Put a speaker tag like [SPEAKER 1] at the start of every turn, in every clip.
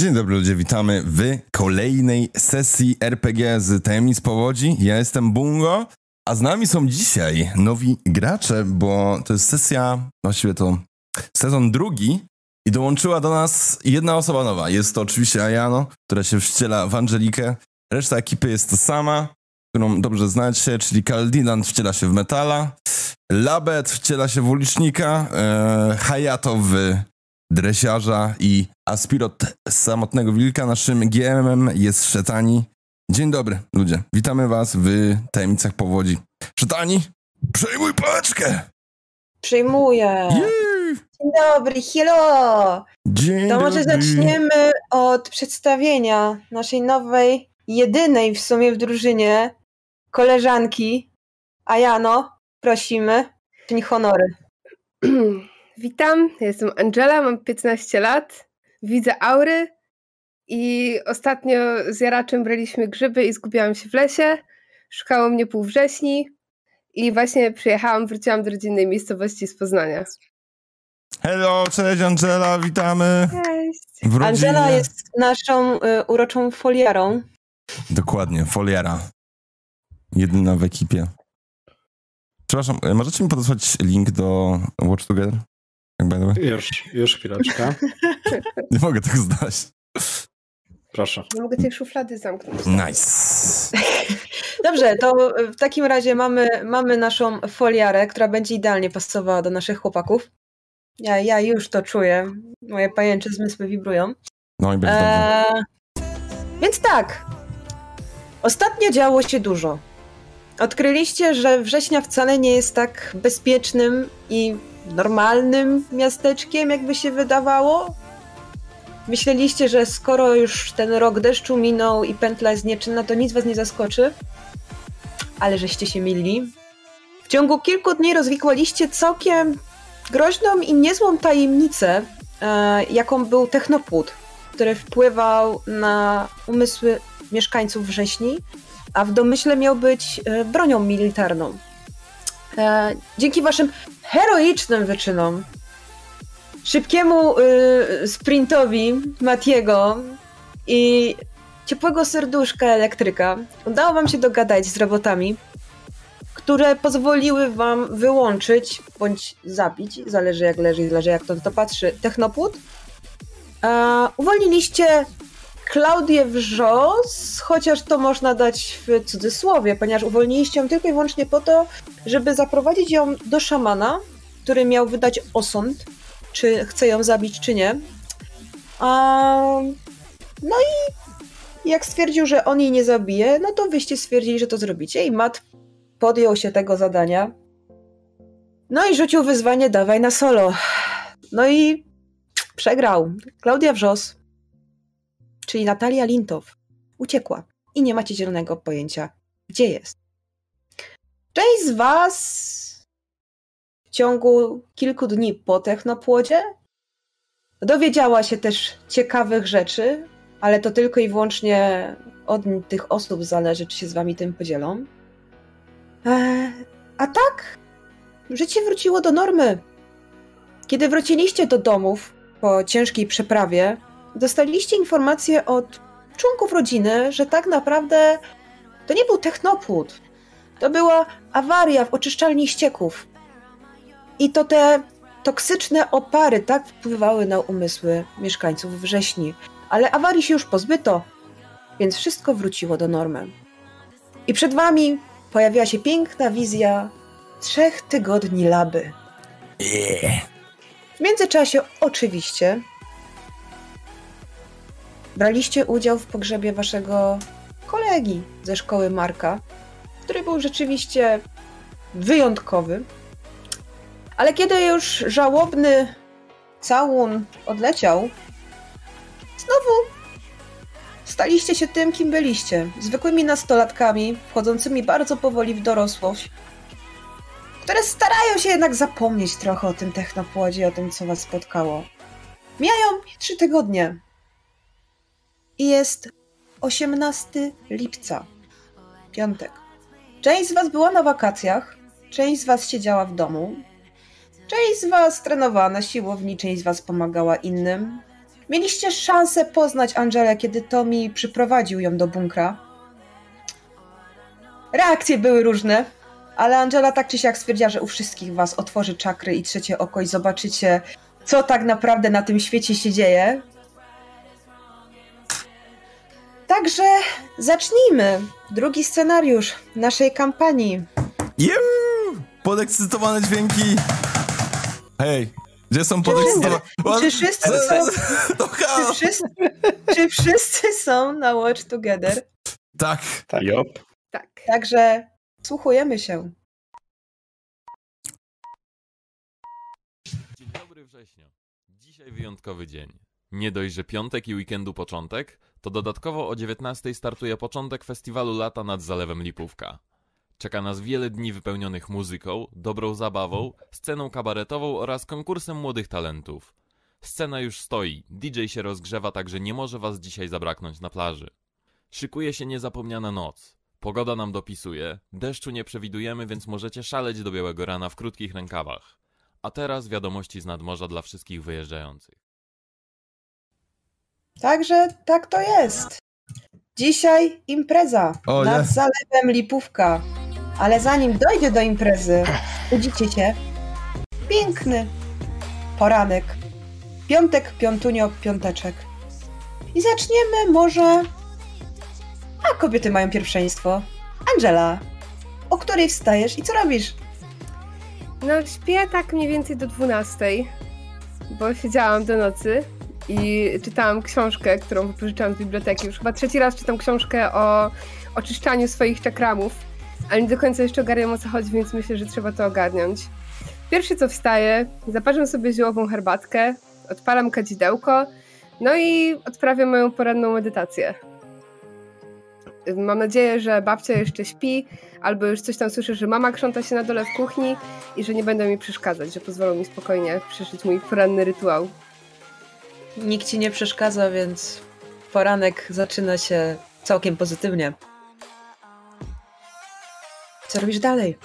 [SPEAKER 1] Dzień dobry ludzie, witamy w kolejnej sesji RPG z Temi z Powodzi. Ja jestem Bungo, a z nami są dzisiaj nowi gracze, bo to jest sesja, właściwie to sezon drugi i dołączyła do nas jedna osoba nowa. Jest to oczywiście Ajano, która się wciela w Angelikę. Reszta ekipy jest ta sama, którą dobrze znacie, czyli Kaldinan wciela się w Metala, Labet wciela się w Ulicznika, e, Hayato w dresiarza i aspirot samotnego wilka. Naszym GM-em jest Szetani. Dzień dobry, ludzie. Witamy was w tajemnicach powodzi. Szetani, przejmuj paczkę!
[SPEAKER 2] Przyjmuję.
[SPEAKER 1] Jej!
[SPEAKER 2] Dzień dobry, hello!
[SPEAKER 1] Dzień
[SPEAKER 2] To może
[SPEAKER 1] dobry.
[SPEAKER 2] zaczniemy od przedstawienia naszej nowej, jedynej w sumie w drużynie koleżanki Ajano. Prosimy, czyń honory.
[SPEAKER 3] Witam, ja jestem Angela, mam 15 lat, widzę aury i ostatnio z Jaraczem braliśmy grzyby i zgubiłam się w lesie. Szukało mnie pół wrześni i właśnie przyjechałam, wróciłam do rodzinnej miejscowości z Poznania.
[SPEAKER 1] Hello, cześć Angela, witamy
[SPEAKER 3] Cześć!
[SPEAKER 1] w rodzinie.
[SPEAKER 2] Angela jest naszą y, uroczą folierą.
[SPEAKER 1] Dokładnie, foliara. Jedyna w ekipie. Przepraszam, e, możecie mi podesłać link do Watch Together? Tak by the way.
[SPEAKER 4] Już, już chwileczkę.
[SPEAKER 1] Nie mogę tego znaleźć.
[SPEAKER 4] Proszę.
[SPEAKER 3] Nie mogę tej szuflady zamknąć.
[SPEAKER 1] Nice.
[SPEAKER 2] Dobrze, to y, w takim razie mamy, mamy naszą foliarę, która będzie idealnie pasowała do naszych chłopaków. Ja, ja już to czuję. Moje pajęcze zmysły wibrują.
[SPEAKER 1] No i będzie dobrze.
[SPEAKER 2] Eee, więc tak. Ostatnio działo się dużo. Odkryliście, że Września wcale nie jest tak bezpiecznym i normalnym miasteczkiem, jakby się wydawało. Myśleliście, że skoro już ten rok deszczu minął i pętla jest nieczynna, to nic was nie zaskoczy. Ale żeście się mylili. W ciągu kilku dni rozwikłaliście całkiem groźną i niezłą tajemnicę, e, jaką był Technopłód który wpływał na umysły mieszkańców wrześni, a w domyśle miał być e, bronią militarną. E, Dzięki waszym heroicznym wyczynom, szybkiemu y, sprintowi Matiego i ciepłego serduszka elektryka udało wam się dogadać z robotami, które pozwoliły wam wyłączyć bądź zabić, zależy jak leży, zależy jak to, to patrzy, technopłód. E, uwolniliście Klaudię Wrzos, chociaż to można dać w cudzysłowie, ponieważ uwolniliście ją tylko i wyłącznie po to, żeby zaprowadzić ją do szamana, który miał wydać osąd, czy chce ją zabić, czy nie. A, no i jak stwierdził, że on jej nie zabije, no to wyście stwierdzili, że to zrobicie i Matt podjął się tego zadania. No i rzucił wyzwanie dawaj na solo. No i przegrał. Klaudia Wrzos, czyli Natalia Lintow, uciekła i nie macie zielonego pojęcia, gdzie jest. Część z Was w ciągu kilku dni po technopłodzie dowiedziała się też ciekawych rzeczy, ale to tylko i wyłącznie od tych osób zależy, czy się z Wami tym podzielą. Eee, a tak, życie wróciło do normy. Kiedy wróciliście do domów, po ciężkiej przeprawie, dostaliście informację od członków rodziny, że tak naprawdę to nie był technopłód. To była awaria w oczyszczalni ścieków. I to te toksyczne opary tak wpływały na umysły mieszkańców wrześni. Ale awarii się już pozbyto, więc wszystko wróciło do normy. I przed wami pojawiła się piękna wizja trzech tygodni laby. e,
[SPEAKER 1] Yeah.
[SPEAKER 2] W międzyczasie oczywiście braliście udział w pogrzebie waszego kolegi ze szkoły Marka, który był rzeczywiście wyjątkowy. Ale kiedy już żałobny całun odleciał, znowu staliście się tym, kim byliście. Zwykłymi nastolatkami, wchodzącymi bardzo powoli w dorosłość, które starają się jednak zapomnieć trochę o tym technopłodzie, o tym, co was spotkało. Mijają trzy tygodnie. I jest 18 lipca, piątek. Część z was była na wakacjach, część z was siedziała w domu, część z was trenowała na siłowni, część z was pomagała innym, Mieliście szansę poznać Angelę, kiedy Tommy przyprowadził ją do bunkra. Reakcje były różne, ale Angela tak czy siak stwierdziła, że u wszystkich was otworzy czakry i trzecie oko i zobaczycie, co tak naprawdę na tym świecie się dzieje. Także zacznijmy. Drugi scenariusz naszej kampanii.
[SPEAKER 1] Juu! Podekscytowane dźwięki! Hej, gdzie są podekscytowane?
[SPEAKER 2] Czy wszyscy, są,
[SPEAKER 1] To
[SPEAKER 2] czy,
[SPEAKER 1] chaos!
[SPEAKER 2] wszyscy, czy wszyscy są na Watch Together?
[SPEAKER 1] Tak,
[SPEAKER 4] Tak. Jop.
[SPEAKER 3] Tak.
[SPEAKER 2] Także słuchujemy się.
[SPEAKER 5] Dzień dobry września. Dzisiaj wyjątkowy dzień. Nie dość, że piątek i weekendu początek, to dodatkowo o 19 startuje początek festiwalu lata nad Zalewem Lipówka. Czeka nas wiele dni wypełnionych muzyką, dobrą zabawą, sceną kabaretową oraz konkursem młodych talentów. Scena już stoi, DJ się rozgrzewa, także nie może was dzisiaj zabraknąć na plaży. Szykuje się niezapomniana noc. Pogoda nam dopisuje, deszczu nie przewidujemy, więc możecie szaleć do białego rana w krótkich rękawach. A teraz wiadomości z nadmorza dla wszystkich wyjeżdżających.
[SPEAKER 2] Także tak to jest. Dzisiaj impreza
[SPEAKER 1] O,
[SPEAKER 2] nad
[SPEAKER 1] nie.
[SPEAKER 2] zalewem Lipówka. Ale zanim dojdzie do imprezy, budzicie się. Piękny poranek. Piątek, piątunio, piąteczek. I zaczniemy może... A kobiety mają pierwszeństwo. Angela, o której wstajesz i co robisz?
[SPEAKER 3] No śpię tak mniej więcej do 12, bo siedziałam do nocy i czytałam książkę, którą wypożyczałam z biblioteki. Już chyba trzeci raz czytam książkę o oczyszczaniu swoich czakramów, ale nie do końca jeszcze ogarniam o co chodzi, więc myślę, że trzeba to ogarniąć. Pierwsze co wstaję, zaparzam sobie ziołową herbatkę, odpalam kadzidełko, no i odprawiam moją poranną medytację. Mam nadzieję, że babcia jeszcze śpi, albo już coś tam słyszę, że mama krząta się na dole w kuchni, i że nie będą mi przeszkadzać, że pozwolą mi spokojnie przeżyć mój poranny rytuał.
[SPEAKER 2] Nikt ci nie przeszkadza, więc poranek zaczyna się całkiem pozytywnie. Co robisz dalej?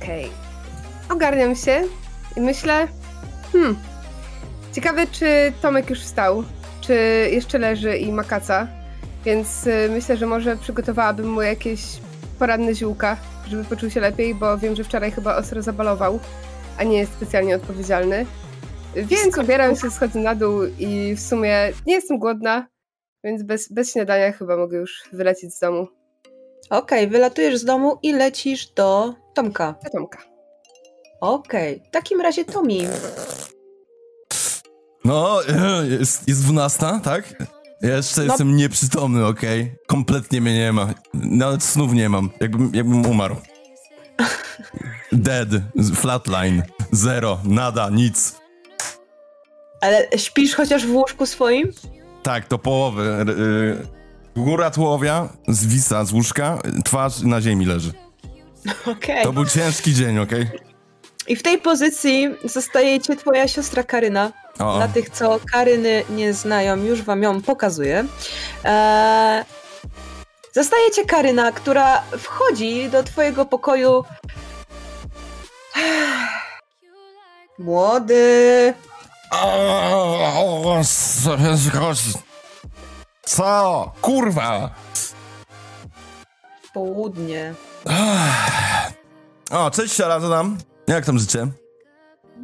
[SPEAKER 3] Okej. Ogarniam się i myślę, hmm, ciekawe czy Tomek już wstał, czy jeszcze leży i ma kaca, więc y, myślę, że może przygotowałabym mu jakieś poranne ziółka, żeby poczuł się lepiej, bo wiem, że wczoraj chyba ostro zabalował, a nie jest specjalnie odpowiedzialny. Więc ubieram się, schodzę na dół i w sumie nie jestem głodna, więc bez, bez śniadania chyba mogę już wylecieć z domu.
[SPEAKER 2] Okej, wylatujesz z domu i lecisz do Tomka.
[SPEAKER 3] Do Tomka.
[SPEAKER 2] Okej, w takim razie Tomi.
[SPEAKER 1] no, jest, jest 12, tak? Ja jeszcze
[SPEAKER 2] No.
[SPEAKER 1] jestem nieprzytomny, okej? Kompletnie mnie nie ma. Nawet snów nie mam. Jakbym, jakbym umarł. Dead, z- flatline, zero, nada, nic.
[SPEAKER 2] Ale śpisz chociaż w łóżku swoim?
[SPEAKER 1] Tak, to połowy. r- y, Góra tułowia zwisa z łóżka, twarz na ziemi leży.
[SPEAKER 2] Okej.
[SPEAKER 1] To był ciężki dzień, okej?
[SPEAKER 2] I w tej pozycji zostaje cię twoja siostra Karyna.
[SPEAKER 1] O,
[SPEAKER 2] Dla tych, co Karyny nie znają, już wam ją pokazuję. Eee, zostaje cię Karyna, która wchodzi do twojego pokoju. Młody.
[SPEAKER 1] O, Co? Kurwa!
[SPEAKER 2] Południe.
[SPEAKER 1] O, cześć Siara, co tam? Jak tam życie?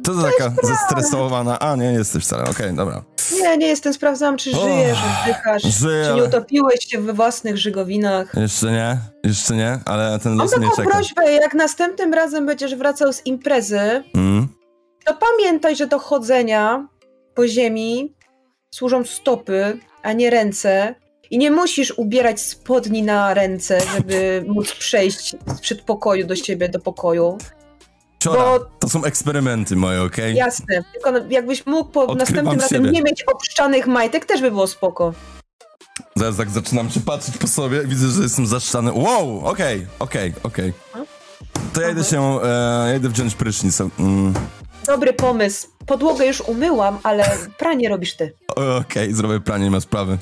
[SPEAKER 1] Co to taka zestresowana? A, nie, jesteś wcale, okej, dobra.
[SPEAKER 2] Nie, nie jestem, sprawdzam, czy
[SPEAKER 1] Och,
[SPEAKER 2] żyjesz, oddychasz,
[SPEAKER 1] żyję,
[SPEAKER 2] czy nie
[SPEAKER 1] ale-
[SPEAKER 2] utopiłeś się we własnych żygowinach.
[SPEAKER 1] Jeszcze nie, jeszcze nie, ale ten
[SPEAKER 2] Mam
[SPEAKER 1] los mnie
[SPEAKER 2] taką
[SPEAKER 1] czeka.
[SPEAKER 2] prośbę, jak następnym razem będziesz wracał z imprezy,
[SPEAKER 1] Mm.
[SPEAKER 2] to pamiętaj, że do chodzenia po ziemi służą stopy, a nie ręce. I nie musisz ubierać spodni na ręce, żeby móc przejść z przedpokoju do siebie, do pokoju.
[SPEAKER 1] Siora,
[SPEAKER 2] Bo-
[SPEAKER 1] to są eksperymenty moje, okej?
[SPEAKER 2] Jasne. Tylko na- jakbyś mógł po
[SPEAKER 1] Odkrywam
[SPEAKER 2] następnym razem
[SPEAKER 1] siebie.
[SPEAKER 2] nie mieć obszczanych majtek, też by było spoko.
[SPEAKER 1] Zaraz tak zaczynam się patrzeć po sobie, widzę, że jestem zaszczany. Wow, okej, okej, okej. To ja idę się, e, ja idę wziąć prysznic. Mm.
[SPEAKER 2] Dobry pomysł. Podłogę już umyłam, ale pranie robisz ty.
[SPEAKER 1] Okej, zrobię pranie, nie ma sprawy.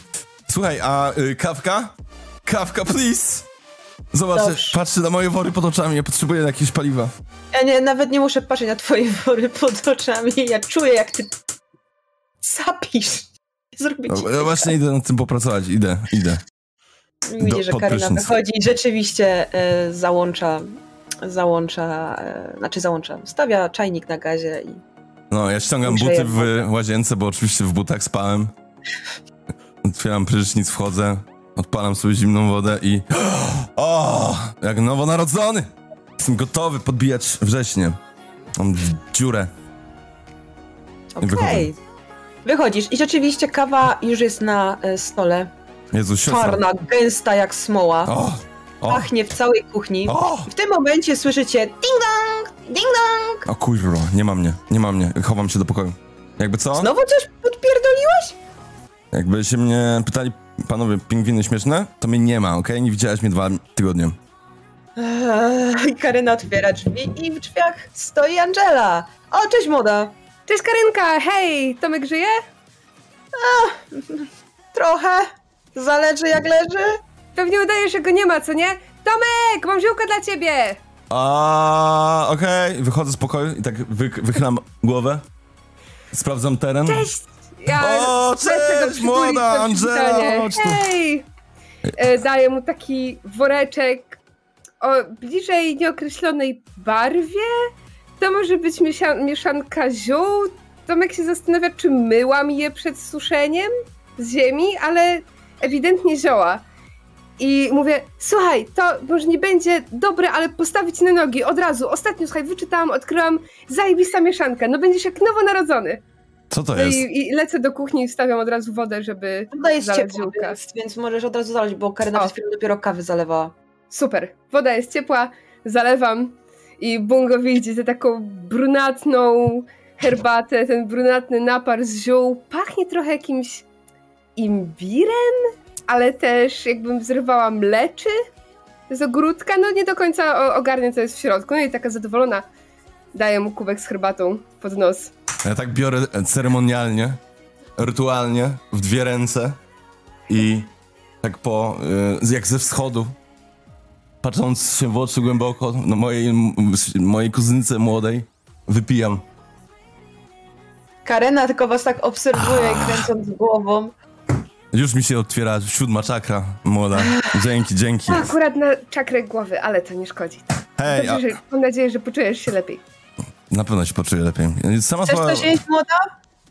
[SPEAKER 1] Słuchaj, a y, kawka? Kawka, please! Zobacz,
[SPEAKER 2] Dobrze.
[SPEAKER 1] patrzę na moje wory pod oczami, ja potrzebuję jakiegoś paliwa.
[SPEAKER 2] Ja nie, nawet nie muszę patrzeć na twoje wory pod oczami. Ja czuję, jak ty zapisz. Zrobić.
[SPEAKER 1] No, no właśnie idę nad tym popracować, idę, idę. do-
[SPEAKER 2] Widzi, że
[SPEAKER 1] No, pod
[SPEAKER 2] Karina
[SPEAKER 1] prysznic.
[SPEAKER 2] wychodzi i rzeczywiście e, załącza, załącza, e, znaczy załącza, stawia czajnik na gazie i
[SPEAKER 1] No, ja ściągam buty
[SPEAKER 2] Grzeję
[SPEAKER 1] w łazience, bo oczywiście w butach spałem. Otwieram prysznic, wchodzę, odpalam sobie zimną wodę i... O! Jak nowonarodzony! Jestem gotowy podbijać wrześnie. Mam dziurę.
[SPEAKER 2] okej. Wychodzisz i rzeczywiście kawa już jest na e, stole.
[SPEAKER 1] Jezu, siostra.
[SPEAKER 2] Czarna, gęsta jak smoła.
[SPEAKER 1] O! O!
[SPEAKER 2] Pachnie w całej kuchni.
[SPEAKER 1] O!
[SPEAKER 2] W tym momencie słyszycie ding-dong, ding-dong.
[SPEAKER 1] O kurwa, nie ma mnie, nie ma mnie. Chowam się do pokoju. Jakby co?
[SPEAKER 2] Znowu coś podpierdoliło?
[SPEAKER 1] Jakby się mnie pytali, panowie, pingwiny śmieszne, to mnie nie ma, okej? Nie widziałaś mnie dwa tygodnie.
[SPEAKER 2] Eee, Karyna otwiera drzwi i w drzwiach stoi Angela. O, cześć młoda.
[SPEAKER 3] Cześć Karynka, hej, Tomek żyje?
[SPEAKER 2] Trochę. Zależy jak leży.
[SPEAKER 3] Pewnie udaje, że go nie ma, co nie? Tomek, mam ziółka dla ciebie!
[SPEAKER 1] A, okej, wychodzę z pokoju i tak wy, wychylam głowę. Sprawdzam teren.
[SPEAKER 3] Cześć! Ja
[SPEAKER 1] O,
[SPEAKER 3] lecę go
[SPEAKER 1] cześć,
[SPEAKER 3] przytulić,
[SPEAKER 1] młoda
[SPEAKER 3] to
[SPEAKER 1] Angela,
[SPEAKER 3] przywitanie.
[SPEAKER 1] chodź tu.
[SPEAKER 3] Hej! E, daję mu taki woreczek o bliżej nieokreślonej barwie. To może być miesia- mieszanka ziół. Tomek się zastanawia, czy myłam je przed suszeniem z ziemi, ale ewidentnie zioła. I mówię, słuchaj, to może nie będzie dobre, ale postawić na nogi od razu. Ostatnio, słuchaj, wyczytałam, odkryłam zajebista mieszanka. No będziesz jak nowonarodzony.
[SPEAKER 1] Co to
[SPEAKER 3] No
[SPEAKER 1] jest?
[SPEAKER 3] i, i lecę do kuchni i wstawiam od razu wodę, żeby.
[SPEAKER 2] Woda jest
[SPEAKER 3] Zalać
[SPEAKER 2] ciepła,
[SPEAKER 3] ziółka.
[SPEAKER 2] więc, więc możesz od razu zalać, bo Karyna
[SPEAKER 3] O.
[SPEAKER 2] przed chwilą dopiero kawy zalewała.
[SPEAKER 3] Super. Woda jest ciepła, zalewam i Bungo widzi tę taką brunatną herbatę, ten brunatny napar z ziół. Pachnie trochę jakimś imbirem, ale też jakbym zrywała mleczy z ogródka. No nie do końca o- ogarnię, co jest w środku. No i taka zadowolona daje mu kubek z herbatą pod nos.
[SPEAKER 1] Ja tak biorę ceremonialnie, rytualnie, w dwie ręce i tak po, y, jak ze wschodu, patrząc się w oczy głęboko, no mojej, m- mojej kuzynce młodej, wypijam.
[SPEAKER 2] Karena tylko was tak obserwuje, kręcąc głową.
[SPEAKER 1] Już mi się otwiera siódma czakra, młoda. Dzięki, dzięki.
[SPEAKER 2] Tak.
[SPEAKER 3] Akurat na czakrę głowy, ale Tak, to nie szkodzi.
[SPEAKER 1] Hej, a,
[SPEAKER 3] Dobrze, że, mam nadzieję, że poczujesz się lepiej.
[SPEAKER 1] na pewno się poczuję lepiej. Sama
[SPEAKER 2] Chcesz
[SPEAKER 1] słowa...
[SPEAKER 2] coś jeść, młoda?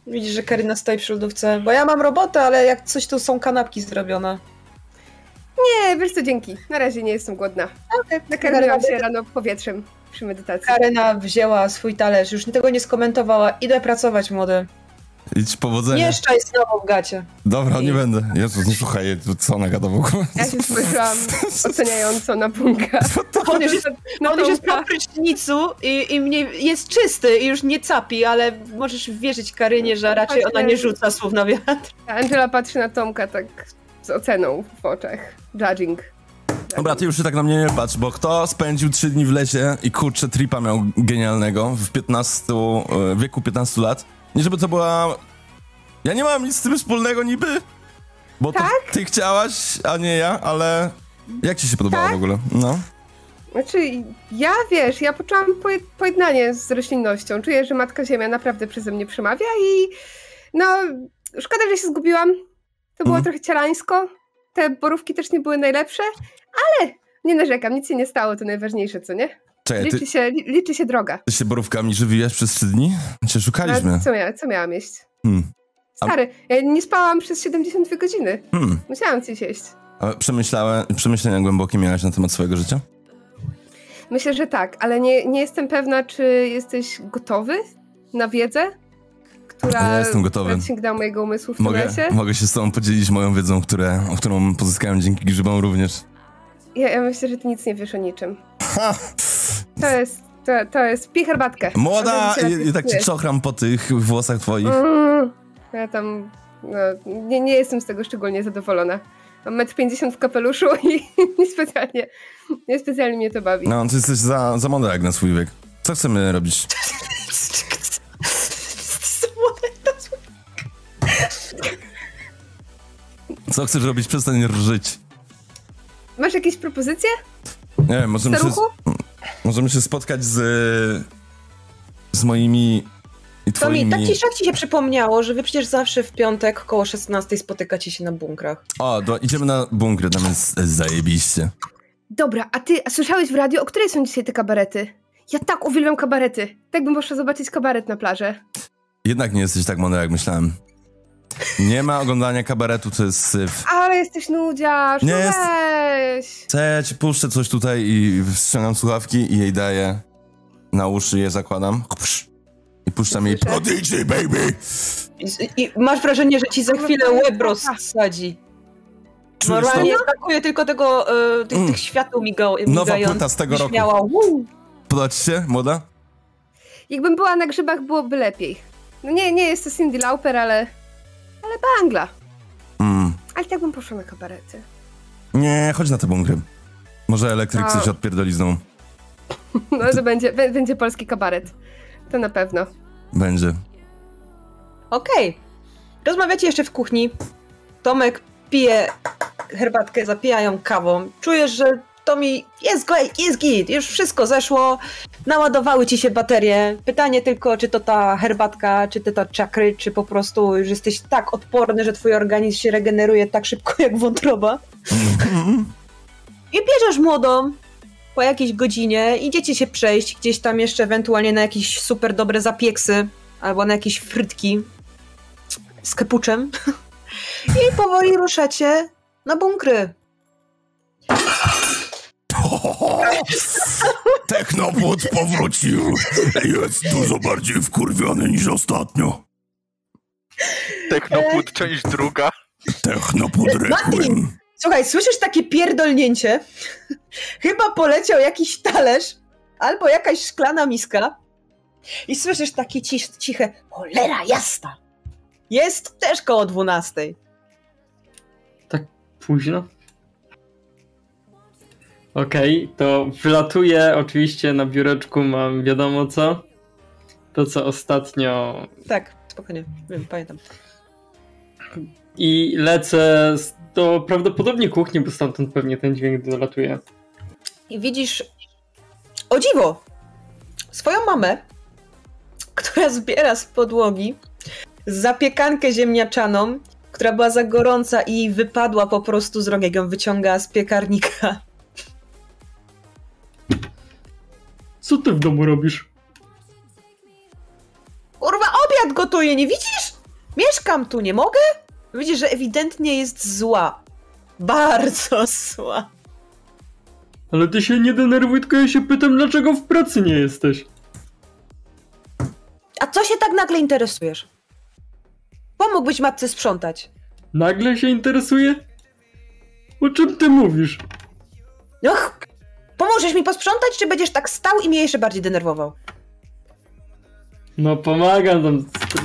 [SPEAKER 2] Widzisz, że Karyna stoi przy lodówce, bo ja mam robotę, ale jak coś tu są kanapki zrobione.
[SPEAKER 3] Nie, wiesz co, dzięki. Na razie nie jestem głodna. Nakarmiłam
[SPEAKER 2] Karyna,
[SPEAKER 3] się rano powietrzem przy medytacji.
[SPEAKER 2] Karyna wzięła swój talerz, już tego nie skomentowała. Idę pracować, młody.
[SPEAKER 1] Idź powodzenia.
[SPEAKER 2] Nie szczaj znowu w gacie.
[SPEAKER 1] Dobra, nie
[SPEAKER 3] I-
[SPEAKER 1] będę. Jezus, no słuchaj, tu co ona gada w ogóle?
[SPEAKER 3] Ja się spojrzałam oceniająco na bunka.
[SPEAKER 2] On już jest,
[SPEAKER 3] Na
[SPEAKER 2] on już jest
[SPEAKER 3] bunka.
[SPEAKER 2] po prysznicu i, i mnie, jest czysty i już nie capi, ale możesz wierzyć Karynie, że raczej ona nie rzuca słów na wiatr.
[SPEAKER 3] Angela patrzy na Tomka tak z oceną w oczach. Judging.
[SPEAKER 1] Dobra, ty już się tak na mnie nie patrz, bo kto spędził trzy dni w lesie i kurczę tripa miał genialnego w 15, e, wieku 15 lat? Nie żeby to była... Ja nie mam nic z tym wspólnego niby, bo to ty chciałaś, a nie ja, ale jak ci się podobało w ogóle? No.
[SPEAKER 3] Znaczy, ja wiesz, ja poczułam poje- pojednanie z roślinnością. Czuję, że Matka Ziemia naprawdę przeze mnie przemawia i no, szkoda, że się zgubiłam. To było
[SPEAKER 1] Mhm.
[SPEAKER 3] trochę cielańsko. Te borówki też nie były najlepsze, ale nie narzekam, nic się nie stało, to najważniejsze, co nie?
[SPEAKER 1] Czekaj, E, ty,
[SPEAKER 3] Liczy się, li- liczy się droga.
[SPEAKER 1] ty się borówkami żywiłeś przez trzy dni? Cię
[SPEAKER 3] A
[SPEAKER 1] szukaliśmy.
[SPEAKER 3] No, co, mia- co miałam jeść?
[SPEAKER 1] Hmm. A-
[SPEAKER 3] Stary, ja nie spałam przez 72 godziny.
[SPEAKER 1] Hmm.
[SPEAKER 3] Musiałam coś jeść.
[SPEAKER 1] A przemyślałe, przemyślenia głębokie miałeś na temat swojego życia?
[SPEAKER 3] Myślę, że tak, ale nie, nie jestem pewna, czy jesteś gotowy na wiedzę, która
[SPEAKER 1] Ja jestem gotowy.
[SPEAKER 3] która sięgnęła mojego umysłu w tym
[SPEAKER 1] Mogę,
[SPEAKER 3] lesie.
[SPEAKER 1] mogę się z tobą podzielić moją wiedzą, które, którą pozyskałem dzięki grzybom również.
[SPEAKER 3] Ja, ja myślę, że ty nic nie wiesz o niczym.
[SPEAKER 1] Ha!
[SPEAKER 3] To jest, to, to jest, pij herbatkę.
[SPEAKER 1] Młoda!
[SPEAKER 3] Może się
[SPEAKER 1] I, I tak ci
[SPEAKER 3] napiłeś.
[SPEAKER 1] czochram po tych włosach twoich.
[SPEAKER 3] Mm, Ja tam, no, nie, nie jestem z tego szczególnie zadowolona. Mam metr 50 w kapeluszu i niespecjalnie, niespecjalnie mnie to bawi.
[SPEAKER 1] No, ty jesteś za, za mądra jak na swój wiek. Co chcemy robić? Co chcesz robić? Przestań rżyć.
[SPEAKER 3] Masz jakieś propozycje,
[SPEAKER 1] Nie wiem, możemy się,
[SPEAKER 3] staruchu?
[SPEAKER 1] możemy się spotkać z... z moimi i
[SPEAKER 2] Tomi,
[SPEAKER 1] twoimi...
[SPEAKER 2] tak ci szak ci się przypomniało, że wy przecież zawsze w piątek koło 16 spotykacie się na bunkrach.
[SPEAKER 1] O, do, idziemy na bunkry, tam jest zajebiście.
[SPEAKER 3] Dobra, a ty a słyszałeś w radiu, o której są dzisiaj te kabarety? Ja tak uwielbiam kabarety. Tak bym poszła zobaczyć kabaret na plaży.
[SPEAKER 1] Jednak nie jesteś tak mądra, jak myślałem. Nie ma oglądania kabaretu, to jest syf.
[SPEAKER 3] Ale jesteś nudziarz,
[SPEAKER 1] Nie
[SPEAKER 3] no
[SPEAKER 1] jest-
[SPEAKER 3] weź.
[SPEAKER 1] Co ja ci puszczę coś tutaj i ściągam słuchawki i jej daję na uszy, je zakładam. Kupsz. I puszczam jej
[SPEAKER 3] Słyszę.
[SPEAKER 1] Prodigy, baby!
[SPEAKER 2] I, i masz wrażenie, że ci za chwilę łeb rozsadzi.
[SPEAKER 1] Czujesz to?
[SPEAKER 2] Normalnie brakuje tylko tego, e, tych,
[SPEAKER 1] No. Mm.
[SPEAKER 2] tych świateł miga,
[SPEAKER 1] Nowa
[SPEAKER 2] migających.
[SPEAKER 1] płyta z tego
[SPEAKER 2] Byś
[SPEAKER 1] roku.
[SPEAKER 2] Miała, "Uuu".
[SPEAKER 1] Podać się, młoda?
[SPEAKER 3] Jakbym była na grzybach, byłoby lepiej. No nie, nie jest to Cindy Lauper, ale... Ale bangla.
[SPEAKER 1] Mm.
[SPEAKER 3] Ale tak bym poszła na kabarety.
[SPEAKER 1] Nie, chodź na te bunkry. Może elektryk
[SPEAKER 3] A.
[SPEAKER 1] coś odpierdoli znowu.
[SPEAKER 3] No to będzie, bę- będzie polski kabaret. To na pewno.
[SPEAKER 1] Będzie.
[SPEAKER 2] Okej. Rozmawiacie jeszcze w kuchni. Tomek pije herbatkę, zapijają kawą. Czujesz, że Tomi jest, go, jest git, już wszystko zeszło. Naładowały ci się baterie. Pytanie tylko, czy to ta herbatka, czy to ta czakry, czy po prostu już jesteś tak odporny, że twój organizm się regeneruje tak szybko jak wątroba. I bierzesz młodą po jakiejś godzinie, idziecie się przejść gdzieś tam jeszcze ewentualnie na jakieś super dobre zapieksy albo na jakieś frytki z kepuczem. I powoli ruszacie na bunkry.
[SPEAKER 1] Technopłot powrócił. Jest dużo bardziej wkurwiony niż ostatnio.
[SPEAKER 6] Technopód, część druga.
[SPEAKER 1] Technopłot
[SPEAKER 2] Requiem. Słuchaj, słyszysz takie pierdolnięcie? Chyba poleciał jakiś talerz albo jakaś szklana miska. I słyszysz takie cisz, ciche cholera jasna. Jest też koło dwunastej.
[SPEAKER 7] Późno. Okej, to wylatuję oczywiście na biureczku, mam wiadomo co. To co ostatnio.
[SPEAKER 2] Tak, spokojnie, wiem, pamiętam.
[SPEAKER 7] I lecę z- do prawdopodobnie kuchni, bo stamtąd pewnie ten dźwięk dolatuje.
[SPEAKER 2] I widzisz, o dziwo, swoją mamę, która zbiera z podłogi zapiekankę ziemniaczaną, która była za gorąca i jej wypadła po prostu z rąk, jak ją wyciąga z piekarnika.
[SPEAKER 7] Co ty w domu robisz?
[SPEAKER 2] Kurwa, obiad gotuje, nie widzisz? Mieszkam tu, nie mogę? Widzisz, że ewidentnie jest zła. Bardzo zła.
[SPEAKER 7] Ale ty się nie denerwuj, tylko ja się pytam, dlaczego w pracy nie jesteś.
[SPEAKER 2] A co się tak nagle interesujesz? Pomógłbyś matce sprzątać.
[SPEAKER 7] Nagle się interesuje? O czym ty mówisz?
[SPEAKER 2] No, ch- pomożesz mi posprzątać, czy będziesz tak stał i mnie jeszcze bardziej denerwował?
[SPEAKER 7] No pomagam tam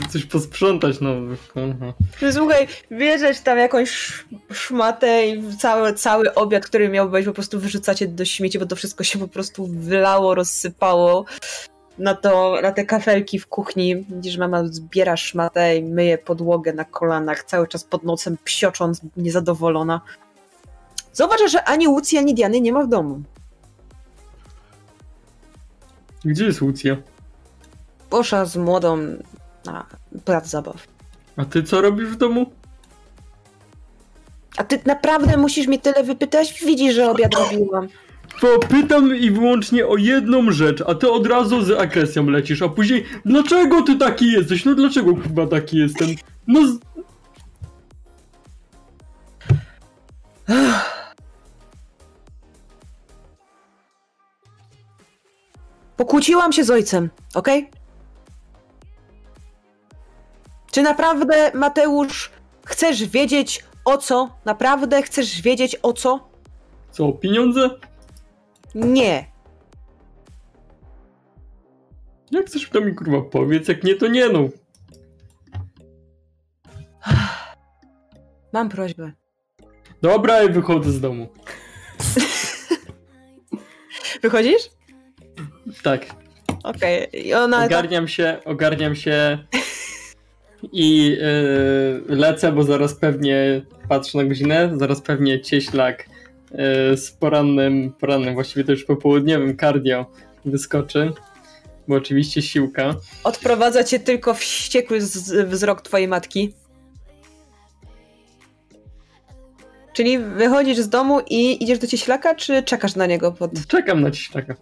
[SPEAKER 7] coś posprzątać, no. aha.
[SPEAKER 2] Ty, No Słuchaj, bierzesz tam jakąś sz- szmatę i cały, cały obiad, który miał być, po prostu wyrzucacie do śmieci, bo to wszystko się po prostu wylało, rozsypało na, to, na te kafelki w kuchni. Widzisz, mama zbiera szmatę i myje podłogę na kolanach, cały czas pod nocem psiocząc, niezadowolona. Zauważasz, że ani Łucji, ani Diany nie ma w domu.
[SPEAKER 7] Gdzie jest Lucja?
[SPEAKER 2] Poszła z młodą na plac zabaw.
[SPEAKER 7] A ty co robisz w domu?
[SPEAKER 2] A ty naprawdę musisz mi tyle wypytać? Widzisz, że obiad robiłam.
[SPEAKER 7] To pytam i wyłącznie o jedną rzecz, a ty od razu z agresją lecisz, a później dlaczego ty taki jesteś? No dlaczego chyba taki jestem? No z...
[SPEAKER 2] Pokłóciłam się z ojcem, okej? Czy naprawdę, Mateusz, chcesz wiedzieć o co? Naprawdę chcesz wiedzieć o co?
[SPEAKER 7] co, pieniądze?
[SPEAKER 2] Nie.
[SPEAKER 7] Jak chcesz to mi kurwa powiedz, jak nie to nie no.
[SPEAKER 2] Mam prośbę.
[SPEAKER 7] Dobra, ja wychodzę z domu.
[SPEAKER 2] Wychodzisz?
[SPEAKER 7] Tak,
[SPEAKER 2] Okej. I ona. Tak,
[SPEAKER 7] ogarniam się, ogarniam się i yy, lecę, bo zaraz pewnie patrzę na godzinę, zaraz pewnie cieślak y, yy, z porannym, porannym, właściwie to już popołudniowym cardio wyskoczy bo oczywiście siłka.
[SPEAKER 2] Odprowadza cię tylko wściekły z- wzrok twojej matki. Czyli wychodzisz z domu i idziesz do cieślaka, czy czekasz na niego pod...
[SPEAKER 7] Czekam na cieślaka.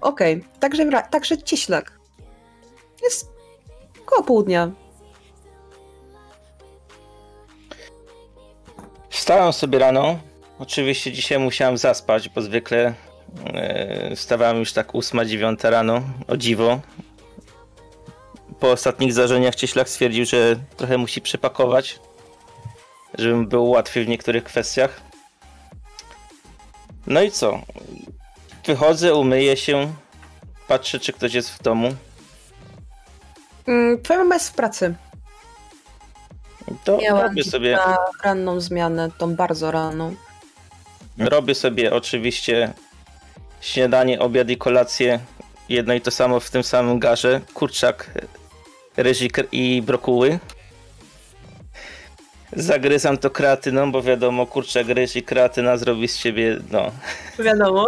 [SPEAKER 2] Okej, także, ra- także cieślak. Jest koło południa.
[SPEAKER 6] Wstałam sobie rano. Oczywiście dzisiaj musiałam zaspać, bo zwykle e, wstawałam już tak 8-9 rano, o dziwo. Po ostatnich zdarzeniach Cieślak stwierdził, że trochę musi przepakować, żeby mu było łatwiej w niektórych kwestiach. No i co? Wychodzę, umyję się, patrzę czy ktoś jest w domu.
[SPEAKER 2] Mm, Twoja mama jest w pracy.
[SPEAKER 6] To
[SPEAKER 2] Miałam
[SPEAKER 6] robię sobie...
[SPEAKER 2] na ranną zmianę, tą bardzo ranną.
[SPEAKER 6] Robię sobie oczywiście śniadanie, obiad i kolację. Jedno i to samo w tym samym garze. Kurczak, ryzik i brokuły. Zagryzam to kreatyną, bo wiadomo, kurczak, ryż i kreatyna zrobi z ciebie, no.
[SPEAKER 2] Wiadomo.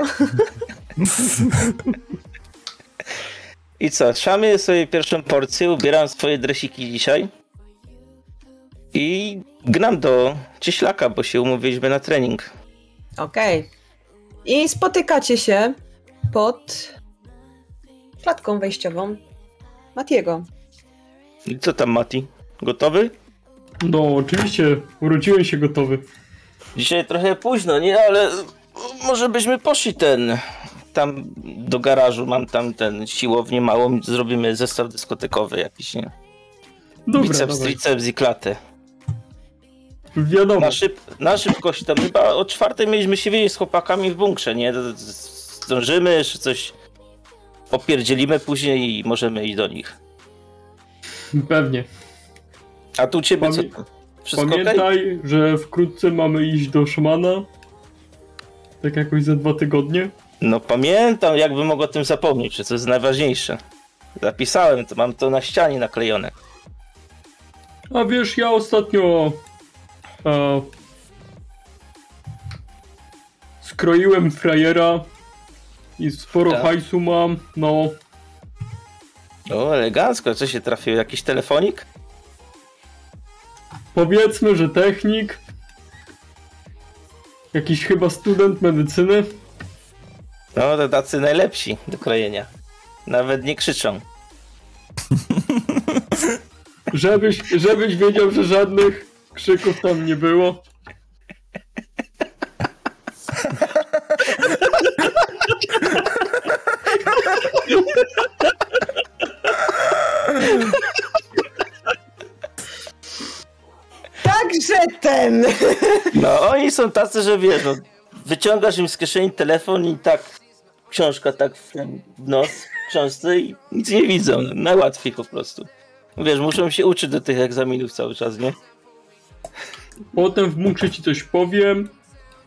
[SPEAKER 6] I co, szamię sobie pierwszą porcję, ubieram swoje dresiki dzisiaj. I gnam do cieślaka, bo się umówiliśmy na trening.
[SPEAKER 2] Okej. I spotykacie się pod klatką wejściową Matiego.
[SPEAKER 6] I co tam, Mati? Gotowy?
[SPEAKER 7] No, oczywiście, urodziłem się gotowy.
[SPEAKER 6] Dzisiaj trochę późno, nie? Ale może byśmy poszli ten. Tam do garażu mam tam ten siłownię małą, zrobimy zestaw dyskotekowy jakiś, nie?
[SPEAKER 7] Dobra,
[SPEAKER 6] biceps,
[SPEAKER 7] dawaj.
[SPEAKER 6] triceps i klatę.
[SPEAKER 7] Wiadomo.
[SPEAKER 6] Na, szyb, na szybkość tam chyba o czwartej mieliśmy się wiedzieć z chłopakami w bunkrze, nie? Z- z- Zdążymy, czy coś opierdzielimy później i możemy iść do nich.
[SPEAKER 7] Pewnie.
[SPEAKER 6] A tu u ciebie
[SPEAKER 7] Pamię-
[SPEAKER 6] co tam? Wszystko okej?
[SPEAKER 7] Pamiętaj, że wkrótce mamy iść do szamana. Tak jakoś za dwa tygodnie.
[SPEAKER 6] No pamiętam, jakbym mógł o tym zapomnieć, że to jest najważniejsze. Zapisałem to, mam to na ścianie naklejone.
[SPEAKER 7] A wiesz, ja ostatnio e, skroiłem frajera i sporo
[SPEAKER 6] Tak.
[SPEAKER 7] hajsu mam, no
[SPEAKER 6] O, No, elegancko, co się trafił? Jakiś telefonik?
[SPEAKER 7] powiedzmy, że technik, jakiś chyba student medycyny,
[SPEAKER 6] No, to tacy najlepsi do krojenia. Nawet nie krzyczą.
[SPEAKER 7] żebyś, żebyś wiedział, że żadnych krzyków tam nie było.
[SPEAKER 2] Także ten!
[SPEAKER 6] No, oni są tacy, że wiesz, no, wyciągasz im z kieszeni telefon i tak książka tak w, w nos w książce i nic nie widzą. No, najłatwiej po prostu. Wiesz, muszą się uczyć do tych egzaminów cały czas, nie?
[SPEAKER 7] Potem w mukrze ci coś powiem,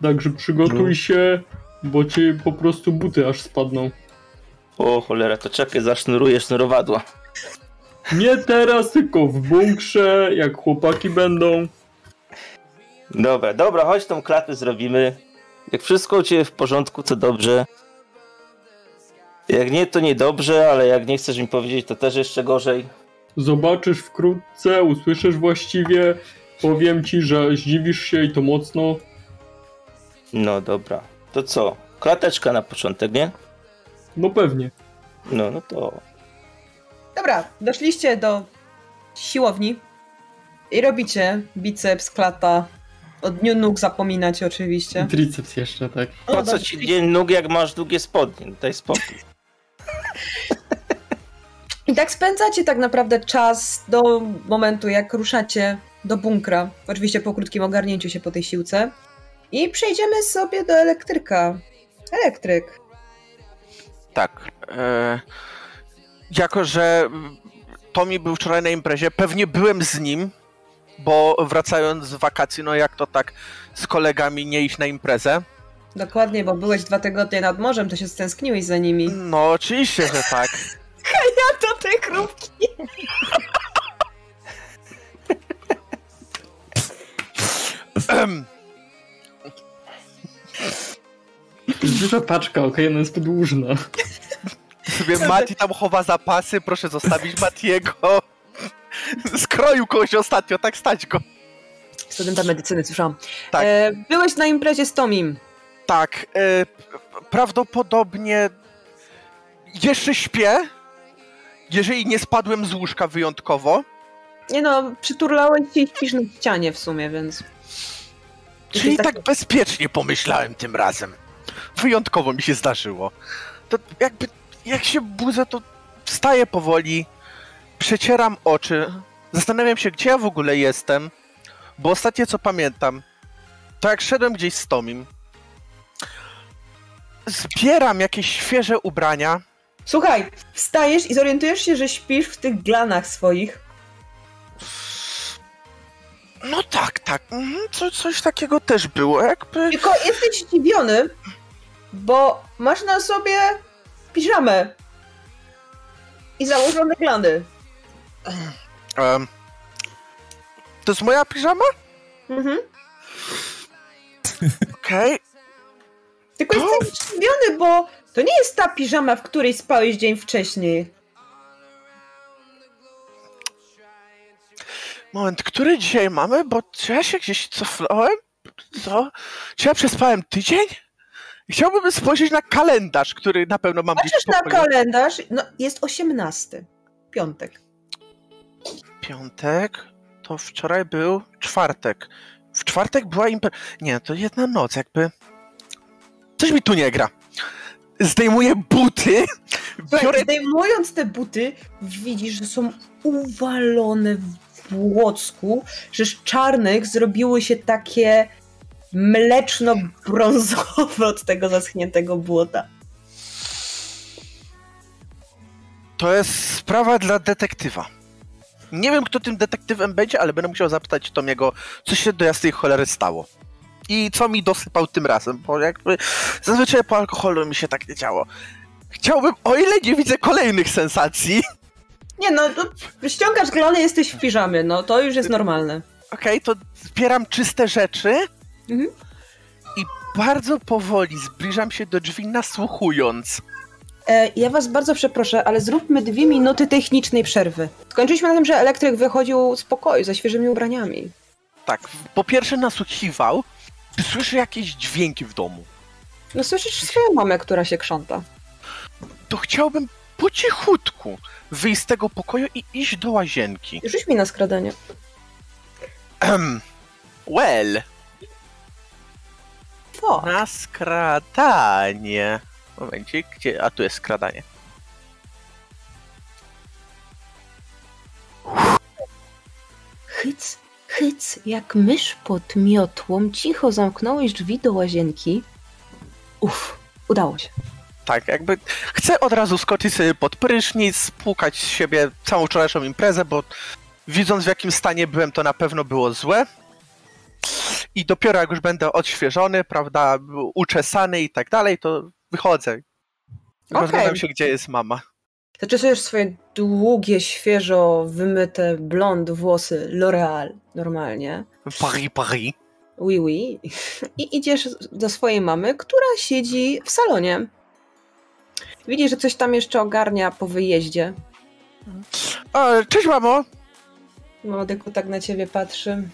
[SPEAKER 7] także przygotuj się, bo ci po prostu buty aż spadną.
[SPEAKER 6] O cholera, to czekaj, zasznuruję sznurowadła.
[SPEAKER 7] Nie teraz, tylko w bunkrze, jak chłopaki będą.
[SPEAKER 6] Dobra, dobra, chodź tą klatę zrobimy. Jak wszystko u ciebie w porządku, to dobrze. Jak nie, to niedobrze, ale jak nie chcesz mi powiedzieć, to też jeszcze gorzej.
[SPEAKER 7] Zobaczysz wkrótce, usłyszysz właściwie. Powiem ci, że zdziwisz się i to mocno.
[SPEAKER 6] No dobra. To co? Klateczka na początek, nie?
[SPEAKER 7] No pewnie.
[SPEAKER 6] No, no to...
[SPEAKER 2] Dobra, doszliście do siłowni i robicie biceps, klata. O dniu nóg zapominacie oczywiście.
[SPEAKER 7] Triceps jeszcze, tak.
[SPEAKER 6] Po co
[SPEAKER 2] dobrze.
[SPEAKER 6] ci dzień nóg, jak masz długie spodnie? No Daj spokój.
[SPEAKER 2] I tak spędzacie tak naprawdę czas do momentu, jak ruszacie do bunkra. Oczywiście po krótkim ogarnięciu się po tej siłce. I przejdziemy sobie do elektryka. Elektryk.
[SPEAKER 8] Tak. E, jako, że mm, Tommy był wczoraj na imprezie, pewnie byłem z nim, bo wracając z wakacji, no jak to tak z kolegami nie iść na imprezę.
[SPEAKER 2] Dokładnie, bo byłeś dwa tygodnie nad morzem, to się stęskniłeś za nimi.
[SPEAKER 8] No oczywiście, że tak.
[SPEAKER 2] A to te krówki!
[SPEAKER 7] Jest duża paczka, okej, ona jest podłużna.
[SPEAKER 8] sobie Mati tam chowa zapasy, proszę zostawić Matiego. Skroił kogoś ostatnio, tak stać go.
[SPEAKER 2] Studenta medycyny, słyszałam.
[SPEAKER 8] Tak.
[SPEAKER 2] E, byłeś na imprezie z Tomim.
[SPEAKER 8] Tak, e, p- prawdopodobnie jeszcze śpię, jeżeli nie spadłem z łóżka wyjątkowo.
[SPEAKER 2] Nie no, przyturlałeś się i śpisz na ścianie w sumie, więc...
[SPEAKER 8] Czyli
[SPEAKER 2] Jesteś
[SPEAKER 8] tak bezpiecznie pomyślałem tym razem. Wyjątkowo mi się zdarzyło. To jakby, jak się budzę, to wstaję powoli, przecieram oczy, zastanawiam się, gdzie ja w ogóle jestem, bo ostatnie co pamiętam, to jak szedłem gdzieś z Tomim. Zbieram jakieś świeże ubrania.
[SPEAKER 2] Słuchaj, wstajesz i zorientujesz się, że śpisz w tych glanach swoich.
[SPEAKER 8] No tak, tak, mhm, co, coś takiego też było, jakby...
[SPEAKER 2] Tylko jesteś zdziwiony, bo masz na sobie piżamę. I założone glany.
[SPEAKER 8] em, to jest moja piżama?
[SPEAKER 2] Mhm.
[SPEAKER 8] Okej,
[SPEAKER 2] Tylko jesteś zdziwiony, bo to nie jest ta piżama, w której spałeś dzień wcześniej.
[SPEAKER 8] Moment, który dzisiaj mamy? Bo czy ja się gdzieś cofnąłem? Co? Czy ja przespałem tydzień? Chciałbym spojrzeć na kalendarz, który na pewno mam
[SPEAKER 2] Patrzysz
[SPEAKER 8] gdzieś w
[SPEAKER 2] na
[SPEAKER 8] pokoju.
[SPEAKER 2] kalendarz, no jest 18. Piątek.
[SPEAKER 8] Piątek, to wczoraj był czwartek. W czwartek była imper... Nie, to jedna noc, jakby... Coś mi tu nie gra. Zdejmuję buty, biorę...
[SPEAKER 2] Słuchaj, zdejmując te buty, widzisz, że są uwalone w błocku, że z czarnych zrobiły się takie mleczno-brązowe od tego zaschniętego błota.
[SPEAKER 8] To jest sprawa dla detektywa. Nie wiem, kto tym detektywem będzie, ale będę musiał zapytać Tomiego, co się do jasnej cholery stało. I co mi dosypał tym razem, bo jakby zazwyczaj po alkoholu mi się tak nie działo. Chciałbym, o ile nie widzę kolejnych sensacji,
[SPEAKER 2] Nie no, to ściągasz glany, jesteś w piżamie, no to już jest normalne.
[SPEAKER 8] okej, to zbieram czyste rzeczy
[SPEAKER 2] Mhm.
[SPEAKER 8] i bardzo powoli zbliżam się do drzwi, nasłuchując.
[SPEAKER 2] E, ja was bardzo przeproszę, ale zróbmy dwie minuty technicznej przerwy. Skończyliśmy na tym, że elektryk wychodził z pokoju ze świeżymi ubraniami.
[SPEAKER 8] Tak, po pierwsze nasłuchiwał, czy słyszę jakieś dźwięki w domu.
[SPEAKER 2] No słyszysz swoją mamę, która się krząta.
[SPEAKER 8] to chciałbym po cichutku wyjść z tego pokoju i iść do łazienki.
[SPEAKER 2] Rzuć mi na skradanie.
[SPEAKER 8] Ehm, well,
[SPEAKER 2] O,
[SPEAKER 8] na skradanie. Momencik, gdzie? A tu jest skradanie.
[SPEAKER 2] Hyc, hyc, jak mysz pod miotłą, cicho zamknąłeś drzwi do łazienki. Uff, udało się.
[SPEAKER 8] Tak, jakby chcę od razu skoczyć sobie pod prysznic, spłukać z siebie całą wczorajszą imprezę, bo widząc w jakim stanie byłem, to na pewno było złe. I dopiero jak już będę odświeżony, prawda, uczesany i tak dalej, to wychodzę. Rozglądam się, gdzie jest mama.
[SPEAKER 2] Zaczesujesz swoje długie, świeżo wymyte blond włosy L'Oreal normalnie.
[SPEAKER 8] Paris, Paris.
[SPEAKER 2] Oui, oui. I idziesz do swojej mamy, która siedzi w salonie. Widzisz, że coś tam jeszcze ogarnia po wyjeździe.
[SPEAKER 8] E, cześć mamo!
[SPEAKER 2] Mama tylko tak na ciebie patrzy.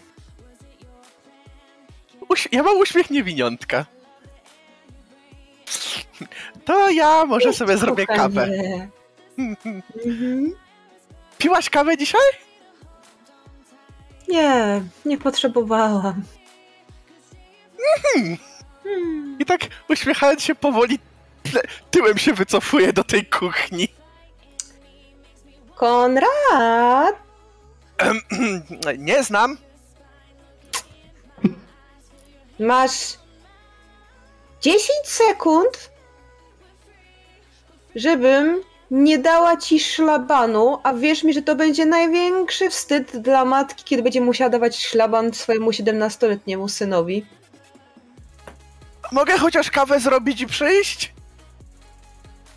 [SPEAKER 8] Uś- ja mam uśmiech niewiniątka. To ja może sobie zrobię kawę.
[SPEAKER 2] Kochanie. Mhm.
[SPEAKER 8] Piłaś kawę dzisiaj?
[SPEAKER 2] Nie, nie potrzebowałam.
[SPEAKER 8] Hmm.
[SPEAKER 2] Hmm.
[SPEAKER 8] I tak uśmiechając się powoli, tle- tyłem się wycofuję do tej kuchni.
[SPEAKER 2] Konrad!
[SPEAKER 8] Nie znam.
[SPEAKER 2] Masz 10 sekund, żebym nie dała ci szlabanu, a wierz mi, że to będzie największy wstyd dla matki, kiedy będzie musiała dawać szlaban swojemu 17-letniemu synowi.
[SPEAKER 8] Mogę chociaż kawę zrobić i przyjść?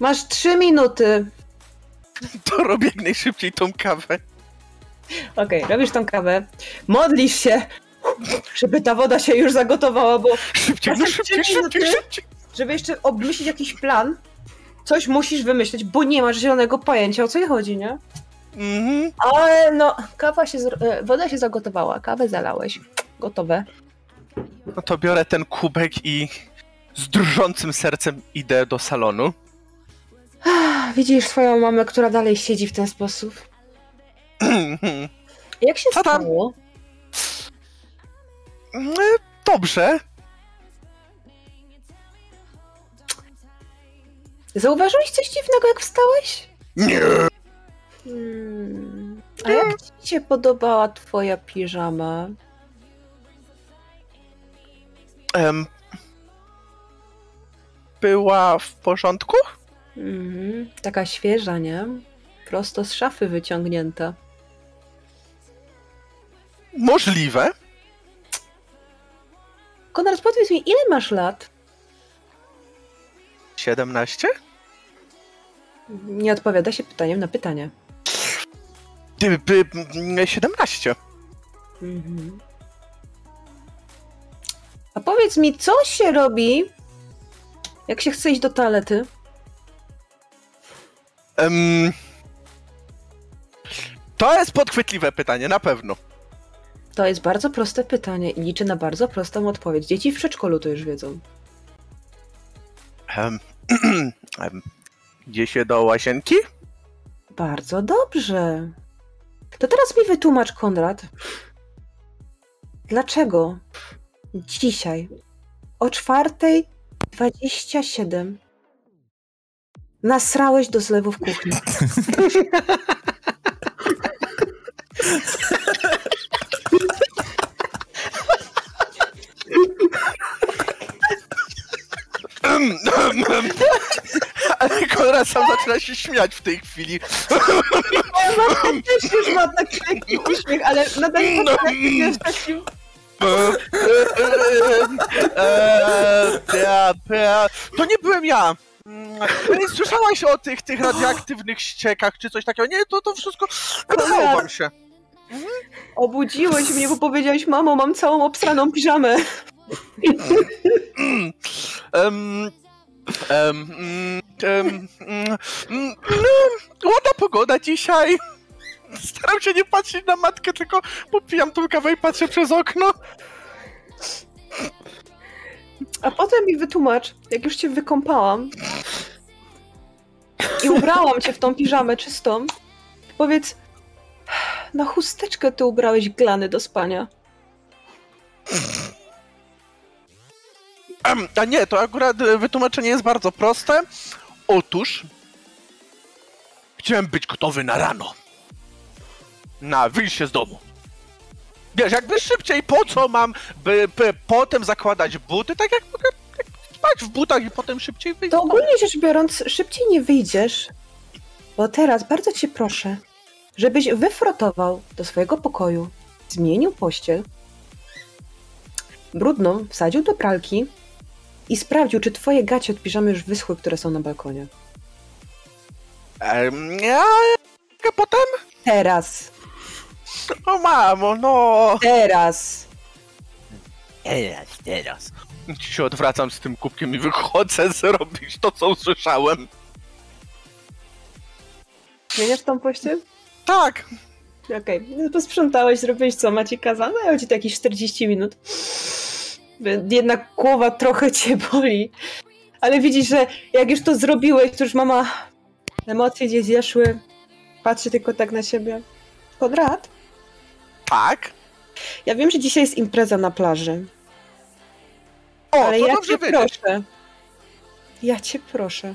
[SPEAKER 2] Masz 3 minuty.
[SPEAKER 8] To robię jak najszybciej tą kawę.
[SPEAKER 2] Okej, robisz tą kawę, modlisz się, żeby ta woda się już zagotowała, bo
[SPEAKER 8] Szybciej, no
[SPEAKER 2] Masz
[SPEAKER 8] szybciej,
[SPEAKER 2] trzy
[SPEAKER 8] szybciej,
[SPEAKER 2] minuty?
[SPEAKER 8] szybciej.
[SPEAKER 2] żeby jeszcze obmyślić jakiś plan, coś musisz wymyśleć, bo nie masz zielonego pojęcia o co jej chodzi, nie?
[SPEAKER 8] Mhm.
[SPEAKER 2] Ale no, kawa się, zro- e, woda się zagotowała, kawę zalałeś. Gotowe.
[SPEAKER 8] No to biorę ten kubek i z drżącym sercem idę do salonu.
[SPEAKER 2] Widzisz swoją mamę, która dalej siedzi w ten sposób.
[SPEAKER 8] E,
[SPEAKER 2] Jak się
[SPEAKER 8] Co tam?
[SPEAKER 2] stało?
[SPEAKER 8] No, Dobrze.
[SPEAKER 2] Zauważyłeś coś dziwnego, jak wstałeś?
[SPEAKER 8] Nie.
[SPEAKER 2] Hmm. A jak ci się podobała twoja piżama?
[SPEAKER 8] Em, była w porządku?
[SPEAKER 2] Mhm. Taka świeża, nie? Prosto z szafy wyciągnięta.
[SPEAKER 8] Możliwe.
[SPEAKER 2] Konrad, powiedz mi, ile masz lat?
[SPEAKER 8] 17?
[SPEAKER 2] Nie odpowiada się pytaniem na pytanie.
[SPEAKER 8] Gdyby mm, 17.
[SPEAKER 2] Mhm. A powiedz mi, co się robi, jak się chce iść do toalety?
[SPEAKER 8] Em, to jest podchwytliwe pytanie, na pewno.
[SPEAKER 2] To jest bardzo proste pytanie i liczę na bardzo prostą odpowiedź. Dzieci w przedszkolu to już wiedzą.
[SPEAKER 8] Em, em, Idzie się do łazienki?
[SPEAKER 2] Bardzo dobrze. To teraz mi wytłumacz, Konrad, dlaczego dzisiaj o 4.27 nasrałeś do zlewu w kuchni?
[SPEAKER 8] Em, em, em. Ale Konrad sam zaczyna się śmiać w tej chwili.
[SPEAKER 2] No, Też już ma taki lekki uśmiech, ale nadal tak
[SPEAKER 8] No,
[SPEAKER 2] jest takim...
[SPEAKER 8] Eee, pia, pia. To nie byłem ja. Mm, nie Słyszałaś o tych, tych radioaktywnych ściekach czy coś takiego? Nie, to, to wszystko. Wydawało wam się.
[SPEAKER 2] Obudziłeś mnie, bo powiedziałeś, mamo, mam całą obsraną piżamę.
[SPEAKER 8] Em, Mm. em, em, em, mm, mm, No, ładna pogoda dzisiaj. Staram się nie patrzeć na matkę, tylko popijam tą kawę i patrzę przez okno.
[SPEAKER 2] A potem mi wytłumacz, jak już cię wykąpałam i ubrałam cię w tą piżamę czystą, powiedz, na chusteczkę ty ubrałeś glany do spania.
[SPEAKER 8] Em, A nie, to akurat e, wytłumaczenie jest bardzo proste. Otóż chciałem być gotowy na rano. Na wyjście z domu. Wiesz, jakby szybciej, po co mam by, by potem zakładać buty, tak jak mogę jak spać w butach i potem szybciej wyjść.
[SPEAKER 2] To ogólnie rzecz biorąc, szybciej nie wyjdziesz, bo teraz bardzo cię proszę, żebyś wyfrotował do swojego pokoju, zmienił pościel, brudną wsadził do pralki i sprawdził, czy twoje gacie od piżamy już wyschły, które są na balkonie.
[SPEAKER 8] Em, ja, a potem?
[SPEAKER 2] Teraz,
[SPEAKER 8] O mamo, no.
[SPEAKER 2] teraz.
[SPEAKER 8] Teraz, teraz. Się odwracam z tym kubkiem i wychodzę zrobić to, co usłyszałem.
[SPEAKER 2] Zmieniasz tą pościel?
[SPEAKER 8] Tak,
[SPEAKER 2] Okej, no posprzątałeś, zrobiłeś co macie kazane, dają ci to jakieś 40 minut. Jednak głowa trochę cię boli. Ale widzisz, że jak już to zrobiłeś, to już mama emocje gdzieś zeszły. Patrzy tylko tak na siebie. Konrad?
[SPEAKER 8] tak.
[SPEAKER 2] Ja wiem, że dzisiaj jest impreza na plaży,
[SPEAKER 8] O,
[SPEAKER 2] ale
[SPEAKER 8] to
[SPEAKER 2] ja
[SPEAKER 8] dobrze
[SPEAKER 2] cię
[SPEAKER 8] wiedzieć.
[SPEAKER 2] proszę. Ja cię proszę.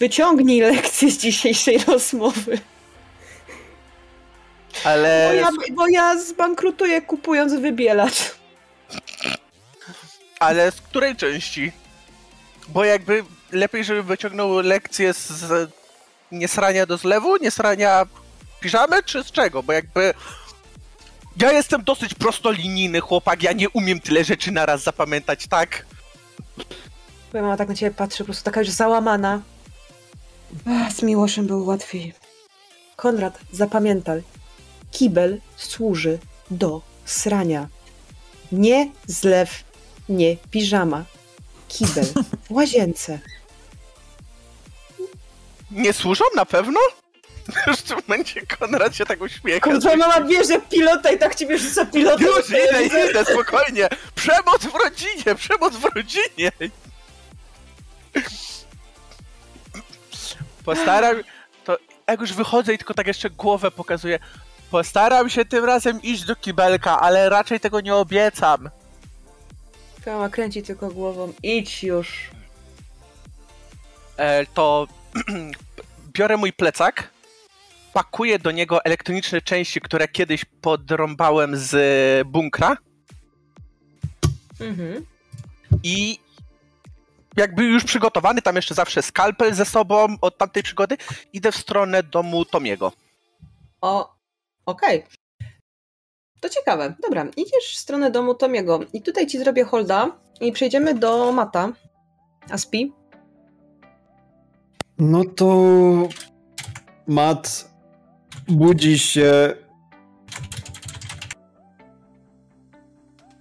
[SPEAKER 2] Wyciągnij lekcję z dzisiejszej rozmowy.
[SPEAKER 8] Ale
[SPEAKER 2] Bo ja,
[SPEAKER 8] E,
[SPEAKER 2] bo ja zbankrutuję kupując wybielacz.
[SPEAKER 8] Ale z której części? Bo jakby lepiej, żeby wyciągnął lekcję z, z niesrania do zlewu, niesrania piżamy, czy z czego? Bo jakby... Ja jestem dosyć prostolinijny chłopak, ja nie umiem tyle rzeczy naraz zapamiętać, tak?
[SPEAKER 2] Twoja mama tak na ciebie patrzy, po prostu taka już załamana. Ach, z Miłoszem było łatwiej. Konrad, zapamiętaj. Kibel służy do srania. Nie zlew, nie piżama. Kibel w łazience.
[SPEAKER 8] nie służą na pewno? Już w tym momencie Konrad się tak uśmiecha.
[SPEAKER 2] Kurwa, mama bierze pilota i tak ci bierze za pilota.
[SPEAKER 8] Już idę, idę, spokojnie. Przemoc w rodzinie, przemoc w rodzinie. Postaram to jak już wychodzę i tylko tak jeszcze głowę pokazuję. Postaram się tym razem iść do kibelka, ale raczej tego nie obiecam.
[SPEAKER 2] Mama kręci tylko głową. Idź już.
[SPEAKER 8] E, to biorę mój plecak, pakuję do niego elektroniczne części, które kiedyś podrąbałem z bunkra
[SPEAKER 2] Mhm.
[SPEAKER 8] i jakby już przygotowany, tam jeszcze zawsze skalpel ze sobą od tamtej przygody, idę w stronę domu Tomiego.
[SPEAKER 2] O, okej. To ciekawe. Dobra, idziesz w stronę domu Tomiego i tutaj ci zrobię holda i przejdziemy do Mata. Aspi?
[SPEAKER 4] No to Mat budzi się.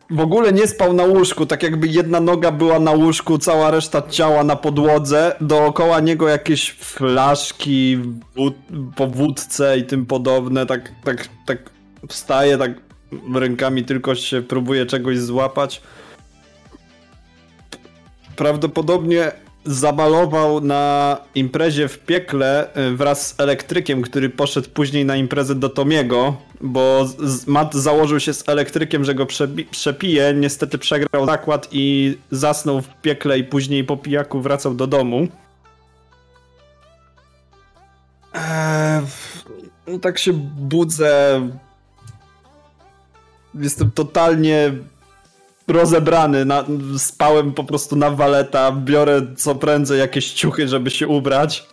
[SPEAKER 4] W ogóle nie spał na łóżku, tak jakby jedna noga była na łóżku, cała reszta ciała na podłodze, dookoła niego jakieś flaszki wód- po wódce i tym podobne, tak, tak, tak wstaje, tak rękami tylko się próbuje czegoś złapać. Prawdopodobnie zabalował na imprezie w piekle y, wraz z elektrykiem, który poszedł później na imprezę do Tomiego, bo z- z- Matt założył się z elektrykiem, że go przebi- przepije. Niestety przegrał zakład i zasnął w piekle i później po pijaku wracał do domu. Eee, w- no tak się budzę. Jestem totalnie rozebrany, na, spałem po prostu na waleta, biorę co prędzej jakieś ciuchy, żeby się ubrać.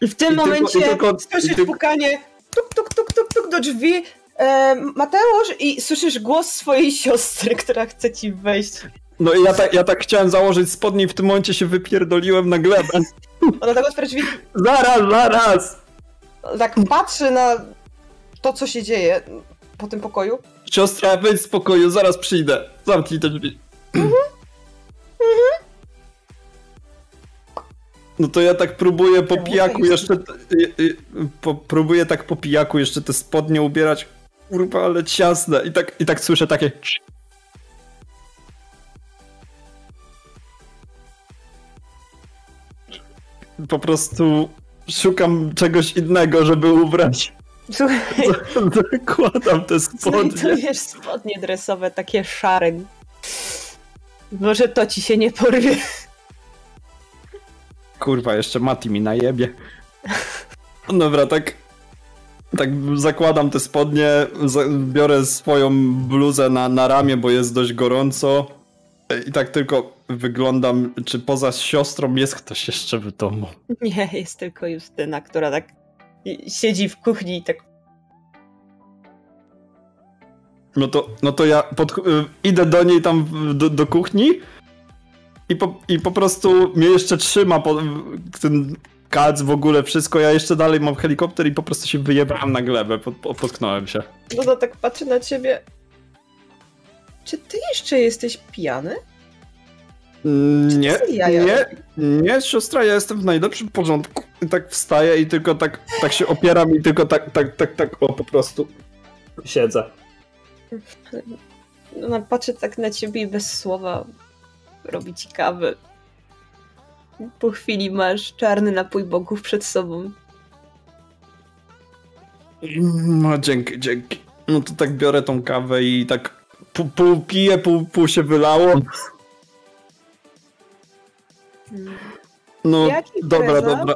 [SPEAKER 2] I w tym
[SPEAKER 4] I tylko-
[SPEAKER 2] momencie
[SPEAKER 4] i tylko-
[SPEAKER 2] słyszysz
[SPEAKER 4] i tylko-
[SPEAKER 2] pukanie tuk, tuk, tuk, tuk, tuk do drzwi e, Mateusz i słyszysz głos swojej siostry, która chce ci wejść.
[SPEAKER 4] No i ja tak, ja tak chciałem założyć spodnie i w tym momencie się wypierdoliłem na glebę.
[SPEAKER 2] Ona tak otwiera drzwi,
[SPEAKER 4] Zaraz, zaraz!
[SPEAKER 2] tak patrzy na to, co się dzieje po tym pokoju.
[SPEAKER 4] Siostra, wyjdź z pokoju, zaraz przyjdę. Zamknij te drzwi. No to ja tak próbuję po pijaku jeszcze... te- y- y- Po, próbuję tak po pijaku jeszcze te spodnie ubierać. Kurwa, ale ciasne. I tak, i tak słyszę takie... Po prostu szukam czegoś innego, żeby ubrać.
[SPEAKER 2] Słuchaj,
[SPEAKER 4] Zakładam te spodnie.
[SPEAKER 2] znajdujesz spodnie dresowe, takie szare. Może to ci się nie porwie.
[SPEAKER 4] Kurwa, jeszcze Mati mi najebie. Dobra, tak. Tak zakładam te spodnie, za, biorę swoją bluzę na, na ramię, bo jest dość gorąco. I tak tylko wyglądam, czy poza siostrą jest ktoś jeszcze w domu.
[SPEAKER 2] Nie, jest tylko Justyna, która tak i- siedzi w kuchni i tak
[SPEAKER 4] No to, no to ja pod, y, idę do niej tam w- do, do kuchni i po, i po prostu mnie jeszcze trzyma po, w- ten kac w ogóle wszystko. Ja jeszcze dalej mam helikopter i po prostu się wyjebałem na glebę, pod, po- potknąłem się.
[SPEAKER 2] Luda tak patrzy na ciebie. Czy ty jeszcze jesteś pijany?
[SPEAKER 4] Mm, Nie,
[SPEAKER 2] Czy jaja?
[SPEAKER 4] nie, nie, siostra, ja jestem w najlepszym porządku. I tak wstaję i tylko tak, tak się opieram i tylko tak, tak, tak, tak, o po prostu siedzę.
[SPEAKER 2] Ona patrzy tak na ciebie i bez słowa robi ci kawę. Po chwili masz czarny napój bogów przed sobą.
[SPEAKER 4] No dzięki, dzięki. No to tak biorę tą kawę i tak pół, pół piję, pół, pół się wylało. No
[SPEAKER 2] Mm. Jaki
[SPEAKER 4] dobra,
[SPEAKER 2] prezent?
[SPEAKER 4] dobra.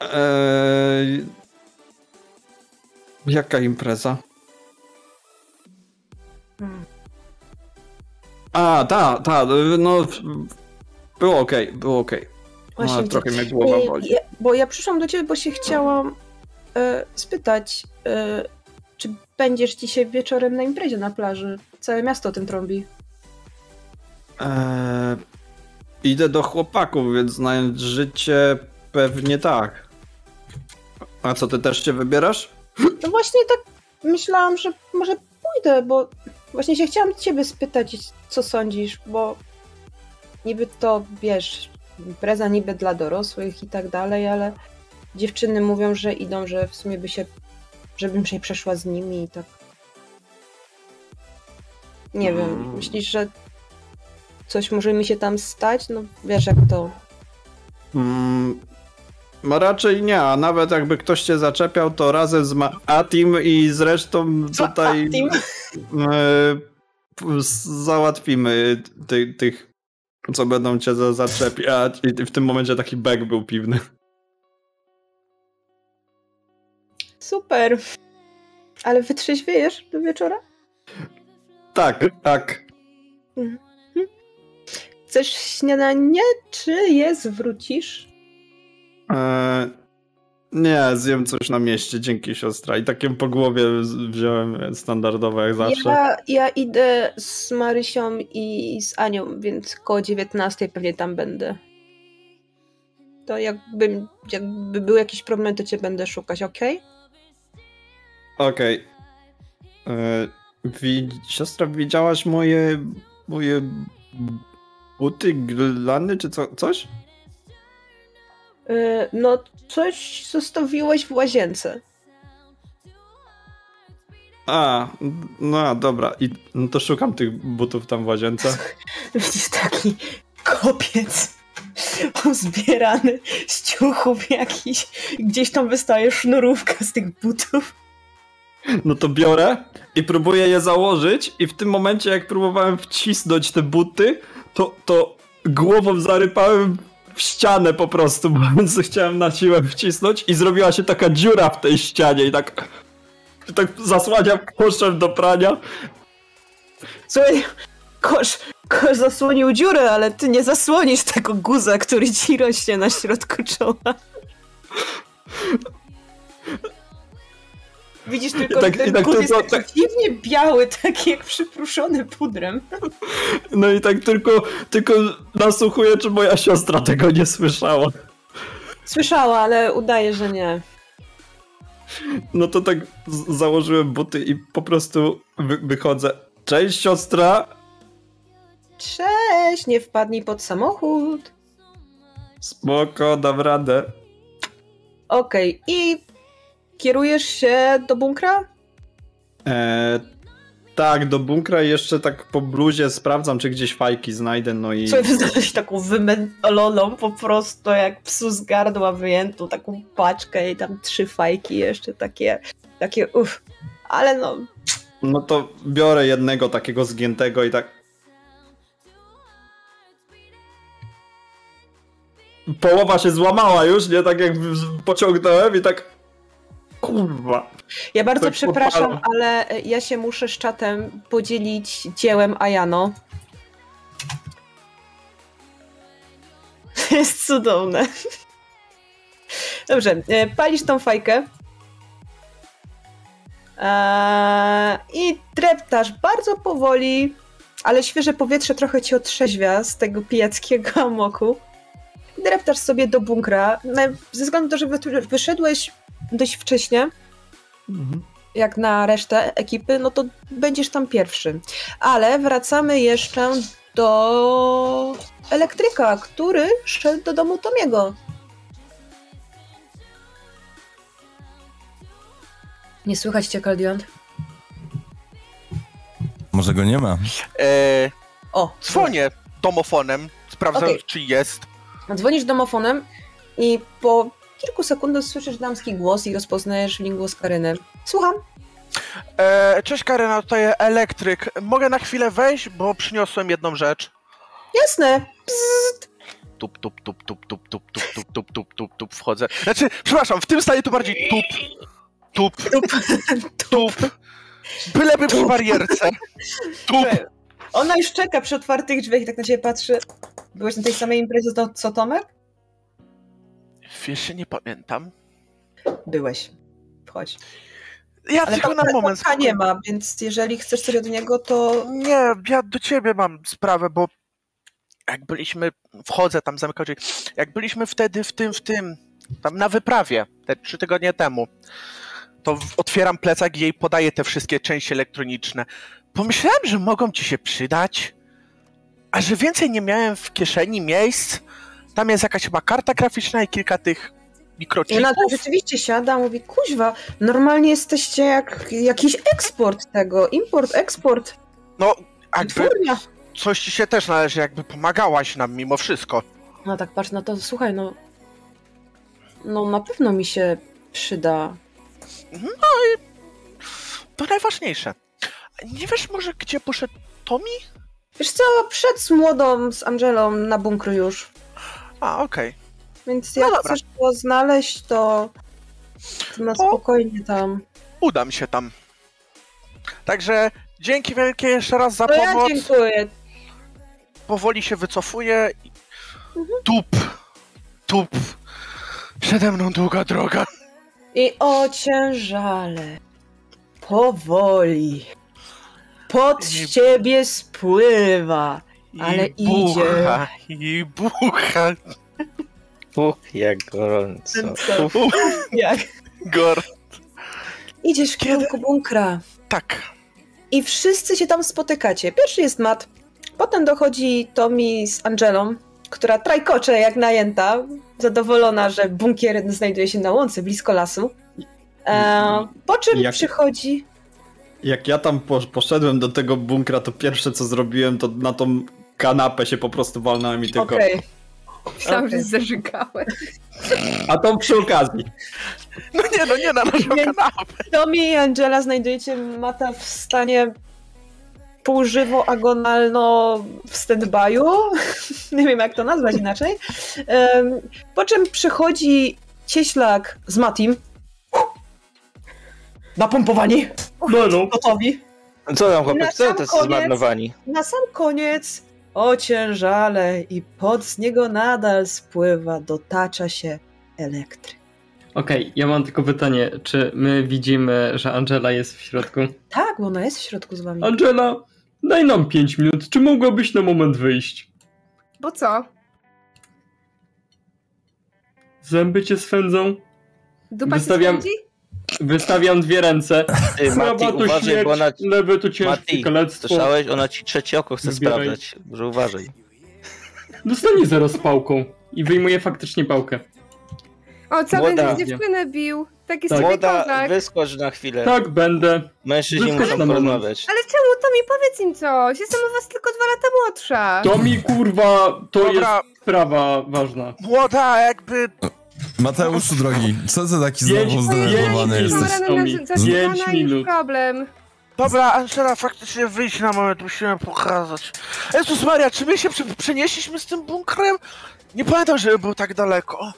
[SPEAKER 4] Eee... Jaka impreza? A, ta, ta, no... Było okej, było okej.
[SPEAKER 2] Właśnie
[SPEAKER 4] A,
[SPEAKER 2] to-
[SPEAKER 4] trochę mnie głowa
[SPEAKER 2] Ej,
[SPEAKER 4] boli.
[SPEAKER 2] Ja, bo ja przyszłam do ciebie, bo się chciałam e, spytać, e, czy będziesz dzisiaj wieczorem na imprezie na plaży? Całe miasto o tym trąbi.
[SPEAKER 4] Eee, idę do chłopaków, więc znając życie, pewnie tak. A co, ty też się wybierasz?
[SPEAKER 2] No właśnie tak myślałam, że może pójdę, bo właśnie się chciałam ciebie spytać, co sądzisz, bo niby to wiesz, impreza niby dla dorosłych i tak dalej, ale dziewczyny mówią, że idą, że w sumie by się, żebym się przeszła z nimi i tak. Nie wiem, myślisz, że coś może mi się tam stać? No wiesz jak to.
[SPEAKER 4] Mm, no raczej nie, a nawet jakby ktoś cię zaczepiał, to razem z Ma- Atim i zresztą tutaj
[SPEAKER 2] Team.
[SPEAKER 4] e, p- z- załatwimy ty- tych, co będą cię za- zaczepiać. I w tym momencie taki bek był piwny.
[SPEAKER 2] Super. Ale wytrzeźwiejesz do wieczora?
[SPEAKER 4] Tak, tak.
[SPEAKER 2] Chcesz śniadanie, czy je zwrócisz?
[SPEAKER 4] E, nie, zjem coś na mieście, dzięki siostra. I takiem po głowie z- wziąłem standardowe jak zawsze.
[SPEAKER 2] Ja, ja idę z Marysią i z Anią, więc koło 19 pewnie tam będę. To jakbym, jakby był jakiś problem, to cię będę szukać, okej?
[SPEAKER 4] Okej. E, Wi- siostra, widziałaś moje. moje. buty glany, czy co, coś?
[SPEAKER 2] Yy, No, coś zostawiłeś w łazience.
[SPEAKER 4] A, no dobra, i no to szukam tych butów tam w łazience.
[SPEAKER 2] Widzisz, taki kopiec zbierany z ciuchów jakiś. Gdzieś tam wystaje sznurówka z tych butów.
[SPEAKER 4] No to biorę i próbuję je założyć, i w tym momencie, jak próbowałem wcisnąć te buty, to, to głową zarypałem w ścianę po prostu, bo chciałem na siłę wcisnąć, i zrobiła się taka dziura w tej ścianie, i tak. tak zasłaniam koszem do prania.
[SPEAKER 2] Słuchaj, kosz, kosz zasłonił dziurę, ale ty nie zasłonisz tego guza, który ci rośnie na środku czoła. Widzisz tylko,
[SPEAKER 4] tak-
[SPEAKER 2] że ten
[SPEAKER 4] i tak
[SPEAKER 2] guz
[SPEAKER 4] tylko-
[SPEAKER 2] jest taki dziwnie biały, taki jak przypruszony pudrem.
[SPEAKER 4] No i tak tylko, tylko nasłuchuję, czy moja siostra tego nie słyszała.
[SPEAKER 2] Słyszała, ale udaje, że nie.
[SPEAKER 4] No to tak z- założyłem buty i po prostu wy wychodzę. Cześć siostra,
[SPEAKER 2] Cześć, nie wpadnij pod samochód.
[SPEAKER 4] spoko, dam radę.
[SPEAKER 2] Okej, i kierujesz się do bunkra?
[SPEAKER 4] Eee, tak, do bunkra i jeszcze tak po bluzie sprawdzam, czy gdzieś fajki znajdę, no i...
[SPEAKER 2] Słuchaj, wyznałeś taką wymętoloną po prostu, jak psu z gardła wyjętą, taką paczkę i tam trzy fajki jeszcze takie, takie uff. Ale no,
[SPEAKER 4] No to biorę jednego takiego zgiętego i tak... Połowa się złamała już, nie? Tak jak w- pociągnąłem i tak... Kurwa.
[SPEAKER 2] ja bardzo
[SPEAKER 4] Tak
[SPEAKER 2] przepraszam,
[SPEAKER 4] poparło.
[SPEAKER 2] ale e, ja się muszę z czatem podzielić dziełem Ayano. To jest cudowne. Dobrze, e, palisz tą fajkę. Eee, I dreptasz bardzo powoli, ale świeże powietrze trochę cię otrzeźwia z tego pijackiego amoku. Dreptasz sobie do bunkra. No, Ze względu na to, że wy- wyszedłeś dość wcześnie, jak na resztę ekipy, no to będziesz tam pierwszy. Ale wracamy jeszcze do elektryka, który szedł do domu Tomiego. Nie słychać cię, Kaldiant?
[SPEAKER 1] Może go nie ma.
[SPEAKER 8] E,
[SPEAKER 2] O,
[SPEAKER 8] dzwonię domofonem, sprawdzam,
[SPEAKER 2] Okej.
[SPEAKER 8] czy jest.
[SPEAKER 2] Dzwonisz domofonem i po kilku sekundach słyszysz damski głos i rozpoznajesz lingłos Karyny. Słucham.
[SPEAKER 8] E, cześć Karyna, tutaj elektryk. Mogę na chwilę wejść, bo przyniosłem jedną rzecz.
[SPEAKER 2] Jasne. Psst.
[SPEAKER 8] Tup, tup, tup, tup, tup, tup, tup, tup, tup, tup, tup, tup, wchodzę. Znaczy, przepraszam, w tym stanie tu bardziej tup, tup,
[SPEAKER 2] Tup.
[SPEAKER 8] tup. Byleby przy barierce. Tup.
[SPEAKER 2] Ona już czeka przy otwartych drzwiach i tak na ciebie patrzy. Byłeś na tej samej imprezie co- co Tomek?
[SPEAKER 8] Wiesz, się nie pamiętam.
[SPEAKER 2] Byłeś. Wchodź.
[SPEAKER 8] Ja
[SPEAKER 2] Ale
[SPEAKER 8] tylko
[SPEAKER 2] tam
[SPEAKER 8] na moment.
[SPEAKER 2] Tomka nie ma, więc jeżeli chcesz coś od niego, to
[SPEAKER 8] Nie, ja do ciebie mam sprawę, bo jak byliśmy, wchodzę tam, zamykam oczy, jak byliśmy wtedy w tym, w tym, tam na wyprawie, te trzy tygodnie temu, to w- otwieram plecak i jej podaję te wszystkie części elektroniczne. Pomyślałem, że mogą ci się przydać, a że więcej nie miałem w kieszeni miejsc, Tam jest jakaś chyba karta graficzna i kilka tych
[SPEAKER 2] I ona tam
[SPEAKER 8] mikrochipów.
[SPEAKER 2] rzeczywiście siada, mówi, kuźwa, normalnie jesteście jak jakiś eksport tego, import, eksport,
[SPEAKER 8] No, jakby
[SPEAKER 2] wytwórnia.
[SPEAKER 8] coś ci się też należy, jakby pomagałaś nam mimo wszystko.
[SPEAKER 2] No tak, patrz, no to słuchaj, no... No na pewno mi się przyda.
[SPEAKER 8] To najważniejsze. Nie wiesz może, gdzie poszedł Tommy?
[SPEAKER 2] Wiesz co, przed z młodą, z Angelą na bunkry już.
[SPEAKER 8] A, okej.
[SPEAKER 2] Więc
[SPEAKER 8] No
[SPEAKER 2] jak
[SPEAKER 8] dobra.
[SPEAKER 2] chcesz go znaleźć, to, to na
[SPEAKER 8] To-
[SPEAKER 2] spokojnie tam.
[SPEAKER 8] Udam się tam. Także dzięki wielkie jeszcze raz za
[SPEAKER 2] No ja
[SPEAKER 8] pomoc.
[SPEAKER 2] dziękuję.
[SPEAKER 8] Powoli się wycofuję. i-
[SPEAKER 2] Mhm.
[SPEAKER 8] Tup. Tup. Przede mną długa droga.
[SPEAKER 2] I ociężale. Powoli. Pod
[SPEAKER 8] I-
[SPEAKER 2] ciebie spływa. Ale
[SPEAKER 8] I bucha, I bucha.
[SPEAKER 6] Uch, jak gorąco.
[SPEAKER 2] Jak?
[SPEAKER 8] Gor.
[SPEAKER 2] Idziesz w kierunku bunkra.
[SPEAKER 8] Tak.
[SPEAKER 2] I wszyscy się tam spotykacie. Pierwszy jest Matt. Potem dochodzi Tommy z Angelą, która trajkocze jak najęta, zadowolona, że bunkier znajduje się na łące blisko lasu. E, po czym
[SPEAKER 4] Jak-
[SPEAKER 2] przychodzi...
[SPEAKER 4] Jak ja tam posz- poszedłem do tego bunkra, to pierwsze co zrobiłem, to na tą kanapę się po prostu walnąłem i tylko...
[SPEAKER 2] Okej.
[SPEAKER 3] Myślałam,
[SPEAKER 2] Okej.
[SPEAKER 3] że zarzygałem.
[SPEAKER 4] A to przy okazji.
[SPEAKER 8] No nie, no nie na naszą
[SPEAKER 2] Nie.
[SPEAKER 8] kanapę.
[SPEAKER 2] Tommy i Angela znajdujecie Mata w stanie półżywo-agonalno w stand-by'u. Nie wiem, jak to nazwać inaczej. Em, po czym przychodzi cieślak z Matim. Napompowani,
[SPEAKER 7] No, no.
[SPEAKER 2] gotowi.
[SPEAKER 6] No Co tam, chłopie,
[SPEAKER 2] Na
[SPEAKER 6] co
[SPEAKER 2] sam
[SPEAKER 6] to jest
[SPEAKER 2] koniec-
[SPEAKER 6] zmarnowani?
[SPEAKER 2] Na sam koniec ociężale i pod z niego nadal spływa, dotacza się elektryk.
[SPEAKER 7] Okej, ja mam tylko pytanie, czy my widzimy, że Angela jest w środku?
[SPEAKER 2] Tak, bo ona jest w środku z wami.
[SPEAKER 7] Angela, daj nam 5 minut, czy mogłabyś na moment wyjść?
[SPEAKER 3] Bo co?
[SPEAKER 7] Zęby cię swędzą?
[SPEAKER 3] Dupa
[SPEAKER 7] Wystawiam-
[SPEAKER 3] się spędzi?
[SPEAKER 7] Wystawiam dwie ręce.
[SPEAKER 6] Ty, Mati,
[SPEAKER 7] Prawa to
[SPEAKER 6] uważaj,
[SPEAKER 7] śmierć,
[SPEAKER 6] bo ona...
[SPEAKER 7] lewe to ciężkie
[SPEAKER 6] Mati,
[SPEAKER 7] kalectwo.
[SPEAKER 6] Słyszałeś? Ona ci trzecie oko chce
[SPEAKER 7] Zbieraj.
[SPEAKER 6] sprawdzać. Może uważaj.
[SPEAKER 7] Dostanie zaraz pałką. I wyjmuje faktycznie pałkę.
[SPEAKER 3] O, co
[SPEAKER 6] Młoda.
[SPEAKER 3] będziesz dziewczynę bił? Taki
[SPEAKER 7] Tak.
[SPEAKER 3] sobie
[SPEAKER 6] Młoda,
[SPEAKER 3] kozak.
[SPEAKER 6] wyskocz na chwilę.
[SPEAKER 7] Tak, będę.
[SPEAKER 6] Mężczyźni
[SPEAKER 7] wyskocz
[SPEAKER 6] muszą
[SPEAKER 7] na moment.
[SPEAKER 6] porozmawiać.
[SPEAKER 3] Ale czemu to mi powiedz im coś? Jestem u was tylko dwa lata młodsza.
[SPEAKER 7] To mi kurwa, to
[SPEAKER 8] Dobra,
[SPEAKER 7] jest sprawa ważna.
[SPEAKER 8] młoda, jakby
[SPEAKER 1] Mateuszu drogi, co za taki
[SPEAKER 7] Jedź,
[SPEAKER 1] znowu
[SPEAKER 3] Moja
[SPEAKER 1] zdenerwowany
[SPEAKER 7] jedź,
[SPEAKER 3] dziewczyna
[SPEAKER 1] jesteś?
[SPEAKER 7] jedź.
[SPEAKER 3] była rano
[SPEAKER 7] Tomi.
[SPEAKER 3] na- zatrzymana
[SPEAKER 7] Pięć
[SPEAKER 3] i już
[SPEAKER 7] minut.
[SPEAKER 3] problem.
[SPEAKER 8] Dobra, Angela, faktycznie wyjść na moment, musimy pokazać. Jezus Maria, czy my się przy- przenieśliśmy z tym bunkrem? Nie pamiętam, żeby był tak daleko.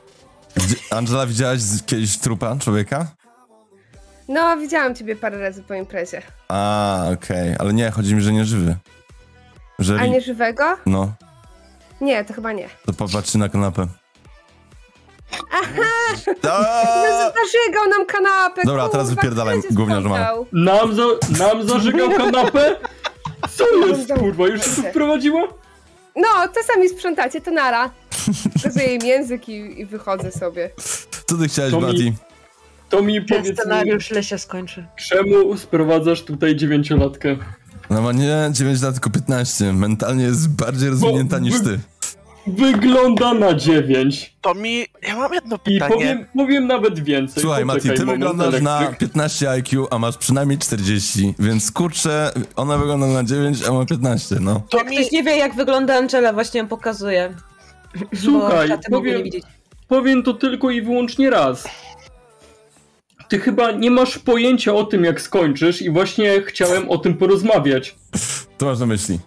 [SPEAKER 1] Gdzie- Angela, widziałaś z- kiedyś trupa człowieka?
[SPEAKER 3] No, widziałam ciebie parę razy po imprezie.
[SPEAKER 1] A, okej, ale nie, chodzi mi, że nie żywy. Że...
[SPEAKER 3] A nie żywego?
[SPEAKER 1] No,
[SPEAKER 3] Nie, to chyba nie.
[SPEAKER 1] to popatrzy na kanapę.
[SPEAKER 3] No,
[SPEAKER 1] Aha!
[SPEAKER 3] zażygał nam kanapę,
[SPEAKER 1] Dobra,
[SPEAKER 3] kurwa,
[SPEAKER 1] teraz wypierdalaj,
[SPEAKER 3] kto cię
[SPEAKER 1] gówniarz ma.
[SPEAKER 3] spotkał?
[SPEAKER 7] Nam, za, nam zażygał kanapę? Co jest kurwa, już się tu wprowadziła?
[SPEAKER 3] No, to sami sprzątacie, to nara. Pokazuję im język i, i wychodzę sobie.
[SPEAKER 1] Co ty chciałeś,
[SPEAKER 7] To mi-
[SPEAKER 1] Mati?
[SPEAKER 7] To mi powiedz mi,
[SPEAKER 2] źle się skończy.
[SPEAKER 7] czemu sprowadzasz tutaj dziewięciolatkę?
[SPEAKER 1] No ma nie 9 lat, tylko 15. Mentalnie jest bardziej rozwinięta niż ty.
[SPEAKER 7] Wygląda na dziewięć.
[SPEAKER 8] To mi... Ja mam jedno
[SPEAKER 7] I
[SPEAKER 8] pytanie.
[SPEAKER 7] powiem, powiem nawet więcej.
[SPEAKER 1] Słuchaj, Mati,
[SPEAKER 7] Poczekaj
[SPEAKER 1] ty
[SPEAKER 7] moment,
[SPEAKER 1] wyglądasz na
[SPEAKER 7] elektryk.
[SPEAKER 1] 15 IQ, a masz przynajmniej 40, więc kurczę, ona wygląda na 9, a ma 15, no.
[SPEAKER 8] To mi...
[SPEAKER 2] Ktoś nie wie, jak wygląda Angela, właśnie ją pokazuję.
[SPEAKER 7] Słuchaj,
[SPEAKER 2] bo szaty mogły
[SPEAKER 7] powiem-
[SPEAKER 2] No, nie widzieć.
[SPEAKER 7] Powiem to tylko i wyłącznie raz. Ty chyba nie masz pojęcia o tym, jak skończysz i właśnie chciałem o tym porozmawiać.
[SPEAKER 1] To masz na myśli.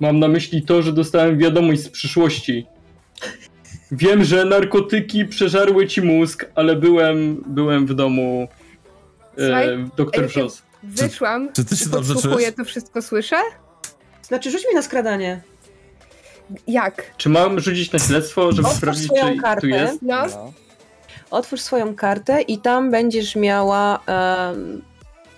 [SPEAKER 7] Mam na myśli to, że dostałem wiadomość z przyszłości. Wiem, że narkotyki przeżarły ci mózg, ale byłem, byłem w domu
[SPEAKER 3] Słuchaj,
[SPEAKER 7] e, doktor
[SPEAKER 3] ej, ty-
[SPEAKER 7] Wrzos.
[SPEAKER 3] Wyszłam,
[SPEAKER 1] Czy ty się dobrze
[SPEAKER 3] podsłuchuję,
[SPEAKER 1] czujesz?
[SPEAKER 3] to wszystko słyszę.
[SPEAKER 2] Znaczy, rzuć mi na skradanie.
[SPEAKER 3] Jak?
[SPEAKER 7] Czy mam rzucić na śledztwo, żeby
[SPEAKER 2] Otwórz
[SPEAKER 7] sprawdzić,
[SPEAKER 2] swoją
[SPEAKER 7] czy
[SPEAKER 2] kartę.
[SPEAKER 7] tu jest?
[SPEAKER 3] No,
[SPEAKER 2] Otwórz swoją kartę i tam będziesz miała em,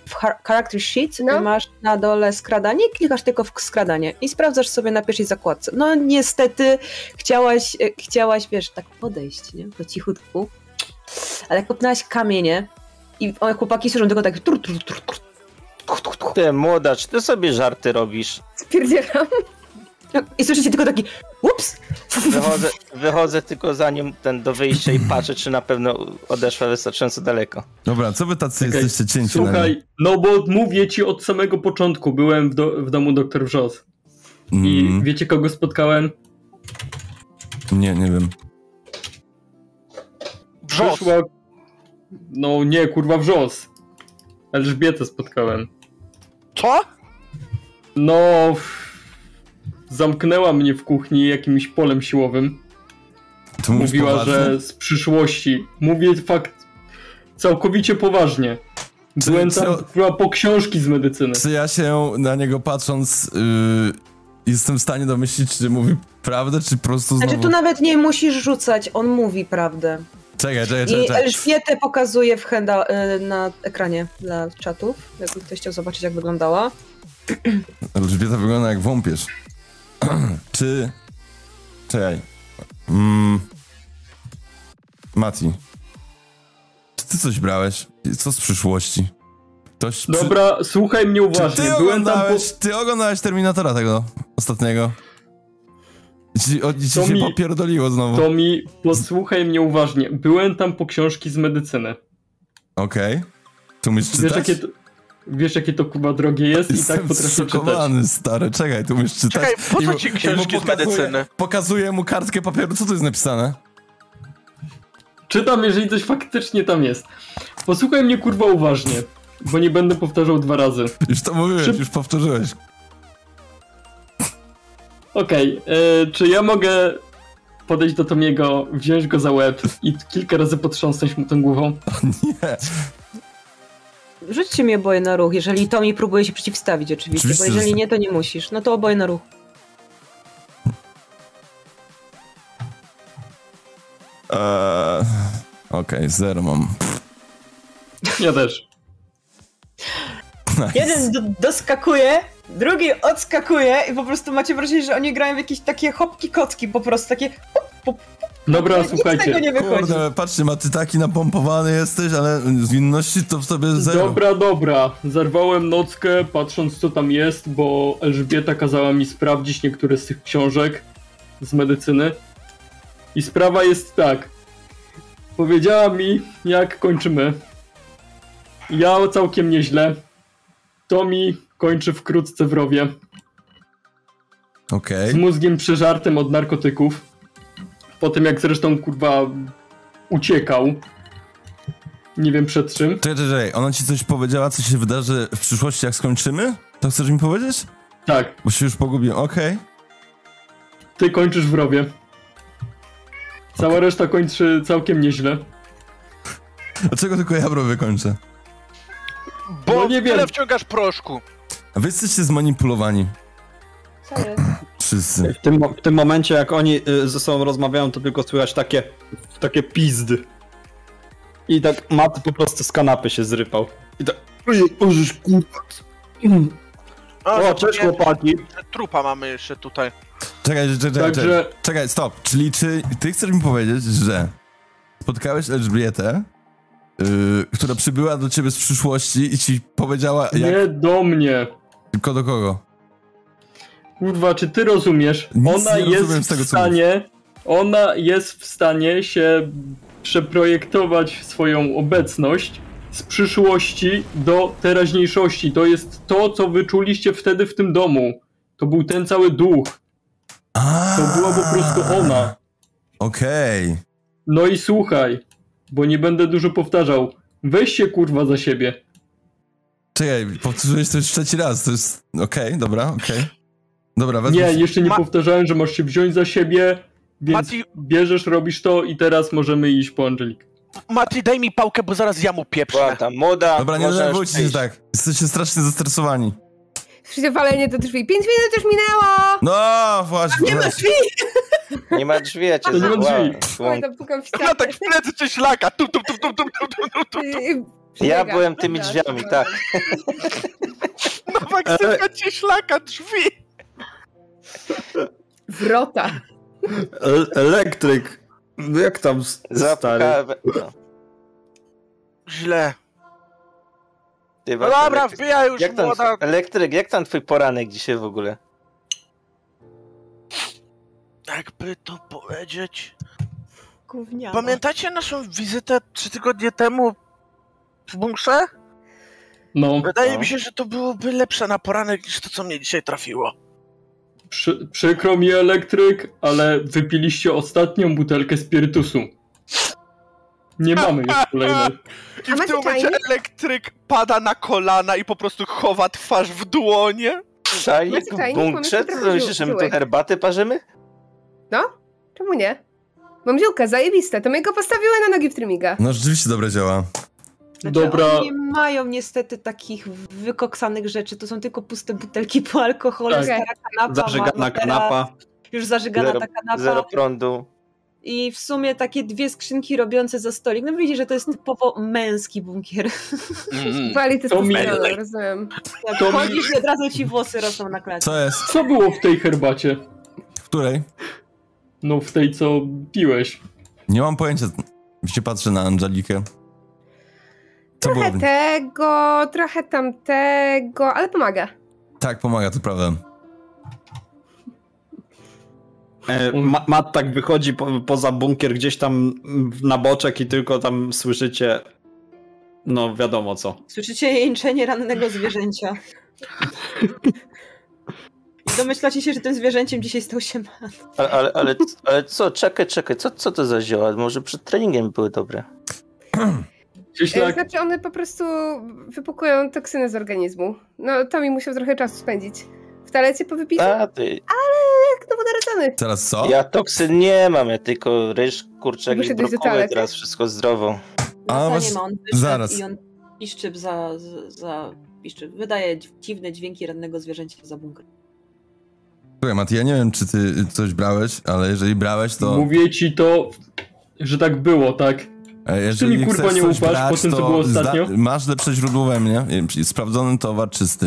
[SPEAKER 2] w char- character sheet
[SPEAKER 3] No.
[SPEAKER 2] masz na dole skradanie, klikasz tylko w skradanie i sprawdzasz sobie na pierwszej zakładce. No niestety chciałaś, e, chciałaś wiesz, tak podejść, nie? Po cichutku. Ale kopnęłaś kamienie i one chłopaki słyszą tylko tak tur, tur, tur, tur, tur, tur, tur.
[SPEAKER 6] Ty, młoda, czy ty sobie żarty robisz?
[SPEAKER 3] spierdzielam.
[SPEAKER 2] I słyszycie tylko taki ups!
[SPEAKER 6] Wychodzę, wychodzę tylko za nim ten do wyjścia i patrzę, czy na pewno odeszła wystarczająco daleko.
[SPEAKER 1] Dobra, co wy tacy
[SPEAKER 7] Czekaj,
[SPEAKER 1] jesteście cięci na
[SPEAKER 7] Słuchaj, no bo mówię ci od samego początku, byłem w, do, w domu dr Wrzos. I
[SPEAKER 1] Mm,
[SPEAKER 7] wiecie kogo spotkałem?
[SPEAKER 1] Nie, nie wiem.
[SPEAKER 8] Wrzos!
[SPEAKER 7] Przyszła... No nie, kurwa Wrzos. Elżbietę spotkałem.
[SPEAKER 8] Co?
[SPEAKER 7] No... f- Zamknęła mnie w kuchni jakimś polem siłowym.
[SPEAKER 1] Ty mówisz
[SPEAKER 7] Mówiła,
[SPEAKER 1] poważnie?
[SPEAKER 7] że z przyszłości. Mówię fakt całkowicie poważnie.
[SPEAKER 1] Czy-
[SPEAKER 7] Byłem
[SPEAKER 1] czy-
[SPEAKER 7] tam chyba po książki z medycyny.
[SPEAKER 1] Czy ja się na niego patrząc yy, jestem w stanie domyślić, czy mówi prawdę, czy po prostu znowu...
[SPEAKER 2] Znaczy tu nawet nie musisz rzucać, on mówi prawdę.
[SPEAKER 1] Czekaj, czekaj, czekaj.
[SPEAKER 2] I
[SPEAKER 1] czekaj.
[SPEAKER 2] Elżbietę pokazuje w handa, y, na ekranie dla czatów, jakby ktoś chciał zobaczyć jak wyglądała.
[SPEAKER 1] Elżbieta wygląda jak wąpierz. czy... Czekaj. Mm. Mati. Czy ty coś brałeś? Co z przyszłości? Ktoś... przy-
[SPEAKER 7] Dobra, słuchaj mnie
[SPEAKER 1] Czy
[SPEAKER 7] uważnie.
[SPEAKER 1] ty
[SPEAKER 7] Byłem tam po...
[SPEAKER 1] oglądałeś, ty oglądałeś Terminatora tego ostatniego? Ci, o, ci
[SPEAKER 7] To
[SPEAKER 1] się
[SPEAKER 7] mi-
[SPEAKER 1] popierdoliło znowu.
[SPEAKER 7] To mi posłuchaj mnie uważnie. Byłem tam po książki z medycyny.
[SPEAKER 1] Okej. Tu umiesz
[SPEAKER 7] Wiesz
[SPEAKER 1] czytać?
[SPEAKER 7] jakie, to, wiesz jakie to kuba drogie jest i tak
[SPEAKER 1] tak? Jestem
[SPEAKER 7] potrafię czytać.
[SPEAKER 1] zszokowany, stary. Czekaj, tu umiesz czytać.
[SPEAKER 8] Czekaj, po
[SPEAKER 1] I
[SPEAKER 8] co
[SPEAKER 1] mu-
[SPEAKER 8] ci
[SPEAKER 1] i mu
[SPEAKER 8] książki z
[SPEAKER 1] pokazuję-
[SPEAKER 8] medycyny?
[SPEAKER 1] Pokazuję mu kartkę papieru. Co tu jest napisane?
[SPEAKER 7] Czytam, jeżeli coś faktycznie tam jest. Posłuchaj mnie kurwa uważnie, bo nie będę powtarzał dwa razy.
[SPEAKER 1] Już to mówiłeś,
[SPEAKER 7] Szyb-
[SPEAKER 1] już powtórzyłeś.
[SPEAKER 7] Okej, e, czy ja mogę podejść do Tomiego, wziąć go za łeb i kilka razy potrząsnąć mu tą głową?
[SPEAKER 1] Nie.
[SPEAKER 2] Rzućcie mi oboje na ruch, jeżeli to mi próbuje się przeciwstawić oczywiście,
[SPEAKER 1] Oczywiście,
[SPEAKER 2] bo
[SPEAKER 1] że
[SPEAKER 2] jeżeli
[SPEAKER 1] tak.
[SPEAKER 2] nie, to nie musisz. No to oboje na ruch.
[SPEAKER 1] Eee, Okej, zero mam.
[SPEAKER 7] Ja też.
[SPEAKER 2] Jeden do, doskakuje, drugi odskakuje i po prostu macie wrażenie, że oni grają w jakieś takie hopki kocki po prostu, takie pop, pop,
[SPEAKER 7] Dobra,
[SPEAKER 2] nic z tego
[SPEAKER 7] słuchajcie.
[SPEAKER 2] nie wychodzi.
[SPEAKER 1] Kurde, patrzcie, ma ty taki napompowany jesteś, ale zwinności to w sobie zero.
[SPEAKER 7] Dobra, dobra. Zerwałem nockę, patrząc co tam jest, bo Elżbieta kazała mi sprawdzić niektóre z tych książek z medycyny. I sprawa jest tak. Powiedziała mi, jak kończymy. Ja całkiem nieźle. Tomi kończy wkrótce w rowie.
[SPEAKER 1] Okej.
[SPEAKER 7] z mózgiem przeżartym od narkotyków. Po tym jak zresztą kurwa uciekał. Nie wiem przed czym.
[SPEAKER 1] Czekaj, czekaj, czekaj, ona ci coś powiedziała, co się wydarzy w przyszłości, jak skończymy? To chcesz mi powiedzieć?
[SPEAKER 7] Tak,
[SPEAKER 1] Bo się już pogubiłem, okej.
[SPEAKER 7] ty kończysz w rowie. Cała reszta kończy całkiem nieźle.
[SPEAKER 1] Dlaczego tylko ja bro wykończę?
[SPEAKER 8] Bo
[SPEAKER 7] No nie
[SPEAKER 8] nie tyle
[SPEAKER 7] wiem.
[SPEAKER 8] wciągasz proszku.
[SPEAKER 1] A Wy jesteście zmanipulowani. Wszyscy.
[SPEAKER 4] W tym, w tym momencie, jak oni y, ze sobą rozmawiają, to tylko słychać takie, takie pizdy. I tak Matt po prostu z kanapy się zrypał. I tak, ojej, ożysz kurwa. Mm.
[SPEAKER 8] no
[SPEAKER 4] O, cześć
[SPEAKER 8] zapomniałem,
[SPEAKER 4] chłopaki.
[SPEAKER 8] że Trupa mamy jeszcze tutaj.
[SPEAKER 1] Czekaj, czekaj, czekaj, czekaj.
[SPEAKER 7] Także
[SPEAKER 1] Czekaj, stop. Czyli czy ty chcesz mi powiedzieć, że spotkałeś Elżbietę, yy, która przybyła do ciebie z przyszłości i ci powiedziała jak...
[SPEAKER 7] nie do mnie.
[SPEAKER 1] Tylko do kogo?
[SPEAKER 7] Kurwa, czy ty rozumiesz?
[SPEAKER 1] Nic
[SPEAKER 7] Ona
[SPEAKER 1] nie
[SPEAKER 7] jest
[SPEAKER 1] rozumiem z tego,
[SPEAKER 7] w
[SPEAKER 1] co
[SPEAKER 7] stanie. Ona jest w stanie się przeprojektować swoją obecność z przyszłości do teraźniejszości. To jest to, co wyczuliście wtedy w tym domu. To był ten cały duch.
[SPEAKER 1] A,
[SPEAKER 7] To była po prostu ona.
[SPEAKER 1] Okej.
[SPEAKER 7] No i słuchaj, bo nie będę dużo powtarzał. Weź się kurwa za siebie.
[SPEAKER 1] Czekaj, powtórzyłeś to już trzeci raz, to jest... Okej, dobra, okej. Dobra, wezmę...
[SPEAKER 7] Nie,
[SPEAKER 1] się-
[SPEAKER 7] jeszcze nie
[SPEAKER 8] Ma-
[SPEAKER 7] powtarzałem, że masz się wziąć za siebie, więc
[SPEAKER 8] Mati-
[SPEAKER 7] bierzesz, robisz to i teraz możemy iść po Angelikę.
[SPEAKER 8] Mati, daj mi pałkę, bo zaraz ja mu pieprzę.
[SPEAKER 6] Była tam młoda.
[SPEAKER 1] Dobra, nie
[SPEAKER 6] można już
[SPEAKER 1] denerwujcie się
[SPEAKER 6] przejść.
[SPEAKER 1] tak. Jesteście strasznie zestresowani.
[SPEAKER 3] Przyjdzie walenie do drzwi. Pięć minut już minęło!
[SPEAKER 1] No, właśnie.
[SPEAKER 2] Nie ma
[SPEAKER 1] właśnie.
[SPEAKER 2] drzwi!
[SPEAKER 6] Nie ma drzwi, ja cię
[SPEAKER 7] To nie ma
[SPEAKER 6] złapałem.
[SPEAKER 7] drzwi.
[SPEAKER 3] Oj,
[SPEAKER 6] Słucham.
[SPEAKER 3] to pukam w
[SPEAKER 8] Ja
[SPEAKER 3] ścianę.
[SPEAKER 8] tak w plecy czy ślaka. Tum, tum, tum, tum, tum, tum, tum, tum, tum.
[SPEAKER 3] I- i-
[SPEAKER 6] Ja
[SPEAKER 3] przybiega.
[SPEAKER 6] byłem tymi
[SPEAKER 3] Dobra,
[SPEAKER 6] drzwiami,
[SPEAKER 3] dobra.
[SPEAKER 6] tak.
[SPEAKER 8] Nowak sypka
[SPEAKER 7] E.
[SPEAKER 8] ci ślaka, drzwi.
[SPEAKER 3] Wrota.
[SPEAKER 4] El E, elektryk. No Jak tam s- stary?
[SPEAKER 6] Zapukałem. No,
[SPEAKER 8] Źle.
[SPEAKER 6] ty
[SPEAKER 8] No
[SPEAKER 6] właśnie,
[SPEAKER 8] dobra,
[SPEAKER 6] elektryk.
[SPEAKER 8] wbija już
[SPEAKER 6] Jak tam,
[SPEAKER 8] młoda.
[SPEAKER 6] elektryk, jak tam twój poranek dzisiaj w ogóle?
[SPEAKER 8] Jakby Tak to powiedzieć.
[SPEAKER 2] Gówniana.
[SPEAKER 8] Pamiętacie naszą wizytę trzy tygodnie temu w bunkrze?
[SPEAKER 7] No,
[SPEAKER 8] Wydaje
[SPEAKER 7] no.
[SPEAKER 8] mi się, że to byłoby lepsze na poranek niż to, co mnie dzisiaj trafiło.
[SPEAKER 7] Przy, przykro mi elektryk, ale wypiliście ostatnią butelkę spirytusu. Nie mamy już kolejnej.
[SPEAKER 8] I
[SPEAKER 3] A
[SPEAKER 8] w
[SPEAKER 3] macie
[SPEAKER 8] tym momencie
[SPEAKER 3] czajnik?
[SPEAKER 8] elektryk pada na kolana i po prostu chowa twarz w dłonie. No
[SPEAKER 6] Czajnik
[SPEAKER 3] Macie
[SPEAKER 6] w
[SPEAKER 3] czajnik?
[SPEAKER 6] bunkrze?
[SPEAKER 3] Pomyślcie
[SPEAKER 6] Co
[SPEAKER 3] trochę
[SPEAKER 6] myślisz, że my tu
[SPEAKER 3] ziółek.
[SPEAKER 6] herbaty parzymy?
[SPEAKER 3] Czemu nie? Mam ziółka, zajebiste. To mnie go postawiły na nogi w trymiga.
[SPEAKER 1] No rzeczywiście dobre działa.
[SPEAKER 2] Znaczy,
[SPEAKER 7] Dobra.
[SPEAKER 2] Oni nie mają niestety takich wykoksanych rzeczy. To są tylko puste butelki po alkoholu,
[SPEAKER 7] Tak.
[SPEAKER 2] stara kanapa.
[SPEAKER 4] Zażegana
[SPEAKER 2] matera,
[SPEAKER 4] kanapa.
[SPEAKER 2] Już zażegana
[SPEAKER 6] Zero-
[SPEAKER 2] ta kanapa.
[SPEAKER 6] Zero prądu.
[SPEAKER 2] I w sumie takie dwie skrzynki robiące za stolik. No widzicie, że to jest typowo męski bunkier.
[SPEAKER 8] Mhm.
[SPEAKER 3] Wali to
[SPEAKER 7] To mi-
[SPEAKER 3] testosteronu, rozumiem.
[SPEAKER 2] Jak
[SPEAKER 7] To mi-
[SPEAKER 2] chodzisz i od razu ci włosy rosną na klatce.
[SPEAKER 1] Co jest?
[SPEAKER 7] Co było w tej herbacie?
[SPEAKER 1] W której?
[SPEAKER 7] No w tej co piłeś.
[SPEAKER 1] Nie mam pojęcia. Się patrzę na Angelikę. Co było? w
[SPEAKER 3] Trochę
[SPEAKER 1] nim?
[SPEAKER 3] tego, trochę tamtego, ale pomaga.
[SPEAKER 1] Tak, pomaga, to prawda.
[SPEAKER 4] E, Ma- Matt tak wychodzi po, poza bunkier gdzieś tam w- na boczek i tylko tam słyszycie no wiadomo co.
[SPEAKER 2] Słyszycie jęczenie rannego zwierzęcia. I domyślacie się, że tym zwierzęciem dzisiaj stał się man.
[SPEAKER 6] Ale, ale, ale, ale co, czekaj, czekaj, co, co to za zioła? Może przed treningiem były dobre.
[SPEAKER 7] Gdzieś
[SPEAKER 3] E,
[SPEAKER 7] tak,
[SPEAKER 3] Znaczy one po prostu wypłukują toksyny z organizmu. No to mi musiał trochę czasu spędzić. W talecie po wypisie? Tak,
[SPEAKER 6] A, ty,
[SPEAKER 3] Jak nowonarodzony.
[SPEAKER 1] Teraz co?
[SPEAKER 6] ja toksyn nie mam, ja tylko ryż, kurczak i
[SPEAKER 3] Muszę dojść do
[SPEAKER 6] brokuły,
[SPEAKER 3] toalety.
[SPEAKER 6] teraz wszystko zdrowo.
[SPEAKER 1] A,
[SPEAKER 2] Lata
[SPEAKER 1] was-
[SPEAKER 2] nie ma, on wyszedł
[SPEAKER 1] zaraz.
[SPEAKER 2] I on piszczyp za, za- za piszczyp. Wydaje dziwne dźwięki rannego zwierzęcia za bunkier.
[SPEAKER 1] Słuchaj, Mat, ja nie wiem, czy ty coś brałeś, ale jeżeli brałeś, to...
[SPEAKER 7] mówię ci to, że tak było, tak?
[SPEAKER 1] E,
[SPEAKER 7] Czy mi, kurwa,
[SPEAKER 1] chcesz
[SPEAKER 7] nie
[SPEAKER 1] coś
[SPEAKER 7] ufasz po tym, co
[SPEAKER 1] to
[SPEAKER 7] było ostatnio?
[SPEAKER 1] zda- Masz lepsze źródło we mnie. E, czyli Sprawdzony towar, czysty.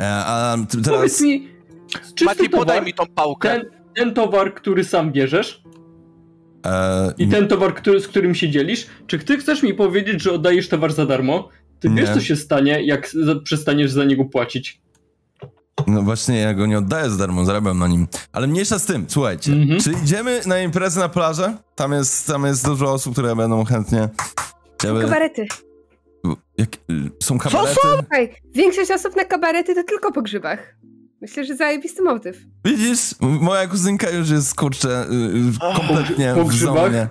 [SPEAKER 1] E, a ty, teraz...
[SPEAKER 7] Powiedz mi, czysty
[SPEAKER 8] Mati,
[SPEAKER 7] towar,
[SPEAKER 8] podaj mi tą pałkę.
[SPEAKER 7] ten, ten towar, który sam bierzesz
[SPEAKER 1] E,
[SPEAKER 7] i ten towar, który, z którym się dzielisz, czy ty chcesz mi powiedzieć, że oddajesz towar za darmo? Ty wiesz,
[SPEAKER 1] Nie.
[SPEAKER 7] co się stanie, jak za, przestaniesz za niego płacić.
[SPEAKER 1] No właśnie, ja go nie oddaję za darmo, zarabiam na nim. Ale mniejsza z tym, słuchajcie.
[SPEAKER 7] Mhm.
[SPEAKER 1] Czy idziemy na imprezę na plażę? Tam jest, tam jest dużo osób, które będą chętnie... Chciały...
[SPEAKER 3] Kabarety.
[SPEAKER 1] Jak... y, Są kabarety?
[SPEAKER 3] Słuchaj, większość osób na kabarety to tylko po grzybach. Myślę, że zajebisty motyw.
[SPEAKER 1] Widzisz? M- Moja kuzynka już jest, kurczę, y, y,
[SPEAKER 8] Ach,
[SPEAKER 1] kompletnie
[SPEAKER 7] po
[SPEAKER 1] w
[SPEAKER 7] grzybach?
[SPEAKER 1] zonie.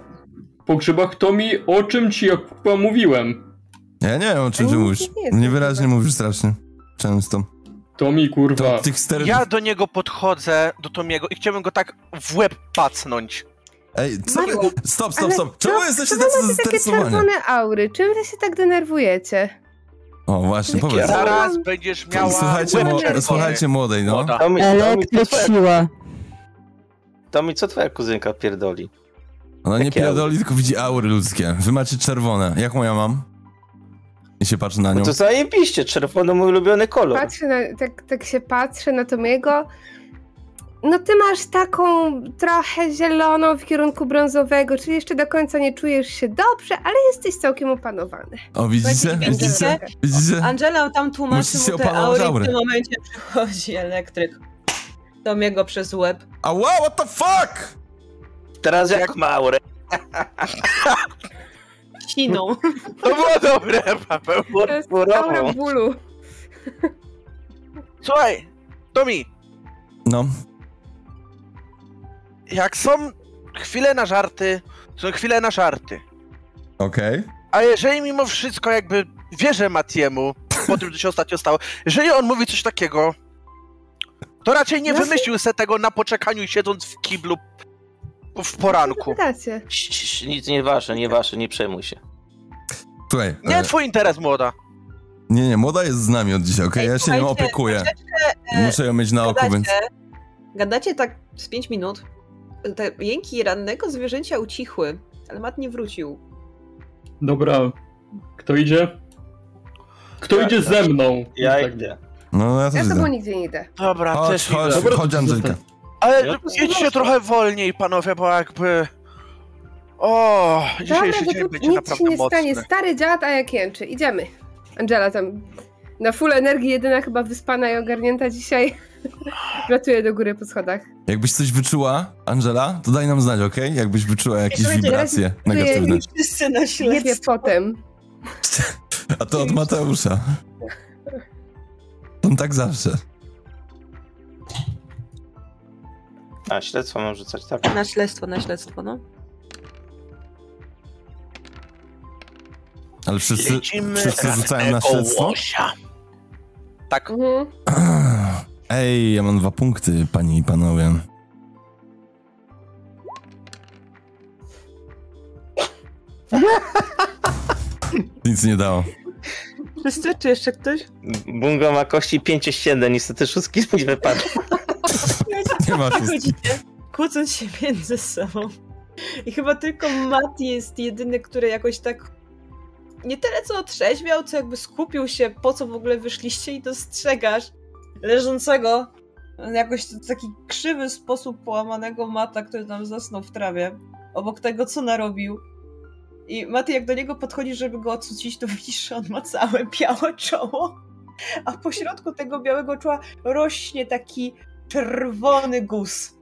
[SPEAKER 7] Po grzybach to mi, o czym ci jak kurwa mówiłem.
[SPEAKER 1] Ja nie wiem, o czym
[SPEAKER 3] Ale
[SPEAKER 1] ty
[SPEAKER 3] nic
[SPEAKER 1] mówisz.
[SPEAKER 3] No, nie jest,
[SPEAKER 1] Niewyraźnie
[SPEAKER 3] chyba.
[SPEAKER 1] mówisz strasznie. Często.
[SPEAKER 7] To mi
[SPEAKER 1] To
[SPEAKER 7] kurwa.
[SPEAKER 1] tych sterów...
[SPEAKER 8] Ja do niego podchodzę, do Tomiego i chciałbym go tak w łeb pacnąć.
[SPEAKER 1] Ej, co wy...
[SPEAKER 3] Mario,
[SPEAKER 1] Stop, stop,
[SPEAKER 3] ale
[SPEAKER 1] stop. Czemu
[SPEAKER 3] co-
[SPEAKER 1] jesteście
[SPEAKER 3] co
[SPEAKER 1] tacy
[SPEAKER 3] macie takie
[SPEAKER 1] zestresowani?
[SPEAKER 3] czerwone aury? Czym wy się tak denerwujecie?
[SPEAKER 1] O, właśnie,
[SPEAKER 3] Takie
[SPEAKER 1] powiedz.
[SPEAKER 3] za-
[SPEAKER 8] Zaraz będziesz miała
[SPEAKER 1] Słuchajcie,
[SPEAKER 8] łeb
[SPEAKER 1] mo-
[SPEAKER 8] czerwony.
[SPEAKER 1] słuchajcie młodej, no.
[SPEAKER 8] Młoda.
[SPEAKER 6] Tomi, Tomi, co
[SPEAKER 9] Elektryk
[SPEAKER 6] twoja,
[SPEAKER 9] siła.
[SPEAKER 6] Tomi, co twoja kuzynka pierdoli?
[SPEAKER 1] Ona nie
[SPEAKER 6] Takie
[SPEAKER 1] pierdoli, tylko widzi aury ludzkie. Wy macie czerwone. Jaką ja mam? I się patrzy na nią.
[SPEAKER 6] No to zajebiście, czerwony mój ulubiony kolor.
[SPEAKER 3] Patrzę na, tak, tak się patrzę na Tomiego. No ty masz taką trochę zieloną w kierunku brązowego, czyli jeszcze do końca nie czujesz się dobrze, ale jesteś całkiem opanowany.
[SPEAKER 1] O, widzicie?
[SPEAKER 2] Będzie
[SPEAKER 1] Widzicie?
[SPEAKER 3] pięknie.
[SPEAKER 1] Widzicie?
[SPEAKER 2] Angela tam tłumaczy
[SPEAKER 1] Musicie
[SPEAKER 2] mu te
[SPEAKER 1] opanować
[SPEAKER 2] aury i
[SPEAKER 1] aury.
[SPEAKER 2] w tym momencie przychodzi elektryk. Do jego przez łeb.
[SPEAKER 1] A wow, what the fuck?
[SPEAKER 6] Teraz jak maure.
[SPEAKER 2] Siną.
[SPEAKER 8] To było dobre, Paweł.
[SPEAKER 3] To jest aura bólu.
[SPEAKER 8] Słuchaj, Tomi,
[SPEAKER 1] No,
[SPEAKER 8] jak są chwile na żarty, są chwile na żarty.
[SPEAKER 1] okej.
[SPEAKER 8] A jeżeli mimo wszystko jakby wierzę Matiemu po tym, co się ostatnio stało, jeżeli on mówi coś takiego, to raczej nie
[SPEAKER 3] No
[SPEAKER 8] wymyślił se tego na poczekaniu siedząc w kiblu w
[SPEAKER 3] Co
[SPEAKER 8] poranku.
[SPEAKER 3] wy dacie?
[SPEAKER 6] Cii, cii, cii, Nic nie wasze, nie wasze, nie przejmuj się.
[SPEAKER 1] Słuchaj,
[SPEAKER 8] Nie
[SPEAKER 1] e,
[SPEAKER 8] twój interes, młoda.
[SPEAKER 1] nie, nie, młoda jest z nami od dzisiaj, okej?
[SPEAKER 2] Ej,
[SPEAKER 1] Ja się nią
[SPEAKER 2] słuchajcie,
[SPEAKER 1] opiekuję.
[SPEAKER 2] troszeczkę e,
[SPEAKER 1] Muszę ją mieć na oku, więc...
[SPEAKER 2] Gadacie, gadacie tak z 5 minut. Te jęki rannego zwierzęcia ucichły, ale Mat nie wrócił.
[SPEAKER 7] Dobra, kto idzie? Kto
[SPEAKER 6] Ja
[SPEAKER 7] idzie
[SPEAKER 6] idę.
[SPEAKER 7] ze mną?
[SPEAKER 6] Ja
[SPEAKER 7] Tak.
[SPEAKER 6] idę.
[SPEAKER 1] No, ja
[SPEAKER 3] Ja
[SPEAKER 1] też
[SPEAKER 3] z tobą
[SPEAKER 1] idę.
[SPEAKER 3] nigdzie nie idę.
[SPEAKER 8] Dobra,
[SPEAKER 1] Chodź,
[SPEAKER 8] też
[SPEAKER 1] chodź,
[SPEAKER 8] idę.
[SPEAKER 7] Dobra,
[SPEAKER 1] chodź
[SPEAKER 7] to
[SPEAKER 1] Angelika.
[SPEAKER 7] zostań.
[SPEAKER 8] Ale
[SPEAKER 6] Ja też
[SPEAKER 8] jedźcie
[SPEAKER 6] idę.
[SPEAKER 8] trochę wolniej, panowie, bo jakby... O,
[SPEAKER 3] Dobra,
[SPEAKER 8] dzisiejszy
[SPEAKER 3] bo
[SPEAKER 8] dzień
[SPEAKER 3] tu
[SPEAKER 8] będzie
[SPEAKER 3] nic się
[SPEAKER 8] naprawdę
[SPEAKER 3] nie stanie.
[SPEAKER 8] mocny.
[SPEAKER 3] Stary dziad, a jak jęczy. Idziemy. Angela tam na full energii, jedyna chyba wyspana i ogarnięta dzisiaj. Wlatuję do góry po schodach.
[SPEAKER 1] Jakbyś coś wyczuła, Angela, to daj nam znać, okej? Jakbyś wyczuła jakieś
[SPEAKER 2] Słuchajcie,
[SPEAKER 1] wibracje
[SPEAKER 3] ja-
[SPEAKER 1] negatywne.
[SPEAKER 2] Wszyscy na
[SPEAKER 3] Jebie
[SPEAKER 2] śledztwo.
[SPEAKER 3] potem.
[SPEAKER 1] A to od Mateusza. On tak zawsze.
[SPEAKER 6] A, śledztwo mam rzucać, tak.
[SPEAKER 2] Na śledztwo, na śledztwo, no.
[SPEAKER 1] Ale wszyscy,
[SPEAKER 8] Lecimy
[SPEAKER 1] wszyscy rzucają na
[SPEAKER 8] raznego
[SPEAKER 1] śledztwo?
[SPEAKER 8] łosia. Tak,
[SPEAKER 3] Mhm.
[SPEAKER 1] Ej, ja mam dwa punkty, panie i panowie. Nic nie dało.
[SPEAKER 2] Wszyscy, czy jeszcze ktoś?
[SPEAKER 6] Bungo ma kości 5,7, niestety szóstki z nich wypadły.
[SPEAKER 1] Nie
[SPEAKER 2] Tak
[SPEAKER 1] ma wszystkich.
[SPEAKER 2] Chodzicie, kłócąc się między sobą. I chyba tylko Matt jest jedyny, który jakoś tak nie tyle co otrzeźwiał, co jakby skupił się, po co w ogóle wyszliście i dostrzegasz leżącego jakoś w taki krzywy sposób połamanego Mata, który tam zasnął w trawie, obok tego, co narobił. I Maty, jak do niego podchodzisz, żeby go odsucić, to widzisz, że on ma całe białe czoło, a pośrodku tego białego czoła rośnie taki czerwony guz.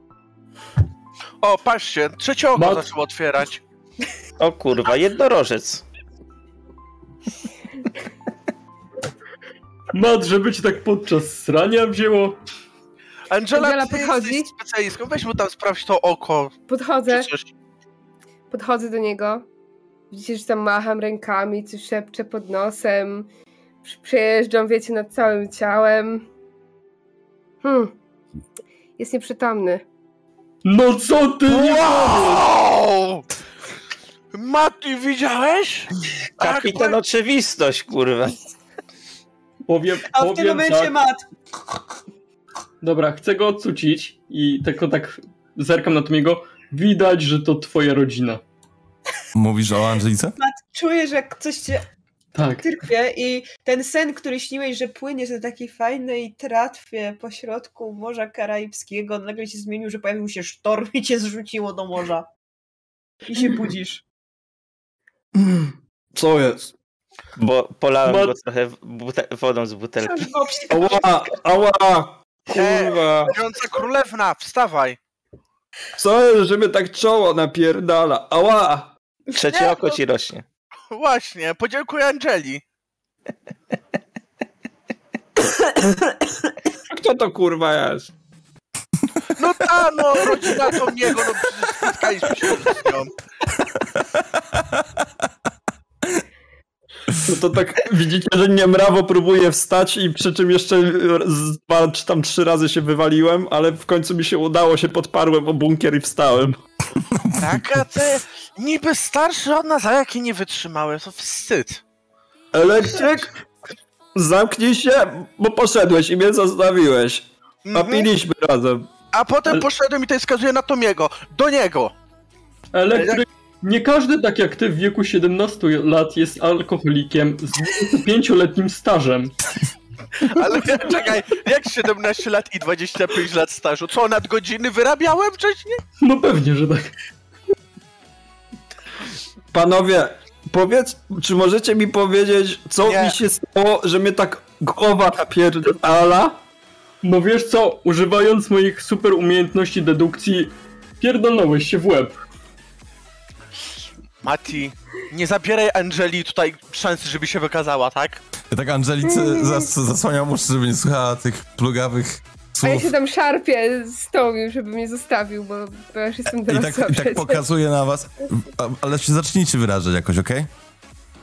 [SPEAKER 8] o patrzcie, trzecie oko
[SPEAKER 7] Mat-
[SPEAKER 8] zaczęło otwierać.
[SPEAKER 6] O kurwa, jednorożec.
[SPEAKER 7] Mat, żeby ci tak podczas srania wzięło.
[SPEAKER 8] Angela,
[SPEAKER 3] Angela
[SPEAKER 8] ty
[SPEAKER 3] podchodzi.
[SPEAKER 8] jesteś specjalistką, weź mu tam sprawdź to oko.
[SPEAKER 3] Podchodzę,
[SPEAKER 8] Czy coś.
[SPEAKER 3] podchodzę do niego. Widzicie, że tam macham rękami, coś szepczę pod nosem. Prz- Przejeżdżam, wiecie, nad całym ciałem. Hmm. Jest nieprzytomny.
[SPEAKER 7] No co ty nie powiesz?
[SPEAKER 8] Wow! Mati, widziałeś?
[SPEAKER 6] Kapitan
[SPEAKER 8] tak.
[SPEAKER 6] Oczywistość, kurwa.
[SPEAKER 7] Powiem,
[SPEAKER 2] A w
[SPEAKER 7] powiem
[SPEAKER 2] tym momencie
[SPEAKER 7] tak.
[SPEAKER 2] Mat.
[SPEAKER 7] Dobra, chcę go odsucić i tylko tak zerkam na Tomiego. Widać, że to twoja rodzina.
[SPEAKER 1] Mówisz o Angelice?
[SPEAKER 2] Czujesz, jak coś cię
[SPEAKER 7] Tak.
[SPEAKER 2] tyrpie i ten sen, który śniłeś, że płyniesz na takiej fajnej tratwie pośrodku Morza Karaibskiego, nagle się zmienił, że pojawił się sztorm i cię zrzuciło do morza. I się budzisz.
[SPEAKER 4] Co jest?
[SPEAKER 6] Bo polałem
[SPEAKER 7] Bo-
[SPEAKER 6] go trochę w- bute- wodą z butelki.
[SPEAKER 2] Masz go przy-
[SPEAKER 4] Ała, ała! Kurwa!
[SPEAKER 8] Biorąca królewna, wstawaj.
[SPEAKER 4] Co jest, żeby tak czoło napierdala? Ała!
[SPEAKER 6] Trzecie oko ci rośnie.
[SPEAKER 8] Właśnie, podziękuję Angeli.
[SPEAKER 4] A Kto to kurwa jest?
[SPEAKER 8] No ta, no, rodzina Tomiego, no przecież spotkaliśmy się z nią.
[SPEAKER 4] No to tak widzicie, że nie mrawo próbuje wstać i przy czym jeszcze z dwa czy tam trzy razy się wywaliłem, ale w końcu mi się udało, się podparłem o bunkier i wstałem.
[SPEAKER 8] Taka ty, Tak, niby starsza od nas, a jakie nie wytrzymałem, to wstyd.
[SPEAKER 4] Elektryk, zamknij się, bo poszedłeś i mnie zostawiłeś. A
[SPEAKER 8] Mhm.
[SPEAKER 4] piliśmy razem.
[SPEAKER 8] A potem poszedłem i to wskazuje na Tomiego, do niego.
[SPEAKER 7] Elektryk. Nie każdy, tak jak ty, w wieku 17 lat jest alkoholikiem z 25-letnim stażem.
[SPEAKER 8] Ale czekaj, jak 17 lat i 25 lat stażu? Co, nadgodziny wyrabiałem wcześniej?
[SPEAKER 7] No pewnie, że tak.
[SPEAKER 4] Panowie, powiedz, czy możecie mi powiedzieć, co
[SPEAKER 8] Nie.
[SPEAKER 4] mi się stało, że mnie tak głowa napierdala?
[SPEAKER 7] No wiesz co, używając moich super umiejętności dedukcji, pierdolnąłeś się w łeb.
[SPEAKER 8] Mati, nie zabieraj Angeli tutaj szansy, żeby się wykazała, tak?
[SPEAKER 1] Ja tak
[SPEAKER 3] Mm.
[SPEAKER 1] Angelice zas zasłaniam uszy, żeby nie słuchała tych plugawych
[SPEAKER 3] A ja
[SPEAKER 1] słów.
[SPEAKER 3] się tam szarpię z Tomim, żeby mnie zostawił, bo, bo ja już jestem
[SPEAKER 1] I
[SPEAKER 3] dorosła
[SPEAKER 1] tak, I tak
[SPEAKER 3] przecież.
[SPEAKER 1] pokazuje na was. A- Ale się zacznijcie wyrażać jakoś, okej?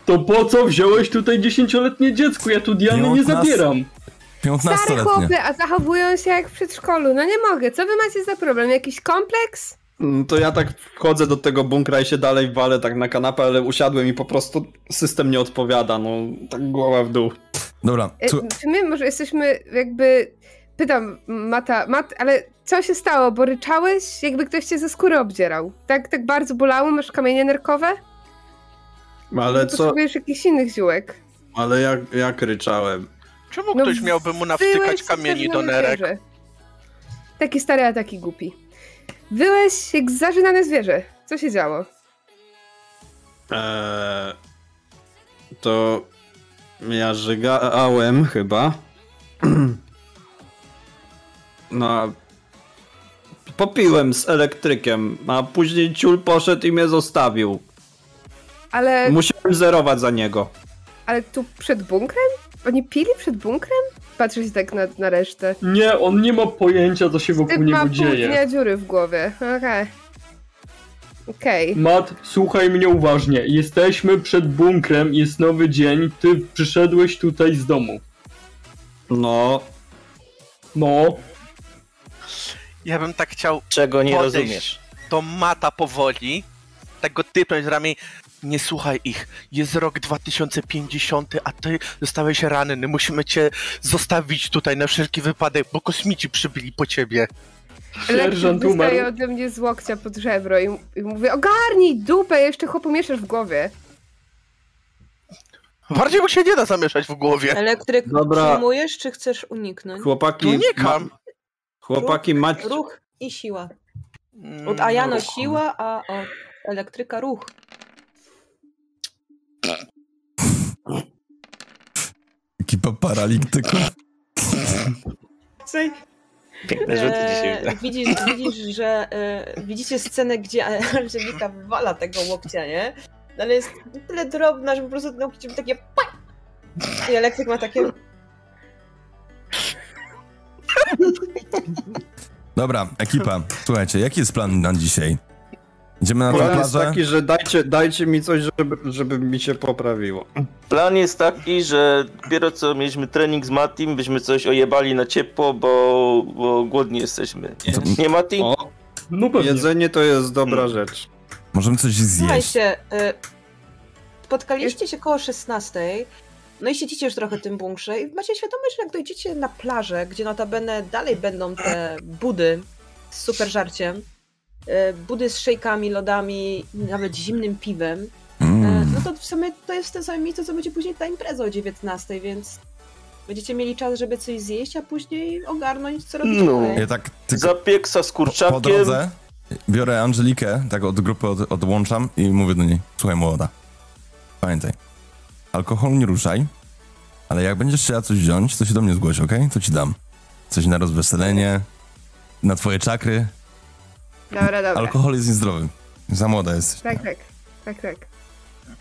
[SPEAKER 7] To po co wziąłeś tutaj 10-letnie dziecko? Ja tu Diany nie
[SPEAKER 1] Piątnast-
[SPEAKER 7] zabieram.
[SPEAKER 3] Stare
[SPEAKER 1] 15-letnie.
[SPEAKER 3] chłopy, a zachowują się jak w przedszkolu. No nie mogę, co wy macie za problem? Jakiś kompleks?
[SPEAKER 4] Mm, To ja tak wchodzę do tego bunkra i się dalej walę tak na kanapę, ale usiadłem i po prostu system nie odpowiada, no tak głowa w dół.
[SPEAKER 1] Dobra,
[SPEAKER 3] E,
[SPEAKER 1] tu,
[SPEAKER 3] Czy my może jesteśmy jakby... Pytam Mata, Mat, ale co się stało? Bo ryczałeś, jakby ktoś cię ze skóry obdzierał. Tak, tak bardzo bolało, masz kamienie nerkowe?
[SPEAKER 4] Ale co,
[SPEAKER 3] Potrzebujesz jakichś innych ziółek.
[SPEAKER 4] ale jak, jak ryczałem?
[SPEAKER 8] Czemu
[SPEAKER 3] No
[SPEAKER 8] ktoś
[SPEAKER 3] w-
[SPEAKER 8] miałby mu
[SPEAKER 3] Wyłeś
[SPEAKER 8] nawtykać
[SPEAKER 3] się
[SPEAKER 8] kamieni
[SPEAKER 3] też
[SPEAKER 8] do
[SPEAKER 3] na
[SPEAKER 8] nerek?
[SPEAKER 3] zwierzę. Taki stary, a taki głupi. Wyłeś jak zażynane zwierzę. Co się działo?
[SPEAKER 4] Eee, to Ja żygałem chyba. No. a Popiłem z elektrykiem, a później ciul poszedł i mnie zostawił.
[SPEAKER 3] Ale,
[SPEAKER 4] Musiałem zerować za niego.
[SPEAKER 3] ale tu przed bunkrem? Oni pili przed bunkrem? Patrzę się tak na, na resztę.
[SPEAKER 7] Nie, on nie ma pojęcia, co się
[SPEAKER 3] Ty
[SPEAKER 7] wokół
[SPEAKER 3] ma
[SPEAKER 7] niego
[SPEAKER 3] pół
[SPEAKER 7] dzieje.
[SPEAKER 3] dnia dziury w głowie. Okej. Okej.
[SPEAKER 7] Mat, słuchaj mnie uważnie. Jesteśmy przed bunkrem, jest nowy dzień, ty przyszedłeś tutaj z domu.
[SPEAKER 4] No,
[SPEAKER 7] No,
[SPEAKER 8] Ja bym tak chciał
[SPEAKER 6] Czego nie
[SPEAKER 8] Podejść.
[SPEAKER 6] rozumiesz?
[SPEAKER 8] do mata powoli, tak go typnąć ramię. Nie słuchaj ich, jest rok 2050, a ty zostałeś ranny. Musimy cię zostawić tutaj na wszelki wypadek, bo kosmici przybyli po ciebie.
[SPEAKER 7] sierżant
[SPEAKER 3] Lekki dostaje
[SPEAKER 7] umarł.
[SPEAKER 3] ode mnie z łokcia pod żebro i, i mówię, ogarnij dupę, jeszcze chłopu mieszasz w głowie.
[SPEAKER 8] Bardziej mu się nie da zamieszać w głowie.
[SPEAKER 2] Elektryk
[SPEAKER 4] Dobra.
[SPEAKER 2] przyjmujesz, czy chcesz uniknąć?
[SPEAKER 8] No
[SPEAKER 4] chłopaki.
[SPEAKER 8] Unikam.
[SPEAKER 4] ma- Chłopaki, macie.
[SPEAKER 2] Ruch i siła.
[SPEAKER 3] Mm.
[SPEAKER 7] Mm,
[SPEAKER 2] Od Ajano siła, a od elektryka ruch.
[SPEAKER 1] Ekipa paralityków.
[SPEAKER 2] Słuchaj,
[SPEAKER 6] Piękne rzuty
[SPEAKER 8] Eee.
[SPEAKER 6] dzisiaj.
[SPEAKER 2] e, widzisz, widzisz, że e, widzicie scenę, gdzie Angelika wala tego łokcia, nie? No Ale jest na tyle drobna, że po prostu ten łokcie robi takie pa- i elektryk ma takie
[SPEAKER 1] Dobra, ekipa, słuchajcie, jaki jest plan na dzisiaj? Idziemy na tę
[SPEAKER 4] Plan jest
[SPEAKER 1] plażę?
[SPEAKER 4] taki, że dajcie, dajcie mi coś, żeby, żeby mi się poprawiło.
[SPEAKER 6] Plan jest taki, że dopiero co mieliśmy trening z Matim, byśmy coś ojebali na ciepło, bo, bo głodni jesteśmy. Nie, nie Mati?
[SPEAKER 4] O,
[SPEAKER 7] No pewnie.
[SPEAKER 4] jedzenie to jest dobra rzecz.
[SPEAKER 1] Możemy coś zjeść.
[SPEAKER 2] Słuchajcie, y, spotkaliście się koło 16, no i siedzicie już trochę w tym bunkrze i macie świadomość, że jak dojdziecie na plażę, gdzie notabene dalej będą te budy z super żarciem, y, budy z szejkami, lodami, nawet zimnym piwem, y,
[SPEAKER 1] Mm.
[SPEAKER 2] no to w sumie to jest w tym samym miejscu, co będzie później ta impreza o 19, więc będziecie mieli czas, żeby coś zjeść, a później ogarnąć, co robić
[SPEAKER 6] No.
[SPEAKER 3] y-
[SPEAKER 2] dalej.
[SPEAKER 1] Ja tak tylko
[SPEAKER 6] Zapieksa z
[SPEAKER 1] po, po
[SPEAKER 6] kurczakiem.
[SPEAKER 1] drodze biorę Angelikę, tak od grupy od, odłączam i mówię do niej, słuchaj młoda, pamiętaj, alkohol nie ruszaj, ale jak będziesz chciała coś wziąć, to się do mnie zgłoś, okej? To ci dam. Coś na rozweselenie, na twoje czakry.
[SPEAKER 3] Dobra, dobra.
[SPEAKER 1] Alkohol jest niezdrowy. Za młoda jesteś.
[SPEAKER 3] Tak, tak, tak, tak.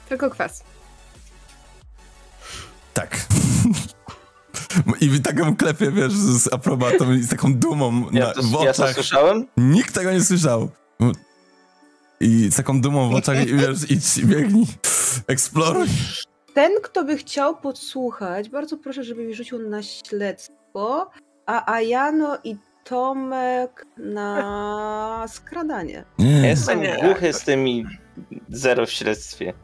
[SPEAKER 3] Tylko kwas.
[SPEAKER 1] Tak. I w takim klepie, wiesz, z aprobatą i z taką dumą
[SPEAKER 6] Ja
[SPEAKER 1] na,
[SPEAKER 6] to,
[SPEAKER 1] w
[SPEAKER 6] ja to
[SPEAKER 1] oczach.
[SPEAKER 6] słyszałem?
[SPEAKER 1] Nikt tego nie słyszał. No. I z taką dumą w oczach, i wiesz, idź, biegnij, eksploruj.
[SPEAKER 2] Ten, kto by chciał podsłuchać, bardzo proszę, żeby mi rzucił na śledztwo, a Ajano i Tomek na skradanie.
[SPEAKER 1] Nie.
[SPEAKER 6] Jestem
[SPEAKER 8] Nie.
[SPEAKER 6] głuchy z tymi zero w śledztwie.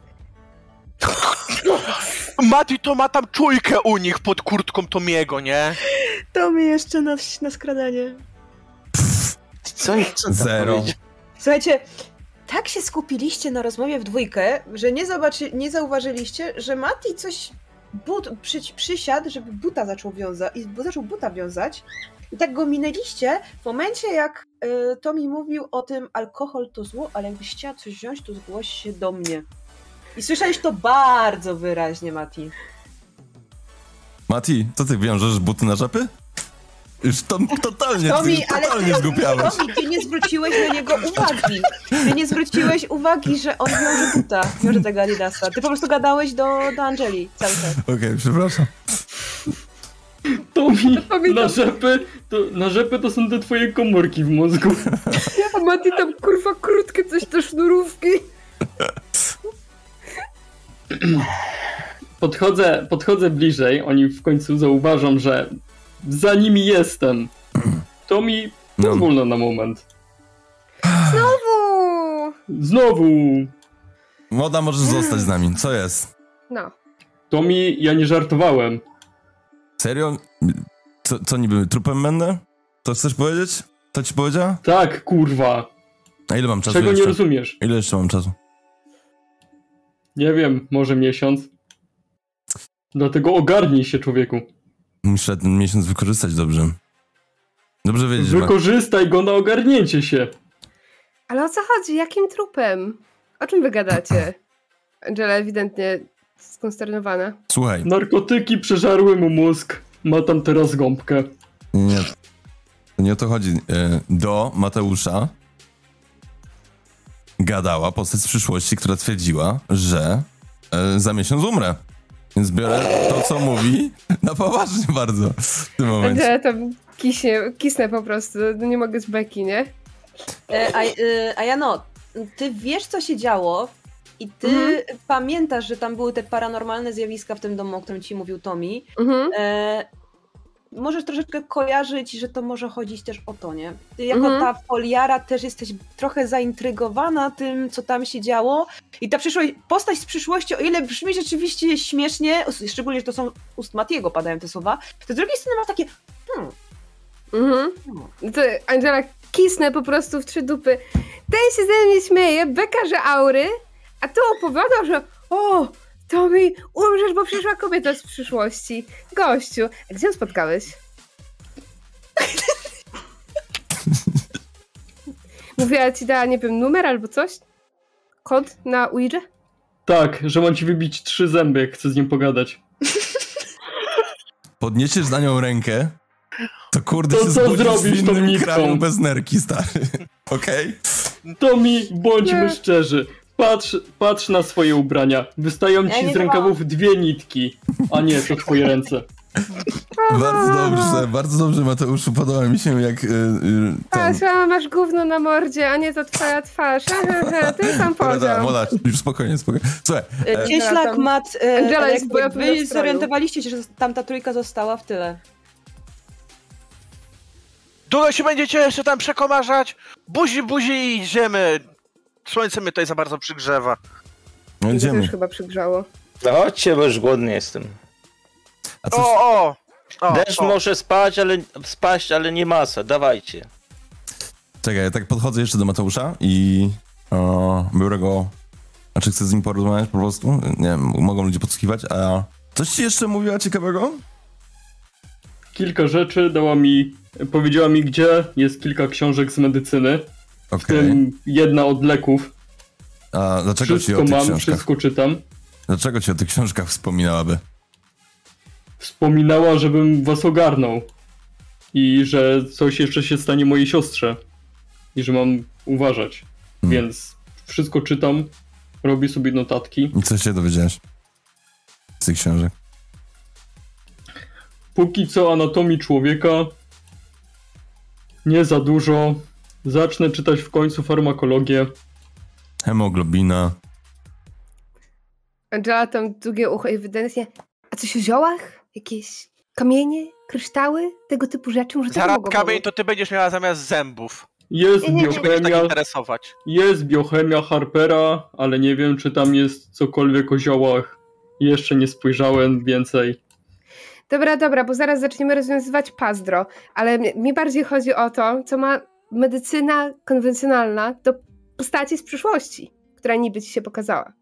[SPEAKER 8] Mati to ma tam czujkę u nich pod kurtką Tomiego, nie?
[SPEAKER 2] To mi jeszcze na, na skradanie.
[SPEAKER 6] Co, co tam
[SPEAKER 1] Zero.
[SPEAKER 6] powiedział?
[SPEAKER 2] Słuchajcie, tak się skupiliście na rozmowie w dwójkę, że nie, zobaczy, nie zauważyliście, że Mati coś but, przy, przysiadł, żeby buta zaczął wiązać i bu- zaczął buta wiązać. I tak go minęliście w momencie, jak y, Tomi mówił o tym alkohol to zło, ale jakbyś chciała coś wziąć, to zgłoś się do mnie. I słyszałeś to bardzo wyraźnie, Mati.
[SPEAKER 1] Mati, co ty wiążesz buty na żapy? Już to, totalnie,
[SPEAKER 2] Tomi,
[SPEAKER 1] ty,
[SPEAKER 2] ale
[SPEAKER 1] totalnie
[SPEAKER 2] ty-
[SPEAKER 1] zgubiałeś.
[SPEAKER 2] Tomi, ty nie zwróciłeś na niego uwagi. Ty nie zwróciłeś uwagi, że on wiąże buta, wiąże tego Adidasa. Ty po prostu gadałeś do, do Angeli cały czas.
[SPEAKER 1] Okej, przepraszam.
[SPEAKER 7] To mi
[SPEAKER 3] pamiętam.
[SPEAKER 7] na rzepy, to, na rzepy to są te twoje komórki w mózgu.
[SPEAKER 3] A Mati tam kurwa krótkie coś do sznurówki.
[SPEAKER 7] Podchodzę, podchodzę bliżej, oni w końcu zauważą, że za nimi jestem. To mi
[SPEAKER 1] No.
[SPEAKER 7] pozwól no. na moment.
[SPEAKER 3] Uuu.
[SPEAKER 7] Znowu!
[SPEAKER 1] Młoda, możesz zostać z nami. Co jest?
[SPEAKER 3] No.
[SPEAKER 7] To mi ja nie żartowałem.
[SPEAKER 1] Serio? Co, co niby, trupem będę? To chcesz powiedzieć? To ci powiedziała?
[SPEAKER 7] Tak, kurwa.
[SPEAKER 1] A ile mam czasu
[SPEAKER 7] Czego nie
[SPEAKER 1] jeszcze?
[SPEAKER 7] rozumiesz?
[SPEAKER 1] ile jeszcze mam czasu?
[SPEAKER 7] Nie wiem, może miesiąc. Dlatego ogarnij się, człowieku.
[SPEAKER 1] Muszę ten miesiąc wykorzystać dobrze. Dobrze wiedzieć, że-
[SPEAKER 7] Wykorzystaj go na ogarnięcie się.
[SPEAKER 3] Ale o co chodzi? Jakim trupem? O czym wy gadacie? Angela ewidentnie skonsternowana.
[SPEAKER 1] Słuchaj,
[SPEAKER 7] Narkotyki przeżarły mu mózg. Ma tam teraz gąbkę.
[SPEAKER 1] nie, nie, nie o to chodzi. E, Do Mateusza gadała postać z przyszłości, która twierdziła, że e, za miesiąc umrę. Więc biorę to, co mówi, na poważnie bardzo w tym momencie.
[SPEAKER 3] Angela tam kiśnie, kisnę po prostu, no nie mogę z beki, nie?
[SPEAKER 2] E, A, e, a Jano, ty wiesz, co się działo i ty
[SPEAKER 3] Mhm.
[SPEAKER 2] pamiętasz, że tam były te paranormalne zjawiska w tym domu, o którym ci mówił Tommy.
[SPEAKER 3] Mhm.
[SPEAKER 2] E, możesz troszeczkę kojarzyć, że to może chodzić też o to, nie? Ty jako
[SPEAKER 3] Mhm.
[SPEAKER 2] ta foliara też jesteś trochę zaintrygowana tym, co tam się działo. I ta przyszłość, postać z przyszłości, o ile brzmi rzeczywiście śmiesznie, os- szczególnie, że to są ust Matiego padają te słowa, to z drugiej strony masz takie hmm,
[SPEAKER 3] Mhm.
[SPEAKER 2] hmm.
[SPEAKER 3] To Angela kisnę po prostu w trzy dupy. Ten się ze mnie śmieje, beka, że aury, a tu opowiadał, że o, Tommy, umrzesz, bo przyszła kobieta z przyszłości. Gościu, a gdzie ją spotkałeś? Mówiła ci dała, nie wiem, numer albo coś? Kod na Ouija?
[SPEAKER 7] Tak, że mam ci wybić trzy zęby, jak chcę z nim pogadać.
[SPEAKER 1] Podniesiesz na nią rękę, to kurde
[SPEAKER 7] To
[SPEAKER 1] się
[SPEAKER 7] co
[SPEAKER 1] zbudzisz z
[SPEAKER 7] zrobisz tą
[SPEAKER 1] innym
[SPEAKER 7] nitką?
[SPEAKER 1] krajem bez nerki, stary. Okej?
[SPEAKER 7] To mi, bądźmy
[SPEAKER 3] Nie.
[SPEAKER 7] szczerzy. Patrz, patrz na swoje ubrania. Wystają ci
[SPEAKER 2] nie
[SPEAKER 7] z rękawów dwie nitki. A nie, to twoje ręce.
[SPEAKER 1] Bardzo dobrze, bardzo dobrze, Mateuszu. Podoba mi się, jak y, y,
[SPEAKER 3] A,
[SPEAKER 1] ten...
[SPEAKER 3] słucham, masz gówno na mordzie, a nie to twoja twarz. Aha, ten sam
[SPEAKER 1] Dobra, dobra,
[SPEAKER 3] poziom.
[SPEAKER 1] Mola, już spokojnie, spokojnie. Słuchaj,
[SPEAKER 2] E, Cieślak,
[SPEAKER 3] Zatem-
[SPEAKER 2] Mat, e,
[SPEAKER 3] Angela jest
[SPEAKER 2] Elektryk,
[SPEAKER 3] bojowy w
[SPEAKER 2] wy
[SPEAKER 3] stroju.
[SPEAKER 2] zorientowaliście się, że tamta trójka została w tyle.
[SPEAKER 8] Długo się będziecie jeszcze tam przekomarzać? Buzi, buzi i idziemy. Słońce mnie tutaj za bardzo przygrzewa.
[SPEAKER 1] no
[SPEAKER 3] I to
[SPEAKER 1] idziemy.
[SPEAKER 3] też chyba przygrzało.
[SPEAKER 6] No chodźcie, bo już głodny jestem.
[SPEAKER 1] A
[SPEAKER 8] O,
[SPEAKER 1] coś,
[SPEAKER 8] o! o,
[SPEAKER 6] Deszcz
[SPEAKER 8] o.
[SPEAKER 6] może spać, ale spaść, ale nie masa. Dawajcie.
[SPEAKER 1] czekaj, ja tak podchodzę jeszcze do Mateusza i o, biorę go... Znaczy chcę z nim porozmawiać po prostu? Nie wiem, mogą ludzie podsłuchiwać, a... Coś ci jeszcze mówiła ciekawego?
[SPEAKER 7] Kilka rzeczy dała mi. Powiedziała mi, gdzie jest kilka książek z medycyny, w
[SPEAKER 1] Okej.
[SPEAKER 7] tym jedna od leków.
[SPEAKER 1] A dlaczego ci o
[SPEAKER 7] wszystko
[SPEAKER 1] tych
[SPEAKER 7] mam,
[SPEAKER 1] książkach?
[SPEAKER 7] wszystko czytam.
[SPEAKER 1] Dlaczego ci o tych książkach wspominałaby?
[SPEAKER 7] Wspominała, żebym was ogarnął. I że coś jeszcze się stanie mojej siostrze. I że mam uważać.
[SPEAKER 1] Hmm.
[SPEAKER 7] Więc wszystko czytam, robię sobie notatki.
[SPEAKER 1] I co się dowiedziałeś? Z tych książek.
[SPEAKER 7] Póki co anatomii człowieka nie za dużo. Zacznę czytać w końcu farmakologię.
[SPEAKER 1] Hemoglobina.
[SPEAKER 3] Angela tam drugie ucho i wydaje A coś o ziołach? Jakieś kamienie, kryształy? Tego typu rzeczy? Może to
[SPEAKER 8] Zaraz
[SPEAKER 3] mogło
[SPEAKER 8] kamień
[SPEAKER 3] pomóc?
[SPEAKER 8] to ty będziesz miała zamiast zębów.
[SPEAKER 7] Jest
[SPEAKER 8] Czy będziesz tak
[SPEAKER 7] biochemia,
[SPEAKER 8] interesować?
[SPEAKER 7] jest biochemia Harpera, ale nie wiem, czy tam jest cokolwiek o ziołach. Jeszcze nie spojrzałem więcej.
[SPEAKER 3] Dobra, dobra, bo zaraz zaczniemy rozwiązywać pazdro. Ale mi- mi bardziej chodzi o to, co ma medycyna konwencjonalna do postaci z przyszłości, która niby ci się pokazała.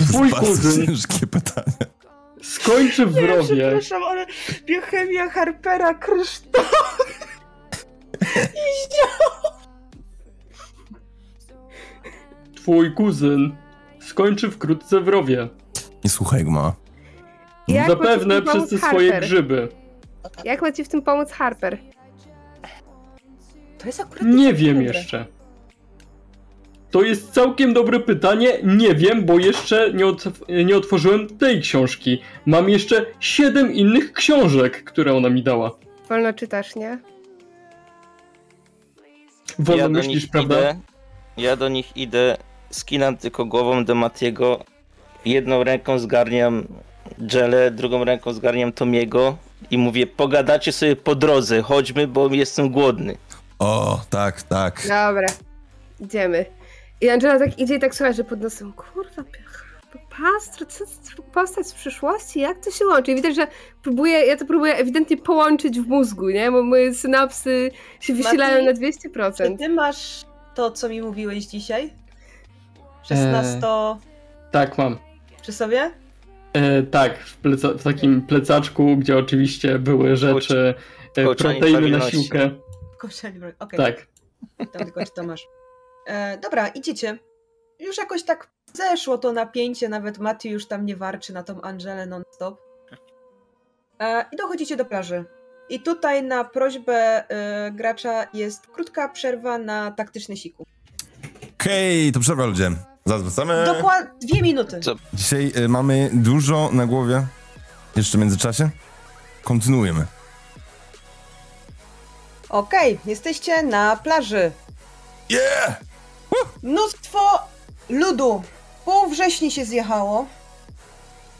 [SPEAKER 7] Twój
[SPEAKER 1] Bardzo
[SPEAKER 7] kuzyn
[SPEAKER 1] ciężkie pytanie.
[SPEAKER 7] skończy w rowie.
[SPEAKER 2] ale biochemia Harpera kryształ.
[SPEAKER 7] Twój kuzyn skończy wkrótce w rowie.
[SPEAKER 1] Nie słuchaj go, mała.
[SPEAKER 3] Jak ma ci w
[SPEAKER 7] Zapewne
[SPEAKER 3] tym pomóc
[SPEAKER 7] przez te
[SPEAKER 3] Harper? No
[SPEAKER 7] swoje grzyby.
[SPEAKER 3] Jak ma ci w tym pomóc Harper?
[SPEAKER 2] To jest akurat
[SPEAKER 7] Nie wiem
[SPEAKER 2] dobre.
[SPEAKER 7] jeszcze. To jest całkiem dobre pytanie. Nie wiem, bo jeszcze nie, otw- nie otworzyłem tej książki. Mam jeszcze siedem innych książek, które ona mi dała.
[SPEAKER 3] Wolno czytasz, nie?
[SPEAKER 7] Wolno
[SPEAKER 6] ja do
[SPEAKER 7] myślisz,
[SPEAKER 6] nich
[SPEAKER 7] prawda?
[SPEAKER 6] idę. Ja do nich idę. Skinam tylko głową do Matiego. Jedną ręką zgarniam Dżelę, drugą ręką zgarniam Tomiego i mówię, pogadacie sobie po drodze, chodźmy, bo jestem głodny.
[SPEAKER 1] O, tak, tak.
[SPEAKER 3] Dobra, idziemy. I Angela tak idzie i tak słucha, że pod nosem, kurwa, pia- pastro, co co- postać z przyszłości, jak to się łączy? I widać, że próbuję, ja to próbuję ewidentnie połączyć w mózgu, nie? Bo moje synapsy się wysilają na
[SPEAKER 2] Mati, Czy
[SPEAKER 3] 200%.
[SPEAKER 2] ty masz to, co mi mówiłeś dzisiaj? 16
[SPEAKER 7] Tak, mam.
[SPEAKER 2] przy sobie?
[SPEAKER 7] E, tak, w, pleca- w takim plecaczku, gdzie oczywiście były rzeczy, e,
[SPEAKER 6] kołczanie
[SPEAKER 7] proteiny na
[SPEAKER 6] nieprawidłowości.
[SPEAKER 7] siłkę.
[SPEAKER 2] Kurczę, nie- Okej.
[SPEAKER 7] Tak.
[SPEAKER 2] Tam tylko czy Tomasz. E, dobra, idziecie. Już jakoś tak zeszło to napięcie, nawet Mati już tam nie warczy na tą Angelę non-stop. E, I dochodzicie do plaży. I tutaj na prośbę e, gracza jest krótka przerwa na taktyczny siku.
[SPEAKER 1] Hej, to przerwa ludzie. Zaraz wracamy.
[SPEAKER 2] Dokładnie dwie minuty.
[SPEAKER 6] Co?
[SPEAKER 1] Dzisiaj y, mamy dużo na głowie. Jeszcze w międzyczasie? Kontynuujemy.
[SPEAKER 2] Okej, jesteście na plaży.
[SPEAKER 1] Yeah!
[SPEAKER 2] Mnóstwo ludu. Pół wrześni się zjechało.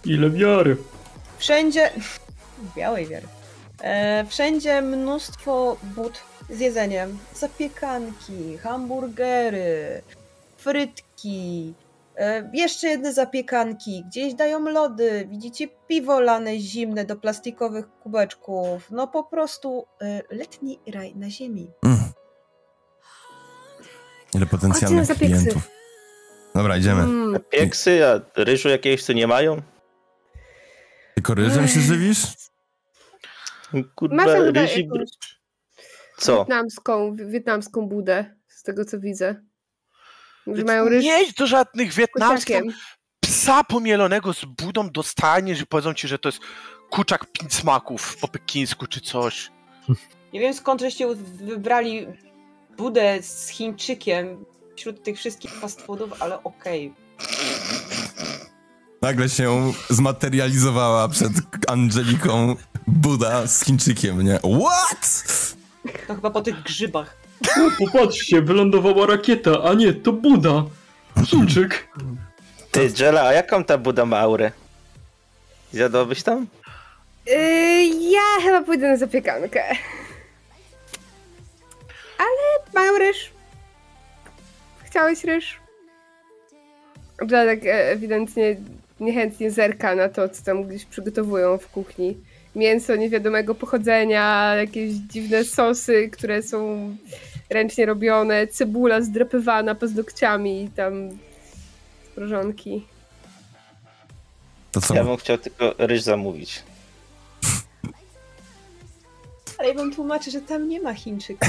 [SPEAKER 7] Ile wiary.
[SPEAKER 2] Wszędzie. Białej wiary. E, wszędzie mnóstwo bud z jedzeniem. Zapiekanki, hamburgery, frytki. E, jeszcze jedne zapiekanki. Gdzieś dają lody. Widzicie piwo lane zimne do plastikowych kubeczków. No po prostu e, letni raj na ziemi.
[SPEAKER 1] Mm. Ile potencjalnych
[SPEAKER 3] Chodźmy za pieksy.
[SPEAKER 1] klientów. Dobra, idziemy.
[SPEAKER 3] Mm,
[SPEAKER 6] Pieksy, a ryżu jakiegoś tu nie mają?
[SPEAKER 1] Tylko ryżem
[SPEAKER 3] Mm.
[SPEAKER 1] się żywisz?
[SPEAKER 3] Masz
[SPEAKER 6] Kurwa,
[SPEAKER 3] chyba
[SPEAKER 6] ryż i...
[SPEAKER 3] jakąś
[SPEAKER 6] Co?
[SPEAKER 3] wietnamską, wietnamską budę, z tego co widzę. Że mają ryż
[SPEAKER 8] Znaczy, Nie idź do żadnych
[SPEAKER 3] z
[SPEAKER 8] wietnamskich.
[SPEAKER 3] kociakiem.
[SPEAKER 8] Psa pomielonego z budą dostaniesz i powiedzą ci, że to jest kuczak pięć smaków po pekińsku czy coś.
[SPEAKER 2] Nie wiem skąd żeście wybrali budę z Chińczykiem wśród tych wszystkich fast foodów, ale okej.
[SPEAKER 1] Nagle się zmaterializowała przed Angeliką Buda z Chińczykiem, nie? What?
[SPEAKER 2] To chyba po tych grzybach.
[SPEAKER 7] O, No, popatrzcie, wylądowała rakieta, a nie, to Buda. Chińczyk.
[SPEAKER 6] Ty, Jela, a jaką ta buda ma aurę? Zjadłabyś tam?
[SPEAKER 3] Yy, ja chyba pójdę na zapiekankę. Ale mają ryż. Chciałeś ryż? Bladek e, ewidentnie niechętnie zerka na to, co tam gdzieś przygotowują w kuchni. Mięso niewiadomego pochodzenia, jakieś dziwne sosy, które są ręcznie robione, cebula zdrepywana paznokciami i tam mrożonki.
[SPEAKER 1] To
[SPEAKER 7] Tak.
[SPEAKER 1] co?
[SPEAKER 6] Ja bym chciał tylko ryż zamówić.
[SPEAKER 2] Ale ja wam tłumaczę, że tam nie ma Chińczyka.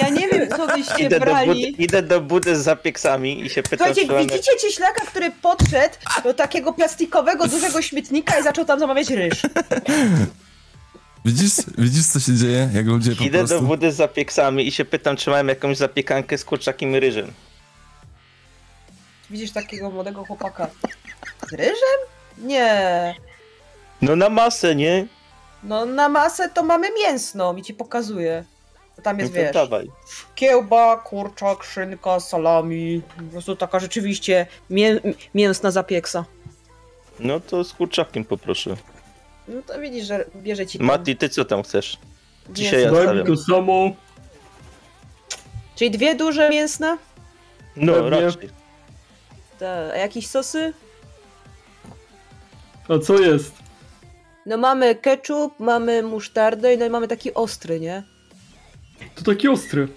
[SPEAKER 2] Ja nie wiem, co byście
[SPEAKER 6] Idę do, budy,
[SPEAKER 2] brali.
[SPEAKER 6] idę do budy z zapieksami i się pytam,
[SPEAKER 2] Słuchajcie,
[SPEAKER 6] czy
[SPEAKER 2] jak
[SPEAKER 6] mam
[SPEAKER 2] widzicie cieślaka, który podszedł do takiego plastikowego, dużego śmietnika i zaczął tam zamawiać ryż.
[SPEAKER 1] Widzisz, widzisz, co się dzieje, jak ludzie po
[SPEAKER 6] Idę do
[SPEAKER 1] prostu...
[SPEAKER 6] budy z zapieksami i się pytam, czy mam jakąś zapiekankę z kurczakiem i ryżem.
[SPEAKER 2] Widzisz takiego młodego chłopaka. Z ryżem? Nie.
[SPEAKER 6] No na masę, nie?
[SPEAKER 2] No na masę to mamy mięsną i ci pokazuję. To tam
[SPEAKER 6] No
[SPEAKER 2] jest,
[SPEAKER 6] to
[SPEAKER 2] wiesz,
[SPEAKER 6] dawaj.
[SPEAKER 2] kiełba, kurczak, szynka, salami. Po prostu taka rzeczywiście mię mięsna zapieksa.
[SPEAKER 6] No to z kurczakiem poproszę.
[SPEAKER 2] No to widzisz, że bierze ci. tam
[SPEAKER 6] Mati, ty co tam chcesz? dzisiaj
[SPEAKER 2] mięsne.
[SPEAKER 6] Ja
[SPEAKER 7] Daj mi
[SPEAKER 6] stawiam.
[SPEAKER 7] to samo.
[SPEAKER 2] Czyli dwie duże mięsne?
[SPEAKER 6] No
[SPEAKER 7] Pewnie.
[SPEAKER 6] raczej.
[SPEAKER 2] Te, a jakieś sosy?
[SPEAKER 7] A co jest?
[SPEAKER 2] No mamy ketchup, mamy musztardę i no i mamy taki ostry, nie?
[SPEAKER 7] To taki ostry.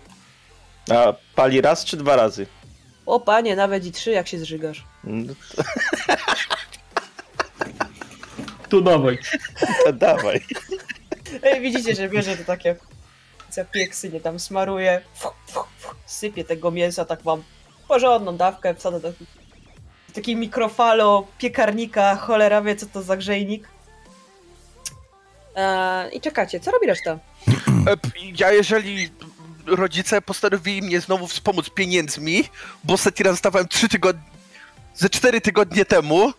[SPEAKER 6] A pali raz czy dwa razy?
[SPEAKER 2] O panie, nawet i trzy, jak się zżygasz.
[SPEAKER 6] No
[SPEAKER 7] To dawaj.
[SPEAKER 6] to dawaj.
[SPEAKER 2] Ej, widzicie, że bierze to takie zapieksy, nie tam smaruje. Fuch, fuch, fuch, sypie tego mięsa, tak mam porządną dawkę, wsadzę do do takiej mikrofalo piekarnika, cholera wie co to za grzejnik. Eee, I czekacie, co robi reszta?
[SPEAKER 8] E, p- Ja jeżeli rodzice postanowili mnie znowu wspomóc pieniędzmi, bo ostatni raz dostawałem trzy tygodnie, ze cztery tygodnie temu,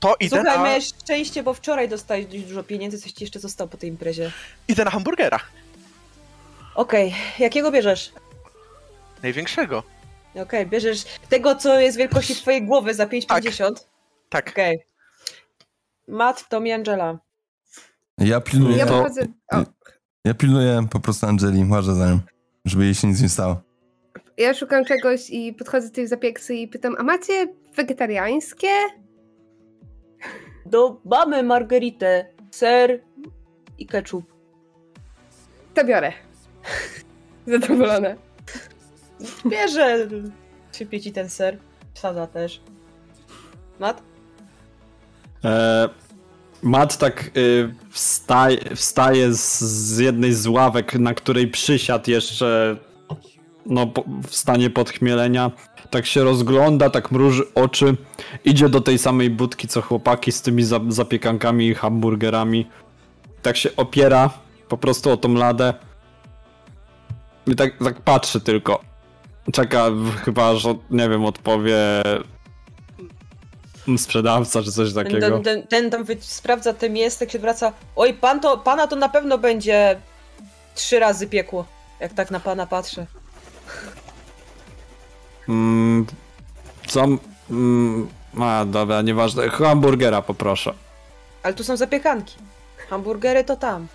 [SPEAKER 8] to idę,
[SPEAKER 2] Słuchaj,
[SPEAKER 8] na,
[SPEAKER 2] miałeś szczęście, bo wczoraj dostałeś dość dużo pieniędzy, coś ci jeszcze zostało po tej imprezie.
[SPEAKER 8] idę na hamburgera.
[SPEAKER 2] Okej, jakiego bierzesz?
[SPEAKER 8] Największego.
[SPEAKER 2] Okej, bierzesz tego, co jest wielkości twojej głowy za 5,50.
[SPEAKER 8] Tak.
[SPEAKER 2] Okej. Matt, Tom i Angela.
[SPEAKER 1] Ja
[SPEAKER 3] Ja
[SPEAKER 1] pilnuję,
[SPEAKER 3] podchodzę... O,
[SPEAKER 1] ja pilnuję po prostu Angeli, łażę za nią, żeby jej się nic nie stało.
[SPEAKER 3] Ja szukam czegoś i podchodzę do tej zapieksy i pytam, a macie wegetariańskie?
[SPEAKER 2] Do mamy margaritę, ser i ketchup.
[SPEAKER 3] To biorę. Zadowolone.
[SPEAKER 2] Bierze sypie ci ten ser, wsadza też. Matt?
[SPEAKER 4] E, Matt tak y, wstaje, wstaje z, z jednej z ławek, na której przysiadł jeszcze no, po, w stanie podchmielenia. Tak się rozgląda, tak mruży oczy. Idzie do tej samej budki co chłopaki z tymi za, zapiekankami i hamburgerami. Tak się opiera po prostu o tą ladę. I tak, tak patrzy tylko. Czeka w- chyba, że nie wiem, odpowie sprzedawca czy coś
[SPEAKER 2] Ten,
[SPEAKER 4] takiego.
[SPEAKER 2] ten, ten, ten tam wy- sprawdza te miejsce, jak się odwraca. Oj, pan to, pana to na pewno będzie trzy razy piekło. Jak tak na pana patrzę.
[SPEAKER 4] Mm, co? Mm, a, dobra, nieważne. Hamburgera poproszę.
[SPEAKER 2] Ale tu są zapiekanki. Hamburgery to tam.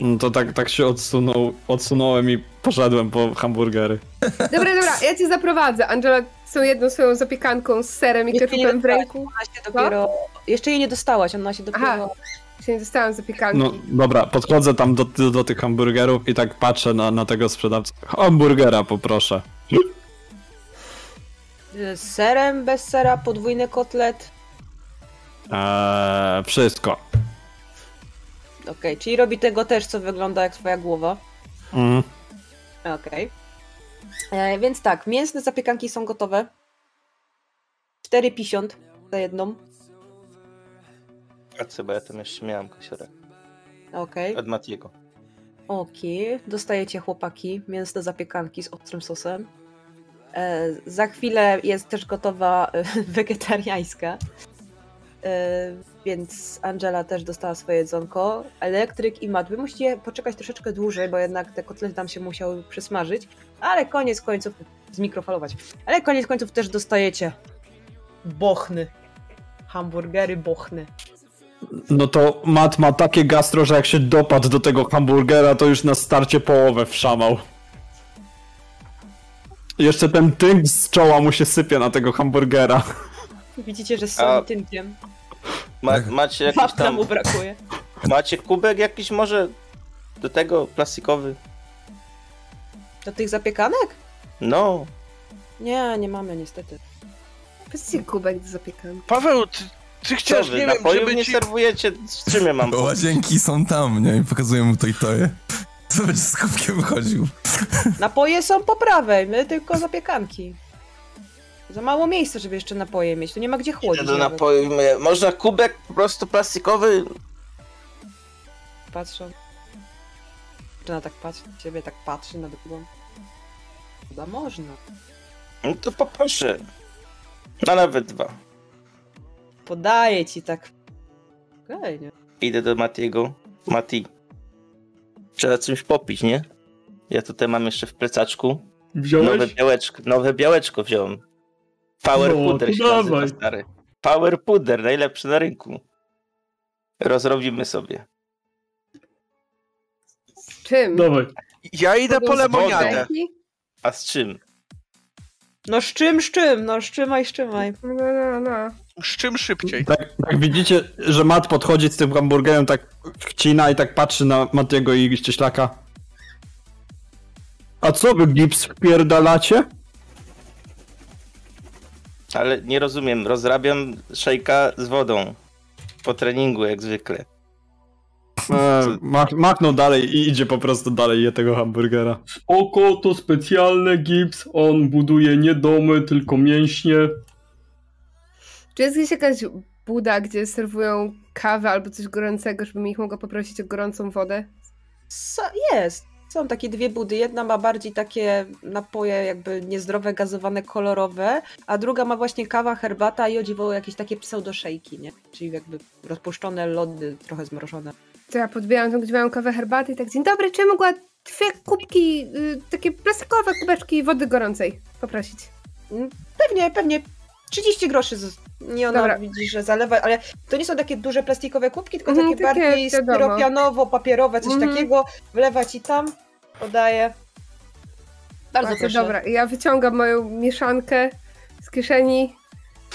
[SPEAKER 4] No to tak, tak się odsunął, odsunąłem i poszedłem po hamburgery.
[SPEAKER 3] Dobra, dobra, ja cię zaprowadzę. Angela z tą jedną swoją zapiekanką z serem i
[SPEAKER 2] Jeszcze nie
[SPEAKER 3] keczupem w
[SPEAKER 2] dostałaś,
[SPEAKER 3] ręku.
[SPEAKER 2] ona się dopiero. Jeszcze jej nie dostałaś, ona się dopiero.
[SPEAKER 3] Aha. Jeszcze nie dostałam zapiekanki.
[SPEAKER 4] No dobra, podchodzę tam do, do, do tych hamburgerów i tak patrzę na, na tego sprzedawcę. Hamburgera poproszę.
[SPEAKER 2] Z serem, bez sera, podwójny kotlet.
[SPEAKER 4] Eee, wszystko.
[SPEAKER 2] Okej, czyli robi tego też, co wygląda jak twoja głowa.
[SPEAKER 4] Mm.
[SPEAKER 2] Okej. E, Więc tak, mięsne zapiekanki są gotowe. 4,50 za jedną.
[SPEAKER 6] A co, bo ja tam jeszcze miałem kosiorek
[SPEAKER 2] Okej.
[SPEAKER 6] od Matiego.
[SPEAKER 2] Oki, dostajecie chłopaki mięsne zapiekanki z ostrym sosem. E, za chwilę jest też gotowa e, wegetariańska. E, więc Angela też dostała swoje jedzonko. Elektryk i mat. Wy musicie poczekać troszeczkę dłużej, bo jednak te kotlety tam się musiały przysmażyć. Ale koniec końców, zmikrofalować. Ale koniec końców też dostajecie bochny. Hamburgery bochny.
[SPEAKER 4] No to Matt ma takie gastro, że jak się dopadł do tego hamburgera, to już na starcie połowę wszamał. Jeszcze ten tynk z czoła mu się sypie na tego hamburgera.
[SPEAKER 2] Widzicie, że z
[SPEAKER 6] A-
[SPEAKER 2] samym tynkiem.
[SPEAKER 6] Ma,
[SPEAKER 1] Tak.
[SPEAKER 6] macie jakiś
[SPEAKER 2] Papla
[SPEAKER 6] tam...
[SPEAKER 2] mu brakuje.
[SPEAKER 6] Macie kubek jakiś może do tego plastikowy?
[SPEAKER 2] Do tych zapiekanek?
[SPEAKER 6] No,
[SPEAKER 2] Nie, nie mamy niestety.
[SPEAKER 3] Powiedzcie kubek do zapiekanki.
[SPEAKER 8] Paweł, ty, ty
[SPEAKER 6] co
[SPEAKER 8] chciałeś,
[SPEAKER 6] wy,
[SPEAKER 8] nie wiem,
[SPEAKER 6] napojów
[SPEAKER 8] żeby
[SPEAKER 6] nie
[SPEAKER 8] ci...
[SPEAKER 6] serwujecie? Z czym ja mam?
[SPEAKER 1] Bo łazienki są tam, nie? I pokazuję mu to i to je. Co będzie z kubkiem chodził?
[SPEAKER 2] Napoje są po prawej, my tylko zapiekanki. Za mało miejsca, żeby jeszcze napoje mieć. Tu nie ma gdzie chłodzić.
[SPEAKER 6] do
[SPEAKER 2] nawet.
[SPEAKER 6] no, napoju? Można kubek po prostu plastikowy?
[SPEAKER 2] Patrzą. Dziewczyna tak patrzy na ciebie, tak patrzy na drugą. Chyba można.
[SPEAKER 6] No to poproszę. A nawet dwa.
[SPEAKER 2] Podaje ci tak. Okej, nie.
[SPEAKER 6] Idę do Matiego. Mati. Trzeba czymś popić, nie? Ja tutaj mam jeszcze w plecaczku. Nowe
[SPEAKER 7] Wziąłeś?
[SPEAKER 6] białeczko, nowe białeczko wziąłem. Power
[SPEAKER 7] No,
[SPEAKER 6] Puder
[SPEAKER 7] to
[SPEAKER 6] się nazywa,
[SPEAKER 7] dawaj.
[SPEAKER 6] stary. Power Puder, najlepszy na rynku. Rozrobimy sobie.
[SPEAKER 3] Z czym?
[SPEAKER 7] Dawaj.
[SPEAKER 8] Ja idę po
[SPEAKER 3] Wodą z
[SPEAKER 8] lemoniadę.
[SPEAKER 3] zapiekanki?
[SPEAKER 6] A z czym?
[SPEAKER 2] No z czym, z czym? No z czymaj, z czymaj.
[SPEAKER 3] No, no, no.
[SPEAKER 8] Z czym szybciej?
[SPEAKER 4] Tak, tak widzicie, że Matt podchodzi z tym hamburgerem, tak wcina i tak patrzy na Matiego i Ścieślaka. A co wy gips wpierdalacie?
[SPEAKER 6] Ale nie rozumiem. Rozrabiam szejka z wodą. Po treningu, jak zwykle.
[SPEAKER 4] E, mach, machnął dalej i idzie po prostu dalej je tego hamburgera.
[SPEAKER 7] Oko to specjalny gips, on buduje nie domy, tylko mięśnie.
[SPEAKER 3] Czy jest gdzieś jakaś buda, gdzie serwują kawę albo coś gorącego, żebym ich mogła poprosić o gorącą wodę?
[SPEAKER 2] So, jest. Są takie dwie budy. Jedna ma bardziej takie napoje jakby niezdrowe, gazowane, kolorowe, a druga ma właśnie kawa, herbata i o dziwo jakieś takie pseudoszejki, nie? Czyli jakby rozpuszczone lody, trochę zmrożone.
[SPEAKER 3] To ja podbieram tam, gdzie mają kawę, herbaty i tak, dzień dobry, czy ja mogła dwie kubki, y, takie plastikowe kubeczki wody gorącej poprosić?
[SPEAKER 2] Pewnie, pewnie 30 groszy. Z... Nie ona
[SPEAKER 3] Dobra.
[SPEAKER 2] widzi, że zalewa, ale to nie są takie duże plastikowe kubki, tylko
[SPEAKER 3] Mhm,
[SPEAKER 2] takie,
[SPEAKER 3] takie,
[SPEAKER 2] bardziej
[SPEAKER 3] wiadomo.
[SPEAKER 2] styropianowo-papierowe, coś
[SPEAKER 3] Mhm.
[SPEAKER 2] takiego. Wlewa ci tam, podaje. Bardzo
[SPEAKER 3] Bardzo
[SPEAKER 2] proszę.
[SPEAKER 3] dobra. I Ja wyciągam moją mieszankę z kieszeni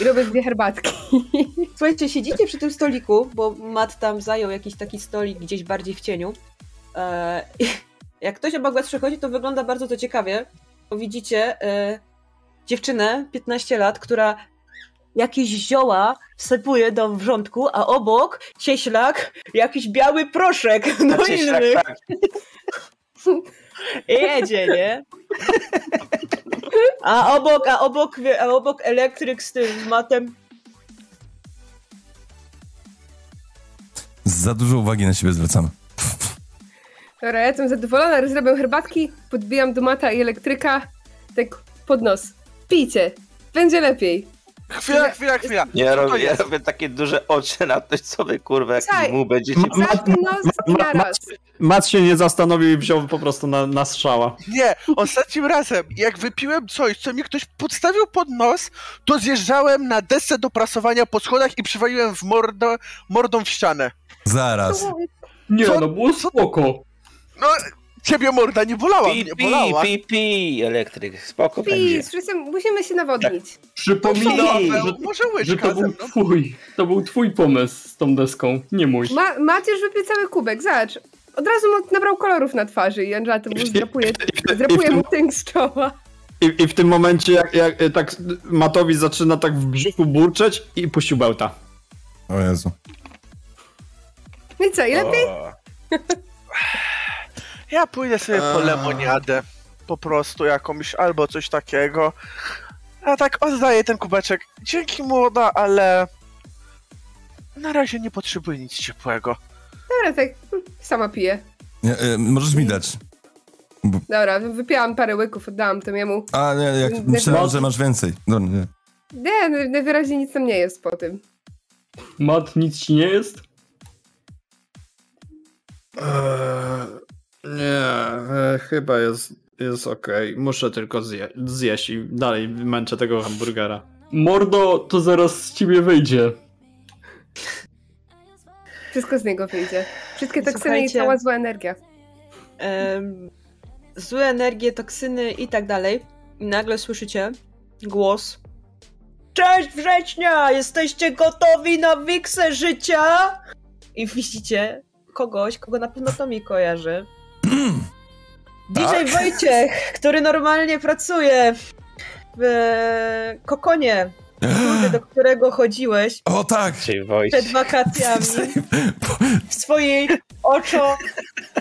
[SPEAKER 3] i robię dwie herbatki.
[SPEAKER 2] Słuchajcie, siedzicie przy tym stoliku, bo Matt tam zajął jakiś taki stolik gdzieś bardziej w cieniu. E, i jak ktoś obok was przychodzi, to wygląda bardzo to ciekawie, bo widzicie e, dziewczynę, 15 lat, która jakieś zioła wsypuje do wrzątku, a obok cieślak jakiś biały proszek
[SPEAKER 7] No
[SPEAKER 2] do
[SPEAKER 6] Znaczy, tak,
[SPEAKER 2] innych.
[SPEAKER 6] tak.
[SPEAKER 2] I jedzie, nie? A obok, a obok, wie- a obok elektryk z tym z matem.
[SPEAKER 1] Za dużo uwagi na siebie zwracamy.
[SPEAKER 3] Dobra, ja jestem zadowolona, rozrabiam herbatki, podbijam do mata i elektryka, tak pod nos. Pijcie, będzie lepiej.
[SPEAKER 8] Chwila, chwila, chwila.
[SPEAKER 6] Ja
[SPEAKER 8] Co to
[SPEAKER 6] robię, ja
[SPEAKER 8] jest?
[SPEAKER 6] robię takie duże oczy na to, co wy kurwa,
[SPEAKER 3] Słuchaj.
[SPEAKER 6] jak mu będziecie...
[SPEAKER 7] No,
[SPEAKER 4] Ma-
[SPEAKER 3] Zamknij nos i
[SPEAKER 4] ma- ma-
[SPEAKER 3] naraz.
[SPEAKER 4] Mac się nie zastanowił i wziął po prostu na, na strzała.
[SPEAKER 8] Nie, ostatnim razem, jak wypiłem coś, co mi ktoś podstawił pod nos, to zjeżdżałem na desce do prasowania po schodach i przywaliłem w mordę, mordą w ścianę.
[SPEAKER 1] Zaraz.
[SPEAKER 7] Nie,
[SPEAKER 8] Co-
[SPEAKER 7] no było
[SPEAKER 8] co-
[SPEAKER 7] spoko.
[SPEAKER 8] No, ciebie morda nie bolała,
[SPEAKER 6] Pi,
[SPEAKER 8] mnie
[SPEAKER 6] pi,
[SPEAKER 8] bolała.
[SPEAKER 6] pi, pi, elektryk, spoko będzie.
[SPEAKER 3] Pis, wszyscy musimy się nawodnić.
[SPEAKER 7] Przypominam,
[SPEAKER 6] Pi.
[SPEAKER 7] że,
[SPEAKER 8] No, może
[SPEAKER 7] że
[SPEAKER 8] łyżka
[SPEAKER 7] to
[SPEAKER 8] ze
[SPEAKER 7] był
[SPEAKER 8] mną.
[SPEAKER 7] twój, to był twój pomysł z tą deską, nie mój.
[SPEAKER 3] Ma, Macie już wypił cały kubek, zobacz. Od razu mu nabrał kolorów na twarzy i Angela to mu zdrapuje, zdrapuje mu tynk z czoła.
[SPEAKER 4] I, I w tym momencie, jak, jak e, tak Matowi zaczyna tak w brzuchu burczeć i puścił bełta.
[SPEAKER 1] O Jezu.
[SPEAKER 3] No i co, i lepiej?
[SPEAKER 8] Ja pójdę sobie po lemoniadę. Po prostu jakąś albo coś takiego. A tak oddaję ten kubeczek. Dzięki młoda, ale. Na razie nie potrzebuję nic ciepłego.
[SPEAKER 3] Dobra, tak, hm, sama piję.
[SPEAKER 1] Nie, e, możesz mi dać.
[SPEAKER 3] Dobra, wypiłam parę łyków, oddałam to jemu.
[SPEAKER 1] A nie, jak myślałem, że masz więcej. No, nie.
[SPEAKER 3] Nie, no, najwyraźniej nic tam nie jest po tym.
[SPEAKER 7] Mat, nic ci nie jest?
[SPEAKER 4] Eee, nie, eee, chyba jest, jest okej. Muszę tylko zjeść i dalej męczę tego hamburgera.
[SPEAKER 7] Mordo, to zaraz z ciebie wyjdzie.
[SPEAKER 3] Wszystko z niego wyjdzie. Wszystkie toksyny i
[SPEAKER 2] Słuchajcie.
[SPEAKER 3] cała zła energia.
[SPEAKER 2] em, złe energie, toksyny i tak dalej. I nagle słyszycie głos. Cześć września! Jesteście gotowi na wiksę życia? I widzicie kogoś, kogo na pewno Tomi kojarzy. DJ Wojciech, który normalnie pracuje w e, kokonie, kurde, do którego chodziłeś
[SPEAKER 1] O tak!
[SPEAKER 6] Czyli Wojciech.
[SPEAKER 2] przed wakacjami w swojej oczo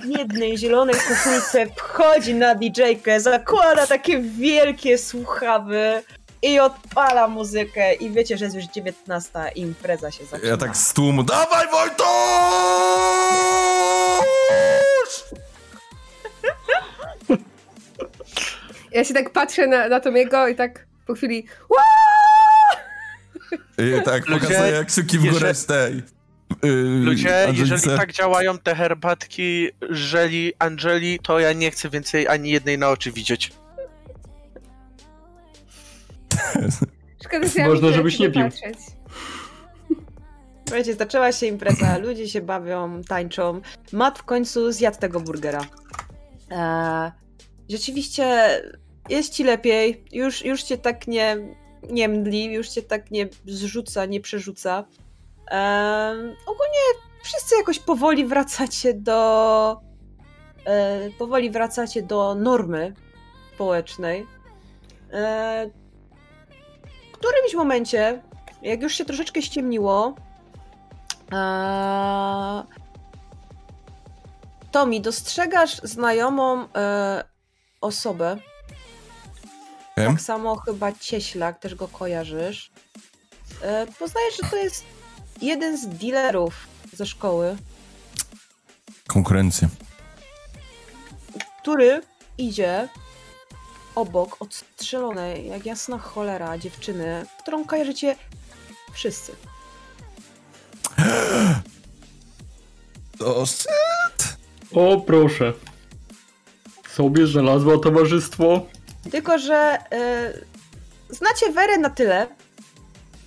[SPEAKER 2] jednej zielonej koszulce wchodzi na DJ-kę, zakłada takie wielkie słuchawy i odpala muzykę i wiecie, że jest już 19 i impreza się zaczyna.
[SPEAKER 1] Ja tak z tłumu. Dawaj, Wojtusz!
[SPEAKER 3] Ja się tak patrzę na, na Tomiego i tak po chwili "Ła!"
[SPEAKER 1] I tak
[SPEAKER 8] Ludzie,
[SPEAKER 1] pokazuję kciuki w górę
[SPEAKER 8] jeżeli-
[SPEAKER 1] z tej. Yy,
[SPEAKER 8] Ludzie, jeżeli
[SPEAKER 1] Angelice.
[SPEAKER 8] tak działają te herbatki żeli Angeli, to ja nie chcę więcej ani jednej na oczy widzieć.
[SPEAKER 3] Szkoda, że ja
[SPEAKER 7] Można,
[SPEAKER 3] muszę
[SPEAKER 7] żebyś nie pił.
[SPEAKER 3] patrzeć.
[SPEAKER 2] Słuchajcie, zaczęła się impreza, ludzie się bawią, tańczą. Matt w końcu zjadł tego burgera. Eee, rzeczywiście jest ci lepiej, już, już cię tak nie, nie mdli, już cię tak nie zrzuca, nie przerzuca. Eee, ogólnie wszyscy jakoś powoli wracacie do... E, powoli wracacie do normy społecznej. E, w którymś momencie, jak już się troszeczkę ściemniło, Eee, Tomi, dostrzegasz znajomą e, osobę.
[SPEAKER 1] Wiem.
[SPEAKER 2] Tak samo chyba Cieślak, też go kojarzysz. E, poznajesz, że to jest jeden z dealerów ze szkoły,
[SPEAKER 1] Konkurencja.
[SPEAKER 2] który idzie obok odstrzelonej, jak jasna cholera, dziewczyny, którą kojarzycie wszyscy.
[SPEAKER 1] O,
[SPEAKER 7] O, proszę. Sobie znalazła towarzystwo.
[SPEAKER 2] Tylko, że y, znacie Werę na tyle,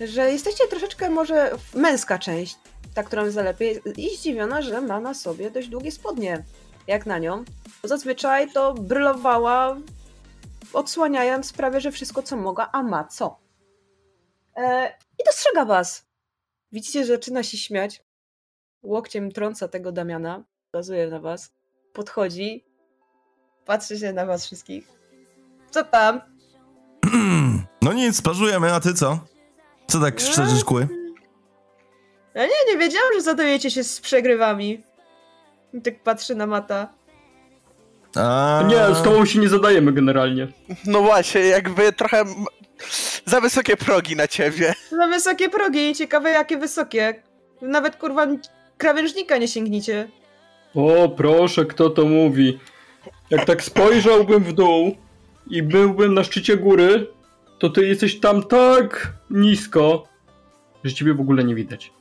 [SPEAKER 2] że jesteście troszeczkę może w- męska część, ta, którą jest lepiej, i zdziwiona, że ma na sobie dość długie spodnie, jak na nią. Bo zazwyczaj to brylowała, odsłaniając prawie, że wszystko, co mogła, a ma co. E, I dostrzega was. Widzicie, że zaczyna się śmiać. Łokciem trąca tego Damiana, bazuje na was, podchodzi, patrzy się na was wszystkich. Co tam?
[SPEAKER 1] No nic, parzujemy, a ty co? Co tak szczerze szkły?
[SPEAKER 2] A No nie, nie wiedziałam, że zadajecie się z przegrywami. I Tak patrzy na Mata.
[SPEAKER 1] A...
[SPEAKER 7] Nie, z tobą się nie zadajemy generalnie.
[SPEAKER 8] No właśnie, jakby trochę m- za wysokie progi na ciebie.
[SPEAKER 2] Na wysokie progi, ciekawe jakie wysokie. Nawet kurwa krawężnika nie sięgniecie.
[SPEAKER 7] O, proszę, kto to mówi? Jak tak spojrzałbym w dół i byłbym na szczycie góry, to ty jesteś tam tak nisko, że ciebie w ogóle nie widać.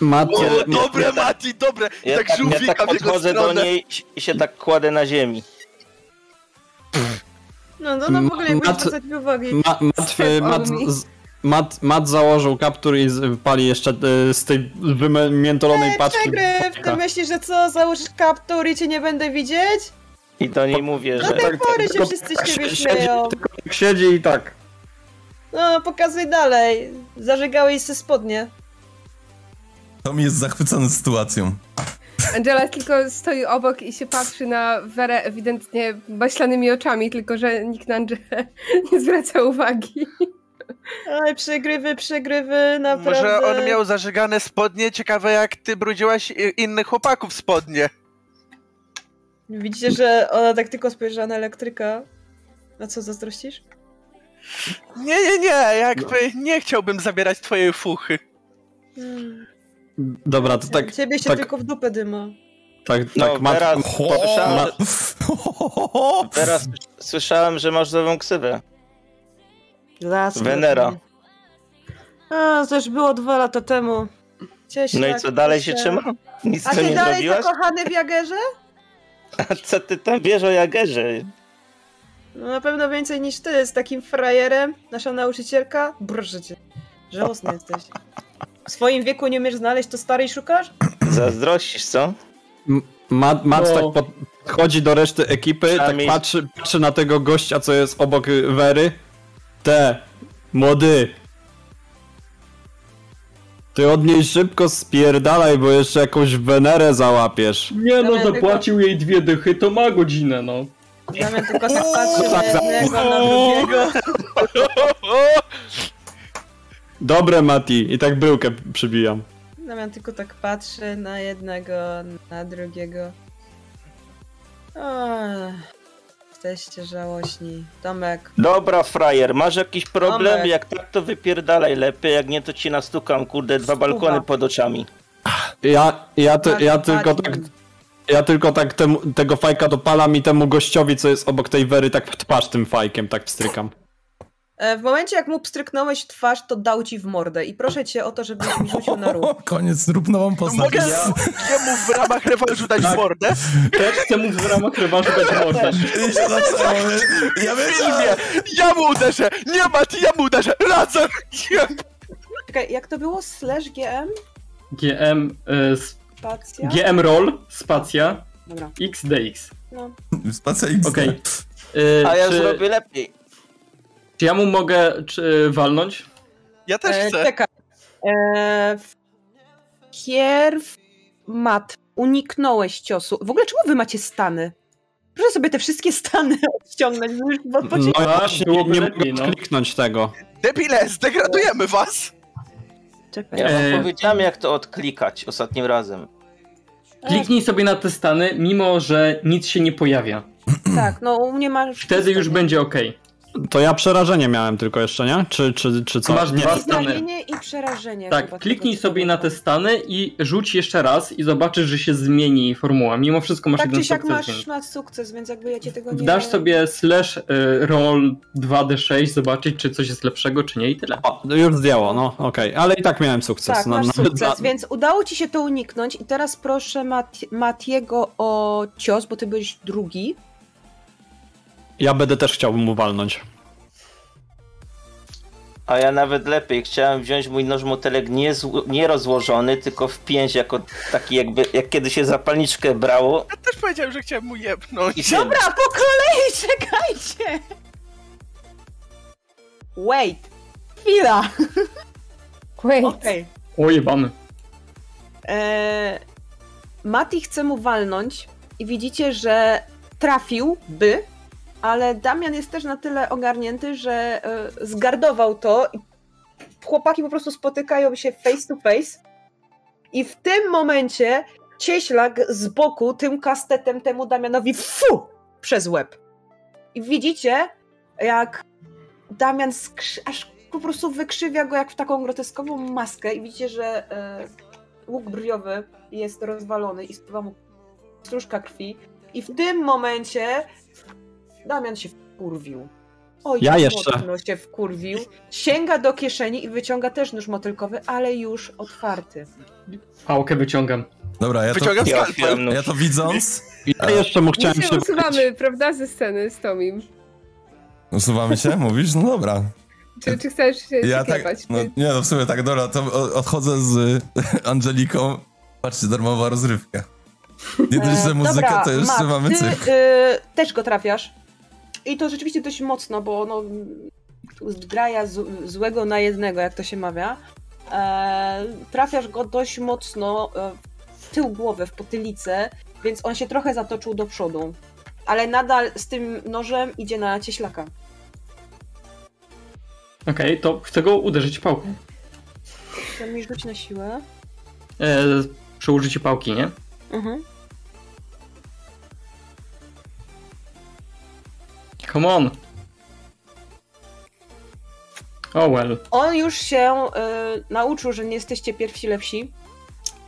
[SPEAKER 4] Mat,
[SPEAKER 8] O,
[SPEAKER 6] Ja-
[SPEAKER 8] dobre,
[SPEAKER 6] ja tak-
[SPEAKER 8] Mati, dobre!
[SPEAKER 6] Ja
[SPEAKER 8] tak
[SPEAKER 6] tak, ja
[SPEAKER 8] żółwika
[SPEAKER 6] tak
[SPEAKER 8] w jego
[SPEAKER 6] podchodzę do
[SPEAKER 8] stronę.
[SPEAKER 6] niej i się tak kładę na ziemi.
[SPEAKER 2] No, no, no w ogóle jakbyś
[SPEAKER 4] Mat-
[SPEAKER 2] zwracać uwagi.
[SPEAKER 4] Ma, mat,
[SPEAKER 3] Step
[SPEAKER 4] mat,
[SPEAKER 3] on me.
[SPEAKER 4] z, mat, mat założył kaptur i z, pali jeszcze e, z tej wymiętolonej paczki.
[SPEAKER 2] Przegryw, ty myślisz, że co, założysz kaptur i cię nie będę widzieć?
[SPEAKER 6] I do niej mówię,
[SPEAKER 2] Do
[SPEAKER 6] że
[SPEAKER 2] tej pory się
[SPEAKER 4] tylko-
[SPEAKER 2] wszyscy z
[SPEAKER 4] tak,
[SPEAKER 2] ciebie
[SPEAKER 4] siedzi-
[SPEAKER 2] śmieją.
[SPEAKER 4] Tak siedzi i tak.
[SPEAKER 2] No, pokazuj dalej. Zażygałeś se spodnie.
[SPEAKER 1] Tom jest zachwycony sytuacją.
[SPEAKER 3] Angela tylko stoi obok i się patrzy na Werę ewidentnie baślanymi oczami, tylko że nikt na Angelę nie zwraca uwagi.
[SPEAKER 2] Oj, przegrywy, przegrywy, naprawdę.
[SPEAKER 8] Może on miał zażygane spodnie, ciekawe jak ty brudziłaś i- innych chłopaków w spodnie.
[SPEAKER 2] Widzicie, że ona tak tylko spojrzała na elektryka. A co, zazdrościsz?
[SPEAKER 8] Nie, nie, nie, jakby nie chciałbym zabierać twojej fuchy.
[SPEAKER 2] Hmm.
[SPEAKER 4] Dobra, to tak,
[SPEAKER 2] Ciebie się
[SPEAKER 4] tak.
[SPEAKER 2] tylko w dupę dyma.
[SPEAKER 4] tak,
[SPEAKER 6] No,
[SPEAKER 4] tak mat,
[SPEAKER 6] teraz-
[SPEAKER 1] Ho,
[SPEAKER 6] Słyszałem, że-
[SPEAKER 1] ho,
[SPEAKER 6] teraz słyszałem, że masz nową ksywę.
[SPEAKER 2] Las.
[SPEAKER 6] Wenera.
[SPEAKER 2] Tak, A, to już było dwa lata temu. Cieś,
[SPEAKER 6] No i
[SPEAKER 2] tak,
[SPEAKER 6] co, dalej się
[SPEAKER 2] cieś.
[SPEAKER 6] trzyma? Nic
[SPEAKER 2] A
[SPEAKER 6] tu
[SPEAKER 2] ty
[SPEAKER 6] nie
[SPEAKER 2] dalej
[SPEAKER 6] zrobiłaś?
[SPEAKER 2] zakochany w Jagerze?
[SPEAKER 6] A co ty tam wiesz o Jagerze?
[SPEAKER 2] No na pewno więcej niż ty, z takim frajerem, nasza nauczycielka. Brrrze cię. Żałosny jesteś. W swoim wieku nie umiesz znaleźć, to starej szukasz?
[SPEAKER 6] Zazdrościsz, co?
[SPEAKER 4] mat, mat
[SPEAKER 7] No.
[SPEAKER 4] tak podchodzi do reszty ekipy, tak
[SPEAKER 6] Przynajmniej-
[SPEAKER 4] patrzy, patrzy na tego gościa, co jest obok y, Wery. Te, młody. Ty od niej szybko spierdalaj, bo jeszcze jakąś Wenerę załapiesz.
[SPEAKER 7] Nie no,
[SPEAKER 2] Damian, tylko-
[SPEAKER 7] zapłacił jej dwie dychy, to ma godzinę, no.
[SPEAKER 2] Damian tylko zapatrzył
[SPEAKER 4] Tak, tak.
[SPEAKER 2] na jednego, na drugiego.
[SPEAKER 4] Dobre, Mati. I tak bryłkę przybijam.
[SPEAKER 2] Damian tylko tak patrzy na jednego, na drugiego. Ach, Jesteście żałośni. Tomek.
[SPEAKER 6] Dobra, frajer, masz jakiś problem?
[SPEAKER 2] Tomek.
[SPEAKER 6] Jak tak, to wypierdalaj lepiej, jak nie, to ci nastukam, kurde, dwa
[SPEAKER 2] Stuba.
[SPEAKER 6] balkony pod oczami.
[SPEAKER 4] Ja, ja, ty, ja
[SPEAKER 2] Patrz,
[SPEAKER 4] tylko
[SPEAKER 2] patrz.
[SPEAKER 4] tak... Ja tylko tak temu, tego fajka dopalam i temu gościowi, co jest obok tej Wery, tak w twarz tym fajkiem, tak wstrykam.
[SPEAKER 2] E, W momencie, jak mu pstryknąłeś w twarz, to dał ci w mordę. I proszę cię o to, żebyś mi rzucił na ruch.
[SPEAKER 1] Koniec, rób nową
[SPEAKER 8] To
[SPEAKER 1] postać.
[SPEAKER 8] mogę jemu w ramach rewolżu dać
[SPEAKER 7] Tak.
[SPEAKER 8] mordę?
[SPEAKER 7] Też chcę mu w ramach rewanżu dać mordę.
[SPEAKER 1] I się zaczęło. nie? Ja
[SPEAKER 8] Filmie!
[SPEAKER 1] wiedziałem.
[SPEAKER 8] Ja mu uderzę! Nie, Mati, ja mu uderzę! Razem! Nie.
[SPEAKER 2] Czekaj, jak to było? Slash GM?
[SPEAKER 7] GM, e, s-
[SPEAKER 2] Spacja?
[SPEAKER 7] GM roll, spacja,
[SPEAKER 2] Dobra.
[SPEAKER 7] XDX.
[SPEAKER 2] No.
[SPEAKER 1] Spacja X.
[SPEAKER 7] Okej.
[SPEAKER 6] A
[SPEAKER 7] E,
[SPEAKER 6] ja
[SPEAKER 7] czy,
[SPEAKER 6] zrobię lepiej.
[SPEAKER 7] czy ja mu mogę czy, y, walnąć?
[SPEAKER 8] Ja też
[SPEAKER 2] E,
[SPEAKER 8] chcę.
[SPEAKER 2] czekaj. E, w- pierw mat. Uniknąłeś ciosu. W ogóle czemu wy macie stany? Proszę sobie te wszystkie stany odciągnąć, bo już bo, bo
[SPEAKER 7] Mhm.
[SPEAKER 4] No
[SPEAKER 2] ci...
[SPEAKER 4] właśnie, nie,
[SPEAKER 7] byłoby
[SPEAKER 4] nie
[SPEAKER 7] lepiej,
[SPEAKER 4] mogę
[SPEAKER 7] no.
[SPEAKER 4] kliknąć tego.
[SPEAKER 8] Debile, zdegradujemy was!
[SPEAKER 2] Czekaj.
[SPEAKER 6] Ja wam
[SPEAKER 7] E.
[SPEAKER 6] powiedziałem, jak to odklikać ostatnim razem.
[SPEAKER 2] E.
[SPEAKER 7] Kliknij sobie na te stany, mimo że nic się nie pojawia.
[SPEAKER 2] Tak, no u mnie masz...
[SPEAKER 7] Wtedy już będzie ok.
[SPEAKER 4] To ja przerażenie miałem tylko jeszcze, nie? Czy, czy, czy co?
[SPEAKER 7] Masz
[SPEAKER 4] nie.
[SPEAKER 7] dwa stany.
[SPEAKER 2] Znamienie i przerażenie. chyba
[SPEAKER 7] Tak,
[SPEAKER 2] tego
[SPEAKER 7] kliknij
[SPEAKER 2] typu.
[SPEAKER 7] sobie na te stany i rzuć jeszcze raz i zobaczysz, że się zmieni formuła. Mimo wszystko masz
[SPEAKER 2] Tak
[SPEAKER 7] jeden
[SPEAKER 2] czy siak
[SPEAKER 7] sukces.
[SPEAKER 2] masz
[SPEAKER 7] więc-
[SPEAKER 2] na sukces, więc jakby ja cię tego nie...
[SPEAKER 7] Dasz sobie slash y, roll 2d6, zobaczyć czy coś jest lepszego, czy nie i tyle.
[SPEAKER 4] O, już zdjęło, no okej. Ale i tak miałem sukces.
[SPEAKER 2] Tak,
[SPEAKER 4] no,
[SPEAKER 2] masz
[SPEAKER 4] nawet
[SPEAKER 2] sukces,
[SPEAKER 4] dla-
[SPEAKER 2] więc udało ci się to uniknąć i teraz proszę Mat- Matiego o cios, bo ty byłeś drugi.
[SPEAKER 4] Ja będę też chciał mu walnąć.
[SPEAKER 6] A ja nawet lepiej, chciałem wziąć mój noż motelek nie, zł- nie rozłożony, tylko w pięć, jako taki jakby, jak kiedy się zapalniczkę brało.
[SPEAKER 8] Ja też powiedziałem, że chciałem mu
[SPEAKER 6] I
[SPEAKER 8] jebnąć.
[SPEAKER 6] się
[SPEAKER 2] Dobra, po kolei czekajcie! Wait. Chwila.
[SPEAKER 3] Wait.
[SPEAKER 2] Okej.
[SPEAKER 7] O jebany.
[SPEAKER 2] Eee, Mati chce mu walnąć i widzicie, że trafiłby, ale Damian jest też na tyle ogarnięty, że e, zgardował to i chłopaki po prostu spotykają się face to face i w tym momencie cieślak z boku tym kastetem temu Damianowi fu przez łeb. I widzicie, jak Damian skrzy- aż po prostu wykrzywia go jak w taką groteskową maskę i widzicie, że e, łuk brwiowy jest rozwalony i spływa mu stróżka krwi. I w tym momencie Damian się wkurwił. Oj,
[SPEAKER 4] Ja jeszcze.
[SPEAKER 2] mocno się wkurwił. Sięga do kieszeni i wyciąga też nóż motylkowy, ale już otwarty.
[SPEAKER 7] Pałkę wyciągam.
[SPEAKER 1] Dobra, ja to,
[SPEAKER 8] Wyciągam
[SPEAKER 6] Ja
[SPEAKER 8] skalpel.
[SPEAKER 6] otwieram nóż.
[SPEAKER 1] ja to widząc,
[SPEAKER 4] Ja jeszcze mu chciałem
[SPEAKER 3] My się
[SPEAKER 4] się...
[SPEAKER 3] usuwamy, prawda, ze sceny z Tomim?
[SPEAKER 1] usuwamy się, mówisz? No dobra.
[SPEAKER 3] Czy, czy chcesz się
[SPEAKER 1] Ja
[SPEAKER 3] ja
[SPEAKER 1] tak, no, nie no w sumie tak, dobra, to o- odchodzę z y, Angeliką. Patrzcie, darmowa rozrywka. Nie
[SPEAKER 2] E,
[SPEAKER 1] dość, że muzyka,
[SPEAKER 2] dobra,
[SPEAKER 1] to jeszcze
[SPEAKER 2] Mat,
[SPEAKER 1] mamy
[SPEAKER 2] ty,
[SPEAKER 1] cykl.
[SPEAKER 2] y, też go trafiasz. I to rzeczywiście dość mocno, bo no, zgraja z, złego na jednego, jak to się mawia. E, trafiasz go dość mocno e, w tył głowy, w potylicę, więc on się trochę zatoczył do przodu. Ale nadal z tym nożem idzie na cieślaka.
[SPEAKER 7] Okej, to chcę go uderzyć pałką.
[SPEAKER 2] Chcę mi rzuć na siłę.
[SPEAKER 7] E, przy użyciu pałki, nie?
[SPEAKER 2] Mhm.
[SPEAKER 7] Come on! Oh well.
[SPEAKER 2] On już się y, nauczył, że nie jesteście pierwsi lepsi.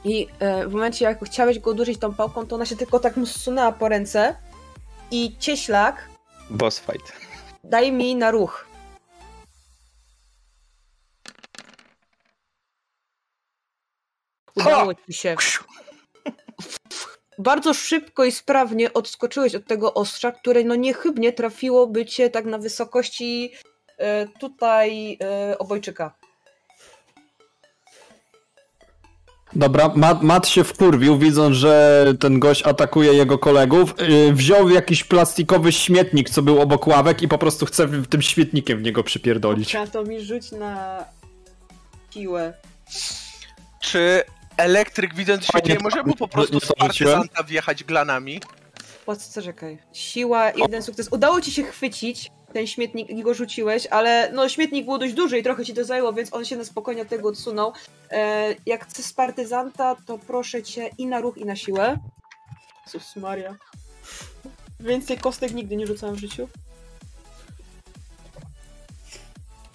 [SPEAKER 2] I y, w momencie, jak chciałeś go uderzyć tą pałką, to ona się tylko tak mu zsunęła po ręce. I cieślak
[SPEAKER 6] Boss fight.
[SPEAKER 2] daj mi na ruch. Udało ci się. Bardzo szybko i sprawnie odskoczyłeś od tego ostrza, które no niechybnie trafiłoby cię tak na wysokości e, tutaj e, obojczyka.
[SPEAKER 4] Dobra, Matt, Matt się wkurwił, widząc, że ten gość atakuje jego kolegów. Yy, wziął jakiś plastikowy śmietnik, co był obok ławek i po prostu chce w- tym śmietnikiem w niego przypierdolić.
[SPEAKER 2] Trzeba to mi rzuć na siłę.
[SPEAKER 8] Czy elektryk, widząc, co się
[SPEAKER 4] Fajnie,
[SPEAKER 8] dzieje,
[SPEAKER 4] to-
[SPEAKER 8] może mu po
[SPEAKER 4] nie
[SPEAKER 8] prostu
[SPEAKER 4] to
[SPEAKER 8] z
[SPEAKER 4] wrzuciłem.
[SPEAKER 8] partyzanta wjechać glanami?
[SPEAKER 2] Płacę, czekaj. Siła, jeden sukces. Udało ci się chwycić ten śmietnik i go rzuciłeś, ale no śmietnik był dość duży i trochę ci to zajęło, więc on się na spokojnie od tego odsunął. E, jak chcesz z partyzanta, to proszę cię i na ruch, i na siłę. Jezus Maria. Więcej kostek nigdy nie rzucałam w życiu.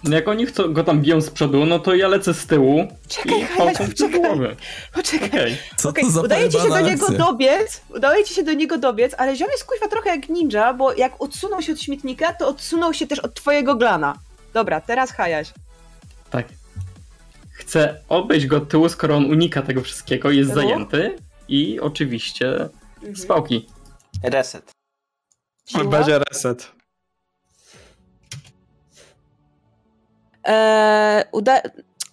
[SPEAKER 7] No jak oni chcą, go tam biją z przodu, no to ja lecę z tyłu
[SPEAKER 2] Czekaj,
[SPEAKER 7] i pałką
[SPEAKER 2] Hania,
[SPEAKER 7] w tył
[SPEAKER 2] czekaj,
[SPEAKER 7] głowy.
[SPEAKER 2] poczekaj.
[SPEAKER 7] Okej.
[SPEAKER 1] Co
[SPEAKER 2] Okej,
[SPEAKER 1] to za
[SPEAKER 2] udaje ci się do
[SPEAKER 1] pojebana
[SPEAKER 2] niego
[SPEAKER 1] akcja?
[SPEAKER 2] dobiec, udaje ci się do niego dobiec, ale ziom jest kuźwa trochę jak ninja, bo jak odsunął się od śmietnika, to odsunął się też od twojego glana. Dobra, teraz hajaś.
[SPEAKER 7] Tak. Chcę obejść go od tyłu, skoro on unika tego wszystkiego, jest
[SPEAKER 2] Tyłu?
[SPEAKER 7] zajęty i oczywiście
[SPEAKER 2] Mhm.
[SPEAKER 7] z pałki.
[SPEAKER 6] Reset.
[SPEAKER 2] Siła?
[SPEAKER 4] Będzie reset.
[SPEAKER 2] Eee, uda...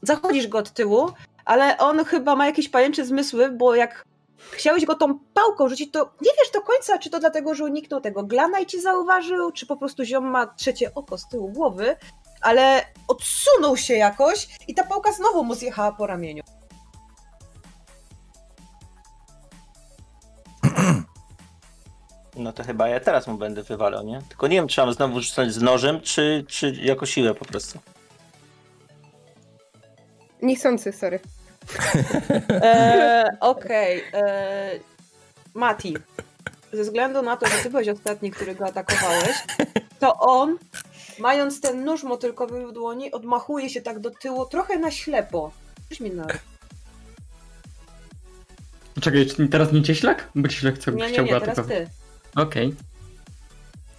[SPEAKER 2] Zachodzisz go od tyłu, ale on chyba ma jakieś pajęcze zmysły, bo jak chciałeś go tą pałką rzucić, to nie wiesz do końca, czy to dlatego, że uniknął tego glana i cię zauważył, czy po prostu ziom ma trzecie oko z tyłu głowy, ale odsunął się jakoś i ta pałka znowu mu zjechała po ramieniu.
[SPEAKER 6] No to chyba ja teraz mu będę wywalał, nie? Tylko nie wiem, czy mam znowu rzucać z nożem, czy, czy jako siłę po prostu.
[SPEAKER 3] Niechcący, sorry.
[SPEAKER 2] Eee, Okej. eee, Mati, ze względu na to, że ty byłeś ostatni, który go atakowałeś, to on, mając ten nóż motylkowy w dłoni, odmachuje się tak do tyłu, trochę na ślepo. Rzuć mi na...
[SPEAKER 7] Czekaj, czy teraz nie cieślak? Bo cieślak chciał,
[SPEAKER 2] Nie, nie,
[SPEAKER 7] chciał
[SPEAKER 2] nie,
[SPEAKER 7] go
[SPEAKER 2] teraz
[SPEAKER 7] atakować.
[SPEAKER 2] ty.
[SPEAKER 7] Okej.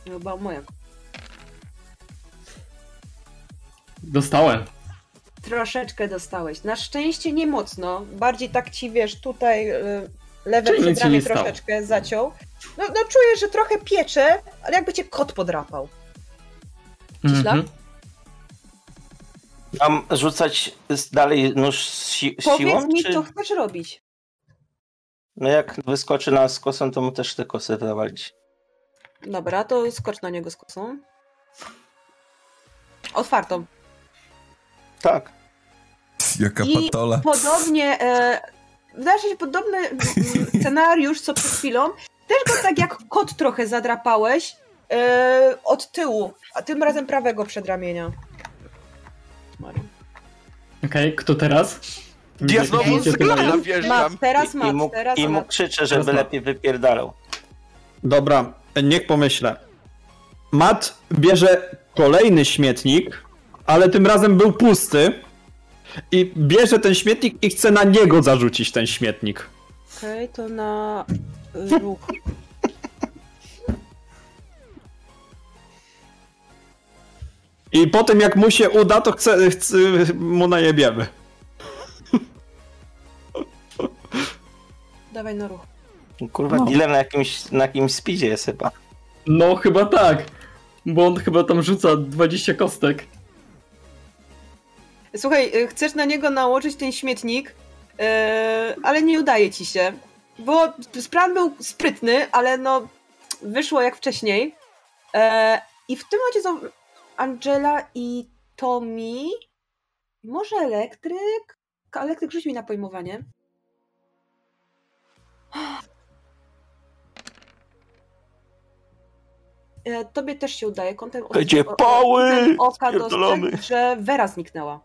[SPEAKER 2] Chyba moja.
[SPEAKER 7] Dostałem.
[SPEAKER 2] Troszeczkę dostałeś. Na szczęście nie mocno. Bardziej tak ci, wiesz, tutaj y, lewe
[SPEAKER 7] Czyli nic się
[SPEAKER 2] przedramię
[SPEAKER 7] nie stało.
[SPEAKER 2] troszeczkę zaciął. No, no czujesz, że trochę piecze, ale jakby cię kot podrapał. Cieślak?
[SPEAKER 7] Mhm.
[SPEAKER 6] Mam rzucać z- dalej nóż z, si- z siłą?
[SPEAKER 2] Powiedz mi,
[SPEAKER 6] czy...
[SPEAKER 2] co chcesz robić.
[SPEAKER 6] No jak wyskoczy nas z kosą, to mu też te kosy zawalić.
[SPEAKER 2] Dobra, to skocz na niego z kosą. Otwartą.
[SPEAKER 6] Tak.
[SPEAKER 1] Jaka
[SPEAKER 2] I
[SPEAKER 1] patola.
[SPEAKER 2] Podobnie, e, wydarzy się podobny mm, scenariusz co przed chwilą. Też go tak jak kot trochę zadrapałeś e, od tyłu, a tym razem prawego przedramienia.
[SPEAKER 7] Okej, kto teraz?
[SPEAKER 8] Ja znowu
[SPEAKER 7] Widzicie
[SPEAKER 8] z
[SPEAKER 7] to na
[SPEAKER 8] glana
[SPEAKER 7] nim?
[SPEAKER 2] Mat,
[SPEAKER 8] wjeżdżam.
[SPEAKER 2] teraz
[SPEAKER 6] I, i, mu,
[SPEAKER 2] mat, teraz
[SPEAKER 6] I mu
[SPEAKER 2] mat.
[SPEAKER 6] krzyczę, żeby
[SPEAKER 7] Teraz ma.
[SPEAKER 6] lepiej wypierdalał.
[SPEAKER 4] Dobra, niech pomyślę. Matt bierze kolejny śmietnik, ale tym razem był pusty. I bierze ten śmietnik i chce na niego zarzucić ten śmietnik.
[SPEAKER 2] Okej, to na y, ruch.
[SPEAKER 4] I po tym jak mu się uda, to chce, chce mu najebiemy.
[SPEAKER 2] Dawaj na ruch. No.
[SPEAKER 6] Kurwa, dealer na jakimś, na jakimś speedzie jest chyba.
[SPEAKER 7] No chyba tak. Bo on chyba tam rzuca 20 kostek.
[SPEAKER 2] Słuchaj, y, chcesz na niego nałożyć ten śmietnik, y, ale nie udaje ci się. Bo plan był sprytny, ale no wyszło jak wcześniej. E, I w tym momencie są Angela i Tommy. Może elektryk? Ka- Elektryk rzuć mi na pojmowanie. E, Tobie też się udaje. Kątem oka-
[SPEAKER 8] Będzie
[SPEAKER 2] o- o-
[SPEAKER 8] pały!
[SPEAKER 2] kątem oka
[SPEAKER 8] Pierdolony.
[SPEAKER 2] dostrzegł, że Vera zniknęła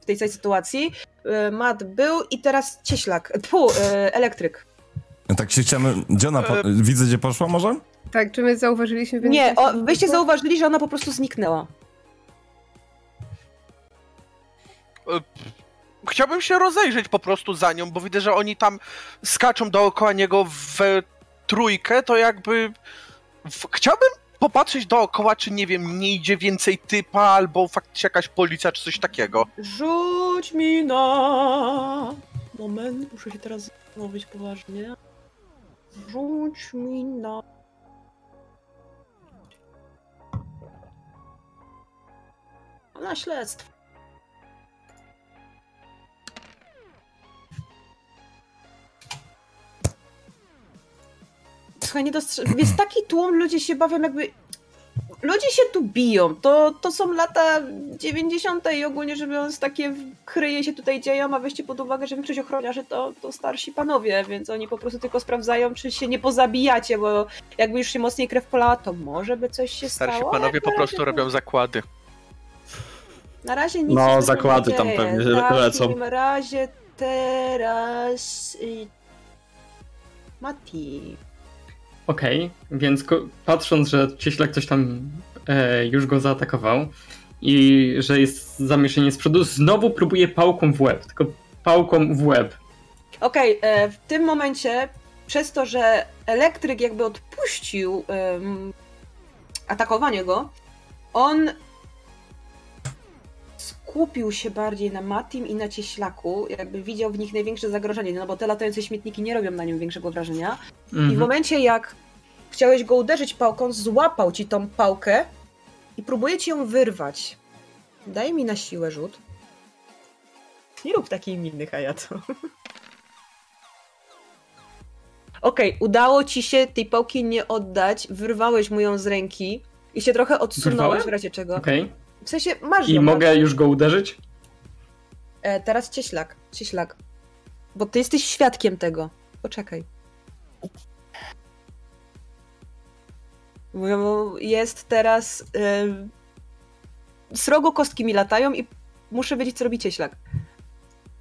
[SPEAKER 2] w tej całej sytuacji. E, Matt był i teraz cieślak. Tfu, e, elektryk.
[SPEAKER 1] Tak się chciałem... Gdzie ona po...
[SPEAKER 8] E,
[SPEAKER 1] Widzę, gdzie poszła może?
[SPEAKER 3] Tak, czy my zauważyliśmy? więc
[SPEAKER 2] Nie, o,
[SPEAKER 3] się
[SPEAKER 2] wyście
[SPEAKER 3] wyszło?
[SPEAKER 2] zauważyli, że ona po prostu zniknęła.
[SPEAKER 8] Chciałbym się rozejrzeć po prostu za nią, bo widzę, że oni tam skaczą dookoła niego w trójkę, to jakby... W... Chciałbym popatrzeć dookoła, czy nie wiem, nie idzie więcej typa, albo faktycznie jakaś policja, czy coś takiego.
[SPEAKER 2] Rzuć mi na. Moment, muszę się teraz zastanowić poważnie. Rzuć mi na. Na śledztwo. Słuchaj, nie dostrze- Jest taki tłum, ludzie się bawią jakby ludzie się tu biją. To, to są lata 90. i ogólnie rzecz biorąc takie kryje się tutaj dzieją, a weźcie pod uwagę, że większość ochroniarzy to, to starsi panowie, więc oni po prostu tylko sprawdzają, czy się nie pozabijacie, bo jakby już się mocniej krew polała, to może by coś się
[SPEAKER 8] Starsi
[SPEAKER 2] stało.
[SPEAKER 8] panowie
[SPEAKER 2] Jak
[SPEAKER 8] po
[SPEAKER 2] na
[SPEAKER 8] prostu
[SPEAKER 2] razie to-
[SPEAKER 8] robią zakłady.
[SPEAKER 2] Na razie nic
[SPEAKER 4] No,
[SPEAKER 2] się nie
[SPEAKER 4] zakłady tam
[SPEAKER 2] dzieje.
[SPEAKER 4] pewnie le-
[SPEAKER 2] tak,
[SPEAKER 4] lecą.
[SPEAKER 2] W takim razie teraz... y, Mati...
[SPEAKER 7] Okej, więc ko- patrząc, że cieślak ktoś tam e, już go zaatakował i że jest zamieszanie z przodu, znowu próbuje pałką w łeb, tylko pałką w łeb.
[SPEAKER 2] Okej, e, w tym momencie, przez to, że elektryk jakby odpuścił em, atakowanie go, on skupił się bardziej na Matim i na Cieślaku, jakby widział w nich największe zagrożenie, no bo te latające śmietniki nie robią na nim większego wrażenia. I w
[SPEAKER 7] Mhm.
[SPEAKER 2] momencie, jak chciałeś go uderzyć pałką, złapał ci tą pałkę i próbuje ci ją wyrwać. Daj mi na siłę rzut. Nie rób takiej miny, Hayato. Okej, udało ci się tej pałki nie oddać, wyrwałeś mu ją z ręki i się trochę odsunąłeś
[SPEAKER 7] Wyrwałem?
[SPEAKER 2] w razie czego.
[SPEAKER 7] Okej,
[SPEAKER 2] W sensie, masz
[SPEAKER 7] i
[SPEAKER 2] ją,
[SPEAKER 7] mogę już go uderzyć?
[SPEAKER 2] E, teraz cieślak, cieślak. Bo ty jesteś świadkiem tego. Poczekaj. Bo Jest teraz. E, srogo kostki mi latają i muszę wiedzieć, co robi cieślak.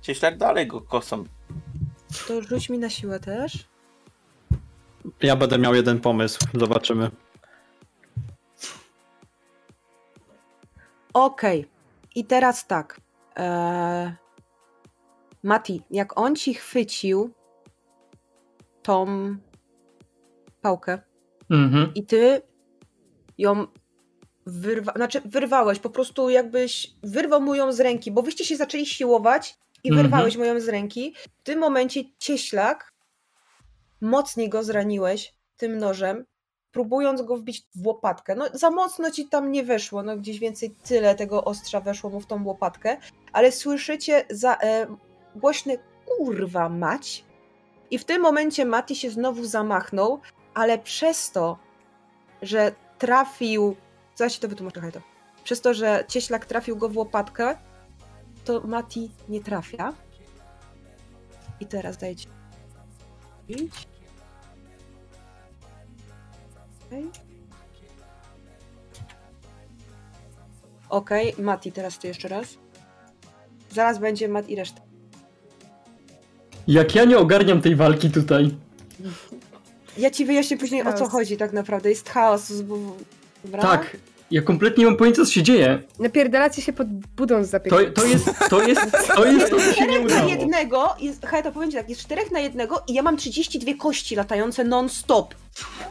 [SPEAKER 6] Gdzieś tak dalej go kosą.
[SPEAKER 2] To rzuć mi na siłę też.
[SPEAKER 4] Ja będę miał jeden pomysł, zobaczymy.
[SPEAKER 2] Okej. I teraz tak. E, Mati, jak on ci chwycił tą pałkę,
[SPEAKER 7] Mhm.
[SPEAKER 2] i ty ją wyrwa... znaczy wyrwałeś, po prostu jakbyś wyrwał mu ją z ręki, bo wyście się zaczęli siłować i
[SPEAKER 7] Mhm.
[SPEAKER 2] wyrwałeś mu ją z ręki. W tym momencie cieślak mocniej go zraniłeś tym nożem, próbując go wbić w łopatkę. No za mocno ci tam nie weszło, no gdzieś więcej tyle tego ostrza weszło mu w tą łopatkę, ale słyszycie za, e, głośny kurwa mać i w tym momencie Mati się znowu zamachnął, ale przez to, że trafił. Zaś ci to wytłumaczę, Hajto. Przez to, że cieślak trafił go w łopatkę, to Mati nie trafia. I teraz daję ci. pięć. Okej, Okej, Mati, teraz ty jeszcze raz. Zaraz będzie Mat i reszta.
[SPEAKER 7] Jak ja nie ogarniam tej walki tutaj.
[SPEAKER 2] Ja ci wyjaśnię później o co
[SPEAKER 3] Chaos.
[SPEAKER 2] chodzi tak naprawdę. Jest chaos. z- w- Dobra?
[SPEAKER 7] Tak, ja kompletnie nie mam pojęcia, co się dzieje.
[SPEAKER 3] Napierdalacie się pod budą z
[SPEAKER 7] To,
[SPEAKER 3] zapiekaniem.
[SPEAKER 7] to jest, to jest, to jest to, co się nie
[SPEAKER 2] na
[SPEAKER 7] udało.
[SPEAKER 2] jednego, jest, Heta, powiem ci tak, jest czterech na jednego i ja mam 32 kości latające non-stop.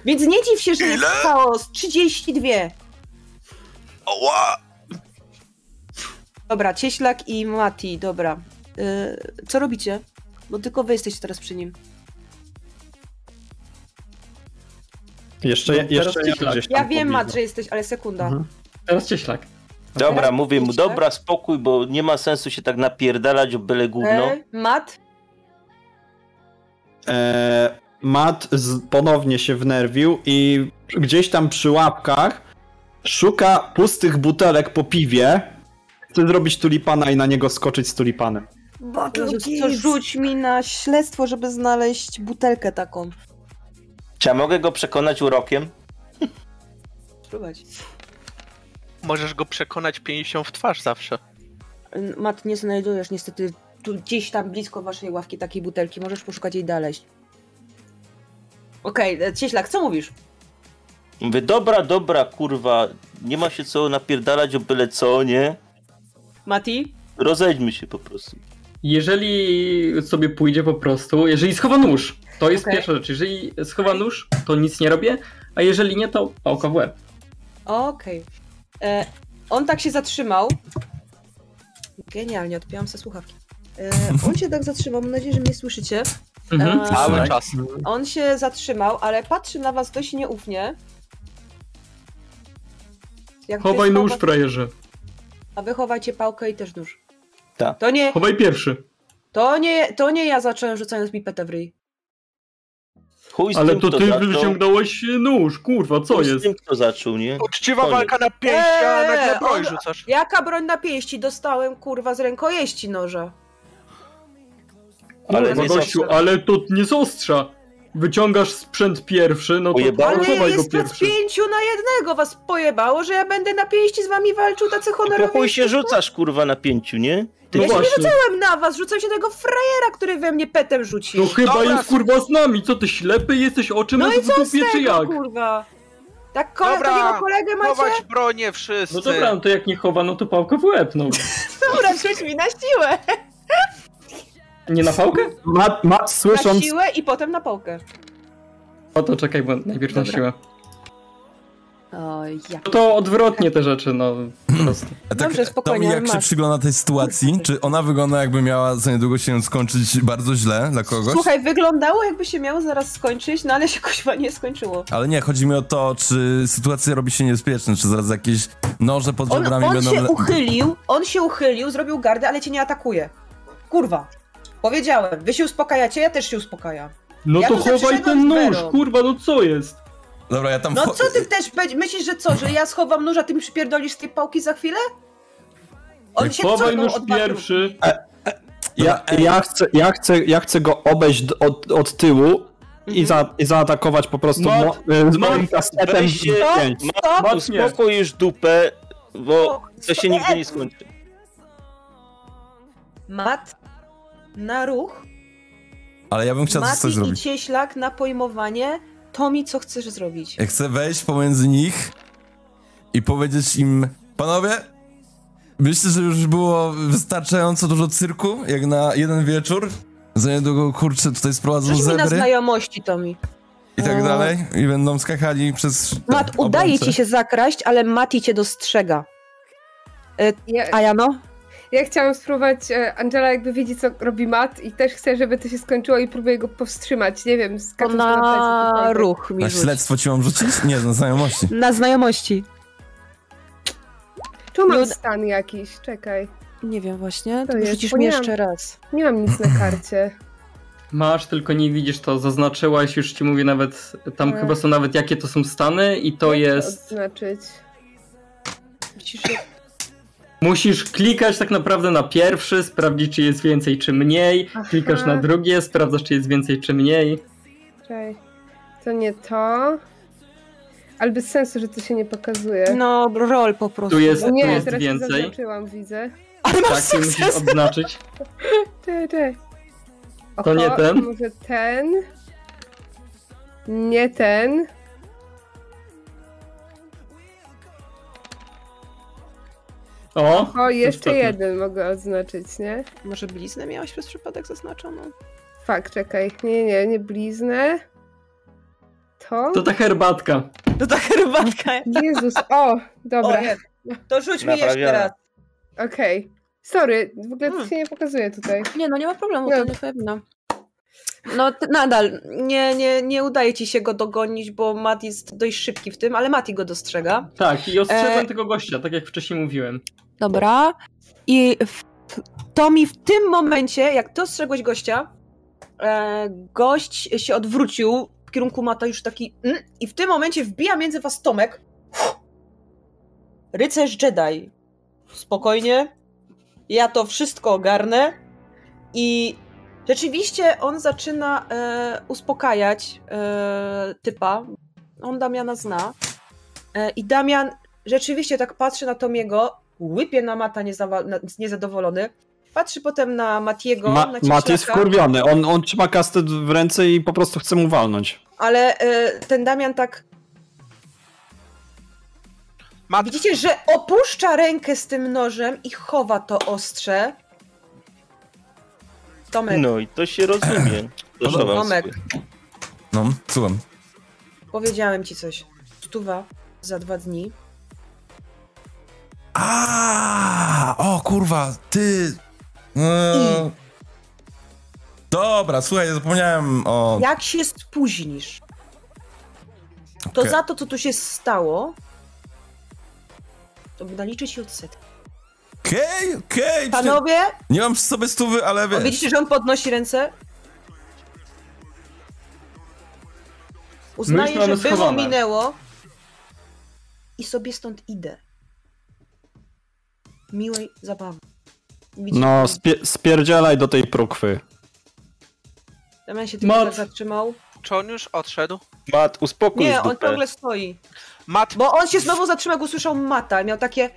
[SPEAKER 2] Więc nie dziw się, że jest chaos. 32.
[SPEAKER 8] Oła!
[SPEAKER 2] Dobra, Cieślak i Mati, dobra. Y, co robicie? Bo tylko wy jesteście teraz przy nim.
[SPEAKER 4] Jeszcze,
[SPEAKER 7] No, teraz
[SPEAKER 4] jeszcze ja
[SPEAKER 7] ciślak.
[SPEAKER 4] gdzieś tam
[SPEAKER 2] Ja wiem,
[SPEAKER 4] pobliżu.
[SPEAKER 2] Mat, że jesteś, ale sekunda. E,
[SPEAKER 4] Mhm.
[SPEAKER 7] Teraz cieślak.
[SPEAKER 6] Dobra, mówię mu,
[SPEAKER 2] Idźcie.
[SPEAKER 6] dobra, spokój, bo nie ma sensu się tak napierdalać o byle gówno.
[SPEAKER 2] E, Mat,
[SPEAKER 4] E, Matt z, ponownie się wnerwił i gdzieś tam przy łapkach szuka pustych butelek po piwie. Chce zrobić tulipana i na niego skoczyć z tulipanem.
[SPEAKER 2] Jezus, co, rzuć mi na śledztwo, żeby znaleźć butelkę taką.
[SPEAKER 6] Czy ja mogę go przekonać urokiem?
[SPEAKER 2] Spróbować.
[SPEAKER 8] Możesz go przekonać pięścią w twarz zawsze.
[SPEAKER 2] N- Mat, nie znajdujesz niestety tu gdzieś tam blisko waszej ławki takiej butelki. Możesz poszukać jej dalej. Okej, okay, Cieślak, co mówisz?
[SPEAKER 6] Mówię, dobra, dobra, kurwa, nie ma się co napierdalać o byle co, nie?
[SPEAKER 2] Mati?
[SPEAKER 6] Rozejdźmy się po prostu.
[SPEAKER 7] Jeżeli sobie pójdzie po prostu, jeżeli schowa nóż, to jest
[SPEAKER 2] Okej.
[SPEAKER 7] pierwsza rzecz. Jeżeli schowa nóż, to nic nie robię, a jeżeli nie, to pałka w łeb.
[SPEAKER 2] Okej. E, On tak się zatrzymał. Genialnie, odpiłam sobie słuchawki. E, on się tak zatrzymał, mam nadzieję, że mnie słyszycie.
[SPEAKER 7] Mhm.
[SPEAKER 2] E,
[SPEAKER 8] Cały
[SPEAKER 1] Tak.
[SPEAKER 8] czas.
[SPEAKER 2] On się zatrzymał, ale patrzy na was dość nieufnie. Jak wy
[SPEAKER 7] Chowaj nóż,
[SPEAKER 2] schowa-
[SPEAKER 7] frajerze.
[SPEAKER 2] A wy chowajcie pałkę i też nóż.
[SPEAKER 6] Tak.
[SPEAKER 2] To nie,
[SPEAKER 7] Chowaj pierwszy.
[SPEAKER 2] to nie, to nie ja zacząłem rzucając mi petę w ryj.
[SPEAKER 6] Chuj z
[SPEAKER 7] Ale
[SPEAKER 6] tym,
[SPEAKER 7] to
[SPEAKER 6] kto
[SPEAKER 7] ty
[SPEAKER 6] zaczął,
[SPEAKER 7] wyciągnąłeś nóż, kurwa, co
[SPEAKER 6] chuj z
[SPEAKER 7] jest?
[SPEAKER 6] tym, kto zaczął, nie?
[SPEAKER 8] Uczciwa
[SPEAKER 4] Koniec.
[SPEAKER 8] walka na pięści, a
[SPEAKER 2] Eee,
[SPEAKER 8] nagle broń
[SPEAKER 2] on-
[SPEAKER 8] rzucasz.
[SPEAKER 2] Jaka broń na pięści dostałem, kurwa, z rękojeści noża.
[SPEAKER 6] Ale
[SPEAKER 7] Kurwa,
[SPEAKER 6] nie
[SPEAKER 7] gościu,
[SPEAKER 6] zaczął.
[SPEAKER 7] ale to nie z ostrza. Wyciągasz sprzęt pierwszy, no to
[SPEAKER 6] Ujebałem?
[SPEAKER 2] Ale
[SPEAKER 7] chowaj go
[SPEAKER 2] jest was
[SPEAKER 7] pierwszy. No
[SPEAKER 2] pięciu na jednego, was pojebało, że ja będę na pięści z wami walczył tacy
[SPEAKER 6] Po No chuj
[SPEAKER 2] honorowi.
[SPEAKER 6] się rzucasz, kurwa, na pięciu, nie?
[SPEAKER 7] No
[SPEAKER 2] Ja się nie
[SPEAKER 7] właśnie,
[SPEAKER 2] Rzucałem na was, rzucam się tego frajera, który we mnie petem rzucił.
[SPEAKER 7] no chyba
[SPEAKER 8] Dobra,
[SPEAKER 7] jest kurwa z nami, co ty ślepy jesteś, oczy
[SPEAKER 2] No
[SPEAKER 7] masz
[SPEAKER 2] i
[SPEAKER 7] w dupie czy
[SPEAKER 2] Tego,
[SPEAKER 7] jak?
[SPEAKER 2] kurwa. Tak, kole,
[SPEAKER 8] Dobra,
[SPEAKER 2] takiego kolegę macie?
[SPEAKER 8] Chować bronię wszyscy.
[SPEAKER 7] No dobra, no to jak nie chowa, no to pałka w łeb, no.
[SPEAKER 2] Dobra, rzuć mi na siłę.
[SPEAKER 7] Nie na pałkę?
[SPEAKER 4] Matt, Matt
[SPEAKER 2] Na
[SPEAKER 4] słysząc,
[SPEAKER 2] siłę i potem na pałkę.
[SPEAKER 7] O to czekaj, bo najpierw na
[SPEAKER 2] Dobra.
[SPEAKER 7] siłę.
[SPEAKER 2] O, ja.
[SPEAKER 7] No to odwrotnie te rzeczy, no po prostu.
[SPEAKER 1] A tak,
[SPEAKER 2] Dobrze, spokojnie,
[SPEAKER 1] Tomi, jak
[SPEAKER 2] masz.
[SPEAKER 1] się przygląda tej sytuacji, czy ona wygląda jakby miała za niedługo się skończyć bardzo źle dla kogoś?
[SPEAKER 2] Słuchaj, wyglądało jakby się miało zaraz skończyć, no ale się kuźwa nie skończyło.
[SPEAKER 1] Ale nie, chodzi mi o to, czy sytuacja robi się niebezpieczna, czy zaraz jakieś noże pod
[SPEAKER 2] On,
[SPEAKER 1] żebrami
[SPEAKER 2] on
[SPEAKER 1] będą...
[SPEAKER 2] się
[SPEAKER 1] le-
[SPEAKER 2] uchylił, on się uchylił, zrobił gardę, ale cię nie atakuje. Kurwa. Powiedziałem, wy się uspokajacie, ja też się uspokajam.
[SPEAKER 7] No
[SPEAKER 2] Ja
[SPEAKER 7] to
[SPEAKER 2] tu zawsze
[SPEAKER 7] chowaj
[SPEAKER 2] szedłem
[SPEAKER 7] ten
[SPEAKER 2] z
[SPEAKER 7] nóż,
[SPEAKER 2] Werą.
[SPEAKER 7] kurwa, no co jest?
[SPEAKER 1] Dobra, ja tam...
[SPEAKER 2] No
[SPEAKER 1] wcho-
[SPEAKER 2] co ty też będzie- myślisz, że co, że ja schowam nóż, a ty mi przypierdolisz z tej pałki za chwilę? On się
[SPEAKER 7] Chowaj
[SPEAKER 2] cofnął
[SPEAKER 7] nóż
[SPEAKER 2] od was
[SPEAKER 7] pierwszy.
[SPEAKER 4] ja, ja, chcę, ja, chcę, ja chcę go obejść d- od, od tyłu i, za, i zaatakować po prostu
[SPEAKER 7] Matt,
[SPEAKER 4] mo, e, z moim
[SPEAKER 7] Matt,
[SPEAKER 4] kastetem.
[SPEAKER 6] weź się-
[SPEAKER 4] w pięć.
[SPEAKER 2] Stop,
[SPEAKER 7] Matt, nie. No,
[SPEAKER 6] Uspokój już dupę, bo to się nigdy nie skończy.
[SPEAKER 2] Mat na ruch,
[SPEAKER 1] Ale ja bym chciał coś
[SPEAKER 2] Mati i
[SPEAKER 1] zrobić.
[SPEAKER 2] Cieślak na pojmowanie. Tomi, co chcesz zrobić?
[SPEAKER 1] Ja chcę wejść pomiędzy nich i powiedzieć im, panowie, myślę, że już było wystarczająco dużo cyrku, jak na jeden wieczór. Za niedługo, kurczę, tutaj sprowadzą
[SPEAKER 2] Rzuć mi na
[SPEAKER 1] zebry
[SPEAKER 2] znajomości, Tomi.
[SPEAKER 1] i tak dalej. I będą skakali przez
[SPEAKER 2] Mat, udaje
[SPEAKER 1] obręcze.
[SPEAKER 2] ci się zakraść, ale Mati cię dostrzega.
[SPEAKER 3] Ja,
[SPEAKER 2] A no? Jano?
[SPEAKER 3] ja chciałam spróbować, e, Angela jakby widzi co robi Matt i też chce, żeby to się skończyło i próbuje go powstrzymać, nie wiem,
[SPEAKER 2] To
[SPEAKER 3] skacząc mu na
[SPEAKER 2] na
[SPEAKER 3] plecy.
[SPEAKER 2] ruch mi
[SPEAKER 1] Na
[SPEAKER 2] rzuć.
[SPEAKER 1] śledztwo ci mam rzucić? Nie, na znajomości.
[SPEAKER 2] Na znajomości.
[SPEAKER 3] Tu mam
[SPEAKER 2] Lud-
[SPEAKER 3] stan jakiś, czekaj.
[SPEAKER 2] Nie wiem właśnie,
[SPEAKER 3] To
[SPEAKER 2] to
[SPEAKER 3] jest,
[SPEAKER 2] rzucisz
[SPEAKER 3] bo
[SPEAKER 2] mi
[SPEAKER 3] nie mam-
[SPEAKER 2] jeszcze raz.
[SPEAKER 3] Nie mam nic na karcie.
[SPEAKER 7] Masz, tylko nie widzisz to, zaznaczyłaś, już ci mówię nawet, tam
[SPEAKER 2] Mm.
[SPEAKER 3] Tak.
[SPEAKER 7] chyba są nawet jakie to są stany i to jest...
[SPEAKER 3] Odznaczyć.
[SPEAKER 2] Widzisz, że-
[SPEAKER 7] Musisz klikać tak naprawdę na pierwszy, sprawdzić czy jest więcej czy mniej,
[SPEAKER 3] Aha.
[SPEAKER 7] klikasz na drugie, sprawdzasz czy jest więcej czy mniej.
[SPEAKER 3] Czekaj. To nie to. Ale bez sensu, że to się nie pokazuje.
[SPEAKER 2] No, rol po prostu.
[SPEAKER 7] E, Tu jest,
[SPEAKER 3] nie,
[SPEAKER 7] tu jest
[SPEAKER 3] teraz się
[SPEAKER 7] więcej.
[SPEAKER 3] zaznaczyłam, widzę.
[SPEAKER 2] Ale masz
[SPEAKER 7] Tak, i musisz
[SPEAKER 2] sukces!
[SPEAKER 7] odznaczyć.
[SPEAKER 3] Czekaj, czekaj.
[SPEAKER 7] To nie ten?
[SPEAKER 3] Może ten? Nie ten.
[SPEAKER 7] O,
[SPEAKER 3] O, jeszcze
[SPEAKER 7] ostatni.
[SPEAKER 3] jeden mogę odznaczyć, nie?
[SPEAKER 2] Może bliznę miałaś przez przypadek zaznaczoną?
[SPEAKER 3] Fakt, czekaj. Nie, nie, nie bliznę. To?
[SPEAKER 7] To ta herbatka.
[SPEAKER 2] No ta herbatka.
[SPEAKER 3] Jezus, o, dobra,
[SPEAKER 2] O nie. To rzuć mi jeszcze
[SPEAKER 6] Naprawiona.
[SPEAKER 2] raz.
[SPEAKER 3] okej. Sorry, w ogóle to
[SPEAKER 2] Mm.
[SPEAKER 3] się nie pokazuje tutaj.
[SPEAKER 2] Nie, no nie ma problemu,
[SPEAKER 3] Nie.
[SPEAKER 2] to na pewno. No t- nadal, nie, nie, nie udaje ci się go dogonić, bo Matt jest dość szybki w tym, ale Mati go dostrzega.
[SPEAKER 7] Tak, i ostrzegłem
[SPEAKER 2] E.
[SPEAKER 7] tego gościa, tak jak wcześniej mówiłem.
[SPEAKER 2] Dobra. I w, to mi w tym momencie, jak dostrzegłeś gościa, e, gość się odwrócił w kierunku Mata już taki mm, i w tym momencie wbija między was Tomek. Rycerz Jedi. Spokojnie. Ja to wszystko ogarnę. I rzeczywiście on zaczyna e, uspokajać e, typa. On Damiana zna. E, I Damian rzeczywiście tak patrzy na Tomiego, łypie na Mata niezawa- na- niezadowolony, patrzy potem na Matiego,
[SPEAKER 4] Ma-
[SPEAKER 2] na
[SPEAKER 4] Mat jest
[SPEAKER 2] cieślaka.
[SPEAKER 4] wkurwiony, on, on trzyma kastet w ręce i po prostu chce mu walnąć.
[SPEAKER 2] Ale e, ten Damian tak.
[SPEAKER 8] Mat-
[SPEAKER 2] Widzicie, że opuszcza rękę z tym nożem i chowa to ostrze. Tomek,
[SPEAKER 6] No i to się rozumie. Proszę
[SPEAKER 1] Podobno.
[SPEAKER 6] was.
[SPEAKER 2] Tomek,
[SPEAKER 1] No, słucham.
[SPEAKER 2] powiedziałem ci coś. Stuwa za dwa dni.
[SPEAKER 1] A, o kurwa, ty. Eee, dobra, słuchaj, zapomniałem o.
[SPEAKER 2] Jak się spóźnisz, to
[SPEAKER 1] Okej.
[SPEAKER 2] za to, co tu się stało, to naliczy ci odsetki.
[SPEAKER 1] Okej, okej, przecież
[SPEAKER 2] Panowie,
[SPEAKER 1] nie mam przy sobie stówy, ale
[SPEAKER 2] o,
[SPEAKER 1] wiesz.
[SPEAKER 2] widzicie, że on podnosi ręce?
[SPEAKER 7] Myśl
[SPEAKER 2] Uznaję,
[SPEAKER 7] mamy
[SPEAKER 2] że było
[SPEAKER 7] schowane.
[SPEAKER 2] minęło i sobie stąd idę. Miłej zabawy. Widzicie,
[SPEAKER 4] No, spie- spierdzielaj do tej prókwy.
[SPEAKER 2] Damian się tylko
[SPEAKER 7] Mat.
[SPEAKER 2] tak zatrzymał.
[SPEAKER 8] Czy on już odszedł?
[SPEAKER 6] Mat, uspokój
[SPEAKER 2] Nie, on
[SPEAKER 6] dupę.
[SPEAKER 2] ciągle stoi.
[SPEAKER 8] Mat,
[SPEAKER 2] Bo on się znowu zatrzymał, jak usłyszał mata. Miał takie.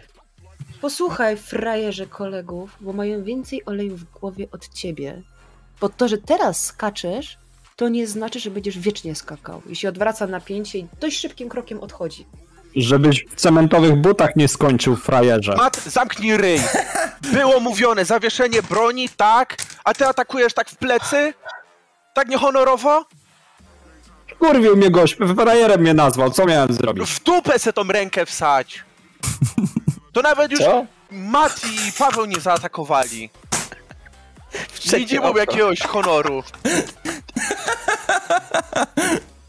[SPEAKER 2] Posłuchaj, frajerze kolegów, bo mają więcej oleju w głowie od ciebie. Bo to, że teraz skaczesz, to nie znaczy, że będziesz wiecznie skakał. I się odwraca napięcie i dość szybkim krokiem odchodzi.
[SPEAKER 4] Żebyś w cementowych butach nie skończył, frajerze.
[SPEAKER 8] Mat, zamknij ryj. Było mówione, zawieszenie broni, tak, a ty atakujesz tak w plecy? Tak niehonorowo?
[SPEAKER 4] Kurwił mnie gość, frajerem mnie nazwał, co miałem zrobić?
[SPEAKER 8] W dupę se tą rękę wsać. To nawet już
[SPEAKER 6] Co?
[SPEAKER 8] Mat i Paweł nie zaatakowali.
[SPEAKER 6] trzecie
[SPEAKER 8] Widzimy
[SPEAKER 6] oko.
[SPEAKER 8] jakiegoś honoru.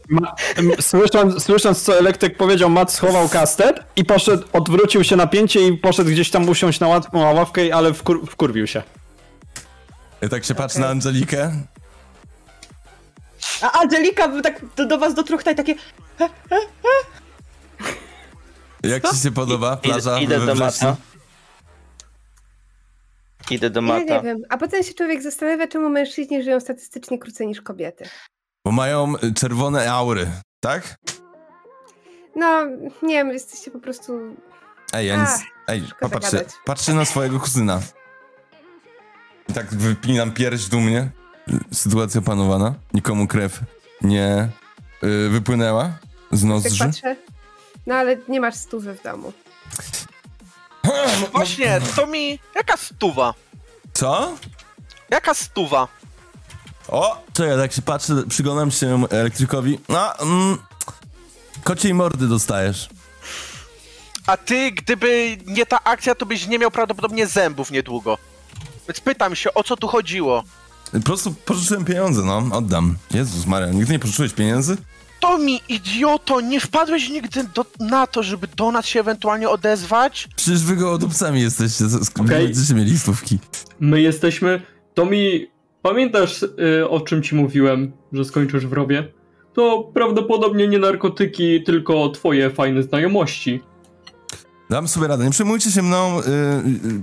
[SPEAKER 4] Ma- m- Słysząc, słysząc, co elektryk powiedział, Mat schował kastet i poszedł, odwrócił się napięcie i poszedł gdzieś tam usiąść na łat- na ławkę, ale wkur- wkurwił się.
[SPEAKER 1] Ja tak się patrzę na Angelikę.
[SPEAKER 2] A Angelika by tak do, do was dotrąchta i takie.
[SPEAKER 1] Jak ci się podoba plaża?
[SPEAKER 6] Idę, idę
[SPEAKER 1] we
[SPEAKER 6] do
[SPEAKER 1] wrześniu?
[SPEAKER 6] mata. Idę do
[SPEAKER 3] Ja
[SPEAKER 6] mata.
[SPEAKER 3] nie wiem. A potem się człowiek zastanawia, czemu mężczyźni żyją statystycznie krócej niż kobiety.
[SPEAKER 1] Bo mają y, czerwone aury, tak?
[SPEAKER 3] No, nie wiem, jesteście po prostu...
[SPEAKER 1] Ej, ja nic. Ej,
[SPEAKER 3] szkoda
[SPEAKER 1] popatrzcie.
[SPEAKER 3] gadać.
[SPEAKER 1] Patrzę na swojego kuzyna. I tak wypinam pierś dumnie. Sytuacja panowana. Nikomu krew nie y, wypłynęła z
[SPEAKER 3] Tak
[SPEAKER 1] nozdrzy.
[SPEAKER 3] patrzę. No, ale nie masz stówy w domu.
[SPEAKER 8] Właśnie, to mi... Jaka stuwa?
[SPEAKER 1] Co?
[SPEAKER 8] Jaka stuwa?
[SPEAKER 1] O! Co ja tak się patrzę, przyglądam się elektrykowi. A, mm, kociej mordy dostajesz.
[SPEAKER 8] A ty, gdyby nie ta akcja, to byś nie miał prawdopodobnie zębów niedługo. Więc pytam się, o co tu chodziło?
[SPEAKER 1] Po prostu pożyczyłem pieniądze, no, oddam. Jezus Maria, nigdy nie pożyczyłeś pieniędzy?
[SPEAKER 8] To mi, idioto, nie wpadłeś nigdy do, na to, żeby do nas się ewentualnie odezwać?
[SPEAKER 1] Przecież wy go odupcami jesteście, z- z-
[SPEAKER 7] Okej.
[SPEAKER 1] będziecie mieli listówki.
[SPEAKER 7] My jesteśmy. Tomi, pamiętasz y, o czym ci mówiłem, że skończysz w robie? To prawdopodobnie nie narkotyki, tylko twoje fajne znajomości.
[SPEAKER 1] Dam sobie radę, nie przejmujcie się mną, y,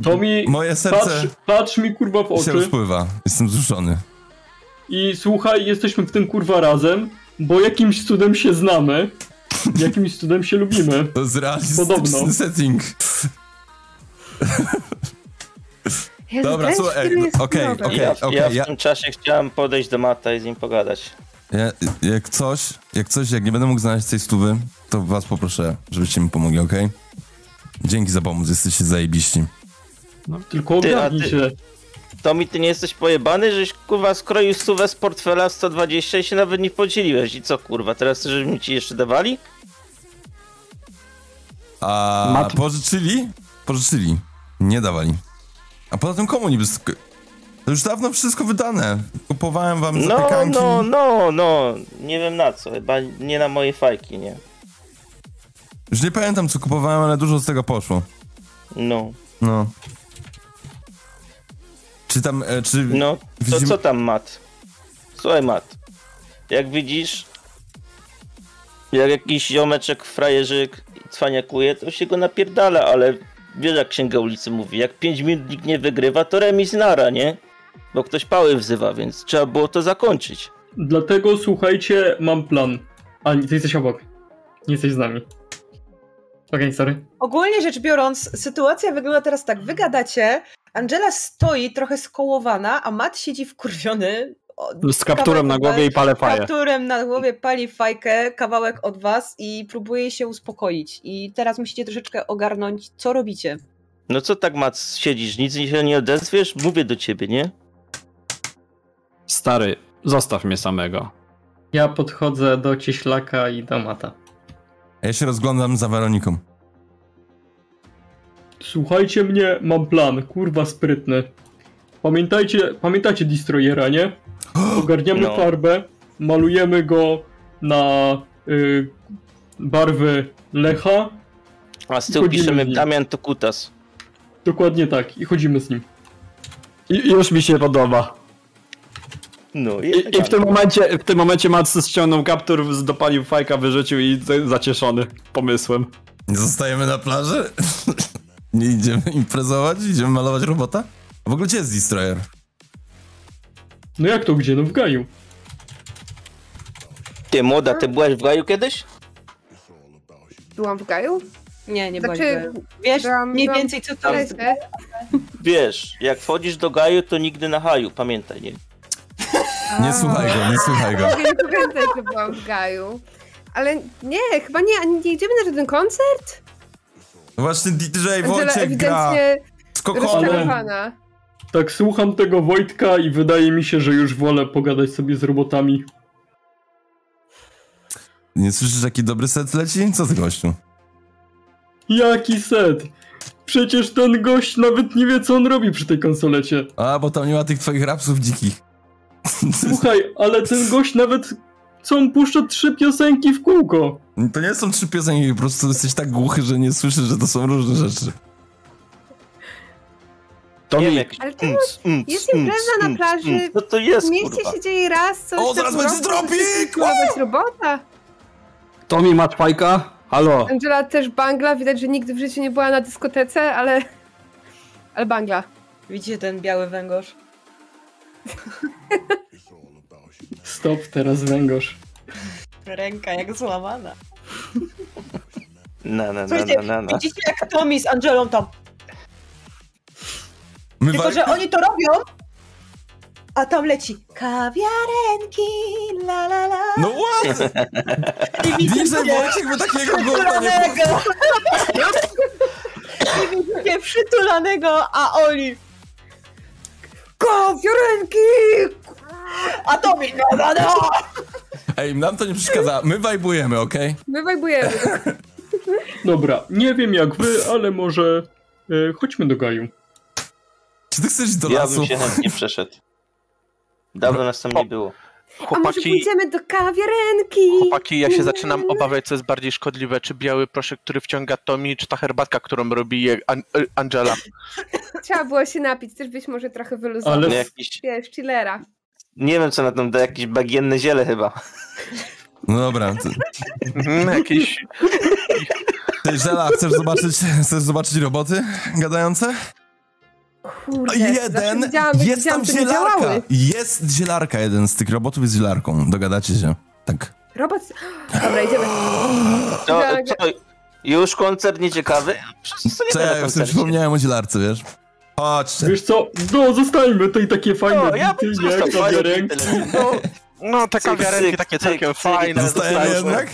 [SPEAKER 1] y,
[SPEAKER 7] Tomi,
[SPEAKER 1] moje serce
[SPEAKER 7] patrz, patrz mi kurwa w
[SPEAKER 1] się
[SPEAKER 7] oczy
[SPEAKER 1] rozpływa, jestem wzruszony.
[SPEAKER 7] i słuchaj, jesteśmy w tym kurwa razem, bo jakimś cudem się znamy, jakimś cudem się lubimy.
[SPEAKER 1] To jest realistyczny
[SPEAKER 7] Podobno.
[SPEAKER 1] setting.
[SPEAKER 3] Jezu,
[SPEAKER 1] Dobra,
[SPEAKER 3] ten
[SPEAKER 1] słuchaj,
[SPEAKER 3] film jest
[SPEAKER 1] okej,
[SPEAKER 3] nowy.
[SPEAKER 1] okej.
[SPEAKER 6] ja, ja w
[SPEAKER 1] ja-
[SPEAKER 6] tym czasie chciałem podejść do Mata i z nim pogadać.
[SPEAKER 1] Ja, jak coś, jak coś, jak nie będę mógł znaleźć tej stówy, to was poproszę, żebyście mi pomogli, okej? Dzięki za pomoc, jesteście zajebiści.
[SPEAKER 7] No, tylko
[SPEAKER 6] Ty, a
[SPEAKER 7] ogarnij
[SPEAKER 6] ty-
[SPEAKER 7] się.
[SPEAKER 6] Tomi, ty nie jesteś pojebany, żeś kurwa skroił suwę z portfela 120 i się nawet nie podzieliłeś. I co kurwa, teraz chcesz, żeby mi ci jeszcze dawali?
[SPEAKER 1] A
[SPEAKER 4] Mat-
[SPEAKER 1] pożyczyli? Pożyczyli. Nie dawali. A poza tym komu niby... sk- To już dawno wszystko wydane. Kupowałem wam
[SPEAKER 6] No,
[SPEAKER 1] zapekanki.
[SPEAKER 6] no, no, no. Nie wiem na co, chyba nie na moje fajki, nie.
[SPEAKER 1] Już nie pamiętam, co kupowałem, ale dużo z tego poszło.
[SPEAKER 6] No,
[SPEAKER 1] No. Czy tam, e, czy...
[SPEAKER 6] no. To
[SPEAKER 1] Widzimy-
[SPEAKER 6] co tam, Mat? Słuchaj, Mat. Jak widzisz, jak jakiś ziomeczek, frajerzyk cwaniakuje, to się go napierdala, ale wiesz jak księga ulicy mówi, jak 5 minut nikt nie wygrywa, to remis nara, nie? Bo ktoś pały wzywa, więc trzeba było to zakończyć.
[SPEAKER 7] Dlatego słuchajcie, mam plan. A nie, ty jesteś obok. Nie jesteś z nami. Okej, sorry.
[SPEAKER 2] Ogólnie rzecz biorąc, sytuacja wygląda teraz tak. Wy gadacie, Angela stoi trochę skołowana, a Matt siedzi wkurwiony. o,
[SPEAKER 4] Z kapturem na
[SPEAKER 2] kawałek od
[SPEAKER 4] głowie i palę faję.
[SPEAKER 2] Kapturem na głowie pali fajkę, kawałek od was i próbuje się uspokoić. I teraz musicie troszeczkę ogarnąć, co robicie.
[SPEAKER 6] No co tak, Mat, siedzisz, nic się nie odezwiesz? Mówię do ciebie, nie?
[SPEAKER 4] Stary, zostaw mnie samego.
[SPEAKER 7] Ja podchodzę do cieślaka i do mata.
[SPEAKER 1] Ja się rozglądam za Weroniką.
[SPEAKER 7] Słuchajcie mnie, mam plan, kurwa sprytny. Pamiętajcie, pamiętacie Destroyera, nie? Ogarniamy
[SPEAKER 6] No.
[SPEAKER 7] farbę, malujemy go na y, barwy Lecha,
[SPEAKER 6] A z tyłu
[SPEAKER 7] Chodzimy
[SPEAKER 6] piszemy
[SPEAKER 7] z nim.
[SPEAKER 6] Damian to kutas.
[SPEAKER 7] dokładnie tak, i chodzimy z nim.
[SPEAKER 4] I, już mi się podoba.
[SPEAKER 6] No i,
[SPEAKER 4] I, i w tym momencie, w tym momencie Mats ściągnął kaptur, z- dopalił fajka, wyrzucił i z- zacieszony pomysłem.
[SPEAKER 1] Nie Zostajemy na plaży? nie idziemy imprezować? Idziemy malować robota? A w ogóle gdzie jest Destroyer?
[SPEAKER 7] No jak to gdzie? No w gaju.
[SPEAKER 6] Ty, młoda, ty byłaś w gaju kiedyś?
[SPEAKER 3] Byłam w gaju?
[SPEAKER 2] Nie, nie
[SPEAKER 3] Znaczy,
[SPEAKER 2] znaczy, Wiesz
[SPEAKER 3] byłam-
[SPEAKER 2] mniej
[SPEAKER 3] byłam-
[SPEAKER 2] więcej, co to jest.
[SPEAKER 3] Lesie.
[SPEAKER 6] Wiesz, jak wchodzisz do gaju, to nigdy na haju, pamiętaj, nie?
[SPEAKER 1] Nie słuchaj go, nie słuchaj go.
[SPEAKER 3] Mogę nie pamiętać, że byłam w gaju. Ale nie, chyba nie, ani nie idziemy na żaden koncert?
[SPEAKER 1] Właśnie DJ
[SPEAKER 3] Angela
[SPEAKER 1] Wojciech gra
[SPEAKER 3] ewidentnie
[SPEAKER 1] z kokolem.
[SPEAKER 3] rozczarowana.
[SPEAKER 7] Tak słucham tego Wojtka i wydaje mi się, że już wolę pogadać sobie z robotami.
[SPEAKER 1] Nie słyszysz, jaki dobry set leci? Co ty, gościu?
[SPEAKER 7] Jaki set! Przecież ten gość nawet nie wie, co on robi przy tej konsolecie.
[SPEAKER 1] A, bo tam nie ma tych twoich rapsów dzikich.
[SPEAKER 7] Słuchaj, ale ten gość nawet... Co on puszcza trzy piosenki w kółko?
[SPEAKER 1] To nie są trzy piosenki, po prostu jesteś tak głuchy, że nie słyszysz, że to są różne rzeczy.
[SPEAKER 6] To nie
[SPEAKER 3] Ale to
[SPEAKER 1] Hmm.
[SPEAKER 3] jest impreza na plaży.
[SPEAKER 6] No to jest,
[SPEAKER 3] W mieście
[SPEAKER 6] kurwa.
[SPEAKER 3] się dzieje raz, coś
[SPEAKER 1] O, zaraz będzie tropik!
[SPEAKER 3] Kulawać robota.
[SPEAKER 4] Tomi, masz fajka? Halo.
[SPEAKER 3] Angela też bangla, widać, że nigdy w życiu nie była na dyskotece, ale... Ale bangla.
[SPEAKER 2] Widzicie ten biały węgorz?
[SPEAKER 7] Stop, teraz węgorz.
[SPEAKER 2] Ręka jak złamana.
[SPEAKER 6] Na, na, na,
[SPEAKER 2] Słuchajcie,
[SPEAKER 6] na, na, na.
[SPEAKER 2] widzicie jak Tommy z Angelą tam.
[SPEAKER 1] My
[SPEAKER 2] Tylko,
[SPEAKER 1] wa-
[SPEAKER 2] że oni to robią, a tam leci kawiarenki, la la la.
[SPEAKER 1] No what?
[SPEAKER 2] I
[SPEAKER 1] DJ
[SPEAKER 2] widzicie,
[SPEAKER 1] Wojciech by takiego gówna nie...
[SPEAKER 2] przytulanego. I widzicie przytulanego, a oni kawiarenki. A Tommy, no, no, no.
[SPEAKER 1] Ej, nam to nie przeszkadza, my wajbujemy, okej?
[SPEAKER 3] My wajbujemy.
[SPEAKER 7] Dobra, nie wiem jak wy, ale może e, chodźmy do gaju.
[SPEAKER 1] Czy ty chcesz iść do
[SPEAKER 6] Ja
[SPEAKER 1] lasu?
[SPEAKER 6] bym się chętnie przeszedł. Dawno nas tam nie było.
[SPEAKER 3] A może
[SPEAKER 8] Chłopaki,
[SPEAKER 3] pójdziemy do kawiarenki?
[SPEAKER 8] chłopaki, ja się zaczynam obawiać, co jest bardziej szkodliwe, czy biały proszek, który wciąga Tomi, czy ta herbatka, którą robi je An- e, Angela.
[SPEAKER 3] Trzeba było się napić, też być może trochę wyluzować.
[SPEAKER 7] Ale
[SPEAKER 6] No Jakiś,
[SPEAKER 3] Wiesz, chillera.
[SPEAKER 6] nie wiem co na tym da, jakieś bagienne ziele chyba.
[SPEAKER 1] No dobra, ty,
[SPEAKER 8] Mhm, Jakiś...
[SPEAKER 1] ty Żela, chcesz zobaczyć, chcesz zobaczyć roboty gadające?
[SPEAKER 3] Kurde, zawsze
[SPEAKER 1] Jeden,
[SPEAKER 3] widziałam, jak
[SPEAKER 1] jest
[SPEAKER 3] widziałam,
[SPEAKER 1] tam
[SPEAKER 3] to nie działały.
[SPEAKER 1] zielarka. Jest zielarka, jeden z tych robotów jest zielarką, dogadacie się. Tak.
[SPEAKER 3] Robot... Dobra, idziemy.
[SPEAKER 8] No,
[SPEAKER 6] To,
[SPEAKER 3] Tak.
[SPEAKER 6] to, już koncert nieciekawy? Przecież to nie da na
[SPEAKER 1] Cześć, ja sobie
[SPEAKER 6] koncercie.
[SPEAKER 1] przypomniałem o zielarce, wiesz? Chodź,
[SPEAKER 7] Wiesz co? No, zostańmy, to i takie fajne
[SPEAKER 8] No, ja
[SPEAKER 7] bity,
[SPEAKER 8] bym
[SPEAKER 7] nie?
[SPEAKER 8] został fajny
[SPEAKER 7] Kawiarenki.
[SPEAKER 8] tyle. No, no te
[SPEAKER 6] Cyk,
[SPEAKER 8] kawiarenki
[SPEAKER 6] cyk,
[SPEAKER 8] takie
[SPEAKER 6] cyk,
[SPEAKER 8] całkiem
[SPEAKER 6] cyk.
[SPEAKER 8] fajne.
[SPEAKER 1] zostajemy
[SPEAKER 8] zostają.
[SPEAKER 1] jednak?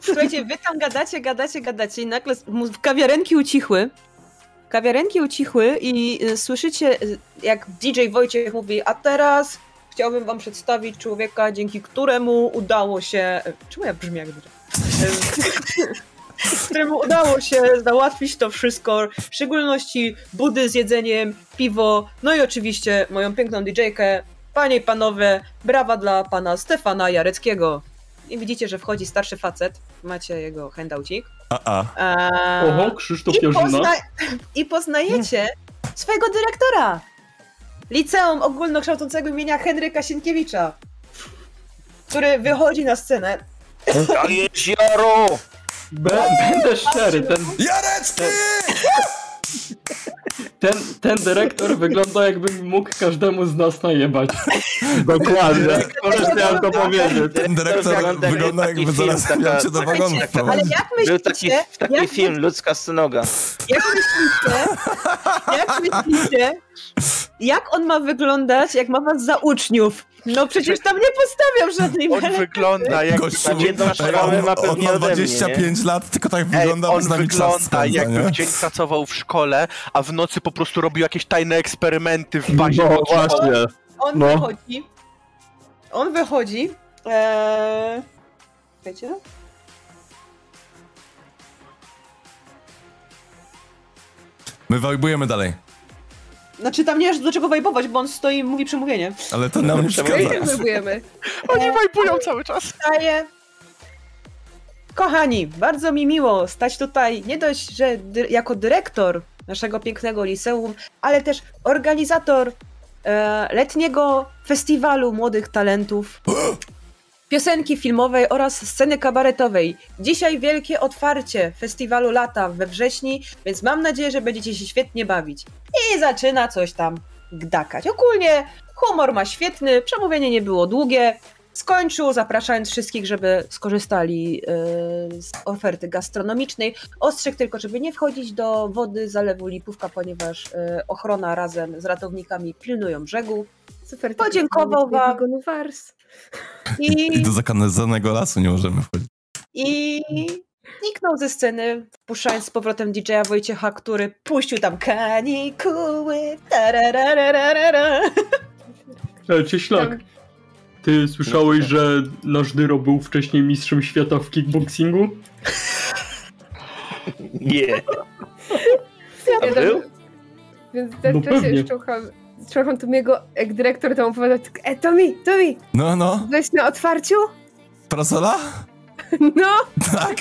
[SPEAKER 2] Słuchajcie, wy tam gadacie, gadacie, gadacie i nagle mu- kawiarenki ucichły. Kawiarenki ucichły i y, słyszycie, y, jak DJ Wojciech mówi, a teraz chciałbym wam przedstawić człowieka, dzięki któremu udało się... y, Czemu ja brzmię jak DJ? Y, któremu udało się załatwić to wszystko, w szczególności budy z jedzeniem, piwo, no i oczywiście moją piękną DJ-kę. Panie i panowie, brawa dla pana Stefana Jareckiego. I widzicie, że wchodzi starszy facet. Macie jego handoutik.
[SPEAKER 1] A, a.
[SPEAKER 2] Eee,
[SPEAKER 7] Oho, Krzysztof
[SPEAKER 2] i,
[SPEAKER 7] Jarzyna.
[SPEAKER 2] pozna- I poznajecie swojego dyrektora. Liceum ogólnokształcącego imienia Henryka Sienkiewicza, który wychodzi na scenę.
[SPEAKER 6] To jest Jaro!
[SPEAKER 7] Be- Będę szczery, ten,
[SPEAKER 1] Jareczki!
[SPEAKER 7] ten, ten dyrektor wygląda jakby mógł każdemu z nas najebać.
[SPEAKER 4] Dokładnie. Możesz miałem to powiedzieć.
[SPEAKER 1] Ten dyrektor
[SPEAKER 6] wygląda-
[SPEAKER 1] wygląda
[SPEAKER 6] taki
[SPEAKER 1] jakby zaraz
[SPEAKER 6] film,
[SPEAKER 1] miał
[SPEAKER 6] taka-
[SPEAKER 1] cię do
[SPEAKER 6] taka-
[SPEAKER 1] wagonu
[SPEAKER 6] taka-
[SPEAKER 2] Ale
[SPEAKER 1] wprowadzić.
[SPEAKER 2] jak
[SPEAKER 6] Był taki,
[SPEAKER 2] myślicie,
[SPEAKER 6] taki
[SPEAKER 2] jak,
[SPEAKER 6] film, ludzka stonoga.
[SPEAKER 2] jak myślicie, jak myślicie, jak on ma wyglądać, jak ma was za uczniów? No przecież tam nie postawiam żadnej
[SPEAKER 8] On wygląda jak
[SPEAKER 1] Gościu,
[SPEAKER 6] tak jedną
[SPEAKER 1] ej,
[SPEAKER 6] szkołę
[SPEAKER 1] on,
[SPEAKER 6] ma pewnie
[SPEAKER 1] on ma
[SPEAKER 6] ode mnie,
[SPEAKER 1] 25 lat, tylko tak
[SPEAKER 8] Ej,
[SPEAKER 1] wygląda, bo
[SPEAKER 8] on
[SPEAKER 1] z nami czas
[SPEAKER 8] wygląda
[SPEAKER 1] spędza,
[SPEAKER 8] jakby
[SPEAKER 1] nie?
[SPEAKER 8] w dzień pracował w szkole, a w nocy po prostu robił jakieś tajne eksperymenty w bazie.
[SPEAKER 4] No
[SPEAKER 8] pod szkołą.
[SPEAKER 4] właśnie.
[SPEAKER 2] On
[SPEAKER 4] No.
[SPEAKER 2] wychodzi. On wychodzi. Eee... Wiecie?
[SPEAKER 1] My wajbujemy dalej,
[SPEAKER 2] Znaczy tam nie aż do czego wajbować, bo on stoi i mówi przemówienie.
[SPEAKER 1] ale
[SPEAKER 6] No,
[SPEAKER 1] to nam nie przeszkadza.
[SPEAKER 3] Próbujemy.
[SPEAKER 8] Oni wajpują cały czas.
[SPEAKER 2] Staje. Kochani, bardzo mi miło stać tutaj nie dość, że dy jako dyrektor naszego pięknego liceum, ale też organizator e, letniego festiwalu młodych talentów, piosenki filmowej oraz sceny kabaretowej. Dzisiaj wielkie otwarcie festiwalu lata we wrześni, więc mam nadzieję, że będziecie się świetnie bawić. I zaczyna coś tam gdakać. Ogólnie humor ma świetny, przemówienie nie było długie, skończył, zapraszając wszystkich, żeby skorzystali e, z oferty gastronomicznej. Ostrzegł tylko, żeby nie wchodzić do wody zalewu Lipówka, ponieważ e, ochrona razem z ratownikami pilnują brzegu.
[SPEAKER 3] Super.
[SPEAKER 2] Podziękował wam.
[SPEAKER 3] Wagonu Wars.
[SPEAKER 2] I,
[SPEAKER 1] I do zakazanego lasu nie możemy wchodzić.
[SPEAKER 2] i zniknął ze sceny, wpuszczając z powrotem DJ-a Wojciecha, który puścił tam kanikuły. tararararara.
[SPEAKER 7] E, Cieślak, ty słyszałeś, że nasz Dyro był wcześniej mistrzem świata w kickboxingu?
[SPEAKER 6] Nie. A
[SPEAKER 3] Ja
[SPEAKER 6] był?
[SPEAKER 3] tam- Więc
[SPEAKER 7] No
[SPEAKER 3] ten czas
[SPEAKER 7] pewnie.
[SPEAKER 3] się szczucham. Szczucham tu jego, jak dyrektor tam opowiadał, tak, e, to mi, to mi,
[SPEAKER 1] No, no,
[SPEAKER 3] weź na otwarciu?
[SPEAKER 1] prasola?
[SPEAKER 3] No,
[SPEAKER 1] Tak?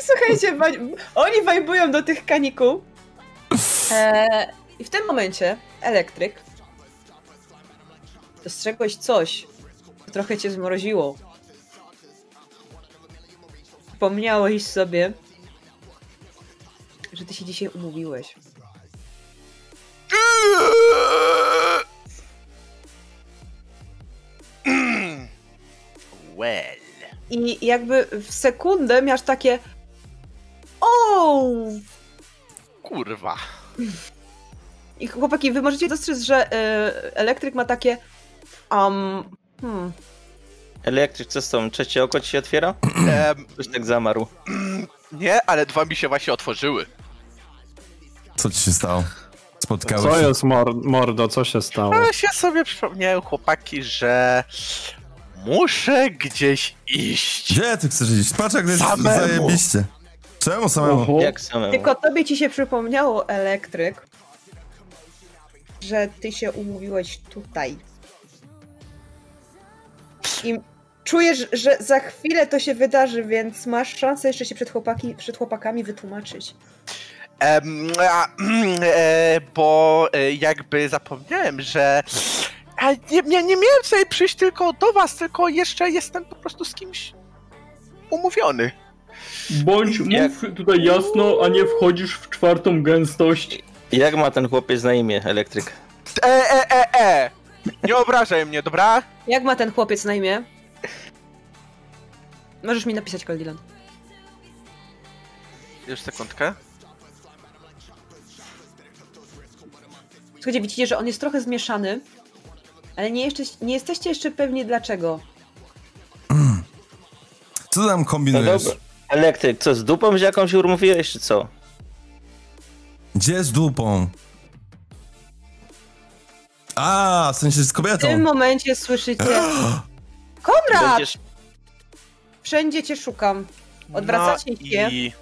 [SPEAKER 2] I słuchajcie, wa- oni wajbują do tych kanikuł. E, I w tym momencie elektryk dostrzegłeś coś, co trochę cię zmroziło. Wspomniałeś sobie, że ty się dzisiaj umówiłeś.
[SPEAKER 8] Well.
[SPEAKER 2] I jakby w sekundę miałeś takie o,
[SPEAKER 8] No Kurwa.
[SPEAKER 2] I chłopaki, wy możecie dostrzec, że y, elektryk ma takie. Um, hmm,
[SPEAKER 6] Elektryk, co z tą? Trzecie oko ci się otwiera?
[SPEAKER 8] Em,
[SPEAKER 6] Ktoś tak zamarł.
[SPEAKER 8] nie, ale dwa mi się właśnie otworzyły.
[SPEAKER 1] Co ci się stało? Spotkałeś
[SPEAKER 4] Co
[SPEAKER 1] się?
[SPEAKER 4] jest mor- mordo, co się stało?
[SPEAKER 8] Ale się sobie przypomniałem, chłopaki, że muszę gdzieś iść.
[SPEAKER 1] Gdzie ty chcesz iść? Patrz jak jest
[SPEAKER 8] Samemu.
[SPEAKER 1] zajebiście. Czemu samemu?
[SPEAKER 7] Oho,
[SPEAKER 6] Jak samemu?
[SPEAKER 2] Tylko tobie ci się przypomniało, elektryk, że ty się umówiłeś tutaj. I czujesz, że za chwilę to się wydarzy, więc masz szansę jeszcze się przed, chłopaki, przed chłopakami wytłumaczyć.
[SPEAKER 8] Em, a, e, bo e, jakby zapomniałem, że a nie, nie, nie miałem tutaj przyjść tylko do was, tylko jeszcze jestem po prostu z kimś umówiony.
[SPEAKER 7] bądź mów tutaj jasno, a nie wchodzisz w czwartą gęstość.
[SPEAKER 6] Jak ma ten chłopiec na imię, elektryk?
[SPEAKER 8] E, e, e, e! Nie obrażaj mnie, dobra?
[SPEAKER 2] Jak ma ten chłopiec na imię? Możesz mi napisać, Koldilan.
[SPEAKER 8] Już sekundkę.
[SPEAKER 2] Słuchajcie, widzicie, że on jest trochę zmieszany, ale nie, jeszcze, nie jesteście jeszcze pewni dlaczego.
[SPEAKER 1] Co tam
[SPEAKER 6] No
[SPEAKER 1] kombinujesz?
[SPEAKER 6] dobra. Elektryk, co z dupą z jakąś urmówiłeś, czy co?
[SPEAKER 1] Gdzie z dupą? A, w sensie z
[SPEAKER 2] W tym
[SPEAKER 1] kobietą.
[SPEAKER 2] momencie słyszycie... Konrad!
[SPEAKER 6] Będziesz...
[SPEAKER 2] Wszędzie cię szukam. Odwracacie
[SPEAKER 8] no
[SPEAKER 2] się.
[SPEAKER 8] I...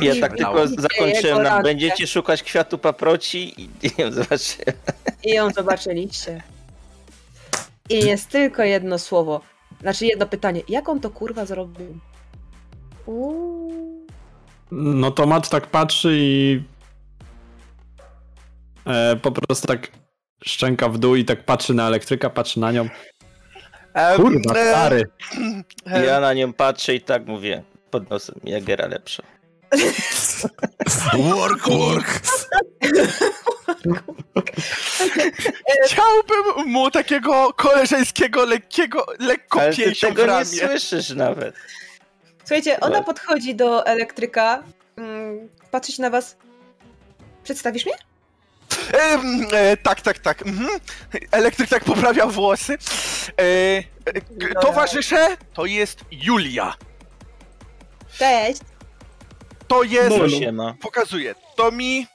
[SPEAKER 6] Ja
[SPEAKER 2] I
[SPEAKER 6] tak tylko
[SPEAKER 2] widzicie
[SPEAKER 6] zakończyłem.
[SPEAKER 2] jego
[SPEAKER 6] Na...
[SPEAKER 2] randkę.
[SPEAKER 6] Będziecie szukać kwiatu paproci i nie wiem, zobaczcie.
[SPEAKER 2] I ją zobaczyliście. I jest tylko jedno słowo. Znaczy jedno pytanie. Jak on to kurwa zrobił? Uuu.
[SPEAKER 4] No to Matt tak patrzy i e, po prostu tak szczęka w dół i tak patrzy na elektryka, patrzy na nią.
[SPEAKER 8] E,
[SPEAKER 4] Kurwa,
[SPEAKER 8] e,
[SPEAKER 4] stary.
[SPEAKER 8] e,
[SPEAKER 6] Ja na nią patrzę i tak mówię pod nosem, Jagera lepsza.
[SPEAKER 1] Work, work.
[SPEAKER 8] Chciałbym mu takiego koleżeńskiego, lekkiego, lekko
[SPEAKER 6] Ale ty
[SPEAKER 8] pięcią w
[SPEAKER 6] tego nie
[SPEAKER 8] ramię.
[SPEAKER 6] słyszysz nawet.
[SPEAKER 2] Słuchajcie, ona
[SPEAKER 6] Dobra.
[SPEAKER 2] podchodzi do elektryka. mm, Patrzy się na was. Przedstawisz mnie?
[SPEAKER 8] Em, e, tak, tak, tak. Mhm. Elektryk tak poprawia włosy. E, e, k- towarzysze, to jest Julia.
[SPEAKER 2] Cześć.
[SPEAKER 8] To jest...
[SPEAKER 7] No, no.
[SPEAKER 6] Siema.
[SPEAKER 8] Pokazuję. To mi...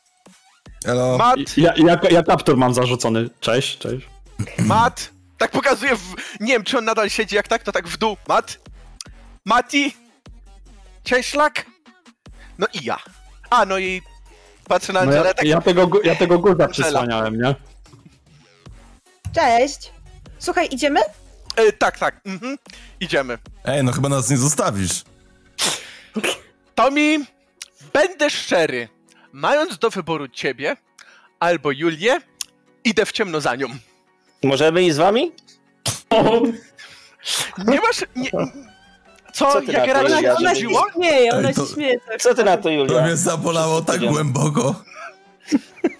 [SPEAKER 1] Elo.
[SPEAKER 8] Mat,
[SPEAKER 4] Ja, ja, ja kaptur mam zarzucony. Cześć, cześć. No
[SPEAKER 8] Mat. Tak pokazuję w... Nie wiem, czy on nadal siedzi jak tak, to tak w dół. Mat. Mati. Cieślak. No i ja. A, no i... Patrzę na
[SPEAKER 4] No ja,
[SPEAKER 8] Angelę, tak...
[SPEAKER 4] ja tego, gu- ja tego guza przysłaniałem, nie?
[SPEAKER 2] Cześć. Słuchaj, idziemy?
[SPEAKER 8] E, tak, tak. Mhm. Idziemy.
[SPEAKER 1] Ej, no chyba nas nie zostawisz.
[SPEAKER 8] Tomi, będę szczery. Mając do wyboru ciebie albo Julię, idę w ciemno za nią.
[SPEAKER 6] Możemy i z wami?
[SPEAKER 7] O,
[SPEAKER 8] Nie masz. Nie... Co,
[SPEAKER 6] Co ty
[SPEAKER 8] jak
[SPEAKER 6] na to,
[SPEAKER 8] raczej
[SPEAKER 6] Julia,
[SPEAKER 8] się
[SPEAKER 6] żeby-
[SPEAKER 2] Ona się
[SPEAKER 8] zdarzyło?
[SPEAKER 2] śmieje, ona
[SPEAKER 1] Ej, to-
[SPEAKER 2] się śmieje. cały
[SPEAKER 6] Co ty
[SPEAKER 2] czas.
[SPEAKER 6] na to,
[SPEAKER 1] To
[SPEAKER 6] Julia?
[SPEAKER 1] mnie zabolało tak
[SPEAKER 6] Wszystko
[SPEAKER 1] głęboko.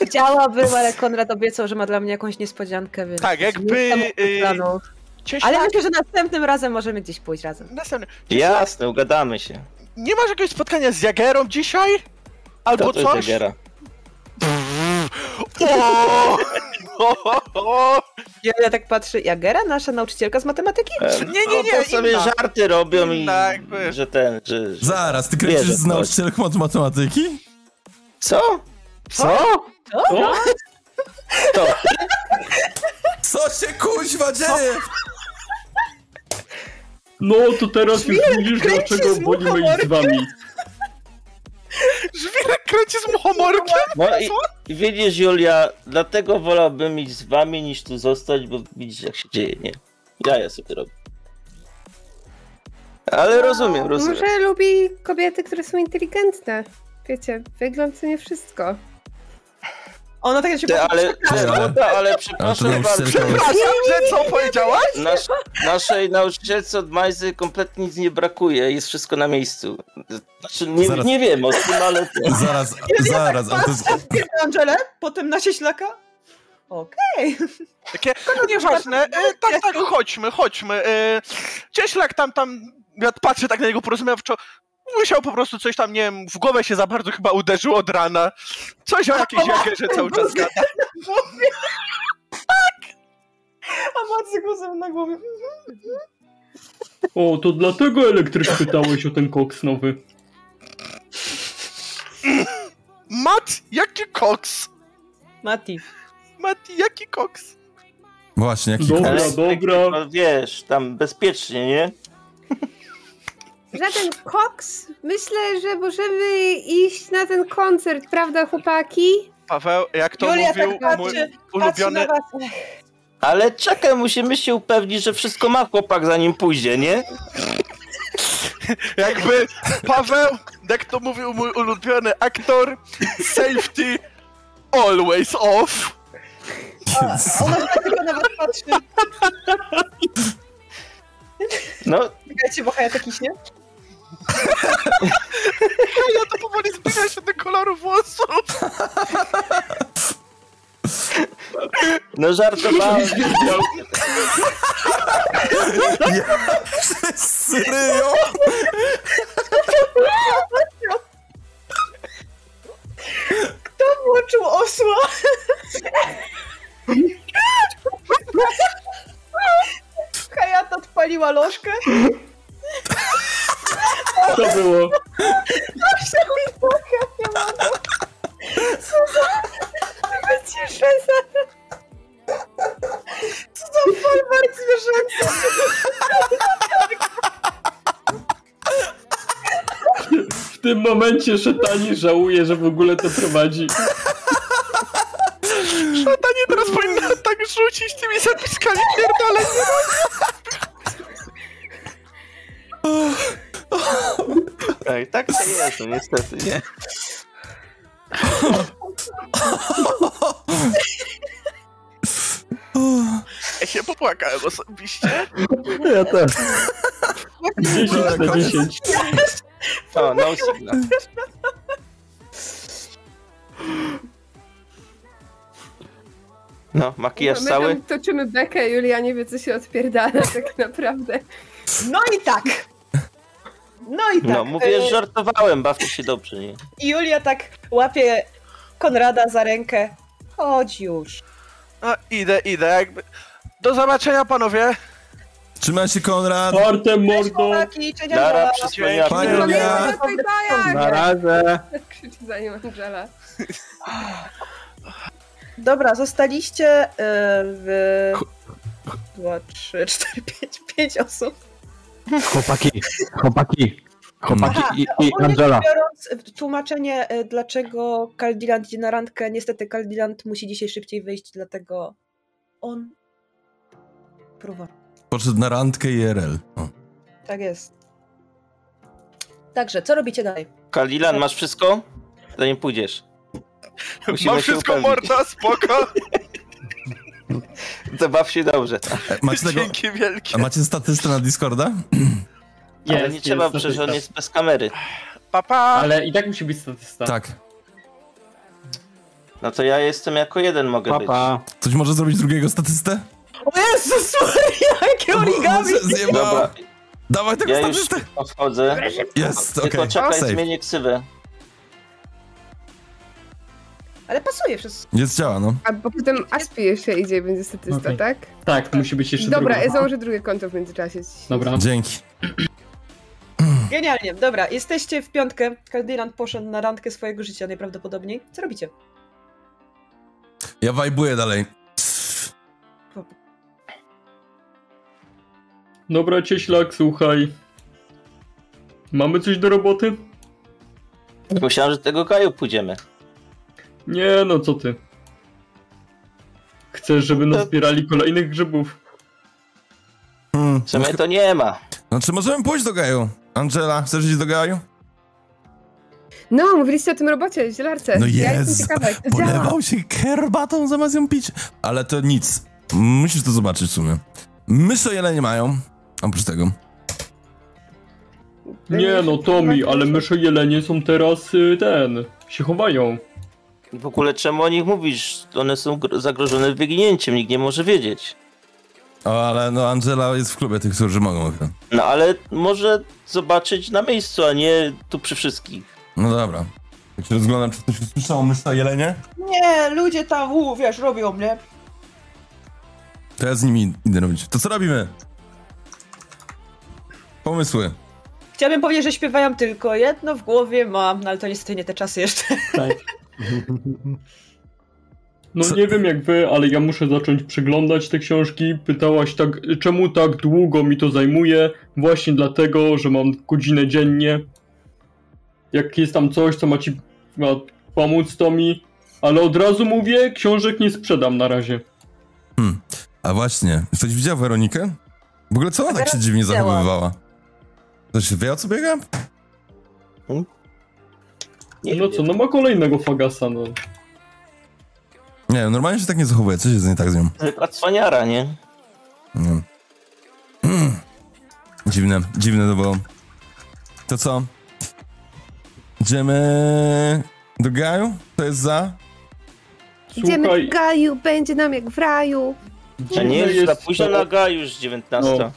[SPEAKER 2] Chciałabym, ale Konrad obiecał, że ma dla mnie jakąś niespodziankę, więc...
[SPEAKER 8] Tak, jakby,
[SPEAKER 2] nie jestem
[SPEAKER 8] y,
[SPEAKER 2] planów.
[SPEAKER 8] Cieślak,
[SPEAKER 2] Ale myślę, że następnym razem możemy gdzieś pójść razem.
[SPEAKER 8] następny. Cieślak,
[SPEAKER 6] Jasne, ugadamy się.
[SPEAKER 8] nie masz jakiegoś spotkania z Jagerą dzisiaj?
[SPEAKER 6] Kto
[SPEAKER 8] Albo
[SPEAKER 6] to jest
[SPEAKER 8] coś?
[SPEAKER 6] Jagera?
[SPEAKER 8] O! O, o, o.
[SPEAKER 2] Ja tak patrzę, Jagera, nasza nauczycielka z matematyki?
[SPEAKER 6] E,
[SPEAKER 8] Nie, nie,
[SPEAKER 6] no,
[SPEAKER 8] nie,
[SPEAKER 6] to sobie
[SPEAKER 8] inna.
[SPEAKER 6] żarty robią i
[SPEAKER 8] Inna jakby.
[SPEAKER 6] że ten, że... że...
[SPEAKER 1] Zaraz, ty kręcisz
[SPEAKER 6] Wierzę w
[SPEAKER 1] z
[SPEAKER 6] to.
[SPEAKER 1] nauczycielką od matematyki?
[SPEAKER 6] Co?
[SPEAKER 7] Co? Co?
[SPEAKER 6] To,
[SPEAKER 1] Co się kuźwa dzieje?
[SPEAKER 7] No to teraz już widzisz,
[SPEAKER 2] kręć się
[SPEAKER 7] dlaczego
[SPEAKER 2] z
[SPEAKER 7] wolimy iść z
[SPEAKER 2] muchomorkiem.
[SPEAKER 7] wami.
[SPEAKER 8] Żwirek kręci z muchomorkiem?
[SPEAKER 6] no i, i widzisz, Julia, dlatego wolałbym iść z wami niż tu zostać, bo widzisz jak się dzieje, nie? Ja ja sobie robię. Ale rozumiem, rozumiem.
[SPEAKER 3] Może lubi kobiety, które są inteligentne. Wiecie, wygląd to nie wszystko.
[SPEAKER 2] Ona tak się
[SPEAKER 6] Ty,
[SPEAKER 2] patrzy,
[SPEAKER 6] ale,
[SPEAKER 1] Ale-
[SPEAKER 6] ale, ale, przepraszam
[SPEAKER 1] nauczycielka
[SPEAKER 6] bardzo,
[SPEAKER 1] jest-
[SPEAKER 8] Przepraszam, że co powiedziałaś?
[SPEAKER 6] Nasz, naszej nauczycielce od Majzy kompletnie nic nie brakuje, jest wszystko na miejscu. Znaczy, nie,
[SPEAKER 1] Zaraz.
[SPEAKER 6] nie wiem o tym, ale
[SPEAKER 1] Zaraz, zaraz, ale to jest...
[SPEAKER 2] tak patrzę na Angelę, potem na cieślaka. Okej.
[SPEAKER 8] Takie, no nieważne, e, tak, tak, chodźmy, chodźmy. E, Cieślak tam, tam, ja patrzę tak na niego porozumiewczo, musiał po prostu coś tam, nie wiem, w głowę się za bardzo chyba uderzył od rana. Coś o jakiejś jakierze cały czas gada.
[SPEAKER 2] A Macy głosem na głowie.
[SPEAKER 7] O, to dlatego elektryk pytałeś o ten koks nowy.
[SPEAKER 8] Mat, jaki koks?
[SPEAKER 2] Mati.
[SPEAKER 8] Mat, jaki koks?
[SPEAKER 1] Właśnie, jaki
[SPEAKER 7] Dobra.
[SPEAKER 1] koks?
[SPEAKER 7] dobra.
[SPEAKER 6] No, wiesz, tam bezpiecznie, nie?
[SPEAKER 3] Żaden koks? Myślę, że możemy iść na ten koncert, prawda, chłopaki?
[SPEAKER 8] Paweł, jak to
[SPEAKER 2] Julia
[SPEAKER 8] mówił
[SPEAKER 2] tak patrzy,
[SPEAKER 8] mój
[SPEAKER 2] patrzy
[SPEAKER 8] ulubiony...
[SPEAKER 2] na was.
[SPEAKER 6] Ale czekaj, musimy się upewnić, że wszystko ma chłopak zanim pójdzie, nie?
[SPEAKER 8] Jakby Paweł, jak to mówił mój ulubiony aktor, safety always off.
[SPEAKER 2] Ona tak tylko na was patrzy.
[SPEAKER 6] No,
[SPEAKER 2] Czekajcie, bo Hayata kiśnie.
[SPEAKER 8] Ja to powoli zmienia się do koloru włosów.
[SPEAKER 6] no żartowałem.
[SPEAKER 1] Wszyscy ryją!
[SPEAKER 2] rosło. Hayat odpaliła lożkę.
[SPEAKER 7] To było.
[SPEAKER 2] Proszę mi Boga, nie mogę. Co za... Tylko cieszę za... Co za folwark zwierzęcy.
[SPEAKER 7] W tym momencie Szetani żałuje, że w ogóle to prowadzi.
[SPEAKER 8] Szatanie teraz powinna tak rzucić tymi zapiskami pierdolę.
[SPEAKER 6] Ej, tak to jest, no niestety, nie?
[SPEAKER 8] Ja się popłakałem osobiście.
[SPEAKER 4] Ja też.
[SPEAKER 7] 10
[SPEAKER 1] Tak,
[SPEAKER 7] na 10.
[SPEAKER 6] O, no signal. No, makijaż
[SPEAKER 3] My
[SPEAKER 6] cały?
[SPEAKER 3] tam toczymy bekę, Julia nie wie, co się odpierdala tak naprawdę.
[SPEAKER 2] No i tak. No i tak.
[SPEAKER 6] No, mówię,
[SPEAKER 2] E,
[SPEAKER 6] że żartowałem, bawcie się dobrze, nie?
[SPEAKER 2] I Julia tak łapie Konrada za rękę. Chodź już.
[SPEAKER 8] No idę, idę jakby. Do zobaczenia panowie.
[SPEAKER 1] Trzymaj się, Konrad.
[SPEAKER 7] Forte
[SPEAKER 2] Cześć,
[SPEAKER 7] mordo.
[SPEAKER 2] chłopaki, cześć,
[SPEAKER 6] Lara
[SPEAKER 2] Angela.
[SPEAKER 6] przysłania.
[SPEAKER 1] Pani
[SPEAKER 6] pierdolę.
[SPEAKER 1] Julia.
[SPEAKER 3] Pamiętaj o tych bajach!
[SPEAKER 4] Na razie.
[SPEAKER 3] Krzyczy za nim Angela.
[SPEAKER 2] Dobra, zostaliście y, w... 2, 3, 4, 5, 5 osób.
[SPEAKER 9] Chłopaki, chłopaki, chłopaki i, i
[SPEAKER 2] Ogólnie
[SPEAKER 9] Angela.
[SPEAKER 2] biorąc y, tłumaczenie, y, dlaczego Kaldiland idzie na randkę, niestety Kaldiland musi dzisiaj szybciej wyjść, dlatego on próbował.
[SPEAKER 1] Poszedł na randkę IRL. O.
[SPEAKER 2] Tak jest. Także, co robicie dalej?
[SPEAKER 6] Kalilan, masz wszystko? Zanim pójdziesz. Musimy
[SPEAKER 8] Mam
[SPEAKER 6] się
[SPEAKER 8] wszystko
[SPEAKER 6] upewnić.
[SPEAKER 8] morda, spoko.
[SPEAKER 6] To baw się dobrze.
[SPEAKER 1] E, Macie, tego,
[SPEAKER 8] Dzięki wielkie.
[SPEAKER 1] a macie statystę na Discorda?
[SPEAKER 6] Ale
[SPEAKER 7] Jest,
[SPEAKER 6] nie
[SPEAKER 7] jest,
[SPEAKER 6] trzeba,
[SPEAKER 7] statysta.
[SPEAKER 6] przecież on jest bez kamery.
[SPEAKER 8] Pa, pa.
[SPEAKER 7] Ale i tak musi być statysta.
[SPEAKER 1] Tak.
[SPEAKER 6] No to ja jestem jako jeden mogę
[SPEAKER 4] Pa,
[SPEAKER 6] być.
[SPEAKER 4] pa.
[SPEAKER 1] Ktoś może zrobić drugiego statystę?
[SPEAKER 2] O Jezus Maria, jakie origami!
[SPEAKER 1] Z- Zjebałem.
[SPEAKER 6] Dobra,
[SPEAKER 1] Dawaj tego
[SPEAKER 6] ja już
[SPEAKER 1] statystę.
[SPEAKER 6] odchodzę.
[SPEAKER 1] Jest, okej.
[SPEAKER 6] Tylko czekaj,
[SPEAKER 1] Safe.
[SPEAKER 6] zmienię ksywę.
[SPEAKER 2] Ale pasuje wszystko.
[SPEAKER 1] Jest działa, no.
[SPEAKER 3] A bo potem Aspi jeszcze idzie i będzie statysta,
[SPEAKER 7] Okej.
[SPEAKER 3] tak?
[SPEAKER 7] Tak, musi być jeszcze
[SPEAKER 3] Dobra,
[SPEAKER 7] druga.
[SPEAKER 3] ja założę drugie konto w międzyczasie.
[SPEAKER 7] Dobra.
[SPEAKER 1] Dzięki.
[SPEAKER 2] Genialnie, dobra, jesteście w piątkę. Kaldiland poszedł na randkę swojego życia najprawdopodobniej. Co robicie?
[SPEAKER 1] Ja wajbuję dalej.
[SPEAKER 7] Dobra, cieślak, słuchaj. Mamy coś do roboty?
[SPEAKER 6] Myślałem, że do tego kraju pójdziemy.
[SPEAKER 7] Nie, no co ty. Chcesz, żeby nazbierali kolejnych grzybów?
[SPEAKER 1] Hmm.
[SPEAKER 6] W sumie to nie ma.
[SPEAKER 1] Znaczy, możemy pójść do gaju. Angela, chcesz iść do gaju?
[SPEAKER 3] No, mówiliście o tym robocie, zielarce.
[SPEAKER 1] No
[SPEAKER 3] ja
[SPEAKER 1] jest.
[SPEAKER 3] jestem ciekawa, jak to działa.
[SPEAKER 1] Polewał się herbatą zamiast ją pić. Ale to nic. Musisz to zobaczyć w sumie. Myszy jelenie mają. Oprócz tego.
[SPEAKER 7] Nie no, Tommy, ale mysze jelenie są teraz y, ten. się chowają.
[SPEAKER 6] I W ogóle czemu o nich mówisz? One są gro- zagrożone wyginięciem, nikt nie może wiedzieć.
[SPEAKER 1] O, ale no Angela jest w klubie tych, którzy mogą. chyba.
[SPEAKER 6] No ale może zobaczyć na miejscu, a nie tu przy wszystkich.
[SPEAKER 1] No dobra. Jak się rozglądam, czy ktoś usłyszał mysza jelenie?
[SPEAKER 2] Nie, ludzie tam, u, wiesz, robią mnie.
[SPEAKER 1] To ja z nimi idę robić. To co robimy? Pomysły.
[SPEAKER 2] Chciałabym powiedzieć, że śpiewają tylko jedno w głowie mam, no ale to niestety nie te czasy jeszcze.
[SPEAKER 7] No
[SPEAKER 1] Co-
[SPEAKER 7] nie wiem jak wy, ale ja muszę zacząć przeglądać te książki. Pytałaś tak, czemu tak długo mi to zajmuje? Właśnie dlatego, że mam godzinę dziennie. Jak jest tam coś, co ma ci ma pomóc, to mi. Ale od razu mówię, książek nie sprzedam na razie.
[SPEAKER 1] A właśnie, ktoś widział Weronikę? W ogóle co ona tak się
[SPEAKER 2] Teraz
[SPEAKER 1] dziwnie
[SPEAKER 2] widziałam.
[SPEAKER 1] zachowywała? Ktoś wie o co biega?
[SPEAKER 6] Nie
[SPEAKER 7] No
[SPEAKER 6] wiem.
[SPEAKER 7] co, no ma kolejnego fagasa, no.
[SPEAKER 1] Nie, normalnie się tak nie zachowuje. Coś jest nie tak z nią.
[SPEAKER 6] Zwykła cwaniara, nie?
[SPEAKER 1] Nie. Mm. Dziwne, dziwne to było. To co? Idziemy do gaju? To jest za?
[SPEAKER 3] Idziemy
[SPEAKER 7] Słuchaj.
[SPEAKER 3] w gaju, będzie nam jak w raju.
[SPEAKER 6] A nie,
[SPEAKER 7] dziwne
[SPEAKER 6] już za
[SPEAKER 7] No jest
[SPEAKER 6] późno no.
[SPEAKER 7] to-
[SPEAKER 6] na gaju już 19.
[SPEAKER 7] No.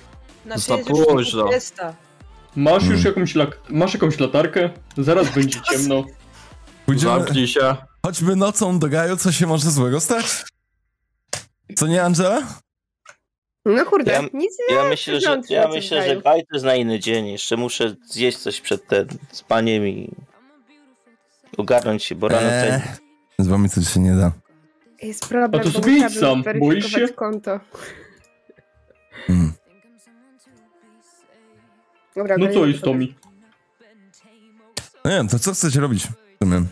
[SPEAKER 2] Znaczy,
[SPEAKER 4] Za
[SPEAKER 2] jest już
[SPEAKER 4] późno.
[SPEAKER 2] 20.
[SPEAKER 7] Masz już
[SPEAKER 1] Mm.
[SPEAKER 7] jakąś, lak- masz jakąś latarkę? Zaraz będzie ciemno.
[SPEAKER 1] Pójdziemy,
[SPEAKER 4] Zamknij się.
[SPEAKER 1] Choćby nocą do gaju, co się może złego stać? Co nie, Angela?
[SPEAKER 3] No kurde,
[SPEAKER 6] Ja-
[SPEAKER 3] nic
[SPEAKER 6] Ja myślę, że,
[SPEAKER 3] Wygląd
[SPEAKER 6] ja
[SPEAKER 3] świecący
[SPEAKER 6] myślę,
[SPEAKER 3] w
[SPEAKER 6] że
[SPEAKER 3] raju.
[SPEAKER 6] baj to jest na inny dzień. Jeszcze muszę zjeść coś przed ten z paniem i ogarnąć się, bo rano
[SPEAKER 1] Eee,
[SPEAKER 6] ten...
[SPEAKER 1] z wami coś się nie da.
[SPEAKER 3] jest problem,
[SPEAKER 7] A No to
[SPEAKER 3] bo
[SPEAKER 7] sobie idź
[SPEAKER 3] musiałabym
[SPEAKER 7] sam, boisz się?
[SPEAKER 3] zweryfikować konto.
[SPEAKER 1] Mm.
[SPEAKER 3] Dobra,
[SPEAKER 7] No
[SPEAKER 3] Grey,
[SPEAKER 7] co jest Tomi?
[SPEAKER 1] No nie wiem, to co chcecie robić? w sumie?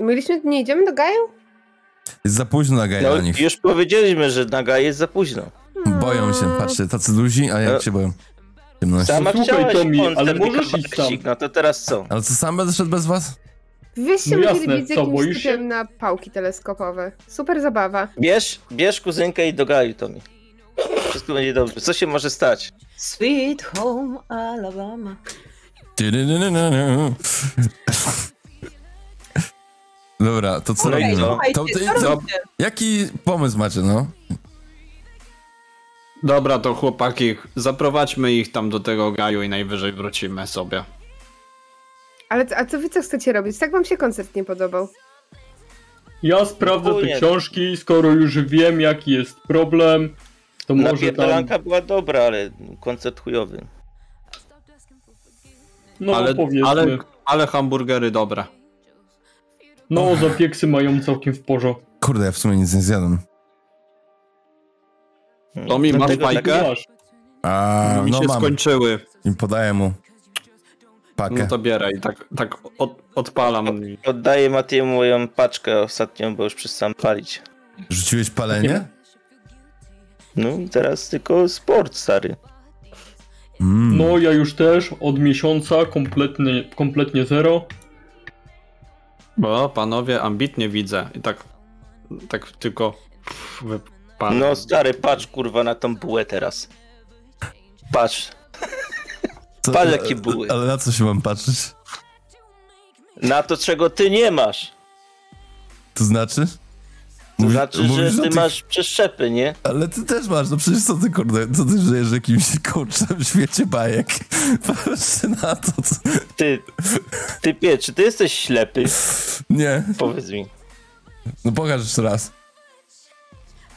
[SPEAKER 3] Mieliśmy, nie idziemy do Gaju?
[SPEAKER 1] Jest za późno na gaja
[SPEAKER 6] No,
[SPEAKER 1] dla nich.
[SPEAKER 6] już powiedzieliśmy, że naga jest za późno.
[SPEAKER 1] Boją się, patrzcie, tacy duzi, a jak
[SPEAKER 6] No.
[SPEAKER 1] się boją? Ciemności.
[SPEAKER 6] Sama
[SPEAKER 7] No słuchaj,
[SPEAKER 6] chciałaś
[SPEAKER 7] Tomi,
[SPEAKER 6] koncert
[SPEAKER 7] ale
[SPEAKER 6] i
[SPEAKER 7] możesz iść
[SPEAKER 6] kawałek, No to teraz co?
[SPEAKER 1] Ale co, sam będę szedł bez was?
[SPEAKER 3] Wyście
[SPEAKER 7] No
[SPEAKER 3] musieli
[SPEAKER 7] jasne,
[SPEAKER 3] być z
[SPEAKER 7] co,
[SPEAKER 3] jakimś
[SPEAKER 7] boisz się?
[SPEAKER 3] typem na pałki teleskopowe. Super zabawa.
[SPEAKER 6] Bierz, bierz kuzynkę i dogaj to mi. Wszystko będzie dobrze. Co się może stać?
[SPEAKER 2] Sweet home Alabama.
[SPEAKER 1] Dobra, to co
[SPEAKER 6] Okej,
[SPEAKER 1] robimy?
[SPEAKER 6] no.
[SPEAKER 2] Słuchajcie,
[SPEAKER 1] To,
[SPEAKER 2] co
[SPEAKER 1] to, to,
[SPEAKER 2] robicie?
[SPEAKER 1] jaki pomysł macie, no?
[SPEAKER 4] Dobra, to chłopaki, zaprowadźmy ich tam do tego gaju i najwyżej wrócimy sobie.
[SPEAKER 3] Ale c- a co wy co chcecie robić? Tak wam się koncert nie podobał.
[SPEAKER 7] Ja sprawdzę
[SPEAKER 6] Ogólnie.
[SPEAKER 7] te książki, skoro już wiem jaki jest problem, to może tam...
[SPEAKER 6] Napierdalanka była dobra, ale koncert chujowy.
[SPEAKER 7] No
[SPEAKER 4] ale,
[SPEAKER 7] powiedzmy.
[SPEAKER 4] ale, ale hamburgery dobre.
[SPEAKER 7] No zapieksy mają całkiem w porządku.
[SPEAKER 1] Kurde, ja w sumie nic nie zjadłem.
[SPEAKER 6] Hmm.
[SPEAKER 4] Tomi, masz
[SPEAKER 6] Dlatego
[SPEAKER 4] bajkę?
[SPEAKER 6] tak-
[SPEAKER 7] Masz.
[SPEAKER 1] A,
[SPEAKER 4] Mi
[SPEAKER 1] no
[SPEAKER 4] się
[SPEAKER 1] mam.
[SPEAKER 4] skończyły.
[SPEAKER 1] I podaję mu
[SPEAKER 4] No
[SPEAKER 1] pakę.
[SPEAKER 4] to bieraj, tak, tak od, odpalam.
[SPEAKER 6] Oddaję Matiemu moją paczkę ostatnią, bo już przestałem palić.
[SPEAKER 1] Rzuciłeś palenie?
[SPEAKER 6] No i teraz tylko sport, stary.
[SPEAKER 1] Mm.
[SPEAKER 4] Hmm.
[SPEAKER 7] No ja już też od miesiąca kompletnie, kompletnie zero.
[SPEAKER 4] Bo panowie, ambitnie widzę. I tak, tak tylko wypalam.
[SPEAKER 6] No stary, patrz kurwa na tą bułę teraz. Patrz,
[SPEAKER 1] Co-
[SPEAKER 6] Pal jakie były.
[SPEAKER 1] Ale na co się mam patrzeć?
[SPEAKER 6] na to czego ty nie masz.
[SPEAKER 1] To znaczy?
[SPEAKER 6] To
[SPEAKER 1] Mówi-
[SPEAKER 6] znaczy,
[SPEAKER 1] mówisz
[SPEAKER 6] że
[SPEAKER 1] o
[SPEAKER 6] ty
[SPEAKER 1] tych-
[SPEAKER 6] masz przeszczepy, nie?
[SPEAKER 1] Ale ty też masz, no przecież co ty kurde, co ty żyjesz w jakimś kurczem świecie bajek? Patrzcie na to. Co...
[SPEAKER 6] Ty, ty pie, czy ty jesteś ślepy?
[SPEAKER 1] Nie,
[SPEAKER 6] Powiedz mi.
[SPEAKER 1] no pokaż jeszcze raz.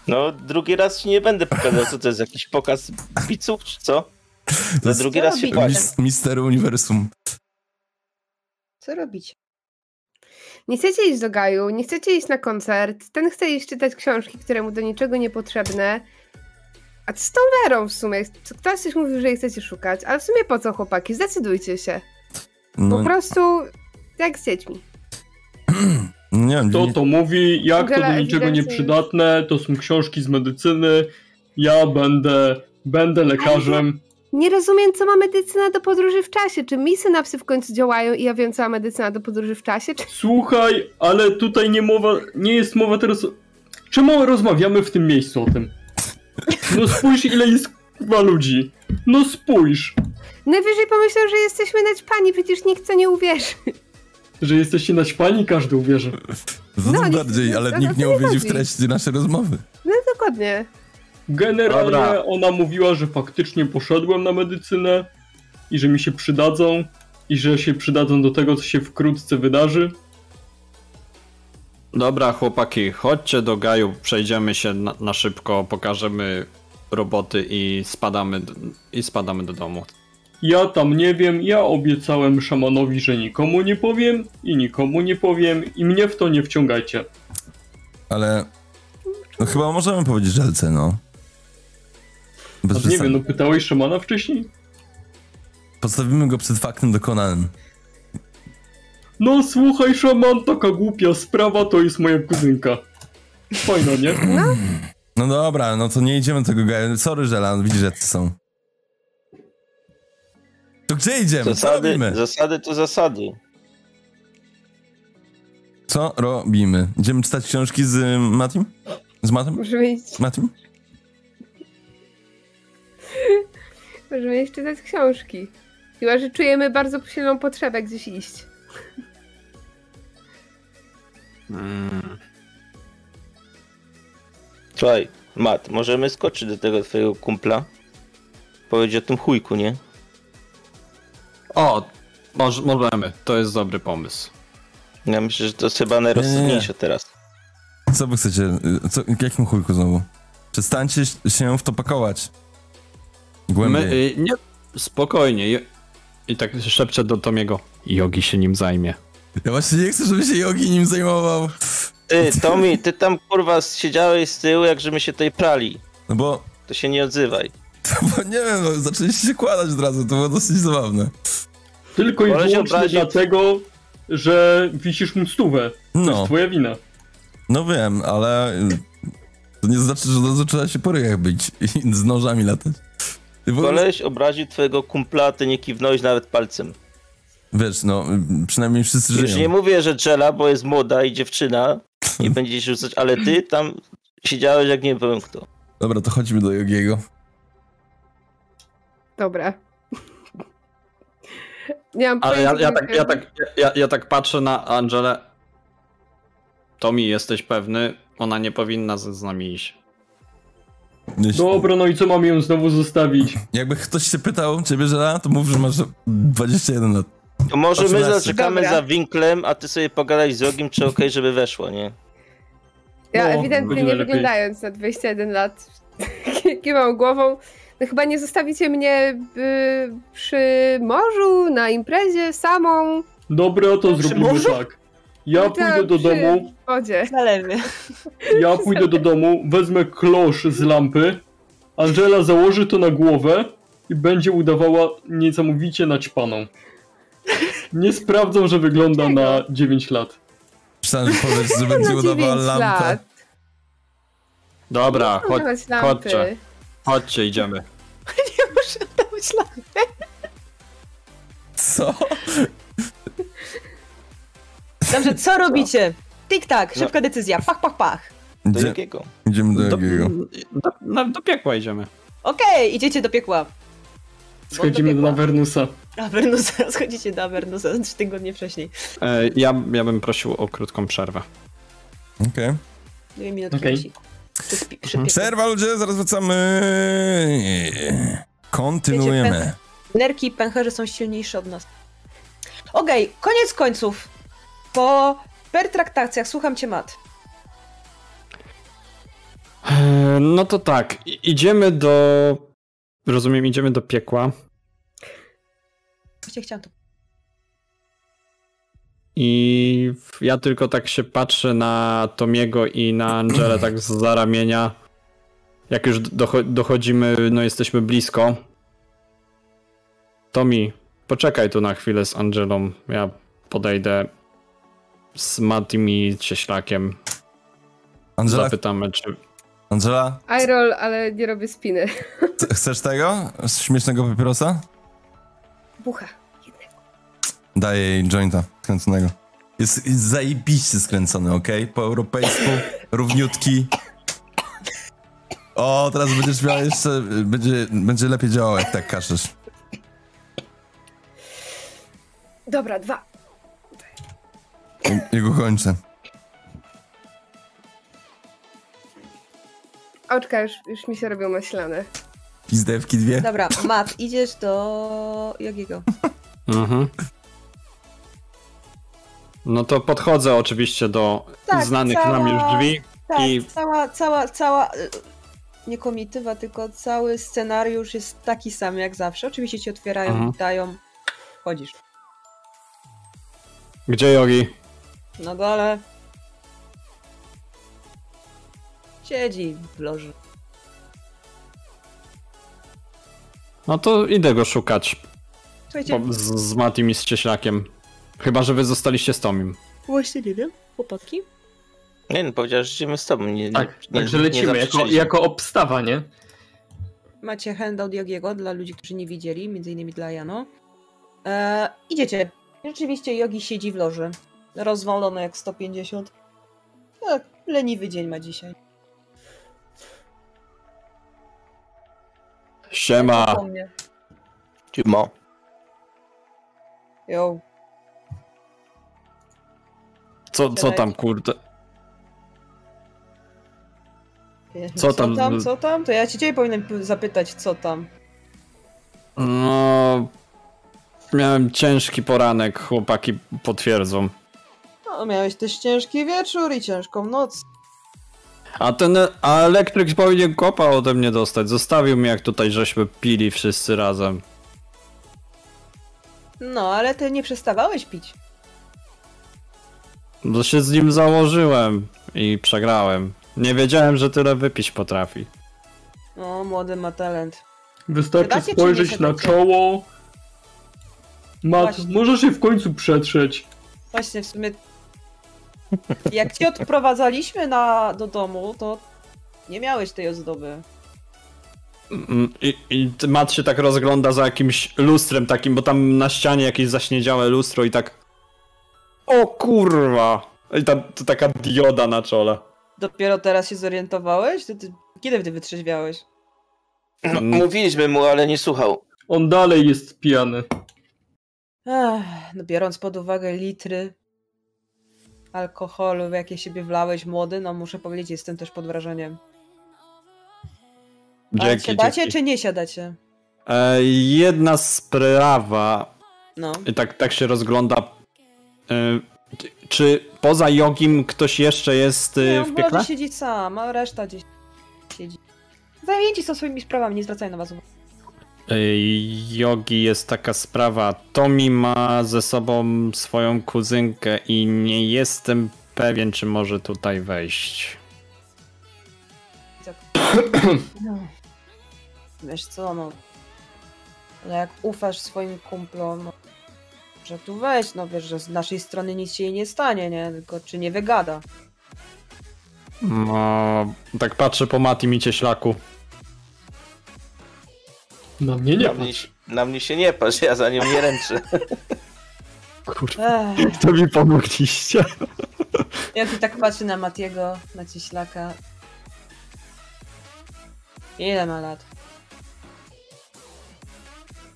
[SPEAKER 6] No, drugi raz ci nie będę pokazał, co to jest, jakiś pokaz biców, czy co?
[SPEAKER 1] To
[SPEAKER 6] Za
[SPEAKER 1] jest
[SPEAKER 6] drugi raz się
[SPEAKER 2] robicie?
[SPEAKER 6] płaci.
[SPEAKER 1] mis- Mister Uniwersum.
[SPEAKER 2] Co robicie?
[SPEAKER 3] Nie chcecie iść do Gaju, nie chcecie iść na koncert, ten chce iść czytać książki, które mu do niczego niepotrzebne. A co z tą Werą w sumie? Co- Ktoś coś mówił, że jej chcecie szukać, ale w sumie po co chłopaki? Zdecydujcie się. Po
[SPEAKER 1] No,
[SPEAKER 3] prostu jak z dziećmi.
[SPEAKER 1] nie wiem,
[SPEAKER 7] Kto to mówi, jak to do
[SPEAKER 3] Angela
[SPEAKER 7] niczego
[SPEAKER 3] ewidentnie-
[SPEAKER 7] nieprzydatne, to są książki z medycyny, ja będę, będę lekarzem.
[SPEAKER 3] Nie rozumiem, co ma medycyna do podróży w czasie. Czy mi synapsy w końcu działają i ja wiem, co ma medycyna do podróży w czasie? Czy...
[SPEAKER 7] Słuchaj, ale tutaj nie mowa, nie jest mowa teraz. o- Czemu rozmawiamy w tym miejscu o tym? No spójrz, ile jest kurwa ludzi. No spójrz,
[SPEAKER 3] Najwyżej pomyślą, że jesteśmy naćpani, przecież nikt w to nie uwierzy.
[SPEAKER 7] że jesteście naćpani, każdy uwierzy.
[SPEAKER 1] No,
[SPEAKER 3] no, nie-
[SPEAKER 1] bardziej, ale
[SPEAKER 3] no,
[SPEAKER 1] nikt
[SPEAKER 3] to
[SPEAKER 1] nie
[SPEAKER 3] nie
[SPEAKER 1] uwiedzi w
[SPEAKER 3] chodzi.
[SPEAKER 1] treści naszej rozmowy.
[SPEAKER 3] No dokładnie.
[SPEAKER 7] Generalnie
[SPEAKER 4] Dobra.
[SPEAKER 7] ona mówiła, że faktycznie poszedłem na medycynę i że mi się przydadzą i że się przydadzą do tego, co się wkrótce wydarzy.
[SPEAKER 4] Dobra, chłopaki, chodźcie do gaju, przejdziemy się na, na szybko, pokażemy roboty i spadamy, d- i spadamy do domu.
[SPEAKER 7] Ja tam nie wiem, ja obiecałem szamanowi, że nikomu nie powiem i nikomu nie powiem i mnie w to nie wciągajcie.
[SPEAKER 1] Ale no chyba możemy powiedzieć żelce, no. Bez
[SPEAKER 7] A nie
[SPEAKER 1] przesady.
[SPEAKER 7] wiem, no pytałeś szamana wcześniej?
[SPEAKER 1] Postawimy go przed faktem dokonanym.
[SPEAKER 7] No słuchaj, szaman, taka głupia sprawa, to jest moja kuzynka. Fajno, nie?
[SPEAKER 1] No dobra, no to nie idziemy tego gaju. Sorry, Żelan, widzisz, jacy są. To gdzie idziemy? Co
[SPEAKER 6] Zasady,
[SPEAKER 1] robimy?
[SPEAKER 6] zasady to zasady.
[SPEAKER 1] Co robimy? Idziemy czytać książki z y, Matim? Z Matem?
[SPEAKER 3] Możemy iść,
[SPEAKER 1] Z Matim?
[SPEAKER 3] możemy iść czytać książki. Chyba, że czujemy bardzo silną potrzebę gdzieś iść.
[SPEAKER 6] Słuchaj, Mat, możemy skoczyć do tego twojego kumpla? Powiedzieć o tym chujku, nie?
[SPEAKER 4] O, moż, możemy, to jest dobry pomysł.
[SPEAKER 6] Ja myślę, że to jest chyba najrozsądniejsze teraz.
[SPEAKER 1] Co wy chcecie? y, Co, jakim chujku znowu? Przestańcie się w to pakować. Głębiej.
[SPEAKER 4] My, y, nie, spokojnie. I- I tak szepczę do Tomiego. Jogi się nim zajmie.
[SPEAKER 1] Ja właśnie nie chcę, żeby się Jogi nim zajmował.
[SPEAKER 6] Ty, Tommy, ty tam kurwa siedziałeś z tyłu, jak żeby się tutaj prali.
[SPEAKER 1] No bo,
[SPEAKER 6] To się nie odzywaj.
[SPEAKER 1] bo nie wiem, no, zaczęliście się kładać od razu, to było dosyć zabawne.
[SPEAKER 7] Tylko i
[SPEAKER 6] Wolę się
[SPEAKER 7] wyłącznie
[SPEAKER 6] obrazić.
[SPEAKER 7] dlatego, że wisisz mu stówę. To
[SPEAKER 1] No,
[SPEAKER 7] jest twoja wina.
[SPEAKER 1] no wiem, ale y, to nie znaczy, że od razu trzeba się po ryjach bić i z nożami latać. Ty w ogóle-
[SPEAKER 6] Koleś obraził twojego kumpla, ty nie kiwnąłeś nawet palcem.
[SPEAKER 1] Wiesz, no, y, przynajmniej wszyscy
[SPEAKER 6] Już nie
[SPEAKER 1] żyją.
[SPEAKER 6] mówię, że Jela, bo jest młoda i dziewczyna i będzie się rzucać, ale ty tam siedziałeś jak nie wiem kto.
[SPEAKER 1] Dobra, to chodźmy do Jogiego.
[SPEAKER 3] Dobra. Nie mam
[SPEAKER 4] Ale ja,
[SPEAKER 3] pojęcia,
[SPEAKER 4] ja,
[SPEAKER 3] co
[SPEAKER 4] tak,
[SPEAKER 3] mam
[SPEAKER 4] ja, tak, ja, ja tak patrzę na Angelę. Tomi, jesteś pewny? Ona nie powinna z, z nami iść.
[SPEAKER 1] Jeśli-
[SPEAKER 7] Dobra, no i co mam ją znowu zostawić?
[SPEAKER 1] Jakby ktoś się pytał ciebie, że a, to mów, że masz 21 lat.
[SPEAKER 6] To może my
[SPEAKER 1] 18.
[SPEAKER 6] zaczekamy
[SPEAKER 3] Dobra.
[SPEAKER 6] za winklem, a ty sobie pogadaj z Jogim, czy okej, żeby weszła, nie?
[SPEAKER 3] Ja
[SPEAKER 7] No,
[SPEAKER 3] ewidentnie
[SPEAKER 7] będzie
[SPEAKER 3] nie
[SPEAKER 7] najlepiej.
[SPEAKER 3] wyglądając na 21 lat, kiwam głową. No chyba nie zostawicie mnie y, przy morzu, na imprezie, samą.
[SPEAKER 7] Dobra, to
[SPEAKER 2] Przy
[SPEAKER 7] zrobimy
[SPEAKER 2] morzu?
[SPEAKER 7] tak. Ja
[SPEAKER 3] No tak,
[SPEAKER 7] pójdę do
[SPEAKER 3] przy
[SPEAKER 7] domu,
[SPEAKER 3] wodzie.
[SPEAKER 2] Zalewy.
[SPEAKER 7] ja pójdę do domu, wezmę klosz z lampy, Angela założy to na głowę i będzie udawała niesamowicie naćpaną. Nie sprawdzą, że wygląda na 9 lat.
[SPEAKER 1] Myślałem, że powiesz, że będzie
[SPEAKER 3] Na 9
[SPEAKER 1] udawała lampę.
[SPEAKER 3] No, lat.
[SPEAKER 4] Dobra, chodź,
[SPEAKER 3] Używać lampy.
[SPEAKER 4] chodźcie. Chodźcie, idziemy.
[SPEAKER 2] Muszę dać lat.
[SPEAKER 1] Co?
[SPEAKER 2] Dobrze, co robicie? Tik-tak, szybka decyzja. Pach, pach, pach.
[SPEAKER 6] Do
[SPEAKER 1] Gdzie,
[SPEAKER 6] Jogiego.
[SPEAKER 1] idziemy do
[SPEAKER 4] Do,
[SPEAKER 1] Jogiego.
[SPEAKER 4] do, na- do piekła idziemy.
[SPEAKER 2] Okej, idziecie do piekła.
[SPEAKER 7] Schodzimy do
[SPEAKER 2] piekła.
[SPEAKER 7] Nawernusa.
[SPEAKER 2] Avernusa, schodzicie do Avernusa trzy tygodnie wcześniej.
[SPEAKER 4] E, Ja, ja bym prosił o krótką przerwę.
[SPEAKER 1] Okej.
[SPEAKER 2] Dwie minuty
[SPEAKER 7] Okej. Mhm.
[SPEAKER 2] okay. przy, przy pieku.
[SPEAKER 1] Przerwa ludzie, zaraz wracamy. Kontynuujemy.
[SPEAKER 2] Nerki i pęcherze są silniejsze od nas. Okej, koniec końców. Po pertraktacjach słucham cię, Mat.
[SPEAKER 4] E, No to tak, i- idziemy do... Rozumiem, idziemy do piekła
[SPEAKER 2] Właśnie chciałam to.
[SPEAKER 4] i w- ja tylko tak się patrzę na Tomiego i na Angelę tak z za ramienia. Jak już docho- dochodzimy, no jesteśmy blisko. Tomi, poczekaj tu na chwilę z Angelą. Ja podejdę z Matim i Cieślakiem.
[SPEAKER 1] Angela,
[SPEAKER 4] Zapytamy, czy...
[SPEAKER 1] Angela,
[SPEAKER 3] I roll, ale nie robię spiny.
[SPEAKER 1] c- chcesz tego? Śmiesznego papierosa?
[SPEAKER 3] Bucha.
[SPEAKER 1] Daję jej jointa skręconego. Jest, jest zajebiście skręcony, okej? Po europejsku, równiutki. O, teraz będziesz miała jeszcze... Będzie, będzie lepiej działał, jak tak kaszesz.
[SPEAKER 3] Dobra, dwa.
[SPEAKER 1] Jego kończę.
[SPEAKER 3] Oczka już, już mi się robią maślane.
[SPEAKER 1] Pizdewki dwie.
[SPEAKER 2] Dobra, Mat, idziesz do Jogiego.
[SPEAKER 4] Mhm. No to podchodzę oczywiście do
[SPEAKER 2] Tak,
[SPEAKER 4] znanych
[SPEAKER 2] cała-
[SPEAKER 4] nam już drzwi.
[SPEAKER 2] Tak,
[SPEAKER 4] I-
[SPEAKER 2] cała, cała, cała. y, Nie komitywa, tylko cały scenariusz jest taki sam jak zawsze. Oczywiście ci otwierają,
[SPEAKER 4] Mhm.
[SPEAKER 2] witają, wchodzisz.
[SPEAKER 4] Gdzie Jogi?
[SPEAKER 2] Na dole. Siedzi w loży.
[SPEAKER 4] No to idę go szukać
[SPEAKER 2] Słuchajcie,
[SPEAKER 4] bo z, z Matim i z Cieślakiem. Chyba, że wy zostaliście z Tomim.
[SPEAKER 2] właśnie nie wiem, chłopaki.
[SPEAKER 6] Nie no, powiedziałeś, że idziemy z tobą. Nie, nie-
[SPEAKER 7] Tak,
[SPEAKER 6] nie,
[SPEAKER 7] także
[SPEAKER 6] nie
[SPEAKER 7] lecimy jako,
[SPEAKER 6] zaprzeczyliśmy.
[SPEAKER 7] jako obstawa, nie?
[SPEAKER 2] Macie handout Jogiego dla ludzi, którzy nie widzieli, między innymi dla Jano. E, idziecie. Rzeczywiście Jogi siedzi w loży. Rozwalony jak 150. Tak, leniwy dzień ma dzisiaj.
[SPEAKER 4] Siema!
[SPEAKER 2] Po mnie.
[SPEAKER 6] Ciumo.
[SPEAKER 2] Jo.
[SPEAKER 4] Co, co tam kurde? Co tam?
[SPEAKER 2] Co tam, co tam? To ja ci dzisiaj powinienem p- zapytać, co tam.
[SPEAKER 4] No... Miałem ciężki poranek, chłopaki potwierdzą.
[SPEAKER 2] No, miałeś też ciężki wieczór i ciężką noc.
[SPEAKER 4] A ten a elektryk powinien kopa ode mnie dostać. Zostawił mnie, jak tutaj żeśmy pili wszyscy razem.
[SPEAKER 2] No, ale ty nie przestawałeś pić.
[SPEAKER 4] Bo się z nim założyłem i przegrałem. Nie wiedziałem, że tyle wypić potrafi.
[SPEAKER 2] O, młody ma talent.
[SPEAKER 7] Wystarczy
[SPEAKER 2] Wydacie, czy nie
[SPEAKER 7] spojrzeć
[SPEAKER 2] się
[SPEAKER 7] na
[SPEAKER 2] będzie?
[SPEAKER 7] czoło. Mat,
[SPEAKER 2] Właśnie.
[SPEAKER 7] możesz się w końcu przetrzeć.
[SPEAKER 2] Właśnie, w sumie... Jak cię odprowadzaliśmy na, do domu, to nie miałeś tej ozdoby.
[SPEAKER 4] Mm, I, I t- Matt się tak rozgląda za jakimś lustrem takim, bo tam na ścianie jakieś zaśniedziałe lustro i tak... O kurwa! I tam to taka dioda na czole.
[SPEAKER 2] Dopiero teraz się zorientowałeś? Ty, ty, kiedy ty wytrzeźwiałeś?
[SPEAKER 6] No,
[SPEAKER 4] Mm.
[SPEAKER 6] Mówiliśmy mu, ale nie słuchał.
[SPEAKER 7] On dalej jest pijany.
[SPEAKER 2] Ech, no biorąc pod uwagę litry alkoholu, jakie siebie wlałeś młody, no muszę powiedzieć, jestem też pod wrażeniem. A
[SPEAKER 4] Jackie,
[SPEAKER 2] siadacie
[SPEAKER 4] Jackie.
[SPEAKER 2] czy nie siadacie?
[SPEAKER 4] E, jedna sprawa,
[SPEAKER 2] No.
[SPEAKER 4] I tak, tak się rozgląda. E, czy poza Jogim ktoś jeszcze jest e,
[SPEAKER 2] Nie, on
[SPEAKER 4] w
[SPEAKER 2] może
[SPEAKER 4] piekle?
[SPEAKER 2] siedzieć sam, a reszta gdzieś siedzi. Zajęci są swoimi sprawami, nie zwracają na was uwagi.
[SPEAKER 4] Ej, Jogi jest taka sprawa. Tomi ma ze sobą swoją kuzynkę i nie jestem pewien, czy może tutaj wejść.
[SPEAKER 2] Wiesz co, no. Ale jak ufasz swoim kumplom, no, że tu weź, no wiesz, że z naszej strony nic się jej nie stanie, nie? Tylko czy nie wygada.
[SPEAKER 4] No, tak patrzę po Mati Micie Ślaku.
[SPEAKER 7] Na No mnie nie.
[SPEAKER 6] Na mnie, się- na mnie się nie patrz, ja za nim nie ręczę.
[SPEAKER 2] Ech.
[SPEAKER 4] To mi pomogliście.
[SPEAKER 2] Jak i tak patrzy na Matiego, na Cieślaka. Ile ma lat?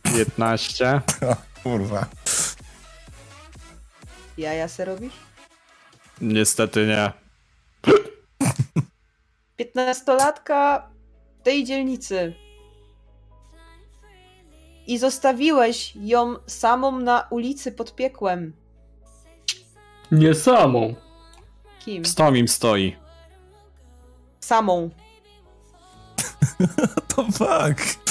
[SPEAKER 4] 15.
[SPEAKER 1] Kurwa.
[SPEAKER 2] Jaja se robisz?
[SPEAKER 4] Niestety nie.
[SPEAKER 2] 15-latka w tej dzielnicy. I zostawiłeś ją samą na ulicy pod piekłem.
[SPEAKER 7] Nie samą.
[SPEAKER 2] Kim?
[SPEAKER 4] Z Tomim stoi.
[SPEAKER 2] Samą.
[SPEAKER 1] To fuck.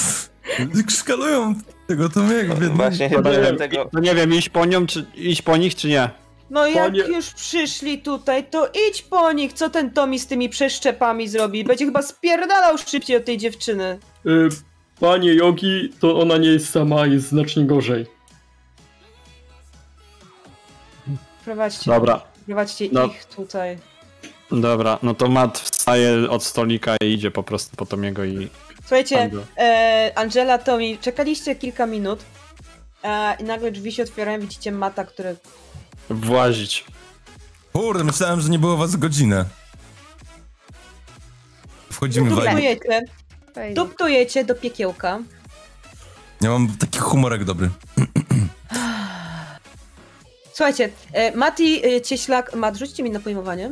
[SPEAKER 1] Szkalują tego Tomiego, biednego.
[SPEAKER 6] Właśnie chyba dlatego.
[SPEAKER 4] To nie wiem, iść po nią, czy iść po nich, czy nie.
[SPEAKER 2] No jak
[SPEAKER 7] Panie-
[SPEAKER 2] już przyszli tutaj, to idź po nich. Co ten Tomi z tymi przeszczepami zrobi? Będzie chyba spierdalał szybciej od tej dziewczyny.
[SPEAKER 7] Y, panie Jogi, to ona nie jest sama, jest znacznie gorzej.
[SPEAKER 2] Prowadźcie,
[SPEAKER 4] Dobra,
[SPEAKER 2] prowadźcie
[SPEAKER 4] No.
[SPEAKER 2] ich tutaj.
[SPEAKER 4] Dobra, no to Matt wstaje od stolika i idzie po prostu po Tomiego i...
[SPEAKER 2] Słuchajcie,
[SPEAKER 4] Angela.
[SPEAKER 2] e, Angela, Tomi, czekaliście kilka minut e, i nagle drzwi się otwierają, widzicie Mata, który...
[SPEAKER 4] włazić.
[SPEAKER 1] Kurde, myślałem, że nie było was godzinę. Wchodzimy
[SPEAKER 2] No
[SPEAKER 1] w vibe.
[SPEAKER 2] Duptujecie,
[SPEAKER 3] Fajnie.
[SPEAKER 2] duptujecie do piekiełka.
[SPEAKER 1] Ja mam taki humorek dobry.
[SPEAKER 2] Słuchajcie, e, Mati e, Cieślak, Mat, rzućcie mi na pojmowanie.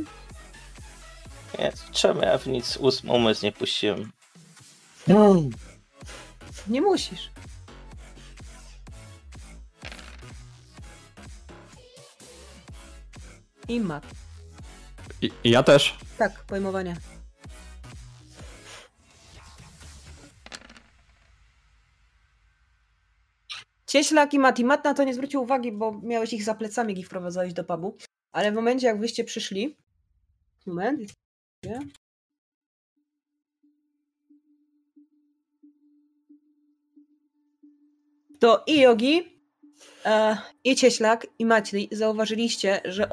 [SPEAKER 6] Nie, czemu ja w nic ust- umysł nie puściłem?
[SPEAKER 2] Nie musisz. I Mat.
[SPEAKER 4] I, i ja też.
[SPEAKER 2] Tak, pojmowanie. Cieślak i Mati. Mat na to nie zwrócił uwagi, bo miałeś ich za plecami, jak ich wprowadzałeś do pubu. Ale w momencie, jak wyście przyszli... Moment. Nie? To i Jogi, e, i Cieślak, i Maciej zauważyliście, że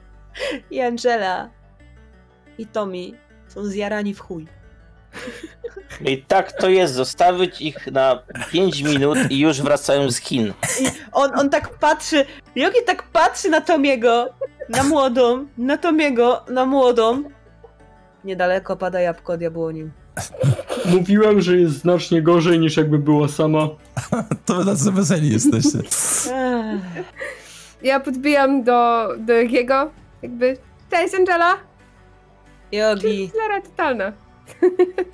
[SPEAKER 2] i Angela i Tommy są zjarani w chuj.
[SPEAKER 6] I tak to jest, zostawić ich na 5 minut i już wracają z Chin.
[SPEAKER 2] On, on tak patrzy, Jogi tak patrzy na Tomiego, na młodą, na Tomiego, na młodą. Niedaleko pada jabłko od jabłoni.
[SPEAKER 7] Mówiłem, że jest znacznie gorzej niż jakby była sama.
[SPEAKER 1] To wy tacy weseli jesteście.
[SPEAKER 2] Ech.
[SPEAKER 3] Ja podbijam do, do jego, jakby. Cześć Angela!
[SPEAKER 2] Jogi.
[SPEAKER 3] Zara totalna.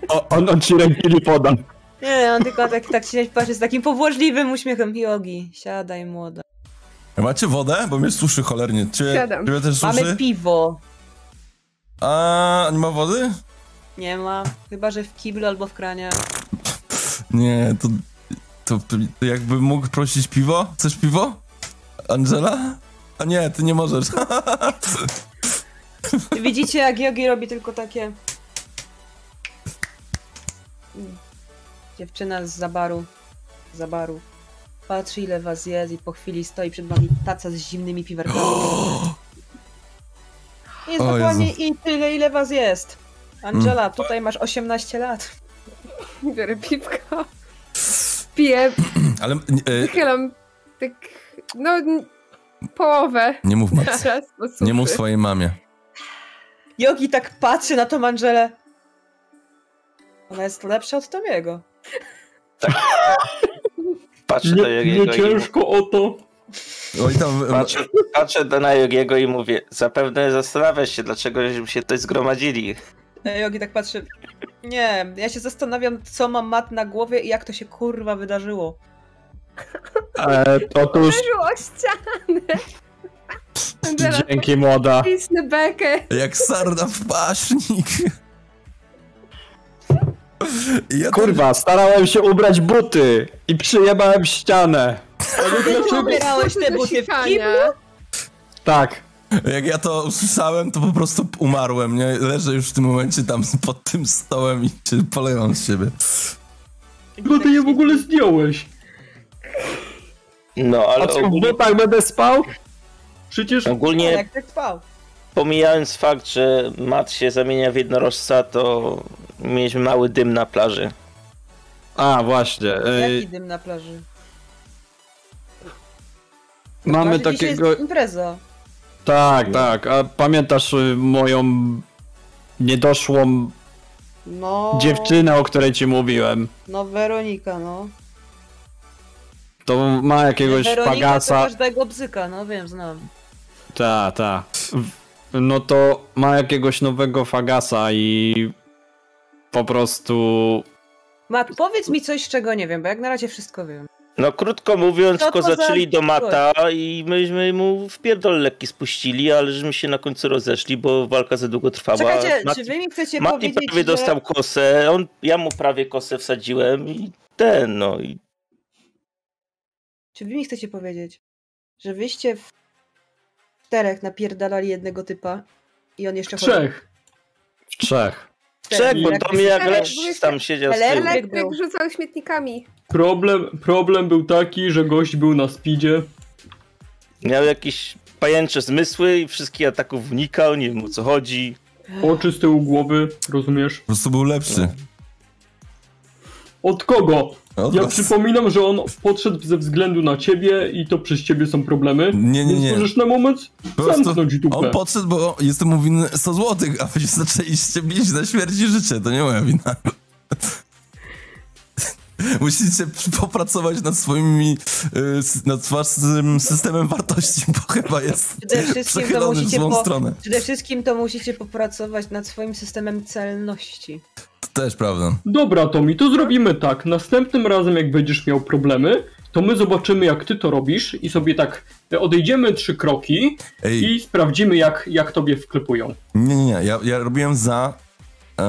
[SPEAKER 4] O, on, on ci rękili poda.
[SPEAKER 2] Nie, on tylko tak, tak się patrzy z takim pobłażliwym uśmiechem. Jogi, siadaj młoda.
[SPEAKER 1] Macie wodę? Bo mnie suszy cholernie. Ciebie,
[SPEAKER 3] Siadam.
[SPEAKER 1] ciebie też
[SPEAKER 2] Mamy
[SPEAKER 1] suszy?
[SPEAKER 2] piwo.
[SPEAKER 1] A, nie ma wody?
[SPEAKER 2] Nie ma. Chyba, że w kiblu albo w kranie.
[SPEAKER 1] Nie, to, to, to, jakbym mógł prosić piwo? Chcesz piwo? Angela? A nie, ty nie możesz.
[SPEAKER 2] Widzicie, jak Yogi robi tylko takie... Mm. Dziewczyna z zabaru. z Zabaru. Patrzy, ile was jest i po chwili stoi przed wami taca z zimnymi piwerkami. Jest
[SPEAKER 1] O
[SPEAKER 2] dokładnie i tyle, ile was jest. Angela, tutaj masz 18 lat.
[SPEAKER 3] Biorę piwko. Piję,
[SPEAKER 1] Ale e,
[SPEAKER 3] wychylam tak, no n- połowę
[SPEAKER 1] nie mów matce.
[SPEAKER 3] naraz. bo
[SPEAKER 1] Nie mów
[SPEAKER 3] suszy.
[SPEAKER 1] swojej mamie.
[SPEAKER 2] Yogi tak patrzy na tą Angelę. Ona jest lepsza od Tomiego.
[SPEAKER 6] Patrzę do
[SPEAKER 7] Nie, nie
[SPEAKER 6] Jogiego i mu-
[SPEAKER 7] ciężko o to.
[SPEAKER 1] Oj, tam,
[SPEAKER 6] patrzę, patrzę do- na Jogiego i mówię, zapewne zastanawiasz się, dlaczego żeśmy się tutaj zgromadzili.
[SPEAKER 2] E, Yogi tak patrzy. Nie, ja się zastanawiam, co ma Mat na głowie i jak to się kurwa wydarzyło.
[SPEAKER 4] E, otóż
[SPEAKER 3] Uderzył o ścianę. Angela,
[SPEAKER 9] Dzięki młoda.
[SPEAKER 3] pisnę bekę.
[SPEAKER 1] jak sarna w paśnik. I Ja
[SPEAKER 4] kurwa, starałem się ubrać buty i przyjebałem ścianę.
[SPEAKER 7] Ale dlaczego?
[SPEAKER 2] Ubierałeś te buty w kiblu?
[SPEAKER 4] Tak.
[SPEAKER 1] Jak ja to usłyszałem, to po prostu umarłem, nie? Leżę już w tym momencie tam pod tym stołem i się polewam z siebie.
[SPEAKER 7] Dlaczego ty je No w ogóle zdjąłeś?
[SPEAKER 6] No, ale
[SPEAKER 4] A co, w
[SPEAKER 6] ogólnie,
[SPEAKER 4] butach będę spał?
[SPEAKER 7] Przecież
[SPEAKER 2] Nie.
[SPEAKER 6] ogólnie
[SPEAKER 2] Jak tak spał.
[SPEAKER 6] pomijając fakt, że Mat się zamienia w jednorożca, to mieliśmy mały dym na plaży.
[SPEAKER 4] A, właśnie. e,
[SPEAKER 2] Jaki dym na plaży? Na
[SPEAKER 4] mamy
[SPEAKER 2] plaży dzisiaj
[SPEAKER 4] takiego...
[SPEAKER 2] Jest impreza.
[SPEAKER 4] Tak, tak. A pamiętasz y, moją niedoszłą
[SPEAKER 2] No.
[SPEAKER 4] dziewczynę, o której ci mówiłem?
[SPEAKER 2] No, Weronika, no.
[SPEAKER 4] To ma jakiegoś
[SPEAKER 2] Weronika to
[SPEAKER 4] pagasa.
[SPEAKER 2] każdego bzyka, no wiem, znam.
[SPEAKER 4] Ta, ta. W- No to ma jakiegoś nowego fagasa i po prostu.
[SPEAKER 2] Mat, powiedz mi coś, czego nie wiem, bo jak na razie wszystko wiem.
[SPEAKER 6] No krótko mówiąc,
[SPEAKER 2] Co to za
[SPEAKER 6] kozaczyli do
[SPEAKER 2] gość?
[SPEAKER 6] mata i myśmy mu w pierdol lekki spuścili, ale żeśmy się na końcu rozeszli, bo walka za długo trwała.
[SPEAKER 2] Czekajcie,
[SPEAKER 6] Mat-
[SPEAKER 2] czy wy mi chcecie
[SPEAKER 6] Mati
[SPEAKER 2] powiedzieć,
[SPEAKER 6] prawie
[SPEAKER 2] że...
[SPEAKER 6] dostał kosę, on, ja mu prawie kosę wsadziłem i ten, no i
[SPEAKER 2] Czy wy mi chcecie powiedzieć, że wyście w czterech napierdalali jednego typa i on jeszcze chodził?
[SPEAKER 7] trzech.
[SPEAKER 4] w Trzech.
[SPEAKER 6] czek, bo
[SPEAKER 2] Jak
[SPEAKER 6] Tommy jak
[SPEAKER 3] Elek,
[SPEAKER 6] lecz tam siedział z tyłu.
[SPEAKER 2] Elek?
[SPEAKER 3] Elektryk rzucał śmietnikami.
[SPEAKER 7] Problem, problem był taki, że gość był na speedzie.
[SPEAKER 6] Miał jakieś pajęcze zmysły i wszystkich ataków unikał, nie wiem o co chodzi.
[SPEAKER 7] Oczy z tyłu głowy, rozumiesz?
[SPEAKER 1] Po prostu był lepszy.
[SPEAKER 7] Od kogo?
[SPEAKER 1] Od
[SPEAKER 7] Ja
[SPEAKER 1] was.
[SPEAKER 7] przypominam, że on podszedł ze względu na ciebie i to przez ciebie są problemy.
[SPEAKER 1] Nie, nie,
[SPEAKER 7] Więc
[SPEAKER 1] nie.
[SPEAKER 7] możesz na moment
[SPEAKER 1] Po prostu
[SPEAKER 7] zamknąć dupę.
[SPEAKER 1] On podszedł, bo jestem mu winny 100 złotych, a wy się zaczęliście bić na śmierć i życie. To nie moja wina. Musicie popracować nad swoimi, y, s- nad waszym systemem wartości, bo chyba jest
[SPEAKER 2] Przede wszystkim to
[SPEAKER 1] przechylony w
[SPEAKER 2] musicie
[SPEAKER 1] złą
[SPEAKER 2] po...
[SPEAKER 1] stronę.
[SPEAKER 2] Przede wszystkim to musicie popracować nad swoim systemem celności.
[SPEAKER 1] To też prawda.
[SPEAKER 7] Dobra, Tomi, to zrobimy tak. Następnym razem, jak będziesz miał problemy, to my zobaczymy, jak ty to robisz i sobie tak odejdziemy trzy kroki
[SPEAKER 1] Ej,
[SPEAKER 7] i sprawdzimy, jak, jak tobie wklepują.
[SPEAKER 1] Nie, nie, nie. Ja, ja robiłem za e,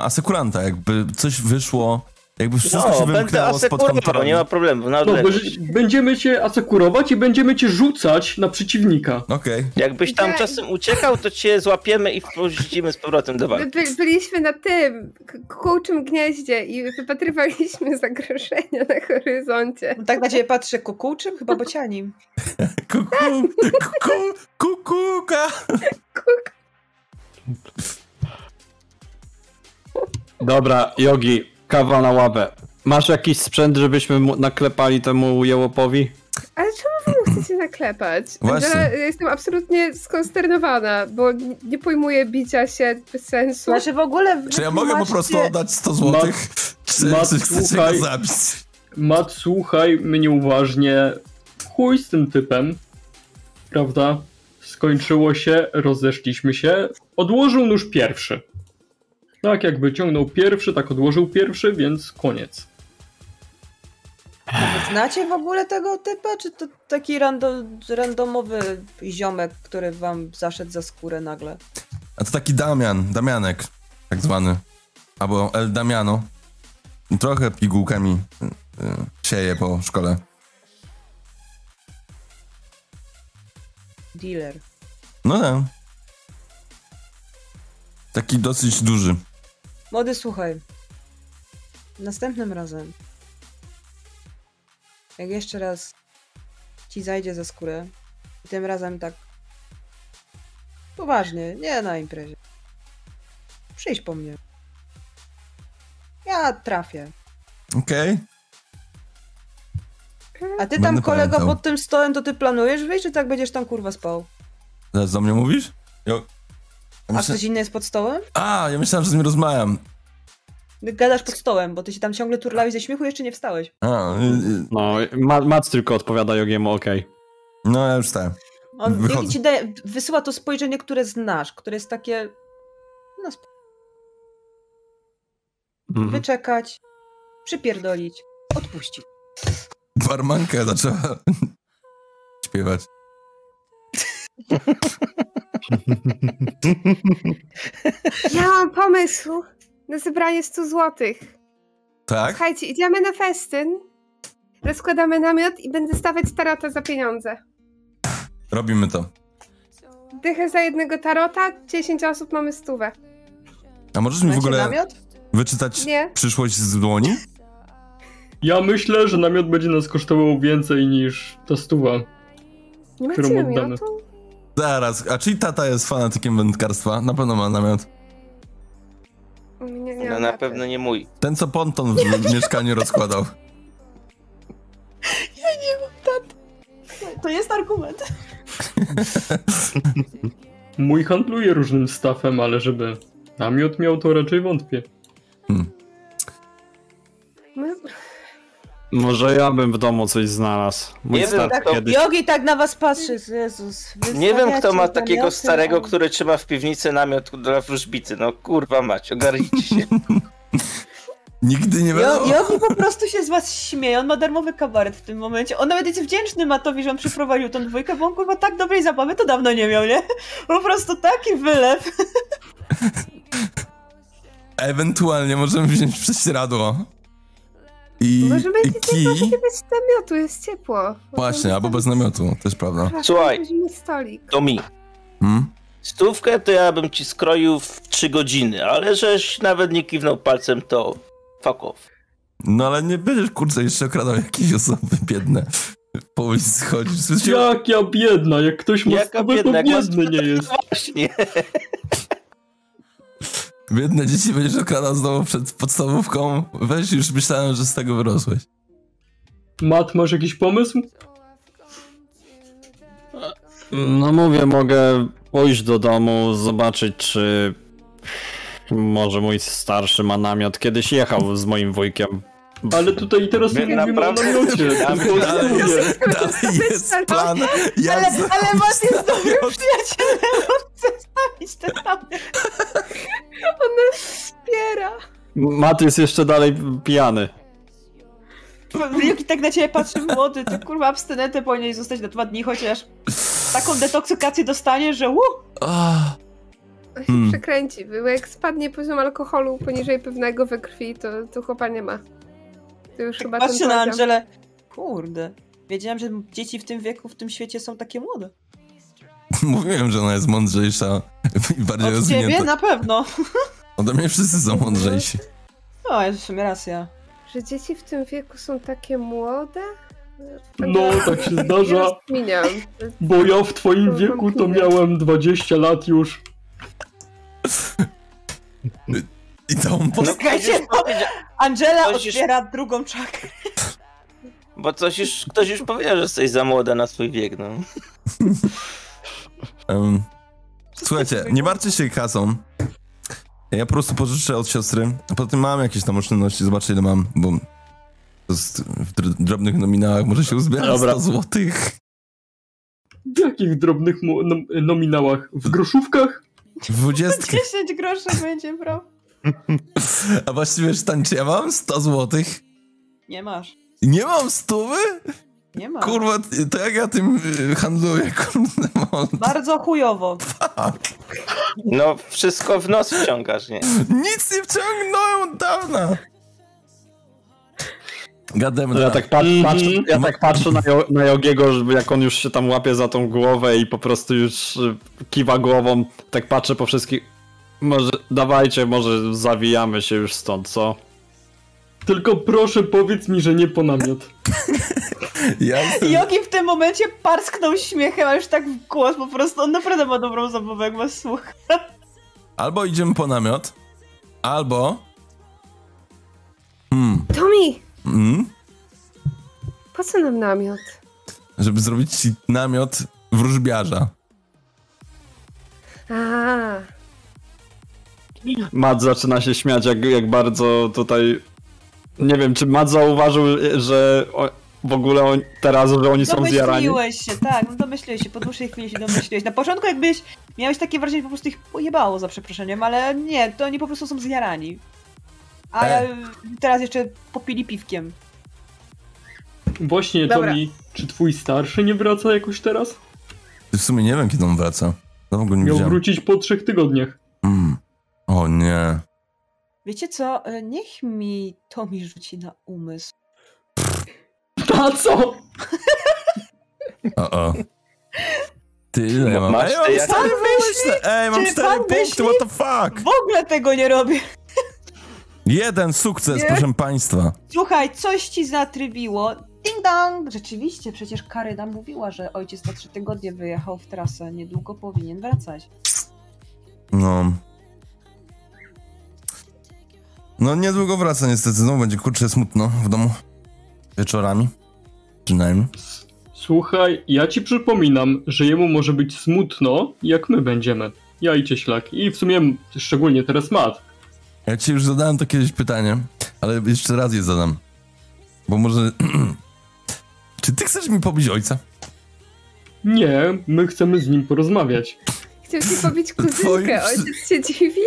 [SPEAKER 1] asekuranta. Jakby coś wyszło, jakby wszystko
[SPEAKER 6] No,
[SPEAKER 1] się
[SPEAKER 6] będę
[SPEAKER 1] wymknęło spod
[SPEAKER 6] asekurował,
[SPEAKER 1] kontroli.
[SPEAKER 6] nie ma problemu. Na
[SPEAKER 7] No,
[SPEAKER 6] odległość.
[SPEAKER 7] będziesz- będziemy cię asekurować i będziemy cię rzucać na przeciwnika.
[SPEAKER 1] Okej.
[SPEAKER 6] Jakbyś tam
[SPEAKER 3] Ja-
[SPEAKER 6] czasem uciekał, to cię złapiemy i wrzucimy z powrotem
[SPEAKER 3] My
[SPEAKER 6] do walki.
[SPEAKER 3] By, byliśmy na tym k- kukułczym gnieździe i wypatrywaliśmy zagrożenia na horyzoncie.
[SPEAKER 2] No tak na ciebie patrzę kukułczym, chyba bocianim.
[SPEAKER 1] Kuku, kuku, kukuka.
[SPEAKER 3] Kuk.
[SPEAKER 4] Dobra, Jogi, kawa na ławę. Masz jakiś sprzęt, żebyśmy mu naklepali temu jełopowi?
[SPEAKER 3] Ale czemu wy mu chcecie naklepać?
[SPEAKER 1] Właśnie.
[SPEAKER 3] Angela, ja jestem absolutnie skonsternowana, bo n- nie pojmuję bicia się bez sensu.
[SPEAKER 2] Znaczy w ogóle...
[SPEAKER 1] Czy ja mogę po
[SPEAKER 2] wytłumaczcie-
[SPEAKER 1] prostu oddać 100 złotych? Czy,
[SPEAKER 7] Mat,
[SPEAKER 1] czy chcecie
[SPEAKER 7] słuchaj.
[SPEAKER 1] go zabić?
[SPEAKER 7] Mat, słuchaj mnie uważnie. Chuj z tym typem. Prawda? Skończyło się, rozeszliśmy się. Odłożył nóż pierwszy. Tak, jakby ciągnął pierwszy, tak odłożył pierwszy, więc koniec.
[SPEAKER 2] Znacie w ogóle tego typa, czy to taki rando, randomowy ziomek, który wam zaszedł za skórę nagle?
[SPEAKER 1] A to taki Damian, Damianek, tak zwany. Albo El Damiano. Trochę pigułkami y, y, sieje po szkole.
[SPEAKER 2] Dealer.
[SPEAKER 1] No tak. Taki dosyć duży.
[SPEAKER 2] Młody, słuchaj. Następnym razem, jak jeszcze raz ci zajdzie za skórę, i tym razem tak poważnie, nie na imprezie, przyjdź po mnie. Ja trafię.
[SPEAKER 1] Okej.
[SPEAKER 2] A ty tam,
[SPEAKER 1] Będę
[SPEAKER 2] kolego,
[SPEAKER 1] pamiętał.
[SPEAKER 2] pod tym stołem, to ty planujesz wyjść, czy tak będziesz tam kurwa spał?
[SPEAKER 1] Zaraz do mnie mówisz? Jo. Ja
[SPEAKER 2] A
[SPEAKER 1] myślę...
[SPEAKER 2] ktoś inny jest pod stołem?
[SPEAKER 1] A, ja myślałem, że z nim rozmawiam.
[SPEAKER 2] Gadasz pod stołem, bo ty się tam ciągle turlałeś ze śmiechu, jeszcze nie wstałeś.
[SPEAKER 1] A, y, y,
[SPEAKER 4] No, Ma- Mac tylko odpowiada Jogiemu, okej.
[SPEAKER 1] no ja już tak.
[SPEAKER 2] On
[SPEAKER 1] Wychodzę.
[SPEAKER 2] Jogi ci daje, wysyła to spojrzenie, które znasz, które jest takie. No, sp-
[SPEAKER 4] Mhm.
[SPEAKER 2] wyczekać, przypierdolić, odpuścić.
[SPEAKER 1] Barmanka zaczęła śpiewać.
[SPEAKER 3] Ja mam pomysł na zebranie 100 złotych.
[SPEAKER 1] Tak?
[SPEAKER 3] Słuchajcie, idziemy na festyn, rozkładamy namiot i będę stawiać tarota za pieniądze.
[SPEAKER 1] Robimy to.
[SPEAKER 3] Dychę za jednego tarota, 10 osób mamy stówę.
[SPEAKER 1] A możesz mi w
[SPEAKER 2] Macie
[SPEAKER 1] ogóle
[SPEAKER 2] namiot?
[SPEAKER 1] wyczytać
[SPEAKER 3] Nie?
[SPEAKER 1] przyszłość z dłoni?
[SPEAKER 7] Ja myślę, że namiot będzie nas kosztował więcej niż ta stuwa.
[SPEAKER 3] Nie
[SPEAKER 7] Którą
[SPEAKER 3] macie
[SPEAKER 7] oddamy?
[SPEAKER 3] namiotu?
[SPEAKER 1] Zaraz, a czyli tata jest fanatykiem wędkarstwa? Na pewno ma namiot.
[SPEAKER 3] Nie, nie
[SPEAKER 6] No
[SPEAKER 3] mam
[SPEAKER 6] na
[SPEAKER 3] taty.
[SPEAKER 6] pewno nie mój.
[SPEAKER 1] Ten, co ponton w mieszkaniu rozkładał.
[SPEAKER 2] To jest argument.
[SPEAKER 7] Mój handluje różnym stafem, ale żeby namiot miał, to raczej wątpię.
[SPEAKER 3] My-
[SPEAKER 4] Może ja bym w domu coś znalazł. Mój
[SPEAKER 6] Nie wiem,
[SPEAKER 4] stary
[SPEAKER 6] tak to-
[SPEAKER 4] kiedyś...
[SPEAKER 2] Jogi tak na was patrzy, Jezus.
[SPEAKER 6] Nie wiem, kto ma
[SPEAKER 2] wystawiacie
[SPEAKER 6] takiego
[SPEAKER 2] namioty,
[SPEAKER 6] starego,
[SPEAKER 2] a-
[SPEAKER 6] który trzyma w piwnicy namiot dla wróżbity. No kurwa mać, ogarnijcie się.
[SPEAKER 1] Nigdy nie
[SPEAKER 2] Jo-
[SPEAKER 1] wiadomo.
[SPEAKER 2] Jogi po prostu się z was śmieje, on ma darmowy kabaret w tym momencie. On nawet jest wdzięczny Matowi, że on przyprowadził tą dwójkę, bo on kurwa tak dobrej zabawy to dawno nie miał, nie? Po prostu taki wylew.
[SPEAKER 1] Ewentualnie możemy wziąć prześcieradło. I,
[SPEAKER 3] Możemy
[SPEAKER 1] i
[SPEAKER 3] iść
[SPEAKER 1] kij.
[SPEAKER 3] bez namiotu, jest ciepło.
[SPEAKER 1] Właśnie, albo bez namiotu, też prawda.
[SPEAKER 6] Słuchaj.
[SPEAKER 3] Weźmy stolik.
[SPEAKER 6] To mi.
[SPEAKER 1] Hmm?
[SPEAKER 6] Stówkę to ja bym ci skroił w trzy godziny, ale żeś nawet nie kiwnął palcem, to fuck off.
[SPEAKER 1] No ale nie będziesz, kurczę, jeszcze okradał jakieś osoby biedne. Po ulicy schodzisz. Słyszałem,
[SPEAKER 7] Jak ja biedna, jak ktoś ma
[SPEAKER 6] Jaka
[SPEAKER 7] stówę,
[SPEAKER 6] biedna,
[SPEAKER 7] to
[SPEAKER 6] jak ma
[SPEAKER 7] biedny nie jest.
[SPEAKER 6] Właśnie.
[SPEAKER 1] biedne dzieci będziesz okradał znowu przed podstawówką. Weź, już myślałem, że z tego wyrosłeś.
[SPEAKER 7] Mat, masz jakiś pomysł?
[SPEAKER 4] No mówię, mogę pójść do domu, zobaczyć czy... Może mój starszy ma namiot. Kiedyś jechał z moim wujkiem.
[SPEAKER 7] Ale tutaj i teraz nie
[SPEAKER 6] My
[SPEAKER 7] mówimy o
[SPEAKER 6] naprawdę-
[SPEAKER 7] namiocie.
[SPEAKER 6] Ja
[SPEAKER 7] tylko o
[SPEAKER 1] Ale
[SPEAKER 7] stuwie.
[SPEAKER 1] jest, dalej jest
[SPEAKER 3] Ale-
[SPEAKER 1] plan. Ja
[SPEAKER 2] Ale,
[SPEAKER 1] znam
[SPEAKER 2] ale was jest dobry
[SPEAKER 1] namiot.
[SPEAKER 2] przyjacielem, on chce stawić ten namiot.
[SPEAKER 3] On nas wspiera.
[SPEAKER 4] Matt jest jeszcze dalej pijany.
[SPEAKER 2] Wilki tak na ciebie patrzy, młody, ty kurwa abstynentę po niej zostać na dwa dni, chociaż taką detoksykację dostanie, że łuh!
[SPEAKER 1] Ah,
[SPEAKER 3] On się
[SPEAKER 1] Hmm.
[SPEAKER 3] przekręci, bo jak spadnie poziom alkoholu poniżej pewnego we krwi, to, to chłopa nie ma. To już chyba
[SPEAKER 2] Patrzę
[SPEAKER 3] ten
[SPEAKER 2] na
[SPEAKER 3] poziom.
[SPEAKER 2] Angelę. Kurde. Wiedziałem, że dzieci w tym wieku, w tym świecie są takie młode.
[SPEAKER 1] Mówiłem, że ona jest mądrzejsza i bardziej
[SPEAKER 2] Od ciebie no.
[SPEAKER 1] rozwinięta.
[SPEAKER 2] na pewno.
[SPEAKER 1] Ode mnie wszyscy są mądrzejsi.
[SPEAKER 2] No, jest w sumie racja.
[SPEAKER 3] Że dzieci w tym wieku są takie młode?
[SPEAKER 7] No, tak się
[SPEAKER 3] Nie
[SPEAKER 7] zdarza,
[SPEAKER 3] rozkminiam.
[SPEAKER 7] bo ja w twoim wieku to miałem 20 lat już.
[SPEAKER 1] I całą
[SPEAKER 6] No,
[SPEAKER 1] postać.
[SPEAKER 2] Czekajcie,
[SPEAKER 6] ktoś już powiedział-
[SPEAKER 2] Angela
[SPEAKER 6] Ktoś już-
[SPEAKER 2] otwiera drugą czakrę.
[SPEAKER 6] Bo coś już, ktoś już powiedział, że jesteś za młoda na swój wiek, no.
[SPEAKER 1] Em, słuchajcie, nie martwcie się kasą. Ja po prostu pożyczę od siostry, a potem mam jakieś tam oszczędności, zobaczę ile mam, bo to jest w dr- drobnych nominałach może się uzbiera
[SPEAKER 4] Dobra.
[SPEAKER 1] 100 złotych.
[SPEAKER 7] W jakich drobnych mu- nom- nominałach? W groszówkach?
[SPEAKER 1] Dwudziestki.
[SPEAKER 2] 10 groszy będzie, bro.
[SPEAKER 1] A właściwie, Stan, czy ja mam 100 złotych?
[SPEAKER 2] Nie masz.
[SPEAKER 1] Nie mam stówy?
[SPEAKER 2] Nie ma.
[SPEAKER 1] Kurwa, ty- to jak ja tym y, handluję, kurde, mam.
[SPEAKER 2] Bardzo chujowo.
[SPEAKER 6] No, wszystko w nos wciągasz, nie?
[SPEAKER 1] Nic nie wciągnąłem od dawna. Gadem,
[SPEAKER 4] Ja tak, pat, patrzę, ja
[SPEAKER 1] Ma-
[SPEAKER 4] tak patrzę na, Jo- na Jogiego, żeby jak on już się tam łapie za tą głowę i po prostu już y, kiwa głową, tak patrzę po wszystkich. Może, dawajcie, może zawijamy się już stąd, co?
[SPEAKER 7] Tylko proszę powiedz mi, że nie po namiot.
[SPEAKER 1] ja jestem...
[SPEAKER 2] Jogi w tym momencie parsknął śmiechem, a już tak w głos po prostu. On naprawdę ma dobrą zabawę, jak was słucha.
[SPEAKER 1] Albo idziemy po namiot, albo...
[SPEAKER 3] Tomi,
[SPEAKER 1] Mm,
[SPEAKER 3] po co nam namiot?
[SPEAKER 1] żeby zrobić ci namiot wróżbiarza.
[SPEAKER 3] A,
[SPEAKER 4] Matt zaczyna się śmiać, jak, jak bardzo tutaj. Nie wiem, czy Matt zauważył, że o, w ogóle on, teraz, że oni są zjarani.
[SPEAKER 2] Domyśliłeś się, tak, no domyśliłeś się, po dłuższej chwili się domyśliłeś. Na początku jakbyś miałeś takie wrażenie, że po prostu ich pojebało za przeproszeniem, ale nie, to oni po prostu są zjarani. A
[SPEAKER 1] E.
[SPEAKER 2] teraz jeszcze popili piwkiem.
[SPEAKER 7] Właśnie,
[SPEAKER 3] Dobra.
[SPEAKER 7] Tomi, czy twój starszy nie wraca jakoś teraz?
[SPEAKER 1] W sumie nie wiem, kiedy on wraca. No w ogóle nie
[SPEAKER 7] Miał
[SPEAKER 1] widziałem.
[SPEAKER 7] wrócić po trzech tygodniach.
[SPEAKER 1] Mm. O nie.
[SPEAKER 2] Wiecie co, e, niech mi to mi rzuci na umysł.
[SPEAKER 7] Ta co?
[SPEAKER 1] O, o. Ty ile mam?
[SPEAKER 6] Masz
[SPEAKER 1] Ej, mam
[SPEAKER 6] ty, ja-
[SPEAKER 1] cztery myśli! Ej, mam
[SPEAKER 2] Czy
[SPEAKER 1] cztery
[SPEAKER 2] pan
[SPEAKER 1] punkty,
[SPEAKER 2] myśli?
[SPEAKER 1] what the fuck!
[SPEAKER 2] W ogóle tego nie robię!
[SPEAKER 1] Jeden sukces,
[SPEAKER 2] Nie?
[SPEAKER 1] proszę państwa.
[SPEAKER 2] Słuchaj, coś ci zatrybiło. Ding dong! Rzeczywiście, przecież Karyna mówiła, że ojciec na trzy tygodnie wyjechał w trasę. Niedługo powinien wracać.
[SPEAKER 1] No. No niedługo wraca niestety, znowu będzie kurczę smutno w domu. Wieczorami. Przynajmniej.
[SPEAKER 7] Słuchaj, ja ci przypominam, że jemu może być smutno, jak my będziemy. Ja i cieślak. I w sumie szczególnie teraz Mat.
[SPEAKER 1] Ja ci już zadałem to kiedyś pytanie, ale jeszcze raz je zadam. Bo może... Czy ty chcesz mi pobić ojca?
[SPEAKER 7] Nie, my chcemy z nim porozmawiać.
[SPEAKER 3] chciał ci pobić
[SPEAKER 1] Twoim
[SPEAKER 3] kuzynkę,
[SPEAKER 1] przy-
[SPEAKER 3] ojciec się dziwi.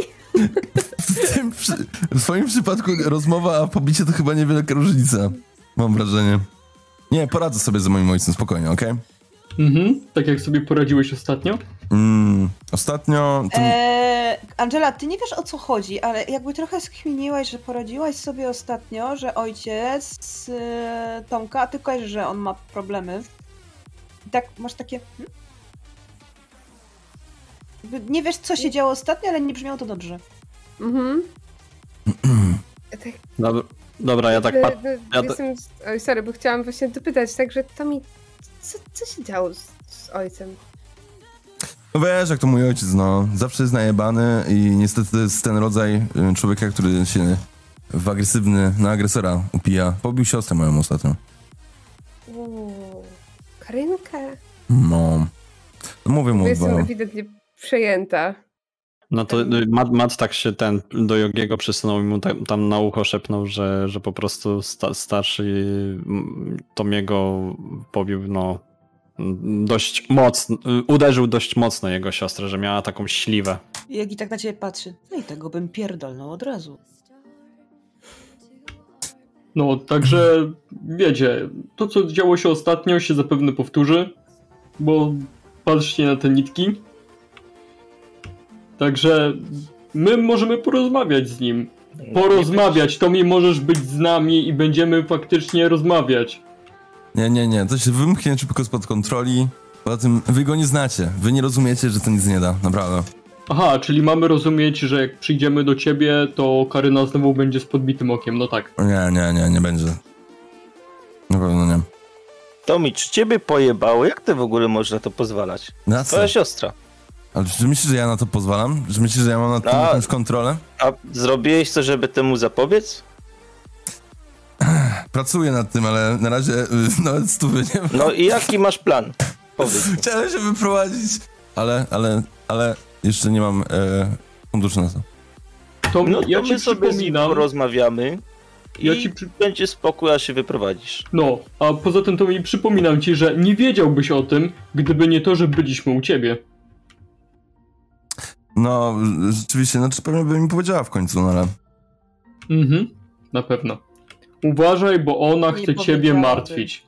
[SPEAKER 1] W, tym przy... w swoim przypadku rozmowa, a pobicie to chyba niewielka różnica. Mam wrażenie. Nie, poradzę sobie z moim ojcem, spokojnie, okej?
[SPEAKER 7] Mhm, tak jak sobie poradziłeś ostatnio.
[SPEAKER 1] Mm, ostatnio... Tym...
[SPEAKER 2] Eee, Angela, ty nie wiesz o co chodzi, ale jakby trochę skminiłaś, że poradziłaś sobie ostatnio, że ojciec z e, Tomka, a ty kojarzysz, że on ma problemy. I tak masz takie... hmm? Jakby Nie wiesz, co się działo ostatnio, ale nie brzmiało to dobrze.
[SPEAKER 3] Mhm. Tak,
[SPEAKER 4] Dobra, dobra, ja tak
[SPEAKER 3] E,
[SPEAKER 4] patrzę.
[SPEAKER 3] no,
[SPEAKER 4] ja to-
[SPEAKER 3] jestem... Oj, sorry, bo chciałam właśnie dopytać, także Tomi, co, co się działo z, z ojcem?
[SPEAKER 1] No wiesz, jak to mój ojciec, no. Zawsze jest najebany i niestety to jest ten rodzaj y, człowieka, który się w agresywny, na agresora upija. Pobił siostrę moją ostatnio.
[SPEAKER 3] Uuu, Karynkę?
[SPEAKER 1] No. No Mówię mu,
[SPEAKER 3] Jestem
[SPEAKER 1] bo...
[SPEAKER 3] ewidentnie przejęta.
[SPEAKER 4] No to y, Matt, Matt tak się ten do Jogiego przysunął i mu tam, tam na ucho szepnął, że, że po prostu sta, starszy mm, Tomiego pobił, no mm, dość mocno, y, uderzył dość mocno jego siostrę, że miała taką śliwę.
[SPEAKER 2] I Jagi tak na ciebie patrzy. No i tego bym pierdolnął od razu.
[SPEAKER 7] No, także wiecie, to co działo się ostatnio się zapewne powtórzy, bo patrzcie na te nitki. Także my możemy porozmawiać z nim. Porozmawiać, to mi możesz być z nami i będziemy faktycznie rozmawiać.
[SPEAKER 1] Nie, nie, nie, to się wymknie szybko spod kontroli. Poza tym, wy go nie znacie, wy nie rozumiecie, że to nic nie da, naprawdę.
[SPEAKER 7] Aha, czyli mamy rozumieć, że jak przyjdziemy do ciebie, to Karyna znowu będzie z podbitym okiem, no tak.
[SPEAKER 1] Nie, nie, nie, nie będzie. Na pewno nie.
[SPEAKER 6] Tomi, czy ciebie pojebało? Jak ty w ogóle można to pozwalać?
[SPEAKER 1] Na co?
[SPEAKER 6] Twoja siostra.
[SPEAKER 1] Ale czy myślisz, że ja na to pozwalam? Czy myślisz, że ja mam nad tym
[SPEAKER 6] A.
[SPEAKER 1] jakąś kontrolę?
[SPEAKER 6] A zrobiłeś co, żeby temu zapobiec?
[SPEAKER 1] Pracuję nad tym, ale na razie y, nawet stówy nie mam.
[SPEAKER 6] No i jaki masz plan? Powiedz. mi.
[SPEAKER 1] Chciałem się wyprowadzić, ale, ale, ale jeszcze nie mam e, funduszy na to.
[SPEAKER 7] To
[SPEAKER 6] No
[SPEAKER 7] ja
[SPEAKER 6] to
[SPEAKER 7] ci
[SPEAKER 6] my sobie z nim
[SPEAKER 7] przypominam.
[SPEAKER 6] porozmawiamy
[SPEAKER 7] Ja
[SPEAKER 6] i
[SPEAKER 7] ci przy...
[SPEAKER 6] będzie spokój, aż się wyprowadzisz.
[SPEAKER 7] No, a poza tym to mi przypominam ci, że nie wiedziałbyś o tym, gdyby nie to, że byliśmy u ciebie.
[SPEAKER 1] No, rzeczywiście, znaczy pewnie by mi powiedziała w końcu, no ale...
[SPEAKER 7] Mhm, na pewno. Uważaj, bo ona
[SPEAKER 10] Nie
[SPEAKER 7] chce ciebie
[SPEAKER 10] powiedziałabym.
[SPEAKER 7] martwić.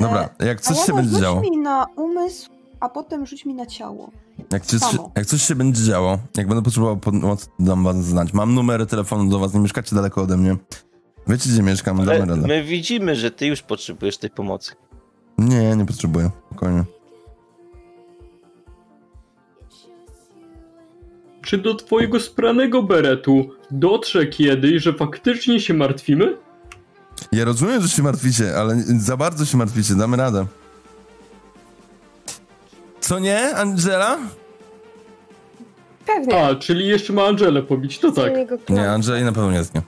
[SPEAKER 1] Dobra, jak coś
[SPEAKER 2] Alana,
[SPEAKER 1] się będzie
[SPEAKER 2] rzuć
[SPEAKER 1] działo,
[SPEAKER 2] mi na umysł, a potem rzuć mi na ciało.
[SPEAKER 1] jak, coś, się-
[SPEAKER 2] samo.
[SPEAKER 1] jak coś się będzie działo, jak będę potrzebował pomocy, dam wam znać. Mam numery telefonu do was, nie mieszkacie daleko ode mnie. Wiecie, gdzie mieszkam,
[SPEAKER 6] Ale
[SPEAKER 1] damy radę.
[SPEAKER 6] E, my widzimy, że ty już potrzebujesz tej pomocy.
[SPEAKER 1] Nie, nie potrzebuję, spokojnie.
[SPEAKER 7] Czy do twojego spranego beretu dotrze kiedyś, że faktycznie się martwimy?
[SPEAKER 1] Ja rozumiem, że się martwicie, ale za bardzo się martwicie, damy radę. Co nie, Angela?
[SPEAKER 3] Pewnie.
[SPEAKER 7] A, czyli jeszcze ma Angelę pobić, to tak.
[SPEAKER 3] Jego
[SPEAKER 1] Nie,
[SPEAKER 3] plan.
[SPEAKER 1] Angeli na pewno nie znie.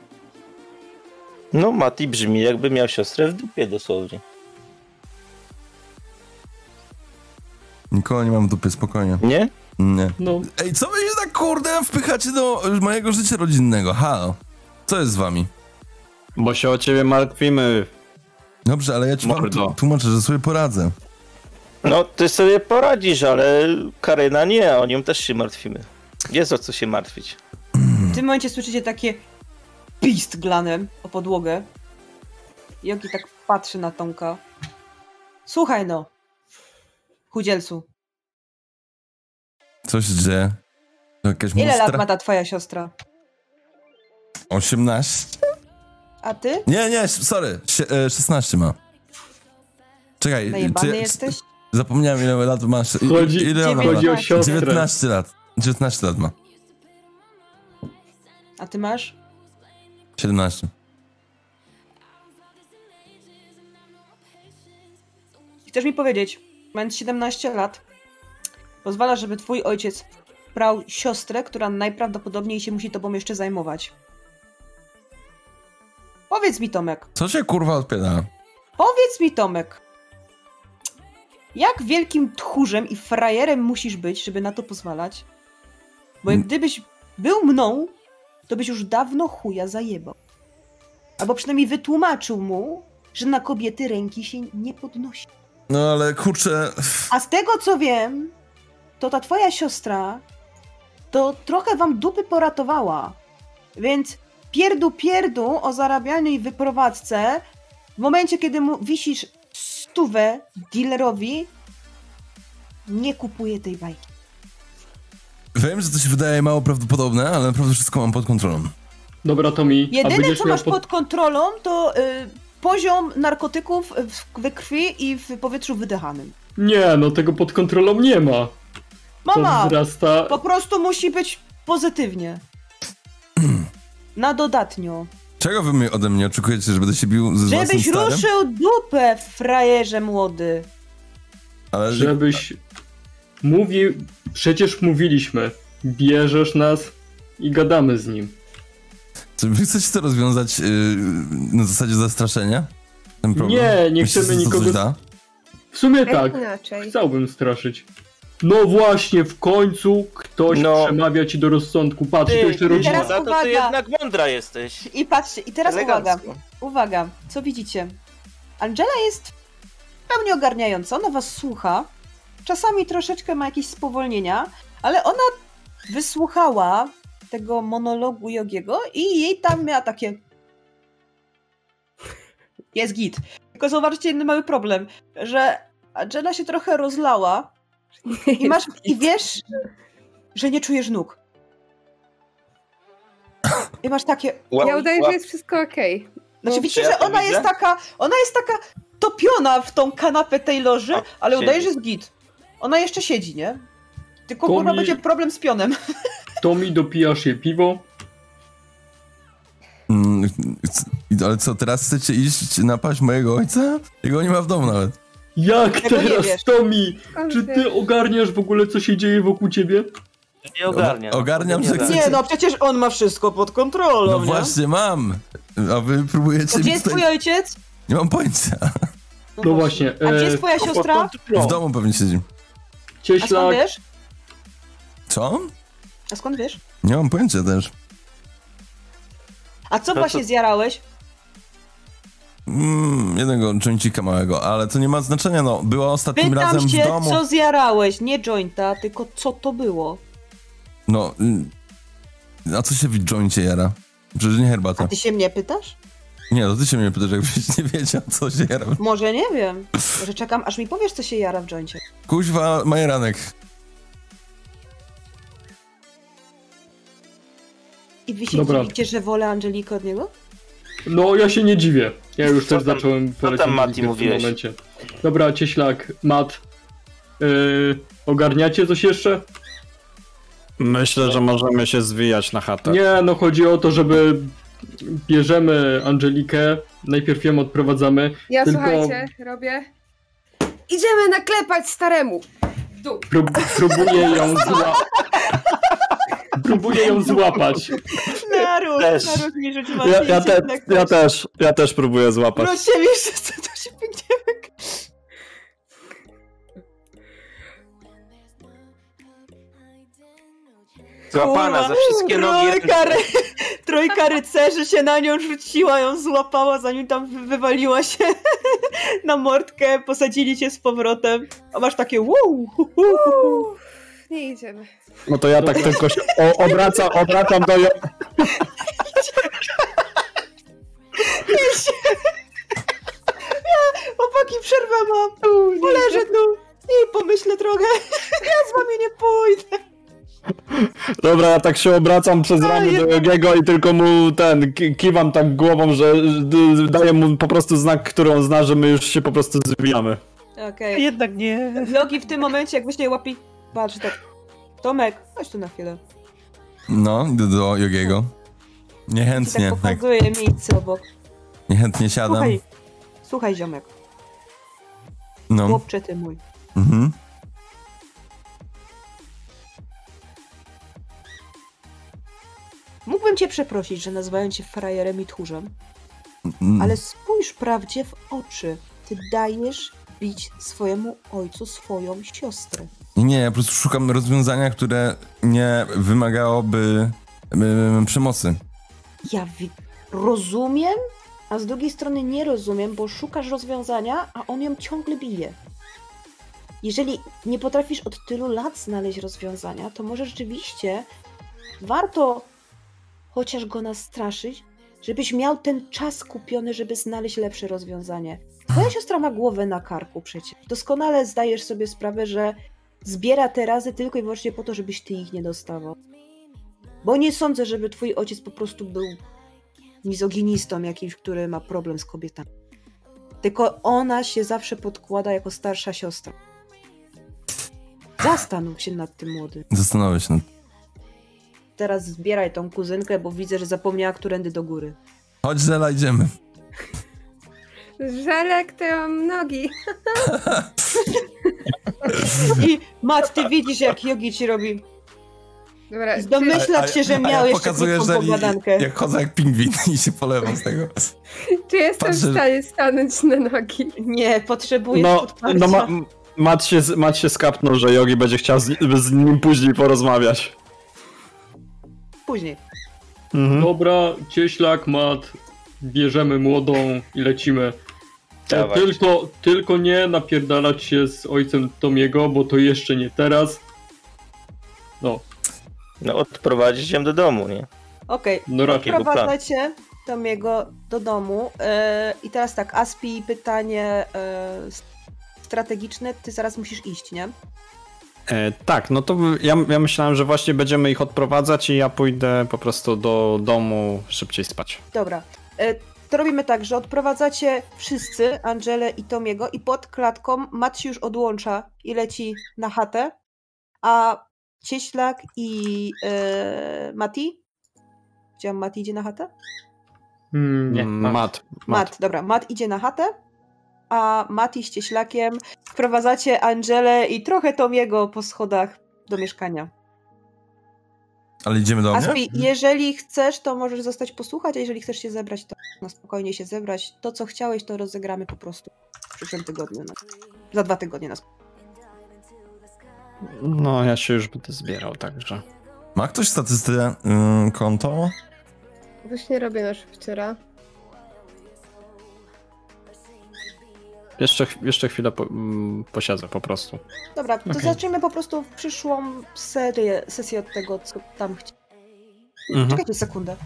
[SPEAKER 6] No, Mati brzmi, jakby miał siostrę w dupie dosłownie.
[SPEAKER 1] Nikogo nie mam w dupie, spokojnie.
[SPEAKER 6] Nie?
[SPEAKER 1] Nie.
[SPEAKER 7] No,
[SPEAKER 1] Ej, co wy się tak kurde wpychacie do y, mojego życia rodzinnego? Halo. Co jest z wami?
[SPEAKER 4] Bo się o ciebie martwimy.
[SPEAKER 1] Dobrze, ale ja ci wam
[SPEAKER 4] Mordo.
[SPEAKER 1] tu- tłumaczę, że sobie poradzę.
[SPEAKER 6] No, ty sobie poradzisz, ale Karyna nie, o nią też się martwimy. Jest o co się martwić.
[SPEAKER 2] W tym momencie słyszycie takie pist glanem o podłogę. Joki tak patrzy na Tomka. Słuchaj no, chudzielcu,
[SPEAKER 1] Coś dzieje. To jakaś
[SPEAKER 2] ile lat ma
[SPEAKER 1] mustra?
[SPEAKER 2] ta twoja siostra?
[SPEAKER 1] 18?
[SPEAKER 2] A ty?
[SPEAKER 1] Nie, nie, sorry. Sie- e, 16 ma. Czekaj, czy,
[SPEAKER 2] Najebany
[SPEAKER 1] czy-
[SPEAKER 2] jesteś?
[SPEAKER 1] zapomniałem ile lat masz. I-
[SPEAKER 7] Chodzi-
[SPEAKER 1] ile ona ma?
[SPEAKER 7] chodzi o
[SPEAKER 2] 19.
[SPEAKER 7] siostrę.
[SPEAKER 1] 19 lat. 19 lat ma.
[SPEAKER 2] A ty masz?
[SPEAKER 1] 17.
[SPEAKER 2] Chcesz mi powiedzieć, mając 17 lat, pozwala, żeby twój ojciec brał siostrę, która najprawdopodobniej się musi tobą jeszcze zajmować. Powiedz mi, Tomek,
[SPEAKER 1] Co się kurwa odpiera?
[SPEAKER 2] Powiedz mi, Tomek, jak wielkim tchórzem i frajerem musisz być, żeby na to pozwalać? Bo jak
[SPEAKER 1] Mm.
[SPEAKER 2] gdybyś był mną, to byś już dawno chuja zajebał. Albo przynajmniej wytłumaczył mu, że na kobiety ręki się nie podnosi.
[SPEAKER 1] No ale kurczę.
[SPEAKER 2] A z tego co wiem, to ta twoja siostra to trochę wam dupy poratowała. Więc pierdu pierdu o zarabianiu i wyprowadzce w momencie, kiedy mu wisisz stówę dealerowi, nie kupuje tej bajki.
[SPEAKER 1] Wiem, że to się wydaje mało prawdopodobne, ale naprawdę wszystko mam pod kontrolą.
[SPEAKER 7] Dobra, to mi. a
[SPEAKER 2] Jedyne,
[SPEAKER 7] będziesz
[SPEAKER 2] co
[SPEAKER 7] miał
[SPEAKER 2] masz pod kontrolą, to y, poziom narkotyków w- we krwi i w powietrzu wydechanym.
[SPEAKER 7] Nie, no tego pod kontrolą nie ma. To
[SPEAKER 2] Mama,
[SPEAKER 7] wzrasta...
[SPEAKER 2] po prostu musi być pozytywnie. Na dodatnio.
[SPEAKER 1] Czego wy mi- ode mnie oczekujecie, że będę się bił z własnym
[SPEAKER 2] Żebyś
[SPEAKER 1] starym?
[SPEAKER 2] ruszył dupę, frajerze młody.
[SPEAKER 1] Ale
[SPEAKER 7] Żebyś mówił... Przecież mówiliśmy. Bierzesz nas i gadamy z nim.
[SPEAKER 1] czy wy chcecie to rozwiązać yy, na zasadzie zastraszenia? Ten problem?
[SPEAKER 7] Nie, nie
[SPEAKER 1] Myślicie,
[SPEAKER 7] chcemy
[SPEAKER 1] że to coś
[SPEAKER 7] nikogo-
[SPEAKER 1] Da?
[SPEAKER 7] W sumie
[SPEAKER 3] Tak.
[SPEAKER 7] tak.
[SPEAKER 3] Inaczej.
[SPEAKER 7] Chciałbym straszyć. No właśnie, w końcu ktoś
[SPEAKER 6] No.
[SPEAKER 7] przemawia ci do rozsądku. Patrz,
[SPEAKER 6] Ty,
[SPEAKER 7] to jeszcze
[SPEAKER 6] ty,
[SPEAKER 7] rodzina.
[SPEAKER 2] teraz-
[SPEAKER 6] za to
[SPEAKER 2] uwaga.
[SPEAKER 6] ty jednak mądra jesteś.
[SPEAKER 2] I patrzcie, i teraz uwaga,
[SPEAKER 6] Elegancko.
[SPEAKER 2] uwaga, co widzicie? Angela jest w pełni ogarniająca, ona was słucha, czasami troszeczkę ma jakieś spowolnienia, ale ona wysłuchała tego monologu Jogiego i jej tam miała takie... Jest git. Tylko zauważcie jeden mały problem, że Angela się trochę rozlała i, masz, i wiesz, że nie czujesz nóg. I masz takie...
[SPEAKER 6] Ła-
[SPEAKER 3] Ja udaję,
[SPEAKER 6] ła-
[SPEAKER 3] że jest wszystko okej.
[SPEAKER 2] Znaczy
[SPEAKER 3] No,
[SPEAKER 2] widzicie,
[SPEAKER 6] czy ja
[SPEAKER 2] że
[SPEAKER 6] to
[SPEAKER 2] ona
[SPEAKER 6] widzę?
[SPEAKER 2] jest taka, ona jest taka topiona w tą kanapę tej loży,
[SPEAKER 6] A,
[SPEAKER 2] ale
[SPEAKER 6] siedzi.
[SPEAKER 2] udaje, że jest git. Ona jeszcze siedzi, nie? Tylko
[SPEAKER 7] To
[SPEAKER 2] kurwa
[SPEAKER 7] mi-
[SPEAKER 2] będzie problem z pionem.
[SPEAKER 7] To mi dopijasz jej piwo.
[SPEAKER 1] Mm, c- ale co, teraz chcecie iść napaść mojego ojca? Jego nie ma w domu nawet.
[SPEAKER 7] Jak
[SPEAKER 2] Tego nie wiesz.
[SPEAKER 7] teraz, Tomi?
[SPEAKER 3] Okay.
[SPEAKER 7] Czy ty ogarniasz w ogóle, co się dzieje wokół ciebie?
[SPEAKER 6] Nie ogarniam.
[SPEAKER 1] Ogarniam, że
[SPEAKER 6] Nie,
[SPEAKER 1] chcecie.
[SPEAKER 2] Nie, no przecież on ma wszystko pod kontrolą,
[SPEAKER 1] No
[SPEAKER 2] nie?
[SPEAKER 1] właśnie mam! A wy próbujecie...
[SPEAKER 2] To
[SPEAKER 1] mi
[SPEAKER 2] gdzie jest
[SPEAKER 1] tutaj-
[SPEAKER 2] twój ojciec?
[SPEAKER 1] Nie mam pojęcia.
[SPEAKER 7] No właśnie.
[SPEAKER 2] A gdzie jest
[SPEAKER 7] e,
[SPEAKER 2] twoja siostra?
[SPEAKER 7] No.
[SPEAKER 1] W domu pewnie siedzi.
[SPEAKER 2] A skąd
[SPEAKER 7] Cieślak,
[SPEAKER 2] wiesz?
[SPEAKER 1] Co?
[SPEAKER 2] A skąd wiesz?
[SPEAKER 1] Nie mam pojęcia też.
[SPEAKER 2] A co
[SPEAKER 6] to-
[SPEAKER 2] właśnie zjarałeś?
[SPEAKER 1] Mm, jednego jointika małego, ale to nie ma znaczenia, no. Była ostatnim razem
[SPEAKER 2] Pytam
[SPEAKER 1] w
[SPEAKER 2] cię,
[SPEAKER 1] domu.
[SPEAKER 2] co zjarałeś, nie jointa, tylko co to było.
[SPEAKER 1] No. y, A co się w joincie jara? Przecież nie herbata.
[SPEAKER 2] A ty się mnie pytasz?
[SPEAKER 1] Nie, to ty się mnie pytasz, jakbyś nie wiedział, co się jara.
[SPEAKER 2] Może nie wiem. Może czekam, aż mi powiesz, co się jara w joincie.
[SPEAKER 1] Kuźwa, majeranek.
[SPEAKER 2] I wy się
[SPEAKER 7] Dobra.
[SPEAKER 2] dziwicie, że wolę Angelikę od niego?
[SPEAKER 7] No, ja się nie dziwię. Ja już też zacząłem polecić
[SPEAKER 6] tam, Mati,
[SPEAKER 7] w tym
[SPEAKER 6] mówiłeś?
[SPEAKER 7] momencie. Dobra, cieślak, Mat. Yy, ogarniacie coś jeszcze?
[SPEAKER 4] Myślę, że możemy się zwijać na
[SPEAKER 6] Tak.
[SPEAKER 4] chatę.
[SPEAKER 7] Nie, no chodzi o to, żeby bierzemy Angelikę, najpierw ją odprowadzamy.
[SPEAKER 3] Ja
[SPEAKER 7] tylko
[SPEAKER 3] słuchajcie, robię. Idziemy naklepać staremu. W Dół.
[SPEAKER 7] prób- próbuję ją zła... próbuję ją złapać.
[SPEAKER 2] Naród,
[SPEAKER 6] Też.
[SPEAKER 2] naród mi rzuć
[SPEAKER 4] Ja, ja, te,
[SPEAKER 2] jednak
[SPEAKER 4] ja
[SPEAKER 2] też.
[SPEAKER 4] też, ja też próbuję złapać.
[SPEAKER 2] Proszę mi wszyscy, to się biegniemy.
[SPEAKER 6] Złapana za wszystkie nogi.
[SPEAKER 2] Trójka, ry... trójka rycerzy się na nią rzuciła, ją złapała, zanim tam wy- wywaliła się na mordkę, posadzili cię z powrotem. A masz takie wow! hu, hu, hu.
[SPEAKER 3] Nie idziemy.
[SPEAKER 4] No to ja tak tylko się o, obracam, obracam do ją.
[SPEAKER 2] Chłopaki, przerwę mam! Poleżę tu i pomyślę trochę. Ja z wami nie pójdę.
[SPEAKER 4] Dobra, ja tak się obracam przez ramię do Jogiego i tylko mu ten, ki- kiwam tak głową, że że d- daję mu po prostu znak, który on zna, że my już się po prostu zwijamy.
[SPEAKER 2] Okej.
[SPEAKER 11] Jednak nie.
[SPEAKER 2] Logi w tym momencie, jak właśnie łapi... Patrz tak. Tomek, chodź tu na chwilę.
[SPEAKER 1] No, idę do Jogiego.
[SPEAKER 2] Ci tak
[SPEAKER 1] Niechętnie, tak,
[SPEAKER 2] pokazuje miejsce obok.
[SPEAKER 1] niechętnie siadam.
[SPEAKER 2] Słuchaj, słuchaj ziomek,
[SPEAKER 1] No,
[SPEAKER 2] chłopcze ty mój.
[SPEAKER 1] mhm.
[SPEAKER 2] Mógłbym cię przeprosić, że nazywałem cię frajerem i tchórzem,
[SPEAKER 1] Mm,
[SPEAKER 2] ale spójrz prawdzie w oczy. Ty dajesz bić swojemu ojcu swoją siostrę.
[SPEAKER 1] Nie, ja po prostu szukam rozwiązania, które nie wymagałoby em, przemocy.
[SPEAKER 2] Ja wi- rozumiem, a z drugiej strony nie rozumiem, bo szukasz rozwiązania, a on ją ciągle bije. Jeżeli nie potrafisz od tylu lat znaleźć rozwiązania, to może rzeczywiście warto chociaż go nastraszyć, żebyś miał ten czas kupiony, żeby znaleźć lepsze rozwiązanie. Twoja siostra ma głowę na karku przecież. Doskonale zdajesz sobie sprawę, że zbiera te razy tylko i wyłącznie po to, żebyś ty ich nie dostawał. Bo nie sądzę, żeby twój ojciec po prostu był mizoginistą jakimś, który ma problem z kobietami. Tylko ona się zawsze podkłada jako starsza siostra. Zastanów się nad tym, młody.
[SPEAKER 1] Zastanowię się nad
[SPEAKER 2] Teraz zbieraj tą kuzynkę, bo widzę, że zapomniała którędy do góry.
[SPEAKER 1] Chodź, Zela, idziemy.
[SPEAKER 3] Żelek, to ja mam nogi.
[SPEAKER 2] I Mat, ty widzisz, jak Jogi ci robi.
[SPEAKER 3] Dobra,
[SPEAKER 2] I
[SPEAKER 3] czy,
[SPEAKER 2] Domyślać się, że miał jeszcze
[SPEAKER 1] pokazuję,
[SPEAKER 2] krótką
[SPEAKER 1] że
[SPEAKER 2] pogadankę.
[SPEAKER 1] jak chodzę jak pingwin i się polewam z tego.
[SPEAKER 3] czy jestem
[SPEAKER 1] patrzę-
[SPEAKER 3] w stanie stanąć na nogi?
[SPEAKER 2] Nie, potrzebujesz
[SPEAKER 4] No,
[SPEAKER 2] podparcia.
[SPEAKER 4] no ma, m- Mat, się, z- Mat się skapnął, że Jogi będzie chciał z, z nim później porozmawiać.
[SPEAKER 2] Później.
[SPEAKER 4] Mhm.
[SPEAKER 7] Dobra, cieślak, Mat, bierzemy młodą i lecimy. E,
[SPEAKER 6] Dawaj.
[SPEAKER 7] Tylko, tylko nie napierdalać się z ojcem Tomiego, bo to jeszcze nie teraz. No,
[SPEAKER 6] No odprowadzić ją do domu, nie?
[SPEAKER 2] Okej,
[SPEAKER 7] no raczej.
[SPEAKER 6] Takiego planu.
[SPEAKER 2] Prowadzacie Tomiego do domu. e, I teraz tak, Aspi, pytanie e, s- strategiczne, ty zaraz musisz iść, nie?
[SPEAKER 4] E, tak, no to ja, ja myślałem, że właśnie będziemy ich odprowadzać i ja pójdę po prostu do domu szybciej spać.
[SPEAKER 2] Dobra. E, To robimy tak, że odprowadzacie wszyscy Angelę i Tomiego i pod klatką Mat się już odłącza i leci na chatę, a Cieślak i e, Mati? Widziałam, Mati idzie na chatę?
[SPEAKER 7] Hmm,
[SPEAKER 6] Nie,
[SPEAKER 1] Mm,
[SPEAKER 4] Mat,
[SPEAKER 6] Mat.
[SPEAKER 4] Mat.
[SPEAKER 2] Mat, dobra, Mat idzie na chatę, a Mati z cieślakiem wprowadzacie Angelę i trochę Tomiego po schodach do mieszkania.
[SPEAKER 1] Ale idziemy do mnie?
[SPEAKER 2] Aspi,
[SPEAKER 4] Mhm.
[SPEAKER 2] jeżeli chcesz, to możesz zostać posłuchać, a jeżeli chcesz się zebrać, to na spokojnie się zebrać. To, co chciałeś, to rozegramy po prostu w przyszłym tygodniu. No. Za dwa tygodnie na spokojnie.
[SPEAKER 4] No, ja się już będę zbierał, także.
[SPEAKER 1] Ma ktoś statystykę y, konto?
[SPEAKER 3] Właśnie robię na szybciora.
[SPEAKER 4] Jeszcze, ch- jeszcze chwilę po, mm, posiedzę po prostu.
[SPEAKER 2] Dobra, to
[SPEAKER 4] Okej.
[SPEAKER 2] zacznijmy po prostu w przyszłą serię, sesję od tego, co tam chcieliście.
[SPEAKER 4] Mhm.
[SPEAKER 2] Czekajcie sekundę.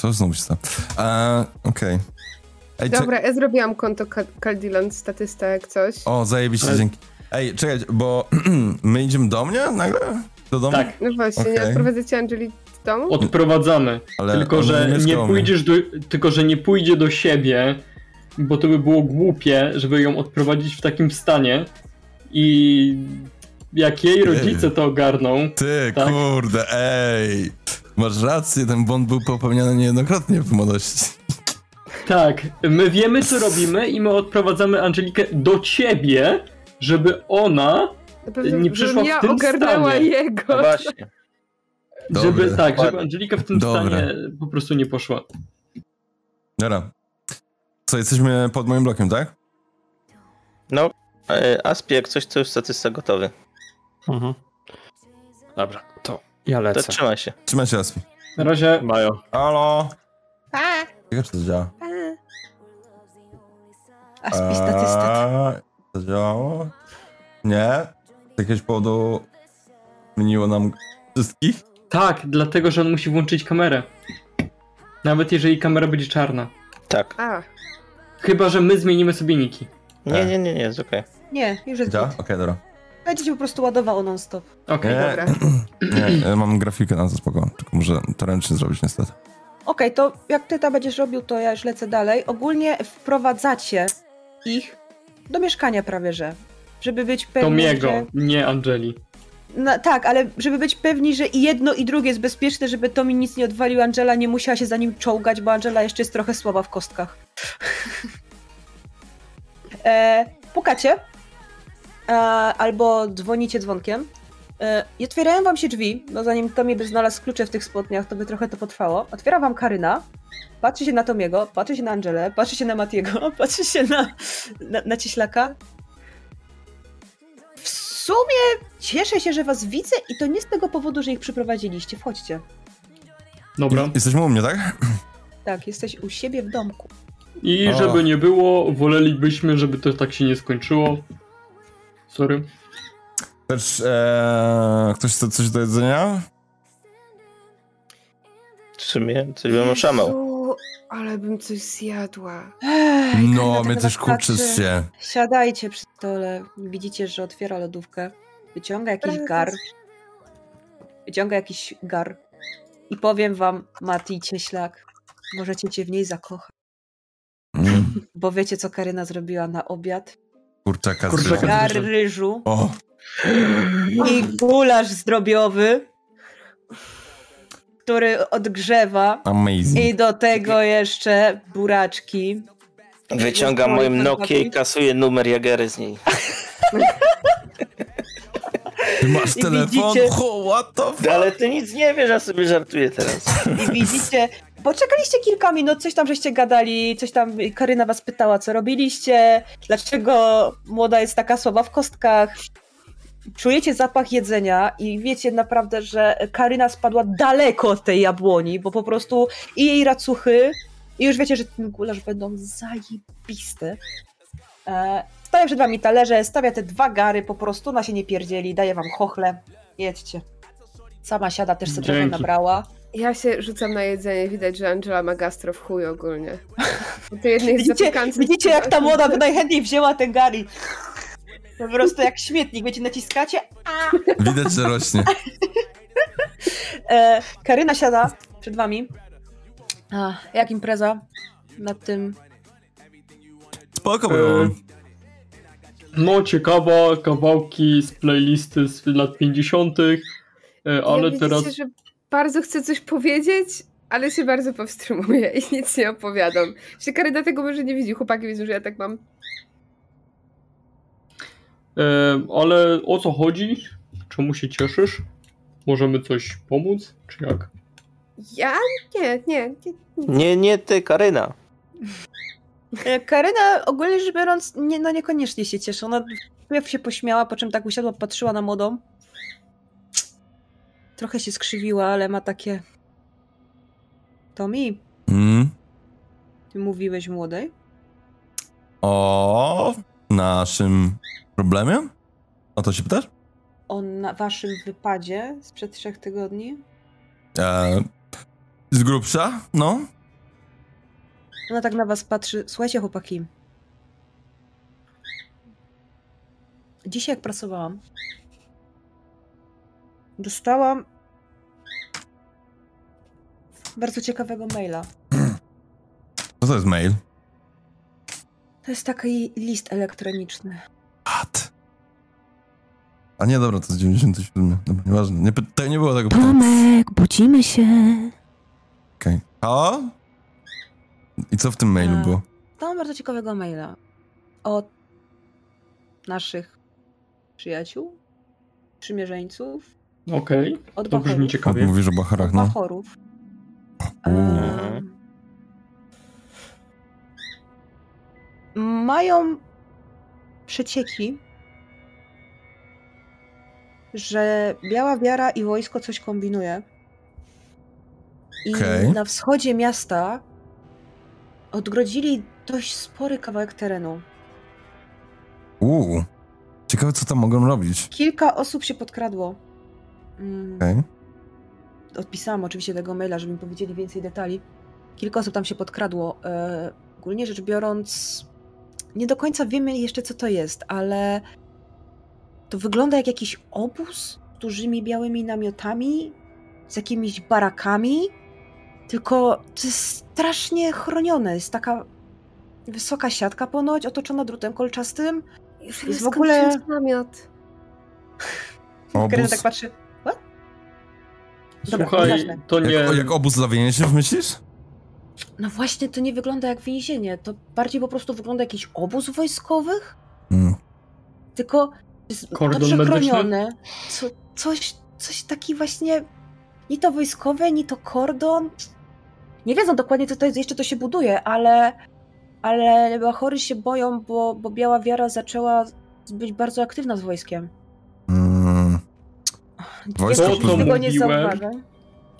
[SPEAKER 1] to znowu się stało. E, Okej. Ej, czek-
[SPEAKER 3] Dobra, ja zrobiłam konto Ka- Kaldilon statysta jak coś.
[SPEAKER 1] O, zajebiście, dzięki. Ej, czekaj, bo my idziemy do mnie nagle? Do domu?
[SPEAKER 7] Tak,
[SPEAKER 3] No właśnie, nie
[SPEAKER 1] Okej.
[SPEAKER 3] odprowadzę cię Angeli do domu?
[SPEAKER 7] odprowadzamy.
[SPEAKER 1] Ale
[SPEAKER 7] tylko,
[SPEAKER 1] ona
[SPEAKER 7] że
[SPEAKER 1] nie
[SPEAKER 7] nie
[SPEAKER 1] zgoła mnie.
[SPEAKER 7] pójdziesz do, tylko, że nie pójdzie do siebie, bo to by było głupie, żeby ją odprowadzić w takim stanie. I jak jej rodzice to ogarną,
[SPEAKER 1] Ty,
[SPEAKER 7] Tak.
[SPEAKER 1] kurde, ej. Masz rację, ten błąd był popełniany niejednokrotnie w młodości.
[SPEAKER 7] tak, my wiemy co robimy i my odprowadzamy Angelikę do ciebie, żeby ona,
[SPEAKER 3] Na pewno
[SPEAKER 7] nie
[SPEAKER 3] bym
[SPEAKER 7] przyszła w
[SPEAKER 3] ja
[SPEAKER 7] tym
[SPEAKER 3] ogarnęła
[SPEAKER 7] stanie.
[SPEAKER 6] No
[SPEAKER 3] jego.
[SPEAKER 6] właśnie.
[SPEAKER 1] Dobry.
[SPEAKER 7] żeby tak, żeby Angelika w tym
[SPEAKER 1] Dobra.
[SPEAKER 7] stanie po prostu nie poszła.
[SPEAKER 1] Dobra. Co, jesteśmy pod moim blokiem, tak?
[SPEAKER 6] No, e, Aspie, jak coś, to już statysta gotowy.
[SPEAKER 4] Mhm. Dobra, to ja
[SPEAKER 6] To
[SPEAKER 4] lecę.
[SPEAKER 6] trzymaj się.
[SPEAKER 1] Trzymaj się raz.
[SPEAKER 7] Na razie
[SPEAKER 12] Majo.
[SPEAKER 1] Halo? Ciekawe, czy to działa.
[SPEAKER 2] A spistatystat.
[SPEAKER 1] Eee, To działało? Nie? Z jakiegoś powodu zmieniło nam wszystkich?
[SPEAKER 7] Tak, dlatego, że on musi włączyć kamerę. Nawet jeżeli kamera będzie czarna.
[SPEAKER 6] Tak.
[SPEAKER 1] E,
[SPEAKER 3] A,
[SPEAKER 7] Chyba, że my zmienimy sobie niki.
[SPEAKER 6] Nie, nie, nie, nie, jest okej.
[SPEAKER 2] Nie, już jest
[SPEAKER 1] Działa?
[SPEAKER 2] git.
[SPEAKER 1] Okej, dobra.
[SPEAKER 2] Będzie się po prostu ładowało non-stop.
[SPEAKER 7] Okej.
[SPEAKER 1] Nie.
[SPEAKER 3] dobra.
[SPEAKER 1] Nie, ja mam grafikę na to spoko, tylko muszę to ręcznie zrobić niestety.
[SPEAKER 2] Okej, to jak ty tam będziesz robił, to ja już lecę dalej. Ogólnie wprowadzacie ich do mieszkania prawie, że. Żeby być
[SPEAKER 7] To
[SPEAKER 2] pewni,
[SPEAKER 7] Miego,
[SPEAKER 2] że...
[SPEAKER 7] nie Angeli.
[SPEAKER 2] No, tak, ale żeby być pewni, że i jedno i drugie jest bezpieczne, żeby Tomi nic nie odwalił, Angela nie musiała się za nim czołgać, bo Angela jeszcze jest trochę słaba w kostkach. e, pukacie e, albo dzwonicie dzwonkiem e, i otwierają wam się drzwi, no zanim Tomi by znalazł klucze w tych spodniach, to by trochę to potrwało. Otwiera wam Karyna, patrzy się na Tomiego, patrzy się na Angelę, patrzy się na Matiego, patrzy się na, na, na Cieślaka. W sumie Cieszę się, że was widzę i to nie z tego powodu, że ich przyprowadziliście. Wchodźcie.
[SPEAKER 7] Dobra.
[SPEAKER 1] Jesteśmy u mnie, tak?
[SPEAKER 2] Tak, jesteś u siebie w domku.
[SPEAKER 7] I
[SPEAKER 1] O.
[SPEAKER 7] żeby nie było, wolelibyśmy, żeby to tak się nie skończyło. Sorry.
[SPEAKER 1] Też e, ktoś chce coś do jedzenia?
[SPEAKER 6] W sumie coś bym oszamał.
[SPEAKER 3] Jezu, ale bym coś zjadła.
[SPEAKER 2] Ej,
[SPEAKER 1] No,
[SPEAKER 2] Karina
[SPEAKER 1] my
[SPEAKER 2] tak
[SPEAKER 1] też
[SPEAKER 2] na was
[SPEAKER 1] kurczysz
[SPEAKER 2] patrzy.
[SPEAKER 1] się.
[SPEAKER 2] Siadajcie przy stole. Widzicie, że otwiera lodówkę. Wyciąga jakiś
[SPEAKER 3] Prezes.
[SPEAKER 2] gar. Wyciąga jakiś gar. I powiem wam, Mati, cieślak, możecie cię w niej zakochać.
[SPEAKER 1] Mm,
[SPEAKER 2] Bo wiecie, co Karyna zrobiła na obiad?
[SPEAKER 1] Kurczaka z
[SPEAKER 7] Kurczaka.
[SPEAKER 1] ryżem.
[SPEAKER 2] Gar
[SPEAKER 7] ryżem.
[SPEAKER 2] ryżu
[SPEAKER 1] O,
[SPEAKER 2] i gulasz zdrobiowy, który odgrzewa.
[SPEAKER 1] amazing.
[SPEAKER 2] I do tego jeszcze buraczki.
[SPEAKER 6] Wyciągam moją Nokię i kasuję numer Jagery z niej.
[SPEAKER 1] Ty masz
[SPEAKER 2] i
[SPEAKER 1] telefon?
[SPEAKER 2] widzicie-
[SPEAKER 1] Ho, what the f...
[SPEAKER 6] Ale ty nic nie wiesz, ja sobie żartuję teraz.
[SPEAKER 2] I widzicie, poczekaliście kilka minut, coś tam żeście gadali, coś tam Karyna was pytała, co robiliście, dlaczego młoda jest taka słaba w kostkach. Czujecie zapach jedzenia i wiecie naprawdę, że Karyna spadła daleko od tej jabłoni, bo po prostu i jej racuchy, i już wiecie, że ten gulasz będą zajebiste. E, stawia przed wami talerze, stawia te dwa gary, po prostu ona się nie pierdzieli, daje wam chochle, jedźcie. Sama siada, też sobie trochę
[SPEAKER 7] Dzięki.
[SPEAKER 2] nabrała.
[SPEAKER 3] Ja się rzucam na jedzenie, widać, że Angela ma gastro w chuj ogólnie. Bo To jednej
[SPEAKER 2] Widzicie, widzicie jak ta młoda by najchętniej wzięła ten gari. Po prostu jak śmietnik, wiecie, naciskacie.
[SPEAKER 1] Widać, że rośnie.
[SPEAKER 2] E, Karyna siada przed wami. A, jak impreza nad tym?
[SPEAKER 1] Spoko było.
[SPEAKER 7] No, ciekawa, kawałki z playlisty z lat 50., e, ale
[SPEAKER 3] ja
[SPEAKER 7] teraz.
[SPEAKER 3] Widzicie, że bardzo chcę coś powiedzieć, ale się bardzo powstrzymuję i nic nie opowiadam. Się Karyna tego może nie widzi, chłopaki wiedzą, że ja tak mam.
[SPEAKER 7] E, ale o co chodzi? Czemu się cieszysz? Możemy coś pomóc? Czy jak?
[SPEAKER 3] Ja? Nie, nie, nie.
[SPEAKER 6] Nie, nie ty, Karyna.
[SPEAKER 2] E, Karyna ogólnie rzecz biorąc, nie, no niekoniecznie się cieszy. Ona wpierw się pośmiała, po czym tak usiadła, patrzyła na młodą. Trochę się skrzywiła, ale ma takie... Tomi,
[SPEAKER 1] Mm.
[SPEAKER 2] ty mówiłeś młodej?
[SPEAKER 1] O naszym problemie? O to się pytasz?
[SPEAKER 2] O na waszym wypadzie sprzed trzech tygodni?
[SPEAKER 1] E, z grubsza? No.
[SPEAKER 2] Ona tak na was patrzy. Słuchajcie, chłopaki. Dzisiaj jak pracowałam, dostałam bardzo ciekawego maila.
[SPEAKER 1] Co to jest mail?
[SPEAKER 2] To jest taki list elektroniczny.
[SPEAKER 1] Pat. A nie, dobra, to z 97. Dobra, nieważne. Nie, py- to nie było tego pytania.
[SPEAKER 13] Tomek, budzimy się.
[SPEAKER 1] Okej. Halo? I co w tym mailu
[SPEAKER 2] A.
[SPEAKER 1] było?
[SPEAKER 2] Dostałam bardzo ciekawego maila od naszych przyjaciół, przymierzeńców,
[SPEAKER 7] Okej,
[SPEAKER 2] od
[SPEAKER 7] to brzmi
[SPEAKER 2] Bachorów.
[SPEAKER 7] ciekawie.
[SPEAKER 1] Mówisz o Bacharach, no.
[SPEAKER 2] Bachorów.
[SPEAKER 1] Uuu.
[SPEAKER 2] mają przecieki, że Biała Wiara i wojsko coś kombinuje. I
[SPEAKER 1] Okej.
[SPEAKER 2] na wschodzie miasta odgrodzili dość spory kawałek terenu.
[SPEAKER 1] Uuu. Ciekawe, co tam mogą robić.
[SPEAKER 2] Kilka osób się podkradło. Mm,
[SPEAKER 1] Okej.
[SPEAKER 2] Odpisałam oczywiście tego maila, żeby mi powiedzieli więcej detali. Kilka osób tam się podkradło. E, ogólnie rzecz biorąc, nie do końca wiemy jeszcze, co to jest, ale to wygląda jak jakiś obóz z dużymi białymi namiotami, z jakimiś barakami. Tylko to jest strasznie chronione. Jest taka wysoka siatka ponoć, otoczona drutem kolczastym.
[SPEAKER 3] Już
[SPEAKER 2] Jest
[SPEAKER 3] jest
[SPEAKER 2] w ogóle-
[SPEAKER 3] namiot.
[SPEAKER 2] Obóz.
[SPEAKER 1] Obóz.
[SPEAKER 2] tak patrzy. What? Dobra,
[SPEAKER 7] Słuchaj,
[SPEAKER 2] nieważne.
[SPEAKER 7] to nie...
[SPEAKER 1] Jak, jak obóz dla więźniów, myślisz?
[SPEAKER 2] No właśnie, to nie wygląda jak więzienie. To bardziej po prostu wygląda jakiś obóz wojskowych,
[SPEAKER 1] Mm.
[SPEAKER 2] tylko jest
[SPEAKER 7] Kordon
[SPEAKER 2] dobrze
[SPEAKER 7] medyczny?
[SPEAKER 2] chronione. Co, coś, coś taki właśnie. Ni to wojskowe, ni to kordon. Nie wiedzą dokładnie, co to jest, jeszcze to się buduje, ale. Ale Bachory się boją, bo, bo Biała Wiara zaczęła być bardzo aktywna z wojskiem.
[SPEAKER 1] Mm. Wojsko
[SPEAKER 2] Większość
[SPEAKER 1] plus-
[SPEAKER 2] tego nie
[SPEAKER 7] Mówiłem.
[SPEAKER 2] zauważa.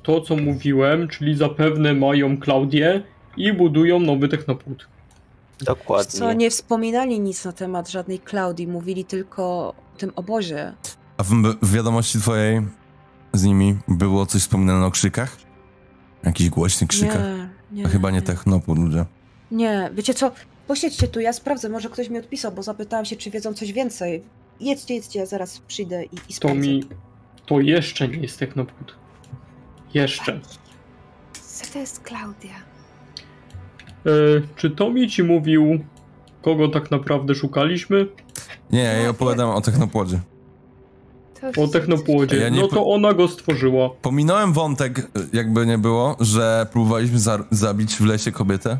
[SPEAKER 7] to, co mówiłem, czyli zapewne mają Klaudię i budują nowy technopód.
[SPEAKER 6] Dokładnie.
[SPEAKER 2] Co nie wspominali nic na temat żadnej Klaudii, mówili tylko o tym obozie.
[SPEAKER 1] A w, w wiadomości twojej z nimi było coś wspomniane o krzykach? Jakiś głośny krzykach?
[SPEAKER 2] Nie, nie.
[SPEAKER 1] To chyba nie technopór, ludzie.
[SPEAKER 2] Nie, wiecie co? Posiedźcie tu, ja sprawdzę, może ktoś mi odpisał, bo zapytałam się, czy wiedzą coś więcej. Jedźcie, jedźcie, ja zaraz przyjdę i, i
[SPEAKER 7] To
[SPEAKER 2] sprawdzę.
[SPEAKER 7] mi... To jeszcze nie jest technopód. Jeszcze.
[SPEAKER 3] Co to jest Klaudia?
[SPEAKER 7] E, czy Tomi ci mówił, kogo tak naprawdę szukaliśmy?
[SPEAKER 1] Nie, ja jej opowiadam o technopłodzie.
[SPEAKER 3] To
[SPEAKER 7] O
[SPEAKER 3] już-
[SPEAKER 7] technopłodzie.
[SPEAKER 1] Ja nie
[SPEAKER 7] no
[SPEAKER 1] po-
[SPEAKER 7] to ona go stworzyła.
[SPEAKER 1] Pominąłem wątek, jakby nie było, że próbowaliśmy za- zabić w lesie kobietę.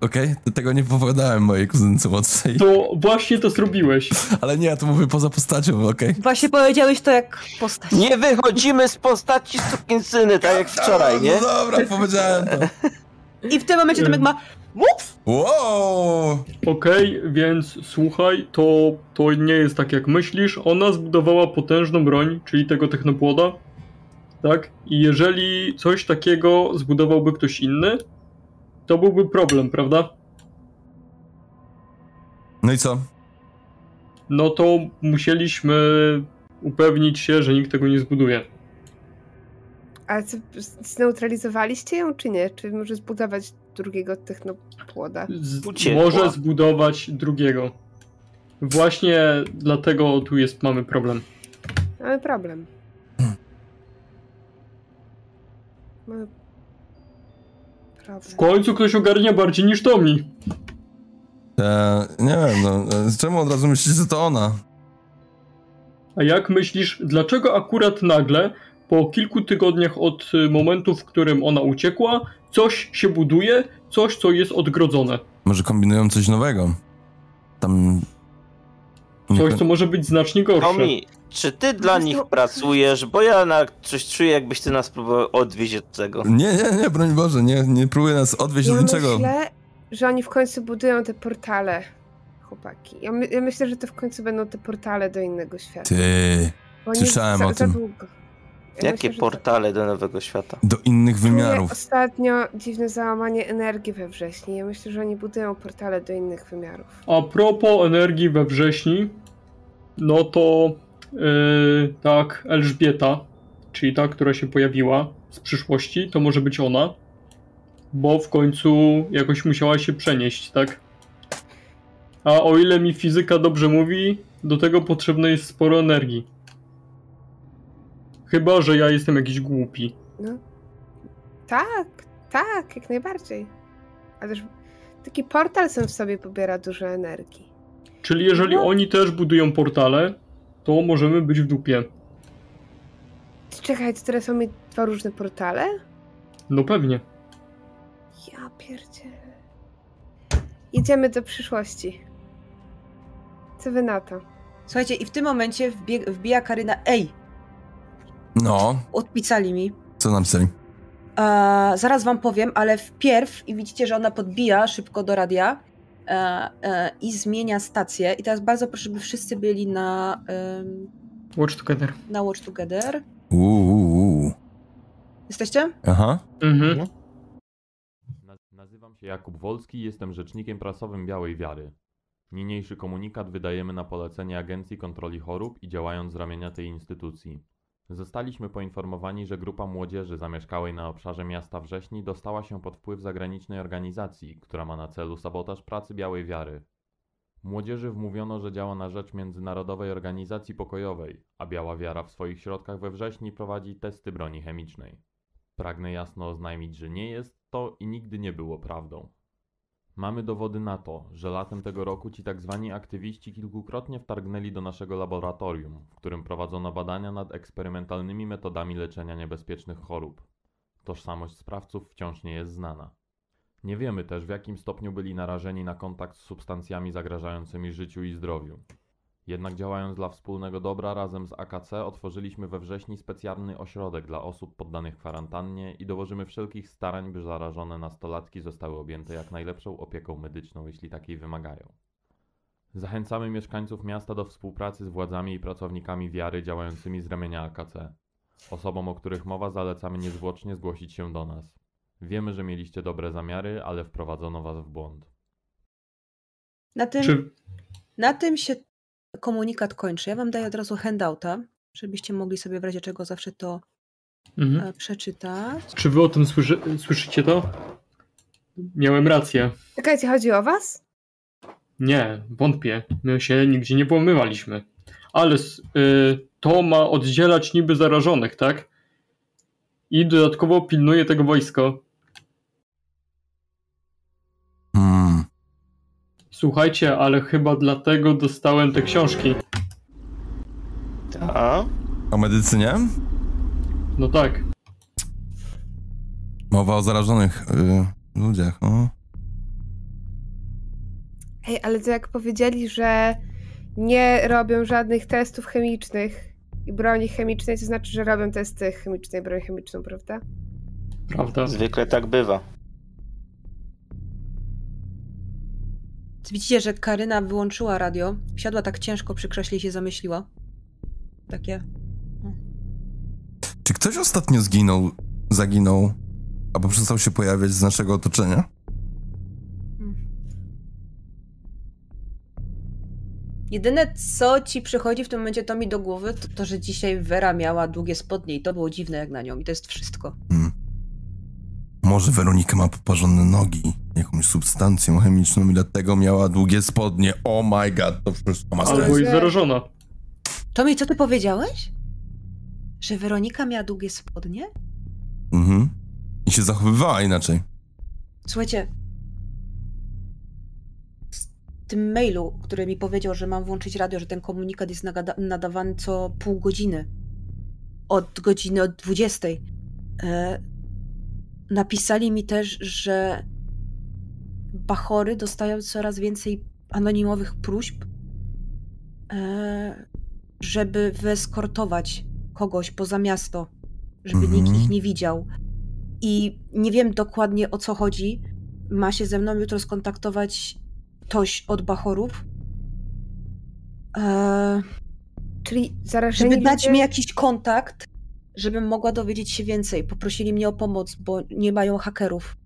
[SPEAKER 1] Okej, to tego nie powiadałem mojej kuzynce młodszej.
[SPEAKER 7] To właśnie to zrobiłeś.
[SPEAKER 1] Ale nie, ja to mówię poza postacią, okej.
[SPEAKER 2] Właśnie powiedziałeś to jak postać.
[SPEAKER 6] Nie wychodzimy z postaci sukinsyny, tak jak wczoraj, nie?
[SPEAKER 1] No dobra, powiedziałem to.
[SPEAKER 2] I w tym momencie Tomek ma... Ups!
[SPEAKER 1] Wow!
[SPEAKER 7] Okej, więc słuchaj, to, to nie jest tak jak myślisz. Ona zbudowała potężną broń, czyli tego technopłoda. Tak? I jeżeli coś takiego zbudowałby ktoś inny, to byłby problem, prawda?
[SPEAKER 1] No i co?
[SPEAKER 7] No to musieliśmy upewnić się, że nikt tego nie zbuduje.
[SPEAKER 3] Ale co, z- zneutralizowaliście ją, czy nie? Czy może zbudować drugiego technopłoda?
[SPEAKER 7] Z-
[SPEAKER 6] Uciekła.
[SPEAKER 7] może zbudować drugiego. Właśnie dlatego tu jest mamy problem.
[SPEAKER 3] Mamy problem. Mamy
[SPEAKER 7] W
[SPEAKER 3] No. problem.
[SPEAKER 7] końcu ktoś ogarnia bardziej niż Tomi.
[SPEAKER 1] E, nie wiem, no, e, czemu od razu myślisz, że to ona?
[SPEAKER 7] A jak myślisz, dlaczego akurat nagle, po kilku tygodniach od y, momentu, w którym ona uciekła, coś się buduje, coś, co jest odgrodzone?
[SPEAKER 1] Może kombinują coś nowego? Tam... Nie
[SPEAKER 7] Coś,
[SPEAKER 1] ko-
[SPEAKER 7] co może być znacznie gorsze.
[SPEAKER 6] Tomi, czy ty dla
[SPEAKER 3] prostu-
[SPEAKER 6] nich pracujesz? Bo ja na coś czuję, jakbyś ty nas próbował odwieźć od tego.
[SPEAKER 1] Nie, nie, nie, broń Boże, nie, nie próbuj nas odwieźć
[SPEAKER 3] Ja
[SPEAKER 1] do niczego.
[SPEAKER 3] myślę, że oni w końcu budują te portale, chłopaki. Ja, my, ja myślę, że to w końcu będą te portale do innego świata.
[SPEAKER 1] Ty,
[SPEAKER 3] Bo oni
[SPEAKER 1] słyszałem
[SPEAKER 3] za,
[SPEAKER 1] o
[SPEAKER 3] za
[SPEAKER 1] tym.
[SPEAKER 3] długo. Ja myślę, że
[SPEAKER 6] Jakie
[SPEAKER 3] tak.
[SPEAKER 2] tak.
[SPEAKER 6] portale do nowego świata?
[SPEAKER 1] do innych
[SPEAKER 3] Czuję
[SPEAKER 1] wymiarów.
[SPEAKER 3] ostatnio dziwne załamanie energii we wrześniu. Ja myślę, że oni budują portale do innych wymiarów.
[SPEAKER 7] A propos energii we wrześni, no to yy, tak, Elżbieta, czyli ta, która się pojawiła z przyszłości, to może być ona. bo w końcu jakoś musiała się przenieść, tak? A o ile mi fizyka dobrze mówi, do tego potrzebne jest sporo energii. Chyba, że ja jestem jakiś głupi.
[SPEAKER 3] No. Tak, tak, jak najbardziej. A też taki portal sam w sobie pobiera dużo energii.
[SPEAKER 7] Czyli jeżeli oni też budują portale, to możemy być w dupie.
[SPEAKER 3] Czekaj, to teraz mamy dwa różne portale?
[SPEAKER 7] No pewnie.
[SPEAKER 3] Ja pierdzielę. Idziemy do przyszłości. Co wy na to?
[SPEAKER 2] Słuchajcie, i w tym momencie wbie- wbija Karyna. Ej,
[SPEAKER 1] No,
[SPEAKER 2] odpisali mi.
[SPEAKER 1] co nam pisali?
[SPEAKER 2] E, zaraz wam powiem, ale wpierw i widzicie, że ona podbija szybko do radia e, e, i zmienia stację. I teraz bardzo proszę, by wszyscy byli na, em,
[SPEAKER 7] Watch together.
[SPEAKER 2] na Watch Together.
[SPEAKER 1] Uuu, uuu.
[SPEAKER 2] Jesteście?
[SPEAKER 1] Aha.
[SPEAKER 7] Mhm.
[SPEAKER 5] Nazywam się Jakub Wolski i jestem rzecznikiem prasowym Białej Wiary. Niniejszy komunikat wydajemy na polecenie Agencji Kontroli Chorób i działając z ramienia tej instytucji. Zostaliśmy poinformowani, że grupa młodzieży zamieszkałej na obszarze miasta Wrześni dostała się pod wpływ zagranicznej organizacji, która ma na celu sabotaż pracy Białej Wiary. Młodzieży wmówiono, że działa na rzecz Międzynarodowej Organizacji Pokojowej, a Biała Wiara w swoich środkach we wrześni prowadzi testy broni chemicznej. Pragnę jasno oznajmić, że nie jest to i nigdy nie było prawdą. Mamy dowody na to, że latem tego roku ci tak zwani aktywiści kilkukrotnie wtargnęli do naszego laboratorium, w którym prowadzono badania nad eksperymentalnymi metodami leczenia niebezpiecznych chorób. Tożsamość sprawców wciąż nie jest znana. Nie wiemy też, w jakim stopniu byli narażeni na kontakt z substancjami zagrażającymi życiu i zdrowiu. Jednak działając dla wspólnego dobra razem z AKC otworzyliśmy we wrześniu specjalny ośrodek dla osób poddanych kwarantannie i dołożymy wszelkich starań, by zarażone nastolatki zostały objęte jak najlepszą opieką medyczną, jeśli takiej wymagają. Zachęcamy mieszkańców miasta do współpracy z władzami i pracownikami wiary działającymi z ramienia AKC. Osobom, o których mowa, zalecamy niezwłocznie zgłosić się do nas. Wiemy, że mieliście dobre zamiary, ale wprowadzono was w błąd.
[SPEAKER 2] Na tym,
[SPEAKER 7] Czy
[SPEAKER 2] na tym się komunikat kończy. Ja wam daję od razu handouta, żebyście mogli sobie w razie czego zawsze to
[SPEAKER 7] mhm.
[SPEAKER 2] e, przeczytać.
[SPEAKER 7] Czy wy o tym słyszy, słyszycie to? Miałem rację.
[SPEAKER 3] Czekajcie, chodzi o was?
[SPEAKER 7] Nie, wątpię. My się nigdzie nie pomywaliśmy. Ale s- y, to ma oddzielać niby zarażonych, tak? I dodatkowo pilnuje tego wojsko.
[SPEAKER 1] Hmm.
[SPEAKER 7] Słuchajcie, ale chyba dlatego dostałem te książki.
[SPEAKER 6] Ta.
[SPEAKER 1] O medycynie?
[SPEAKER 7] No tak.
[SPEAKER 1] Mowa o zarażonych y, ludziach. O.
[SPEAKER 3] Ej, ale to jak powiedzieli, że nie robią żadnych testów chemicznych i broni chemicznej, to znaczy, że robią testy chemicznej, broni chemiczną, prawda?
[SPEAKER 7] Prawda.
[SPEAKER 6] Zwykle tak bywa.
[SPEAKER 2] Widzicie, że Karyna wyłączyła radio. Siadła tak ciężko przy krześle i się zamyśliła. Takie.
[SPEAKER 1] Czy ktoś ostatnio zginął, zaginął, albo przestał się pojawiać z naszego otoczenia?
[SPEAKER 2] Jedyne, co ci przychodzi w tym momencie to mi do głowy, to to, że dzisiaj Vera miała długie spodnie i to było dziwne jak na nią. I to jest wszystko.
[SPEAKER 1] Może Weronika ma poparzone nogi jakąś substancją chemiczną i dlatego miała długie spodnie. Oh my god, to wszystko ma sens.
[SPEAKER 7] Albo jest zarażona.
[SPEAKER 2] Tomi, co ty powiedziałeś? Że Weronika miała długie spodnie?
[SPEAKER 1] Mhm. I się zachowywała inaczej.
[SPEAKER 2] Słuchajcie. W tym mailu, który mi powiedział, że mam włączyć radio, że ten komunikat jest nagada- nadawany co pół godziny. Od godziny od 20. E, napisali mi też, że bachory dostają coraz więcej anonimowych próśb, e, żeby wyeskortować kogoś poza miasto, żeby
[SPEAKER 1] Mhm.
[SPEAKER 2] nikt ich nie widział i nie wiem dokładnie o co chodzi. Ma się ze mną jutro skontaktować ktoś od Bachorów, eee,
[SPEAKER 3] Czyli zarażeni
[SPEAKER 2] żeby dać
[SPEAKER 3] ludzie-
[SPEAKER 2] mi jakiś kontakt, żebym mogła dowiedzieć się więcej. Poprosili mnie o pomoc, bo nie mają hakerów.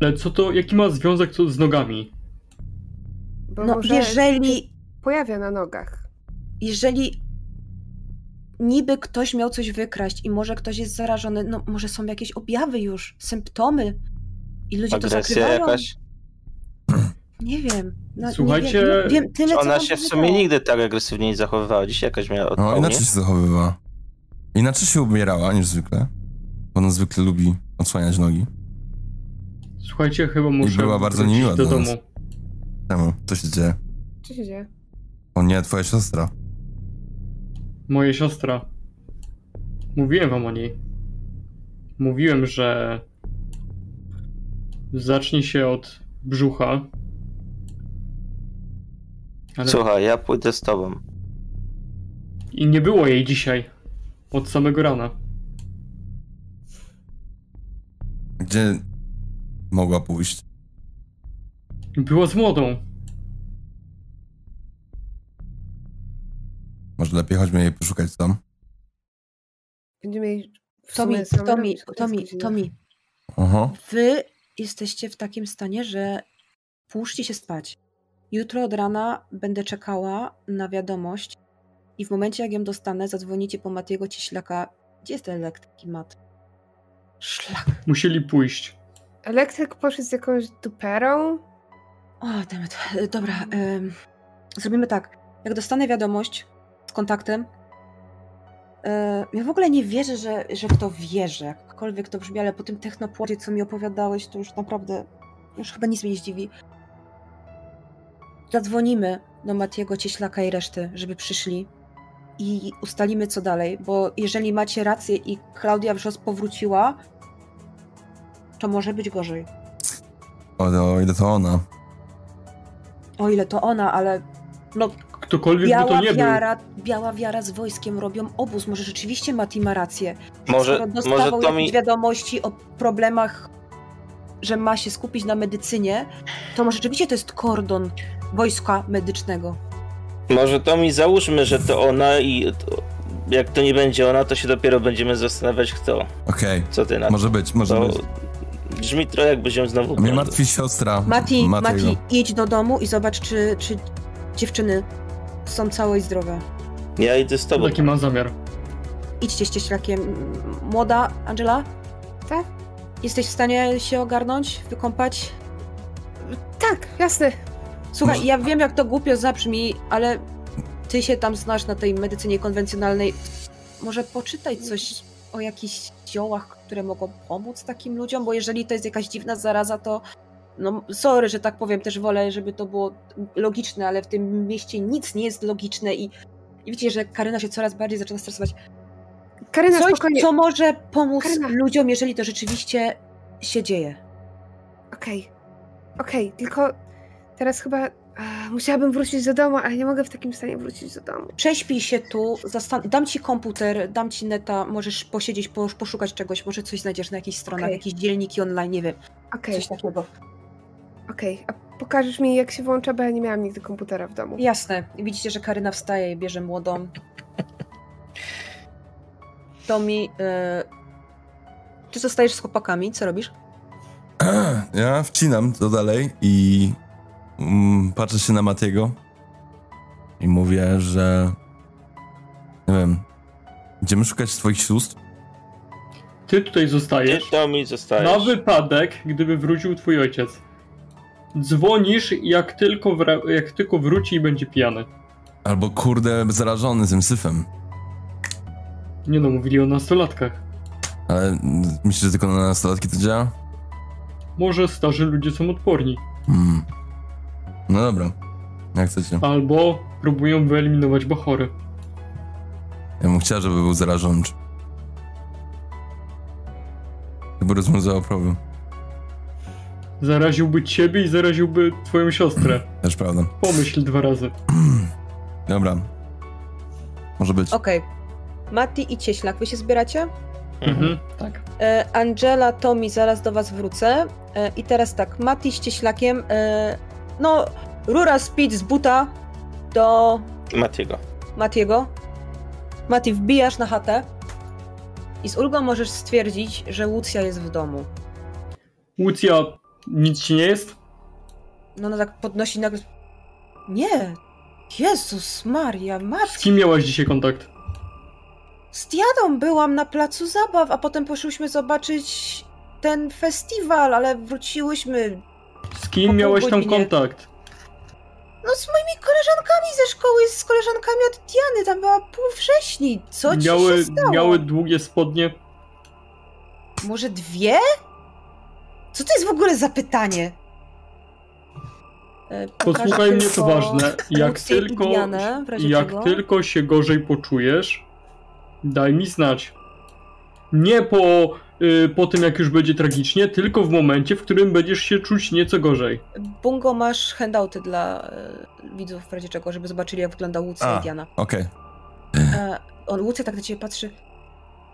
[SPEAKER 7] Ale co to, jaki ma związek to z nogami?
[SPEAKER 3] bo
[SPEAKER 2] No,
[SPEAKER 3] może
[SPEAKER 2] jeżeli,
[SPEAKER 3] pojawia na nogach.
[SPEAKER 2] jeżeli niby ktoś miał coś wykraść i może ktoś jest zarażony, no może są jakieś objawy już, symptomy, I ludzie to
[SPEAKER 6] Agresja
[SPEAKER 2] zakrywają?
[SPEAKER 6] jakaś?
[SPEAKER 2] Nie wiem. No,
[SPEAKER 7] Słuchajcie,
[SPEAKER 2] nie wiem, no, wiem tyle,
[SPEAKER 6] Czy
[SPEAKER 2] co
[SPEAKER 6] ona
[SPEAKER 2] wam
[SPEAKER 6] się w sumie
[SPEAKER 2] powiedziałam.
[SPEAKER 6] nigdy tak agresywnie nie zachowywała. Dzisiaj jakaś miała
[SPEAKER 1] No,
[SPEAKER 6] odpowiedź.
[SPEAKER 1] inaczej się zachowywała. Inaczej się ubierała niż zwykle. Bo ona zwykle lubi odsłaniać nogi.
[SPEAKER 7] Słuchajcie, chyba muszę
[SPEAKER 1] była bardzo
[SPEAKER 7] wrócić
[SPEAKER 1] niemiła
[SPEAKER 7] do
[SPEAKER 1] dla nas.
[SPEAKER 7] domu.
[SPEAKER 1] Czemu? Co się dzieje?
[SPEAKER 3] Co się dzieje?
[SPEAKER 1] O nie, twoja siostra.
[SPEAKER 7] Moja siostra. Mówiłem wam o niej. Mówiłem, że zacznie się od brzucha. Ale
[SPEAKER 6] Słuchaj, ja pójdę z tobą.
[SPEAKER 7] i nie było jej dzisiaj. Od samego rana.
[SPEAKER 1] Gdzie mogła pójść?
[SPEAKER 7] Była z młodą.
[SPEAKER 1] Może lepiej chodźmy jej poszukać tam.
[SPEAKER 3] Będziemy jej w
[SPEAKER 2] Tomi,
[SPEAKER 3] sumie sam
[SPEAKER 2] Tomi,
[SPEAKER 3] robić, bo to jest
[SPEAKER 2] Tomi,
[SPEAKER 3] godzina.
[SPEAKER 2] Tomi,
[SPEAKER 1] Aha.
[SPEAKER 2] wy jesteście w takim stanie, że połóżcie się spać. Jutro od rana będę czekała na wiadomość i w momencie, jak ją dostanę, zadzwonicie po Matiego Cieślaka. Gdzie jest elektryki, Mat? Szlak.
[SPEAKER 7] Musieli pójść.
[SPEAKER 3] Elektryk poszedł z jakąś duperą.
[SPEAKER 2] O, demet. Dobra, em, zrobimy tak. Jak dostanę wiadomość z kontaktem, e, ja w ogóle nie wierzę, że, że w to wierzę, jakkolwiek to brzmi, ale po tym technopłodzie, co mi opowiadałeś, to już naprawdę, już chyba nic mnie nie zdziwi. Zadzwonimy do Matiego Cieślaka i reszty, żeby przyszli i ustalimy, co dalej, bo jeżeli macie rację i Klaudia Wrzos powróciła, to może być gorzej.
[SPEAKER 1] O, o ile to ona.
[SPEAKER 2] O ile to ona, ale no
[SPEAKER 7] Ktokolwiek by to
[SPEAKER 2] Biała
[SPEAKER 7] nie był.
[SPEAKER 2] wiara, biała wiara z wojskiem robią obóz. Może rzeczywiście Mati ma rację.
[SPEAKER 6] Może,
[SPEAKER 2] Skoro
[SPEAKER 6] może
[SPEAKER 2] dostawał
[SPEAKER 6] to
[SPEAKER 2] jakieś
[SPEAKER 6] mi...
[SPEAKER 2] wiadomości o problemach, że ma się skupić na medycynie, to może rzeczywiście to jest kordon wojska medycznego.
[SPEAKER 6] Może to mi załóżmy, że to ona i to, jak to nie będzie ona, to się dopiero będziemy zastanawiać kto.
[SPEAKER 1] Okej,
[SPEAKER 6] Co ty na
[SPEAKER 1] może być, może
[SPEAKER 6] to?
[SPEAKER 1] być.
[SPEAKER 6] Brzmi trochę jakbyś ją znowu...
[SPEAKER 1] A Mnie
[SPEAKER 6] brał.
[SPEAKER 1] martwi siostra. no.
[SPEAKER 2] Mati,
[SPEAKER 1] Matiego.
[SPEAKER 2] Mati, idź do domu i zobacz, czy, czy dziewczyny są całe i zdrowe.
[SPEAKER 6] Ja idę z tobą.
[SPEAKER 7] Taki mam zamiar.
[SPEAKER 2] Idźcie ścieżlakiem. Młoda Angela?
[SPEAKER 3] Tak?
[SPEAKER 2] Jesteś w stanie się ogarnąć, wykąpać?
[SPEAKER 3] Tak, jasne.
[SPEAKER 2] Słuchaj,
[SPEAKER 1] Może-
[SPEAKER 2] ja wiem, jak to głupio zabrzmi, ale ty się tam znasz na tej medycynie konwencjonalnej. Może poczytaj coś o jakichś ziołach, które mogą pomóc takim ludziom, bo jeżeli to jest jakaś dziwna zaraza, to no sorry, że tak powiem, też wolę, żeby to było logiczne, ale w tym mieście nic nie jest logiczne i, i widzicie, że Karyna się coraz bardziej zaczyna stresować.
[SPEAKER 3] Karyna,
[SPEAKER 2] Coś,
[SPEAKER 3] spokojnie.
[SPEAKER 2] co może pomóc
[SPEAKER 3] Karyna.
[SPEAKER 2] ludziom, jeżeli to rzeczywiście się dzieje.
[SPEAKER 3] Okej. Okej, tylko teraz chyba a, musiałabym wrócić do domu, ale nie mogę w takim stanie wrócić do domu.
[SPEAKER 2] Prześpij się tu, zastan- dam ci komputer, dam ci neta, możesz posiedzieć, po- poszukać czegoś, może coś znajdziesz na jakichś stronach,
[SPEAKER 3] Okej.
[SPEAKER 2] jakieś dzielniki online, nie wiem,
[SPEAKER 3] Okej,
[SPEAKER 2] coś takiego.
[SPEAKER 3] okej. A pokażesz mi, jak się włącza, bo ja nie miałam nigdy komputera w domu.
[SPEAKER 2] Jasne, widzicie, że Karyna wstaje i bierze młodą. Tomi, e, ty zostajesz z chłopakami, co robisz?
[SPEAKER 1] Ja wcinam to dalej i mm, patrzę się na Matiego i mówię, że nie wiem, będziemy szukać twoich sióstr?
[SPEAKER 7] Ty tutaj
[SPEAKER 6] Ty
[SPEAKER 7] zostajesz.
[SPEAKER 6] to mi zostajesz.
[SPEAKER 7] Na wypadek, gdyby wrócił twój ojciec. Dzwonisz, jak tylko, wra- jak tylko wróci i będzie pijany.
[SPEAKER 1] Albo kurde, zarażony tym syfem.
[SPEAKER 7] Nie no, mówili o nastolatkach.
[SPEAKER 1] Ale mm, myślisz, że tylko na nastolatki to działa?
[SPEAKER 7] Może starzy ludzie są odporni.
[SPEAKER 1] Hmm. No dobra, jak chcecie.
[SPEAKER 7] Albo próbują wyeliminować bachory.
[SPEAKER 1] Ja bym chciał, żeby był zarażony. Chyba rozwiązał problem.
[SPEAKER 7] Zaraziłby ciebie i zaraziłby twoją siostrę.
[SPEAKER 1] Też prawda.
[SPEAKER 7] Pomyśl dwa razy.
[SPEAKER 1] Dobra. Może być.
[SPEAKER 2] Okej. Mati i Cieślak, wy się zbieracie?
[SPEAKER 7] Mhm, tak.
[SPEAKER 2] E, Angela, Tomi, zaraz do was wrócę. E, I teraz tak, Mati z Cieślakiem, e, no, rura speed z buta do
[SPEAKER 6] Matiego.
[SPEAKER 2] Matiego. Mati, wbijasz na chatę i z ulgą możesz stwierdzić, że Łucja jest w domu.
[SPEAKER 7] Łucja, nic ci nie jest?
[SPEAKER 2] No ona tak podnosi nagle... Nie! Jezus Maria,
[SPEAKER 7] Z
[SPEAKER 2] Mati!
[SPEAKER 7] kim miałaś dzisiaj kontakt?
[SPEAKER 2] Z Diadą byłam na placu zabaw, a potem poszłyśmy zobaczyć ten festiwal, ale wróciłyśmy.
[SPEAKER 7] Z kim miałeś tam
[SPEAKER 2] godzinie.
[SPEAKER 7] kontakt?
[SPEAKER 2] No z moimi koleżankami ze szkoły, z koleżankami od Diany, tam była pół wrześni. Co ci
[SPEAKER 7] miały,
[SPEAKER 2] się stało?
[SPEAKER 7] miały długie spodnie.
[SPEAKER 2] Może dwie?
[SPEAKER 14] Co to jest w ogóle za pytanie?
[SPEAKER 2] E,
[SPEAKER 7] Posłuchaj
[SPEAKER 2] pokaż
[SPEAKER 7] mnie, to
[SPEAKER 2] tylko
[SPEAKER 7] ważne. Jak
[SPEAKER 2] Lucy i
[SPEAKER 7] tylko,
[SPEAKER 2] Dianę, w razie
[SPEAKER 7] jak
[SPEAKER 2] czego.
[SPEAKER 7] tylko się gorzej poczujesz, daj mi znać. Nie po, y, po tym, jak już będzie tragicznie, tylko w momencie, w którym będziesz się czuć nieco gorzej.
[SPEAKER 2] Bungo, masz handouty dla e, widzów w razie czego, żeby zobaczyli jak wygląda Łucja
[SPEAKER 1] A,
[SPEAKER 2] i Diana.
[SPEAKER 1] okej.
[SPEAKER 2] E, on, Łucja tak na ciebie patrzy.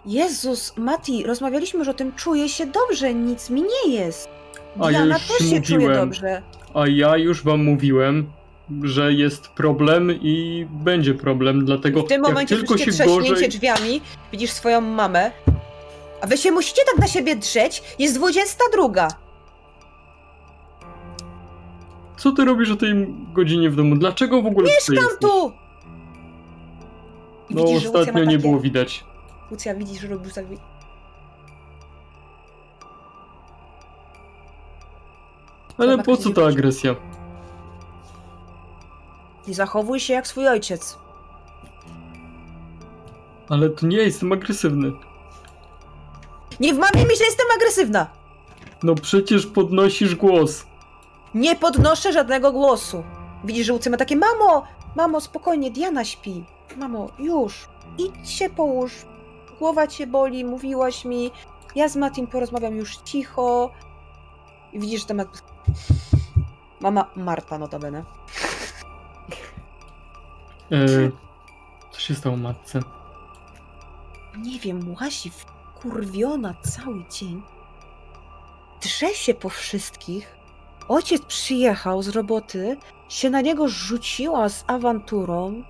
[SPEAKER 2] Jezus, Mati, rozmawialiśmy już o tym, czuję się dobrze, nic mi nie jest.
[SPEAKER 7] A ja
[SPEAKER 2] Diana
[SPEAKER 7] już
[SPEAKER 2] też się czuje
[SPEAKER 7] mówiłem.
[SPEAKER 2] dobrze.
[SPEAKER 7] A ja już wam mówiłem, że jest problem i będzie problem, dlatego
[SPEAKER 2] W tym
[SPEAKER 7] jak
[SPEAKER 2] momencie
[SPEAKER 7] tylko się
[SPEAKER 2] słyszycie trzaśnięcie
[SPEAKER 7] gorzej...
[SPEAKER 2] drzwiami, widzisz swoją mamę. A wy się musicie tak na siebie drzeć? Jest 22.
[SPEAKER 7] Co ty robisz o tej godzinie w domu? Dlaczego w ogóle tutaj
[SPEAKER 2] Mieszkam
[SPEAKER 7] jesteś?
[SPEAKER 2] tu! I
[SPEAKER 7] No
[SPEAKER 2] widzisz, że Łucja ma
[SPEAKER 7] ostatnio nie
[SPEAKER 2] takie-
[SPEAKER 7] było widać.
[SPEAKER 2] Lucja, widzisz, że robił tak...
[SPEAKER 7] Ale
[SPEAKER 2] Zobacz,
[SPEAKER 7] po
[SPEAKER 2] jak
[SPEAKER 7] co
[SPEAKER 2] się
[SPEAKER 7] ta
[SPEAKER 2] widzi.
[SPEAKER 7] agresja?
[SPEAKER 2] I zachowuj się jak swój ojciec.
[SPEAKER 7] Ale to nie ja jestem agresywny.
[SPEAKER 2] Nie wmawiaj mi, że jestem agresywna!
[SPEAKER 7] No przecież podnosisz głos.
[SPEAKER 2] Nie podnoszę żadnego głosu. Widzisz, że Łucja ma takie, mamo, mamo, spokojnie, Diana śpi. Mamo, już, idź się połóż. Głowa cię boli, mówiłaś mi. Ja z Matim porozmawiam już cicho. I widzisz, że temat... Mama Marta, notabene.
[SPEAKER 7] E, co się stało matce?
[SPEAKER 2] Nie wiem, łazi kurwiona cały dzień. Drze się po wszystkich. Ojciec przyjechał z roboty, się na niego rzuciła z awanturą.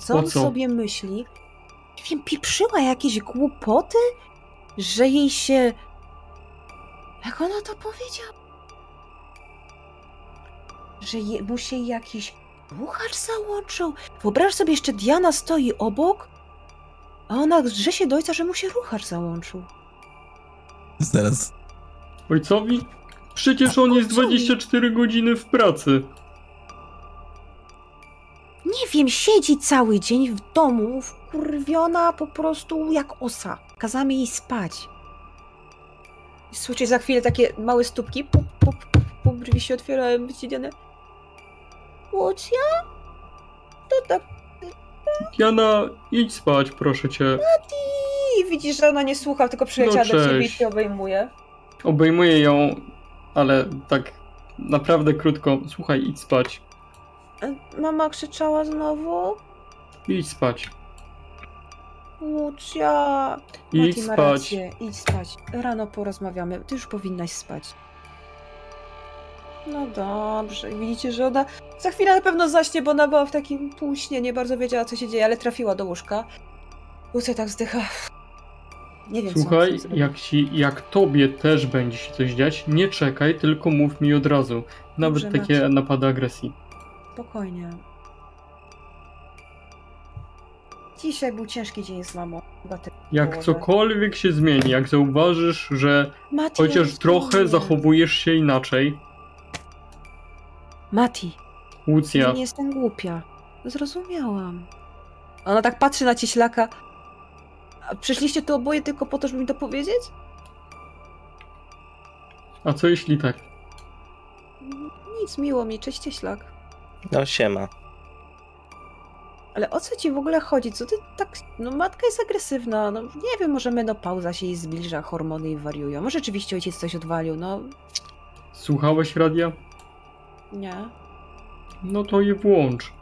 [SPEAKER 2] Co
[SPEAKER 7] Po
[SPEAKER 2] on
[SPEAKER 7] co?
[SPEAKER 2] sobie myśli? Nie wiem, pieprzyła jakieś głupoty, że jej się. Jak ona to powiedziała? Że je, mu się jakiś buchacz załączył. Wyobraź sobie, jeszcze Diana stoi obok, a ona drze się do ojca, że mu się ruchacz załączył.
[SPEAKER 1] Zaraz.
[SPEAKER 7] Ojcowi? Przecież on jest 24 godziny w pracy.
[SPEAKER 2] Nie wiem, siedzi cały dzień w domu, wkurwiona po prostu jak osa. Kazamy jej spać. Słuchajcie, za chwilę takie małe stópki. Pup, pup, pup, pup drzwi się otwierają, wycidiane. Łucja? To tak.
[SPEAKER 7] Jana, idź spać, proszę cię.
[SPEAKER 2] I widzisz, że ona nie słucha, tylko przyleciała
[SPEAKER 7] No
[SPEAKER 2] do ciebie i
[SPEAKER 7] cześć.
[SPEAKER 2] cię obejmuje.
[SPEAKER 7] Obejmuję ją, ale tak naprawdę krótko. Słuchaj, idź spać.
[SPEAKER 2] E, Mama krzyczała znowu.
[SPEAKER 7] Idź spać.
[SPEAKER 2] Łucja.
[SPEAKER 7] Idź
[SPEAKER 2] Mati ma
[SPEAKER 7] spać.
[SPEAKER 2] rację, Idź spać. Rano porozmawiamy. Ty już powinnaś spać. No dobrze. Widzicie, że ona za chwilę na pewno zaśnie, bo ona była w takim półśnie, nie bardzo wiedziała, co się dzieje, ale trafiła do łóżka. Lucja tak zdycha. Nie wiem, co
[SPEAKER 7] Słuchaj,
[SPEAKER 2] mam z tym zrobić.
[SPEAKER 7] jak, ci, jak tobie też będzie się coś dziać, nie czekaj, tylko mów mi od razu. Nawet
[SPEAKER 2] Dobrze,
[SPEAKER 7] takie napady agresji.
[SPEAKER 2] Spokojnie. Dzisiaj był ciężki dzień z mamą. Chyba ty-
[SPEAKER 7] Jak
[SPEAKER 2] Boże.
[SPEAKER 7] cokolwiek się zmieni, jak zauważysz, że
[SPEAKER 2] Mati, ja
[SPEAKER 7] chociaż
[SPEAKER 2] nic
[SPEAKER 7] trochę
[SPEAKER 2] nie wiem.
[SPEAKER 7] zachowujesz się inaczej,
[SPEAKER 2] Mati,
[SPEAKER 7] Łucja,
[SPEAKER 2] Ja nie jestem głupia. Zrozumiałam. Ona tak patrzy na cieślaka. A przyszliście tu oboje tylko po to, żeby mi to powiedzieć?
[SPEAKER 7] a co jeśli tak?
[SPEAKER 2] Nic, miło mi, cześć cieślak.
[SPEAKER 6] No siema.
[SPEAKER 2] Ale o co ci w ogóle chodzi? Co ty tak... No matka jest agresywna, no nie wiem, może menopauza się jej zbliża, hormony jej wariują. Może rzeczywiście ojciec coś odwalił, no...
[SPEAKER 7] Słuchałeś radia?
[SPEAKER 2] Nie.
[SPEAKER 7] No to je włącz.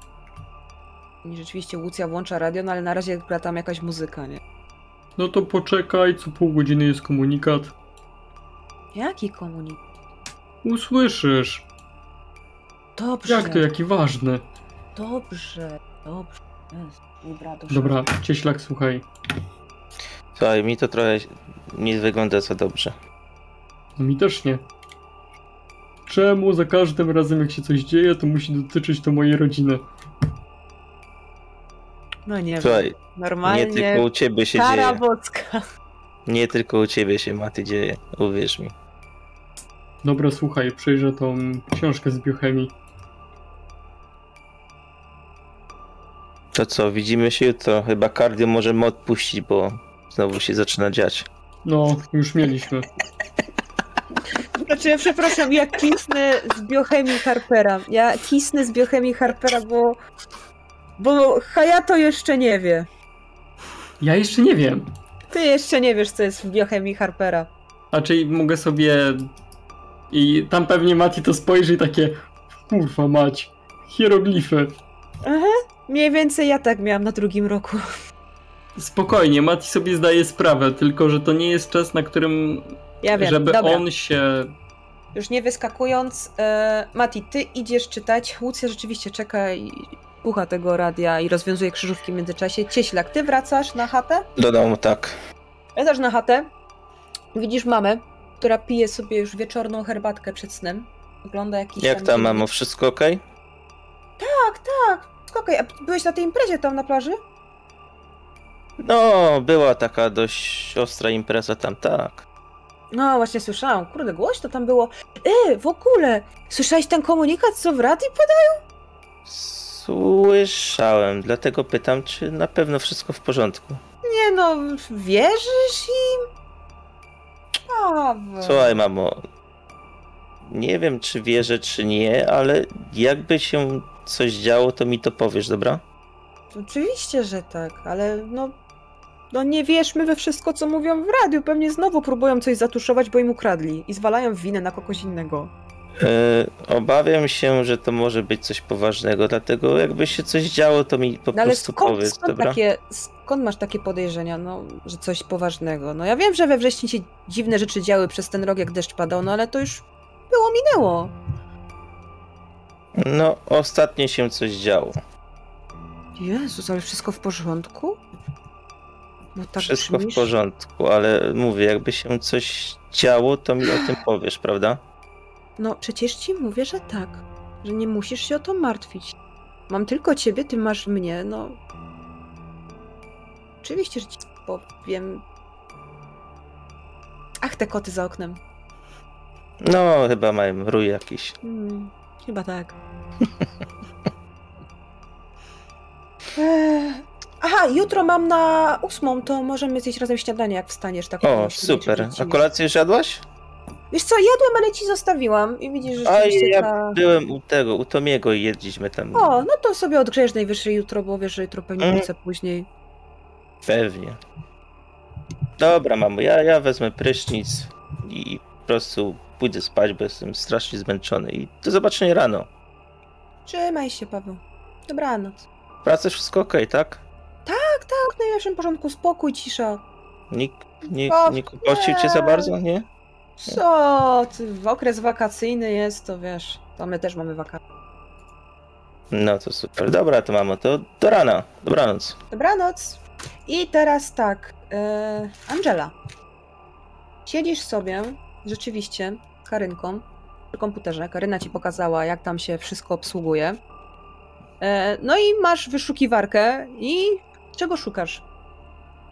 [SPEAKER 2] I Rzeczywiście Łucja włącza radio, no ale na razie gra tam jakaś muzyka, nie?
[SPEAKER 7] No to poczekaj, co pół godziny jest komunikat.
[SPEAKER 2] Jaki komunik?
[SPEAKER 7] Usłyszysz.
[SPEAKER 2] Dobrze,
[SPEAKER 7] Jak to, jaki ważny.
[SPEAKER 2] dobrze, dobrze. Jezu, Dobra, dusza.
[SPEAKER 7] Dobra, cieślak, słuchaj.
[SPEAKER 6] Słuchaj, mi to trochę nie wygląda za dobrze.
[SPEAKER 7] No mi też nie. Czemu za każdym razem, jak się coś dzieje, to musi dotyczyć to mojej rodziny?
[SPEAKER 2] No nie
[SPEAKER 6] Słuchaj,
[SPEAKER 2] wiem,
[SPEAKER 6] nie
[SPEAKER 2] normalnie...
[SPEAKER 6] tylko u ciebie się
[SPEAKER 2] Kara
[SPEAKER 6] dzieje.
[SPEAKER 2] boska.
[SPEAKER 6] Nie tylko u ciebie się, Maty, dzieje. Uwierz mi.
[SPEAKER 7] Dobra, słuchaj, przejrzę tą książkę z biochemii.
[SPEAKER 6] To co, widzimy się jutro. Chyba kardio możemy odpuścić, bo znowu się zaczyna dziać.
[SPEAKER 7] No, już mieliśmy.
[SPEAKER 2] Znaczy, przepraszam, ja kisnę z biochemii Harpera. Ja kisnę z biochemii Harpera, bo... Bo Hayato jeszcze nie wie.
[SPEAKER 7] Ja jeszcze nie wiem.
[SPEAKER 2] Ty jeszcze nie wiesz, co jest w biochemii Harpera.
[SPEAKER 7] A czyli mogę sobie... I tam pewnie Mati to spojrzy i takie... Kurwa mać, hieroglify.
[SPEAKER 2] Aha, mniej więcej ja tak miałam na drugim roku.
[SPEAKER 7] Spokojnie, Mati sobie zdaje sprawę, tylko że to nie jest czas, na którym...
[SPEAKER 2] Ja wiem,
[SPEAKER 7] żeby
[SPEAKER 2] dobra.
[SPEAKER 7] on się...
[SPEAKER 2] Już nie wyskakując, e, Mati, ty idziesz czytać. Łucja rzeczywiście czeka i pucha tego radia i rozwiązuje krzyżówki w międzyczasie. Cieślak, ty wracasz na chatę?
[SPEAKER 6] Dodał mu tak.
[SPEAKER 2] Wracasz na chatę. Widzisz mamę, która pije sobie już wieczorną herbatkę przed snem. Ogląda jakiś
[SPEAKER 6] Jak tam, mamo, wszystko ok?
[SPEAKER 2] Tak, tak. Okej, a byłeś na tej imprezie tam na plaży?
[SPEAKER 6] No, była taka dość ostra impreza tam, tak.
[SPEAKER 2] No, właśnie słyszałam. Kurde, głośno tam było. E, w ogóle! Słyszałeś ten komunikat, co w radiu podają?
[SPEAKER 6] Słyszałem, dlatego pytam, czy na pewno wszystko w porządku.
[SPEAKER 2] Nie no, wierzysz im? Paweł.
[SPEAKER 6] Słuchaj, mamo. Nie wiem, czy wierzę, czy nie, ale jakby się coś działo, to mi to powiesz, dobra?
[SPEAKER 2] Oczywiście, że tak, ale no... No nie wierzmy we wszystko, co mówią w radiu. Pewnie znowu próbują coś zatuszować, bo im ukradli. I zwalają winę na kogoś innego.
[SPEAKER 6] E, obawiam się, że to może być coś poważnego, dlatego jakby się coś działo, to mi po
[SPEAKER 2] No ale
[SPEAKER 6] prostu
[SPEAKER 2] skąd,
[SPEAKER 6] powiedz,
[SPEAKER 2] skąd,
[SPEAKER 6] dobra?
[SPEAKER 2] takie, skąd masz takie podejrzenia, no, że coś poważnego? No ja wiem, że we wrześniu się dziwne rzeczy działy przez ten rok, jak deszcz padał, no ale to już było, minęło.
[SPEAKER 6] No, ostatnio się coś działo.
[SPEAKER 2] Jezus, ale wszystko w porządku? No tak
[SPEAKER 6] Wszystko w
[SPEAKER 2] brzmisz.
[SPEAKER 6] porządku, ale mówię, jakby się coś działo, to mi o tym powiesz, prawda?
[SPEAKER 2] No przecież ci mówię, że tak. Że nie musisz się o to martwić. Mam tylko ciebie, ty masz mnie, no. Oczywiście, że ci powiem. Ach, te koty za oknem.
[SPEAKER 6] No, chyba mają rój jakiś.
[SPEAKER 2] Hmm, chyba tak. Eee, Aha, jutro mam na ósmą, to możemy zjeść razem śniadanie, jak wstaniesz. Tak
[SPEAKER 6] O,
[SPEAKER 2] około siódmej czy
[SPEAKER 6] super. A
[SPEAKER 2] godzinie.
[SPEAKER 6] kolację już jadłaś?
[SPEAKER 2] Wiesz co, jadłem, ale ci zostawiłam i widzisz, że
[SPEAKER 6] Oj,
[SPEAKER 2] rzeczywiście
[SPEAKER 6] ja
[SPEAKER 2] ta...
[SPEAKER 6] byłem u tego, u Tomiego i jedliśmy tam.
[SPEAKER 2] O, no to sobie odgrzejesz najwyżej jutro, bo wiesz, że jutro pewnie
[SPEAKER 6] Mm.
[SPEAKER 2] wrócę później.
[SPEAKER 6] Pewnie. Dobra, mamo, ja, ja wezmę prysznic i po prostu pójdę spać, bo jestem strasznie zmęczony. I do zobaczenia rano.
[SPEAKER 2] Trzymaj się, Paweł. Dobranoc.
[SPEAKER 6] W pracy wszystko okej, tak?
[SPEAKER 2] Tak, w najlepszym porządku, spokój, cisza.
[SPEAKER 6] Nikt nie,
[SPEAKER 2] O,
[SPEAKER 6] nie kłopocił cię za
[SPEAKER 2] nie.
[SPEAKER 6] bardzo, nie?
[SPEAKER 2] Co ty, w okres wakacyjny jest, to wiesz, to my też mamy wakacje.
[SPEAKER 6] No to super. Dobra, to mamo, to do rana. Dobranoc.
[SPEAKER 2] Dobranoc. I teraz tak, e, Angela. Siedzisz sobie, rzeczywiście, z Karynką przy komputerze. Karyna ci pokazała, jak tam się wszystko obsługuje. E, no i masz wyszukiwarkę i czego szukasz?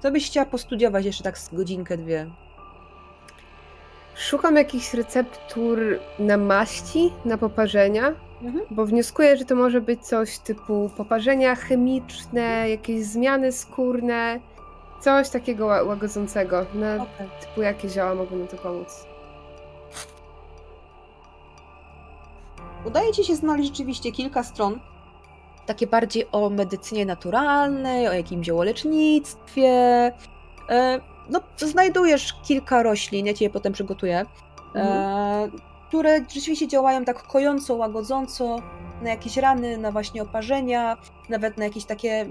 [SPEAKER 2] Co byś chciała postudiować jeszcze tak z godzinkę, dwie?
[SPEAKER 3] Szukam jakichś receptur na maści, na poparzenia,
[SPEAKER 2] Mhm.
[SPEAKER 3] bo wnioskuję, że to może być coś typu poparzenia chemiczne, jakieś zmiany skórne, coś takiego ła- łagodzącego. Na
[SPEAKER 2] Okej.
[SPEAKER 3] typu jakie zioła mogą mi to pomóc.
[SPEAKER 2] Udaje ci się znaleźć rzeczywiście kilka stron. Takie bardziej o medycynie naturalnej, o jakimś ziołolecznictwie. E, No, znajdujesz kilka roślin, ja ci je potem przygotuję, e, które rzeczywiście działają tak kojąco, łagodząco na jakieś rany, na właśnie oparzenia, nawet na jakieś takie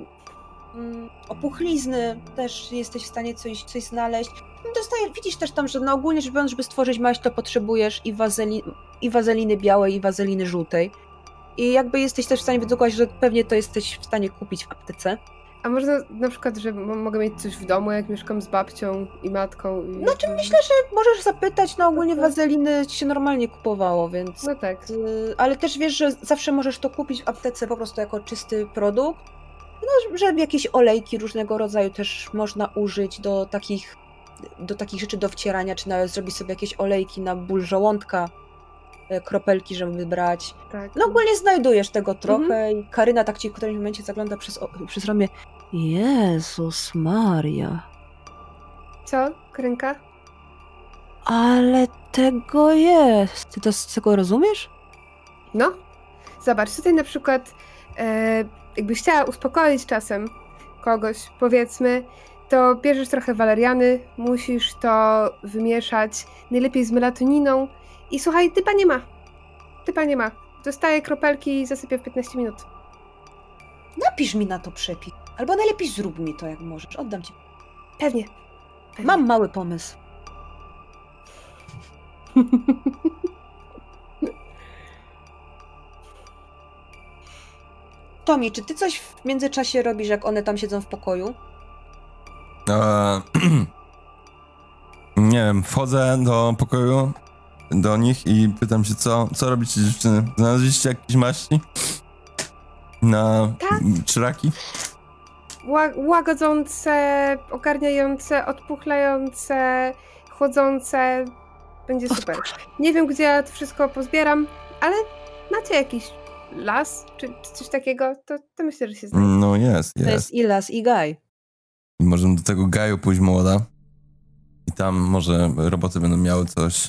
[SPEAKER 2] mm, opuchlizny też jesteś w stanie coś, coś znaleźć. No, Dostaje, widzisz też tam, że na ogólnie rzecz biorąc, żeby stworzyć maść, to potrzebujesz i wazeli, i wazeliny białej, i wazeliny żółtej. I jakby jesteś też w stanie wydedukować, że pewnie to jesteś w stanie kupić w aptece.
[SPEAKER 3] A można na przykład, że mo- mogę mieć coś w domu, jak mieszkam z babcią i matką. I...
[SPEAKER 2] No czym myślę, że możesz zapytać, no ogólnie wazeliny się normalnie kupowało, więc...
[SPEAKER 3] Mhm. No tak.
[SPEAKER 2] Y, Ale też wiesz, że zawsze możesz to kupić w aptece po prostu jako czysty produkt. No, że jakieś olejki różnego rodzaju też można użyć do takich, do takich rzeczy do wcierania, czy nawet zrobić sobie jakieś olejki na ból żołądka, e, kropelki, żeby wybrać.
[SPEAKER 3] Tak.
[SPEAKER 2] No ogólnie znajdujesz tego
[SPEAKER 14] Mhm.
[SPEAKER 2] trochę i Karyna tak ci w którymś momencie zagląda przez, o, przez ramię. Jezus Maria,
[SPEAKER 3] Co? Krynka?
[SPEAKER 2] ale tego jest. Ty to z tego rozumiesz?
[SPEAKER 3] No. Zobacz, tutaj na przykład e, jakbyś chciała uspokoić czasem kogoś, powiedzmy, to bierzesz trochę waleriany, musisz to wymieszać, najlepiej z melatoniną i słuchaj, typa nie ma. Typa nie ma. Dostaję kropelki i zasypię w 15 minut.
[SPEAKER 14] Napisz mi na to przepis. Albo najlepiej zrób mi to, jak możesz. Oddam ci.
[SPEAKER 3] Pewnie.
[SPEAKER 2] Tak.
[SPEAKER 14] Mam mały pomysł.
[SPEAKER 2] Tomi, czy ty coś w międzyczasie robisz, jak one tam siedzą w pokoju?
[SPEAKER 1] Eee, nie wiem, wchodzę do pokoju do nich i pytam się, co, co robicie dziewczyny? Znaleźliście jakieś maści? Na
[SPEAKER 3] Tak.
[SPEAKER 1] czraki?
[SPEAKER 3] Ła- łagodzące, ogarniające, odpuchlające, chłodzące. Będzie super. Nie wiem, gdzie ja to wszystko pozbieram, ale macie jakiś las czy, czy coś takiego, to, to myślę, że się znajdzie.
[SPEAKER 1] No jest,
[SPEAKER 2] To
[SPEAKER 1] jest.
[SPEAKER 2] jest Ilas i Gaj.
[SPEAKER 1] I Możemy do tego gaju pójść młoda. I tam może roboty będą miały coś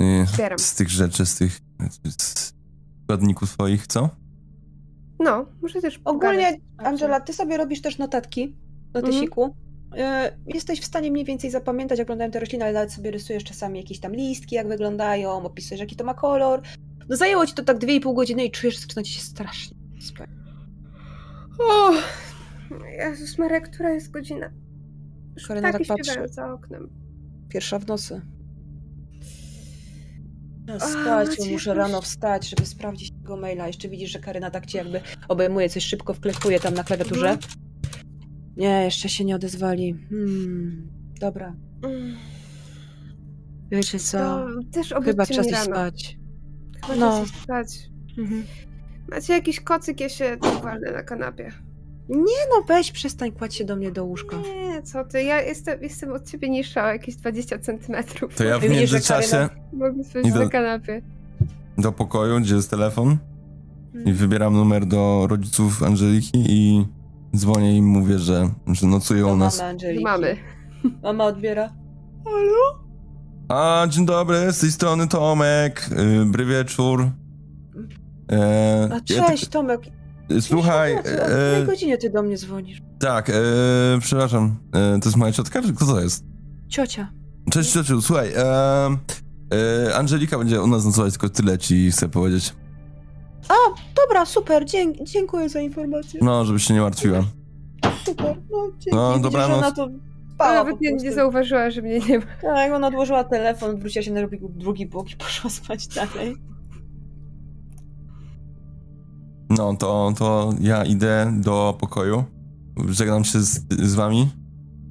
[SPEAKER 1] y,
[SPEAKER 3] Zbieram.
[SPEAKER 1] z tych rzeczy, z tych z składników swoich, co?
[SPEAKER 3] No, muszę też
[SPEAKER 2] Ogólnie, Angela, ty sobie robisz też notatki do
[SPEAKER 3] Mhm.
[SPEAKER 2] tysiku. E, Jesteś w stanie mniej więcej zapamiętać, jak wyglądają te rośliny, ale nawet sobie rysujesz czasami jakieś tam listki, jak wyglądają, opisujesz, jaki to ma kolor. No zajęło ci to tak 2,5 godziny i czujesz, że zaczyna ci się strasznie. spać.
[SPEAKER 3] O, Jezus Maria, która jest godzina? Już
[SPEAKER 2] Karolina
[SPEAKER 3] ptaki
[SPEAKER 2] tak patrzy.
[SPEAKER 3] śpiewają za oknem.
[SPEAKER 2] Pierwsza w nocy. No,
[SPEAKER 3] A,
[SPEAKER 2] spać, bo
[SPEAKER 3] macie
[SPEAKER 2] muszę
[SPEAKER 3] jakąś-
[SPEAKER 2] rano wstać, żeby sprawdzić tego maila. Jeszcze widzisz, że Karyna tak cię jakby obejmuje, coś szybko wklepuje tam na klawiaturze.
[SPEAKER 3] Mhm.
[SPEAKER 2] Nie, jeszcze się nie odezwali. Hmm, dobra.
[SPEAKER 3] Mm,
[SPEAKER 2] Wiecie co?
[SPEAKER 3] To też
[SPEAKER 2] Chyba
[SPEAKER 3] obudźcie
[SPEAKER 2] czas
[SPEAKER 3] mnie
[SPEAKER 2] iść
[SPEAKER 3] rano. Mhm.
[SPEAKER 2] spać.
[SPEAKER 3] Chyba
[SPEAKER 2] No.
[SPEAKER 3] czas iść spać. Macie jakiś kocyk, ja się walnę na kanapie.
[SPEAKER 2] Nie no, weź, przestań kładź się do mnie do łóżka.
[SPEAKER 3] Nie, co ty, ja jestem, jestem od ciebie niższa o jakieś 20 centymetrów.
[SPEAKER 1] To ja w
[SPEAKER 2] Widzisz, że
[SPEAKER 1] międzyczasie
[SPEAKER 3] Mogę spać
[SPEAKER 1] I do-
[SPEAKER 3] na kanapie.
[SPEAKER 1] do pokoju, gdzie jest telefon i wybieram numer do rodziców Angeliki i dzwonię im, mówię, że, że nocują u
[SPEAKER 2] Do
[SPEAKER 1] nas.
[SPEAKER 2] mamy Angeliki.
[SPEAKER 3] Mamy.
[SPEAKER 2] Mama odbiera.
[SPEAKER 1] A, dzień dobry, z tej strony Tomek, yy, bry wieczór. E,
[SPEAKER 2] A
[SPEAKER 1] ja
[SPEAKER 2] cześć, Tomek.
[SPEAKER 1] tak- słuchaj,
[SPEAKER 2] O której
[SPEAKER 1] e,
[SPEAKER 2] godzinie ty do mnie dzwonisz?
[SPEAKER 1] tak, e, przepraszam, e, to jest moja ciotka, czy kto to jest?
[SPEAKER 2] Ciocia.
[SPEAKER 1] Cześć ciociu, słuchaj, e, e, Angelika będzie u nas nocować, tylko tyle ci chcę powiedzieć.
[SPEAKER 2] Dobra, super, dzięk, dziękuję za informację.
[SPEAKER 1] No, żebyś się nie martwiła.
[SPEAKER 2] Super, no dzięki.
[SPEAKER 1] No,
[SPEAKER 2] Widzisz,
[SPEAKER 1] dobranoc.
[SPEAKER 2] Ona to
[SPEAKER 3] Ja
[SPEAKER 2] spała
[SPEAKER 3] nawet
[SPEAKER 2] po
[SPEAKER 3] nie, nie
[SPEAKER 2] prostu.
[SPEAKER 3] zauważyła, że mnie nie ma.
[SPEAKER 2] Tak, ona odłożyła telefon, wróciła się na drugi- drugi bok i poszła spać dalej.
[SPEAKER 1] No, to, to ja idę do pokoju. Żegnam się z, z wami.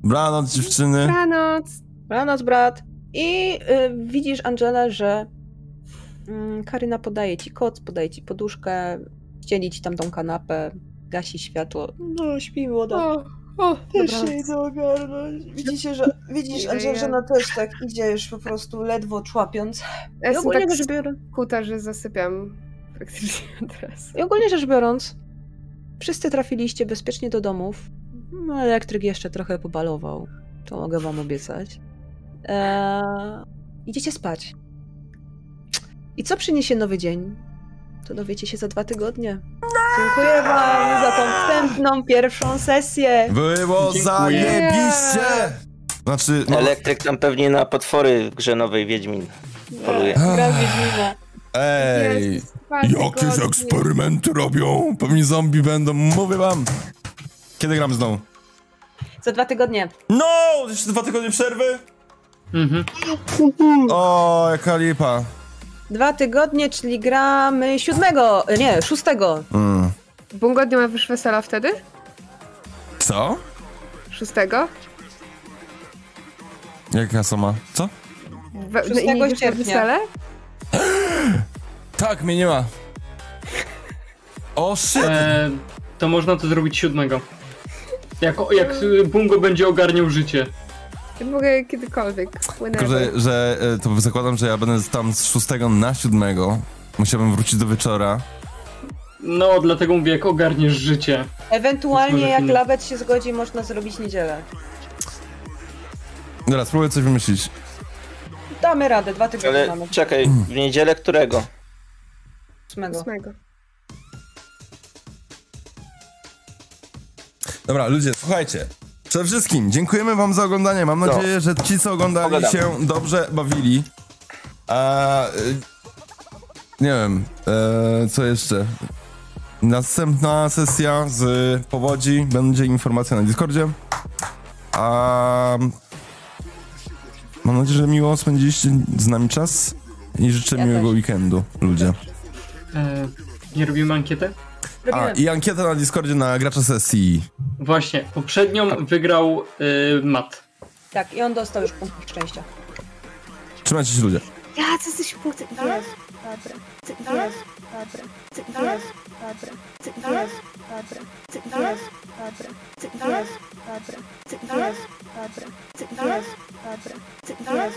[SPEAKER 1] Branoc, dziewczyny.
[SPEAKER 3] Dobranoc.
[SPEAKER 2] Dobranoc, brat. I y, widzisz, Angela, że mm, Karyna podaje ci koc, podaje ci poduszkę, ścieli ci tam tą kanapę, gasi światło. No, śpi młoda.
[SPEAKER 3] O, o,
[SPEAKER 14] Też
[SPEAKER 3] dobra.
[SPEAKER 14] się idę ogarnąć. Widzicie, że, widzisz,
[SPEAKER 3] Ja-
[SPEAKER 14] Angela, że ona też tak idzie już po prostu ledwo człapiąc.
[SPEAKER 3] Ja
[SPEAKER 2] I
[SPEAKER 3] jestem
[SPEAKER 2] ogólnie,
[SPEAKER 3] tak
[SPEAKER 2] rzecz biorąc,
[SPEAKER 3] skuta, że zasypiam praktycznie od razu.
[SPEAKER 2] I ogólnie rzecz biorąc, wszyscy trafiliście bezpiecznie do domów. No, Elektryk jeszcze trochę pobalował. To mogę wam obiecać. Eee, idziecie spać. I co przyniesie nowy dzień? To dowiecie się za dwa tygodnie. Dziękuję wam za tą wstępną pierwszą sesję.
[SPEAKER 1] Było
[SPEAKER 9] Dziękuję.
[SPEAKER 1] zajebiście! Znaczy, no,
[SPEAKER 6] Elektryk tam pewnie na potwory w grze nowej Wiedźmin poluje.
[SPEAKER 2] Gra Wiedźmina.
[SPEAKER 1] ej,
[SPEAKER 3] Jest dwa
[SPEAKER 1] jakieś
[SPEAKER 3] tygodnie.
[SPEAKER 1] eksperymenty robią. Pewnie zombie będą, mówię wam. Kiedy gram znowu?
[SPEAKER 2] Za dwa tygodnie.
[SPEAKER 1] No, jeszcze dwa tygodnie przerwy.
[SPEAKER 9] Mhm.
[SPEAKER 1] O, jaka lipa.
[SPEAKER 2] Dwa tygodnie, czyli gramy siódmego, e, nie, szóstego.
[SPEAKER 7] No,
[SPEAKER 1] Mm.
[SPEAKER 3] Bungo nie ma już wesela wtedy?
[SPEAKER 1] Co?
[SPEAKER 3] Szóstego?
[SPEAKER 1] Jaka sama? Co?
[SPEAKER 3] We, no i nie
[SPEAKER 2] Szóstego
[SPEAKER 3] idziesz na
[SPEAKER 2] sierpnia.
[SPEAKER 3] wesele?
[SPEAKER 1] Tak, mnie nie ma. O, shit.
[SPEAKER 9] E, to można to zrobić siódmego. Jak, jak y, Bungo będzie ogarniał życie.
[SPEAKER 3] Ja mogę kiedykolwiek.
[SPEAKER 1] Tylko, że, że e, to zakładam, że ja będę tam z 6 na 7. Musiałbym wrócić do wieczora.
[SPEAKER 7] No, dlatego mówię, jak ogarniesz życie.
[SPEAKER 2] Ewentualnie
[SPEAKER 7] Może
[SPEAKER 2] jak
[SPEAKER 7] film.
[SPEAKER 2] Labet się zgodzi, można zrobić niedzielę.
[SPEAKER 1] Dobra, spróbuję coś wymyślić.
[SPEAKER 2] Damy radę, dwa tygodnie
[SPEAKER 6] Ale
[SPEAKER 2] mamy.
[SPEAKER 6] czekaj, w niedzielę którego?
[SPEAKER 2] Ósmego.
[SPEAKER 1] Dobra, ludzie, słuchajcie. Przede wszystkim dziękujemy wam za oglądanie. Mam nadzieję, że ci, co oglądali
[SPEAKER 6] Pogadamy.
[SPEAKER 1] się dobrze bawili. A, y, nie wiem, e, co jeszcze? Następna sesja z powodzi. Będzie informacja na Discordzie. A, mam nadzieję, że miło spędziliście z nami czas i życzę miłego weekendu, ludzie.
[SPEAKER 7] E, nie robimy ankiety?
[SPEAKER 1] A, i ankieta na Discordzie na gracza sesji.
[SPEAKER 7] Właśnie, poprzednią wygrał y, Mat.
[SPEAKER 2] Tak, i on dostał już punkt szczęścia.
[SPEAKER 1] Trzymajcie się, ludzie.
[SPEAKER 3] Ja, co jesteś puty. Tak? Jest, dobra. Ty, jest, dobra. Ty, jest, dobra. Ty, jest, dobra. Ty, jest, dobra. Ty, jest, dobra. Ty, jest, dobra. Ty, jest, dobra. Ty, jest, dobra.